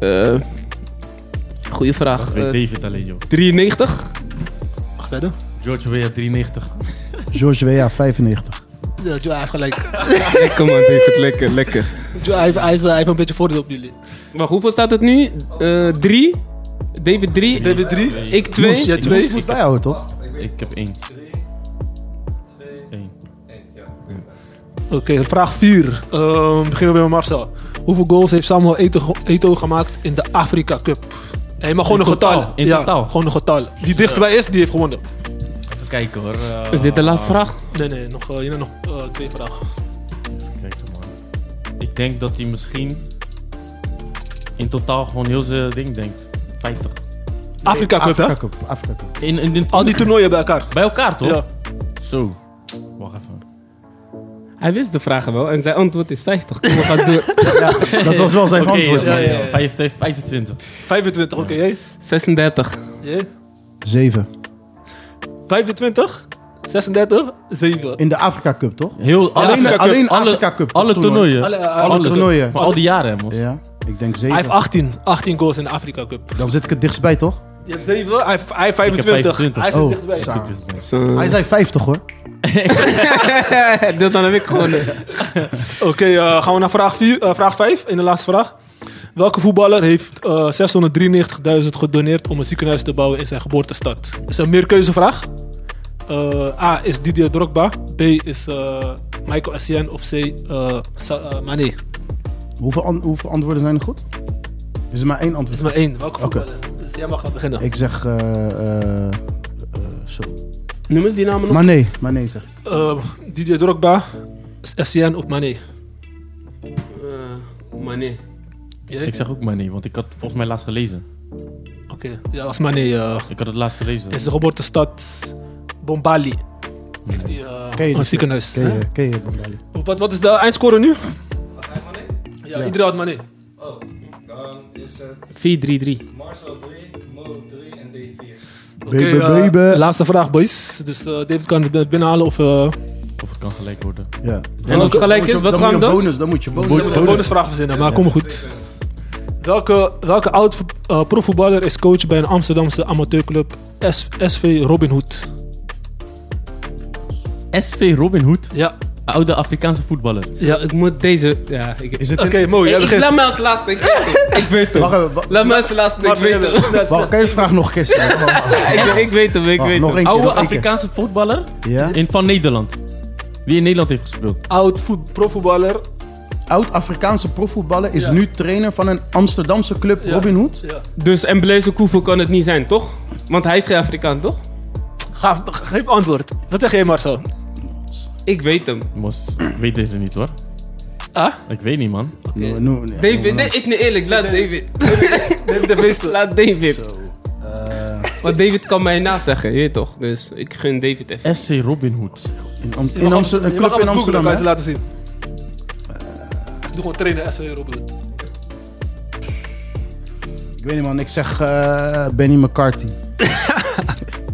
[SPEAKER 2] eh, goeie vraag.
[SPEAKER 4] Dat weet
[SPEAKER 2] Eh,
[SPEAKER 4] David alleen, joh.
[SPEAKER 2] 93?
[SPEAKER 6] Wacht verder.
[SPEAKER 4] George Weah 93.
[SPEAKER 3] George Weah, 95.
[SPEAKER 6] Ja, Joe hij heeft gelijk.
[SPEAKER 2] Lekker man, David. Lekker, lekker.
[SPEAKER 6] Joe, hij, heeft- hij, is- hij heeft een beetje voordeel op jullie.
[SPEAKER 2] Wacht, hoeveel staat het nu? Eh, drie? David 3.
[SPEAKER 6] David 3.
[SPEAKER 2] Ik 2.
[SPEAKER 6] Ja,
[SPEAKER 4] Ik
[SPEAKER 6] twee.
[SPEAKER 4] was-
[SPEAKER 3] Moet bijhouden, toch?
[SPEAKER 4] Ik heb één.
[SPEAKER 5] 2,
[SPEAKER 4] Eén.
[SPEAKER 5] 1. Ja.
[SPEAKER 1] Oké, vraag 4. beginnen we weer met Marcel. Hoeveel goals heeft Samuel Eto, Eto'o gemaakt in de Afrika Cup? Hij mag gewoon
[SPEAKER 4] In
[SPEAKER 1] een
[SPEAKER 4] totaal,
[SPEAKER 1] getal.
[SPEAKER 4] in
[SPEAKER 1] ja,
[SPEAKER 4] totaal.
[SPEAKER 1] Gewoon een getal. Die dichtstbij is, die heeft gewonnen.
[SPEAKER 4] Even kijken hoor. Eh,
[SPEAKER 2] Is dit de laatste vraag?
[SPEAKER 1] Nee, nee, nog, eh, hier nog eh, twee vragen.
[SPEAKER 4] Even kijken, man. Ik denk dat hij misschien in totaal gewoon heel zijn ding denkt. 50.
[SPEAKER 1] Afrika Cup, hè?
[SPEAKER 3] Afrika Cup. Afrika Cup.
[SPEAKER 4] In, in, in-
[SPEAKER 1] Al die toernooien bij elkaar.
[SPEAKER 4] bij elkaar toch?
[SPEAKER 1] Ja.
[SPEAKER 4] Zo. Wacht even.
[SPEAKER 2] Hij wist de vragen wel en zijn antwoord is 50. Kom, we gaan door.
[SPEAKER 3] Dat was wel zijn
[SPEAKER 4] Oké,
[SPEAKER 3] antwoord.
[SPEAKER 4] ja,
[SPEAKER 3] man.
[SPEAKER 4] ja, ja. 25, 25.
[SPEAKER 1] 25, oké. hè?
[SPEAKER 2] 36.
[SPEAKER 1] Jee.
[SPEAKER 3] Zeven.
[SPEAKER 1] 25, 36, 7.
[SPEAKER 3] In de Afrika Cup, toch?
[SPEAKER 4] Heel,
[SPEAKER 1] Alleen
[SPEAKER 4] alle,
[SPEAKER 1] Afrika Cup.
[SPEAKER 3] Alleen
[SPEAKER 4] alle,
[SPEAKER 3] Afrika Cup.
[SPEAKER 4] alle toernooien.
[SPEAKER 1] Alle, eh,
[SPEAKER 4] Alles.
[SPEAKER 3] toernooien.
[SPEAKER 4] Van al die jaren, hè, mos.
[SPEAKER 3] Ja, ik denk
[SPEAKER 1] Hij heeft
[SPEAKER 3] zeven.
[SPEAKER 1] 18, 18 goals in de Afrika Cup.
[SPEAKER 3] Dan zit ik het dichtstbij, toch?
[SPEAKER 1] Je hebt 7, hij heeft, hij
[SPEAKER 4] heb
[SPEAKER 1] heeft 25.
[SPEAKER 4] 25.
[SPEAKER 1] Hij zit
[SPEAKER 3] Oh,
[SPEAKER 1] dichtbij.
[SPEAKER 3] zo.
[SPEAKER 2] Zo.
[SPEAKER 3] Hij zei 50, hoor.
[SPEAKER 2] Dit dan heb ik gewonnen.
[SPEAKER 1] Oké, eh, gaan we naar vraag, vier, eh, vraag 5 in de laatste vraag. Welke voetballer heeft eh, 693.000 gedoneerd om een ziekenhuis te bouwen in zijn geboortestad? Is een meerkeuzevraag. Eh, A is Didier Drogba. B is eh, Michael Essien. Of C eh Sa- eh, Mané.
[SPEAKER 3] Hoeveel, an- hoeveel antwoorden zijn er goed? Is er maar één
[SPEAKER 1] Dat
[SPEAKER 3] antwoord?
[SPEAKER 1] is maar één. Welke
[SPEAKER 3] Oké.
[SPEAKER 1] voetballer? Dus jij mag gaan beginnen.
[SPEAKER 3] Ik zeg... eh, eh, eh, zo.
[SPEAKER 2] Noem eens die namen nog.
[SPEAKER 3] Maar nee, maar nee zeg ik.
[SPEAKER 1] Eh, Didier Drogba, Essien of Mané.
[SPEAKER 2] Eh, Mané.
[SPEAKER 1] Jij?
[SPEAKER 4] Ik zeg ook maar nee, want ik had volgens mij laatst gelezen.
[SPEAKER 1] Oké, ja, als Mané. eh,
[SPEAKER 4] Ik had het laatst gelezen.
[SPEAKER 1] in zijn geboortestad Bombali. Heeft hij eh,
[SPEAKER 3] Ken je die
[SPEAKER 1] een ziekenhuis.
[SPEAKER 3] Ken je, ken je Bengali?
[SPEAKER 1] Wat, wat is de eindscore nu?
[SPEAKER 5] Wat ga je maar nee?
[SPEAKER 1] Ja, iedereen had Mané.
[SPEAKER 5] Oh, dan is het
[SPEAKER 2] 4-3-3.
[SPEAKER 5] Marcel 3, Mo 3 en D4.
[SPEAKER 1] Oké,
[SPEAKER 3] Baby,
[SPEAKER 1] eh,
[SPEAKER 3] baby.
[SPEAKER 1] laatste vraag, boys. Dus eh, David kan het binnenhalen of... eh
[SPEAKER 4] Of het kan gelijk worden.
[SPEAKER 3] Ja.
[SPEAKER 2] En als het gelijk is, wat gaan
[SPEAKER 3] dan?
[SPEAKER 2] we
[SPEAKER 3] moet je
[SPEAKER 2] dan?
[SPEAKER 3] bonus, Dan moet je bonus.
[SPEAKER 1] bonus, bonusvraag verzinnen, maar kom goed. Welke, welke oud eh, profvoetballer is coach bij een Amsterdamse amateurclub S- SV Robin Hood?
[SPEAKER 4] SV Robin Hood,
[SPEAKER 1] Ja,
[SPEAKER 4] oude Afrikaanse voetballer.
[SPEAKER 2] Ja, ik moet deze... Ja, ik... Oh,
[SPEAKER 3] Is het
[SPEAKER 1] oké,
[SPEAKER 3] in...
[SPEAKER 1] mooi. Jij
[SPEAKER 2] Ik- ik
[SPEAKER 1] begint.
[SPEAKER 2] laat mij als laatste. Ik weet het. Ik weet
[SPEAKER 3] Wacht
[SPEAKER 2] hem.
[SPEAKER 3] even, wa-
[SPEAKER 2] Laat mij als laatste. Ik
[SPEAKER 1] Maar
[SPEAKER 2] weet hem.
[SPEAKER 1] begin-
[SPEAKER 3] wacht, kan je de vraag nog gisteren?
[SPEAKER 2] Ik- Ik weet hem. Ik
[SPEAKER 3] Wacht,
[SPEAKER 2] weet
[SPEAKER 3] nog
[SPEAKER 2] hem.
[SPEAKER 3] één keer.
[SPEAKER 4] Oude
[SPEAKER 3] nog één keer.
[SPEAKER 4] Afrikaanse voetballer
[SPEAKER 3] Ja?
[SPEAKER 4] in, van Nederland. Wie in Nederland heeft gespeeld.
[SPEAKER 1] Oud voet- profvoetballer.
[SPEAKER 3] Oud-Afrikaanse profvoetballer is
[SPEAKER 1] Ja.
[SPEAKER 3] nu trainer van een Amsterdamse club,
[SPEAKER 1] Ja.
[SPEAKER 3] Robin Hood.
[SPEAKER 1] Ja.
[SPEAKER 2] Dus en Blaise Koevo kan het niet zijn, toch? Want hij is geen Afrikaan, toch?
[SPEAKER 1] Ga, geef antwoord. Wat zeg jij, Marcel?
[SPEAKER 2] Ik weet hem.
[SPEAKER 4] Mos, ik weet deze niet hoor.
[SPEAKER 2] Ah?
[SPEAKER 4] Ik weet niet man.
[SPEAKER 3] No- no- nee.
[SPEAKER 2] David, dit is niet eerlijk. Laat David.
[SPEAKER 1] David de Meester.
[SPEAKER 2] Laat David.
[SPEAKER 3] nou, Eh,
[SPEAKER 2] Want David kan mij na zeggen, je weet toch? Dus ik gun David even.
[SPEAKER 4] FC Robin Hood.
[SPEAKER 3] in Am-
[SPEAKER 1] Je mag
[SPEAKER 3] in
[SPEAKER 1] alles-
[SPEAKER 3] Amsterdam, een
[SPEAKER 1] je mag
[SPEAKER 3] club in
[SPEAKER 1] alles
[SPEAKER 3] Amsterdam.
[SPEAKER 1] googlen, kan je
[SPEAKER 3] hè? Eh.
[SPEAKER 1] ze laten zien. Doe gewoon trainen SV Robin Hood.
[SPEAKER 3] Ik weet niet man, ik zeg eh, Benny McCarthy.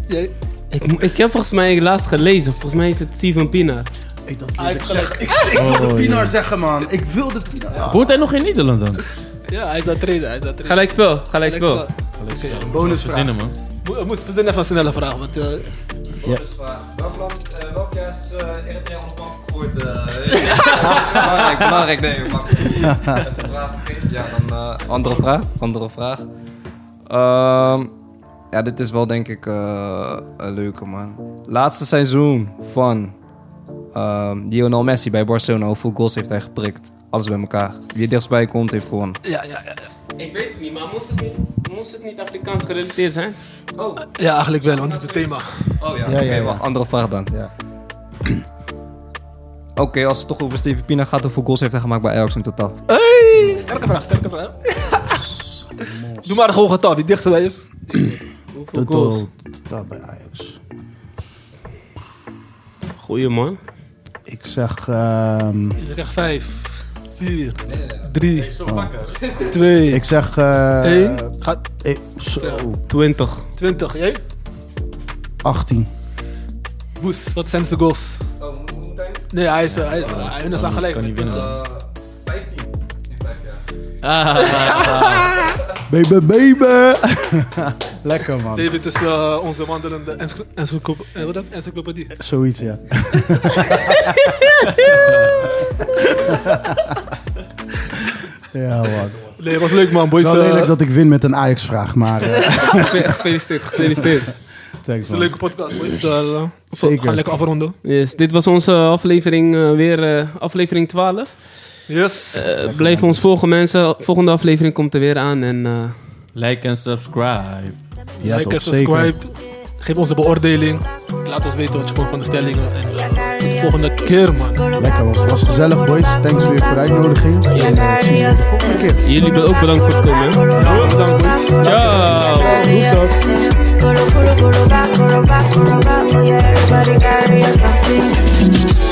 [SPEAKER 1] Jij?
[SPEAKER 2] Ik, mo- ik heb volgens mij laatst gelezen. Volgens mij is het Steven Pienaar.
[SPEAKER 3] Ik, dat wilde ik,
[SPEAKER 1] Hij heeft
[SPEAKER 3] zeggen. ik, ik wilde Pinar zeggen man, ik wilde Pinar. Oh, Ja.
[SPEAKER 4] Woont hij nog in Nederland dan?
[SPEAKER 1] Ja, hij is dat trainen. Hij is dat trainen.
[SPEAKER 2] Gelijk spel, gelijk spel.
[SPEAKER 3] Bonusvraag.
[SPEAKER 4] Verzinnen man.
[SPEAKER 1] Mo- eh, Moest verzinnen even een snelle vraag, want eh,
[SPEAKER 7] Dus
[SPEAKER 5] Bonusvraag. Welk land, eh, welk jaar is eh, Eritrea onafhankelijk geworden?
[SPEAKER 7] Belangrijk, belangrijk, nee.
[SPEAKER 5] Mag ik de vraag begint? Ja, dan...
[SPEAKER 7] Dan, eh, andere vraag, andere vraag. Ehm, ja, dit is wel denk ik eh, een leuke man. Laatste seizoen van ehm Lionel Messi bij Barcelona. Hoeveel goals heeft hij geprikt? Alles bij elkaar. Wie het dichtstbij komt, heeft gewonnen.
[SPEAKER 1] ja, ja, ja,
[SPEAKER 2] Ik weet het niet, maar moest het niet, moest het niet Afrikaans gerelateerd zijn?
[SPEAKER 5] Oh,
[SPEAKER 1] ja, eigenlijk wel, want het is het thema.
[SPEAKER 5] oh ja.
[SPEAKER 3] Ja,
[SPEAKER 7] Oké,
[SPEAKER 3] ja, ja.
[SPEAKER 7] wacht, andere vraag dan.
[SPEAKER 3] Ja.
[SPEAKER 7] Oké, als het toch over Steven Pina gaat, hoeveel goals heeft hij gemaakt bij Ajax in totaal?
[SPEAKER 1] Hey, sterke vraag, sterke vraag. Doe maar gewoon getal, die dichterbij is.
[SPEAKER 2] Hoeveel goals?
[SPEAKER 3] Totaal totaal bij Ajax.
[SPEAKER 2] Goeie man.
[SPEAKER 3] Ik zeg ehm
[SPEAKER 1] Je krijgt vijf, 4, 3,
[SPEAKER 4] Zo pakken.
[SPEAKER 1] 2,
[SPEAKER 3] Ik zeg... eh
[SPEAKER 1] 1. Gaat
[SPEAKER 3] eh, zo,
[SPEAKER 2] 20.
[SPEAKER 1] 20, jij?
[SPEAKER 3] 18.
[SPEAKER 1] Boes, wat zijn de goals?
[SPEAKER 5] Oh, hoe- hoe moet hij?
[SPEAKER 1] Nee, hij is, eh, hij is, hij hun is aan gelijk.
[SPEAKER 4] kan niet winnen.
[SPEAKER 5] Eh, 15 in 5 jaar.
[SPEAKER 3] Baby, baby! Lekker, man.
[SPEAKER 1] David is eh, onze wandelende encyclo- encyclop- eh, wat dat? encyclopedie.
[SPEAKER 3] Zoiets, ja. ja, man. Dus,
[SPEAKER 1] Nee, was leuk man, boys.
[SPEAKER 3] Wel
[SPEAKER 1] eh,
[SPEAKER 3] lelijk dat ik win met een Ajax-vraag, maar... eh,
[SPEAKER 2] Gefeliciteerd, gefeliciteerd.
[SPEAKER 3] thanks,
[SPEAKER 1] Het is een
[SPEAKER 3] man.
[SPEAKER 1] leuke podcast, boys. Eh, we
[SPEAKER 3] Zeker.
[SPEAKER 1] gaan lekker afronden.
[SPEAKER 2] Yes, dit was onze aflevering eh, weer, eh, aflevering 12.
[SPEAKER 1] Yes.
[SPEAKER 2] Eh, blijf ons volgen mensen, volgende aflevering komt er weer aan en... eh,
[SPEAKER 4] Like en subscribe.
[SPEAKER 3] Ja,
[SPEAKER 1] like en
[SPEAKER 3] toch, zeker.
[SPEAKER 1] subscribe. Geef onze beoordeling. Laat ons weten wat je vond van de stellingen. En eh, tot de volgende keer, man.
[SPEAKER 3] Lekker, was, was gezellig, boys. Thanks weer voor de uitnodiging. En, eh, ik zie jullie de volgende keer.
[SPEAKER 2] Jullie be- ook bedankt voor het komen. hè.
[SPEAKER 1] Ja, bedankt, boys.
[SPEAKER 2] Ciao!
[SPEAKER 8] Colo, colo, colo, back, colo, back, colo, back. Oh, yeah, everybody carry something. Mm.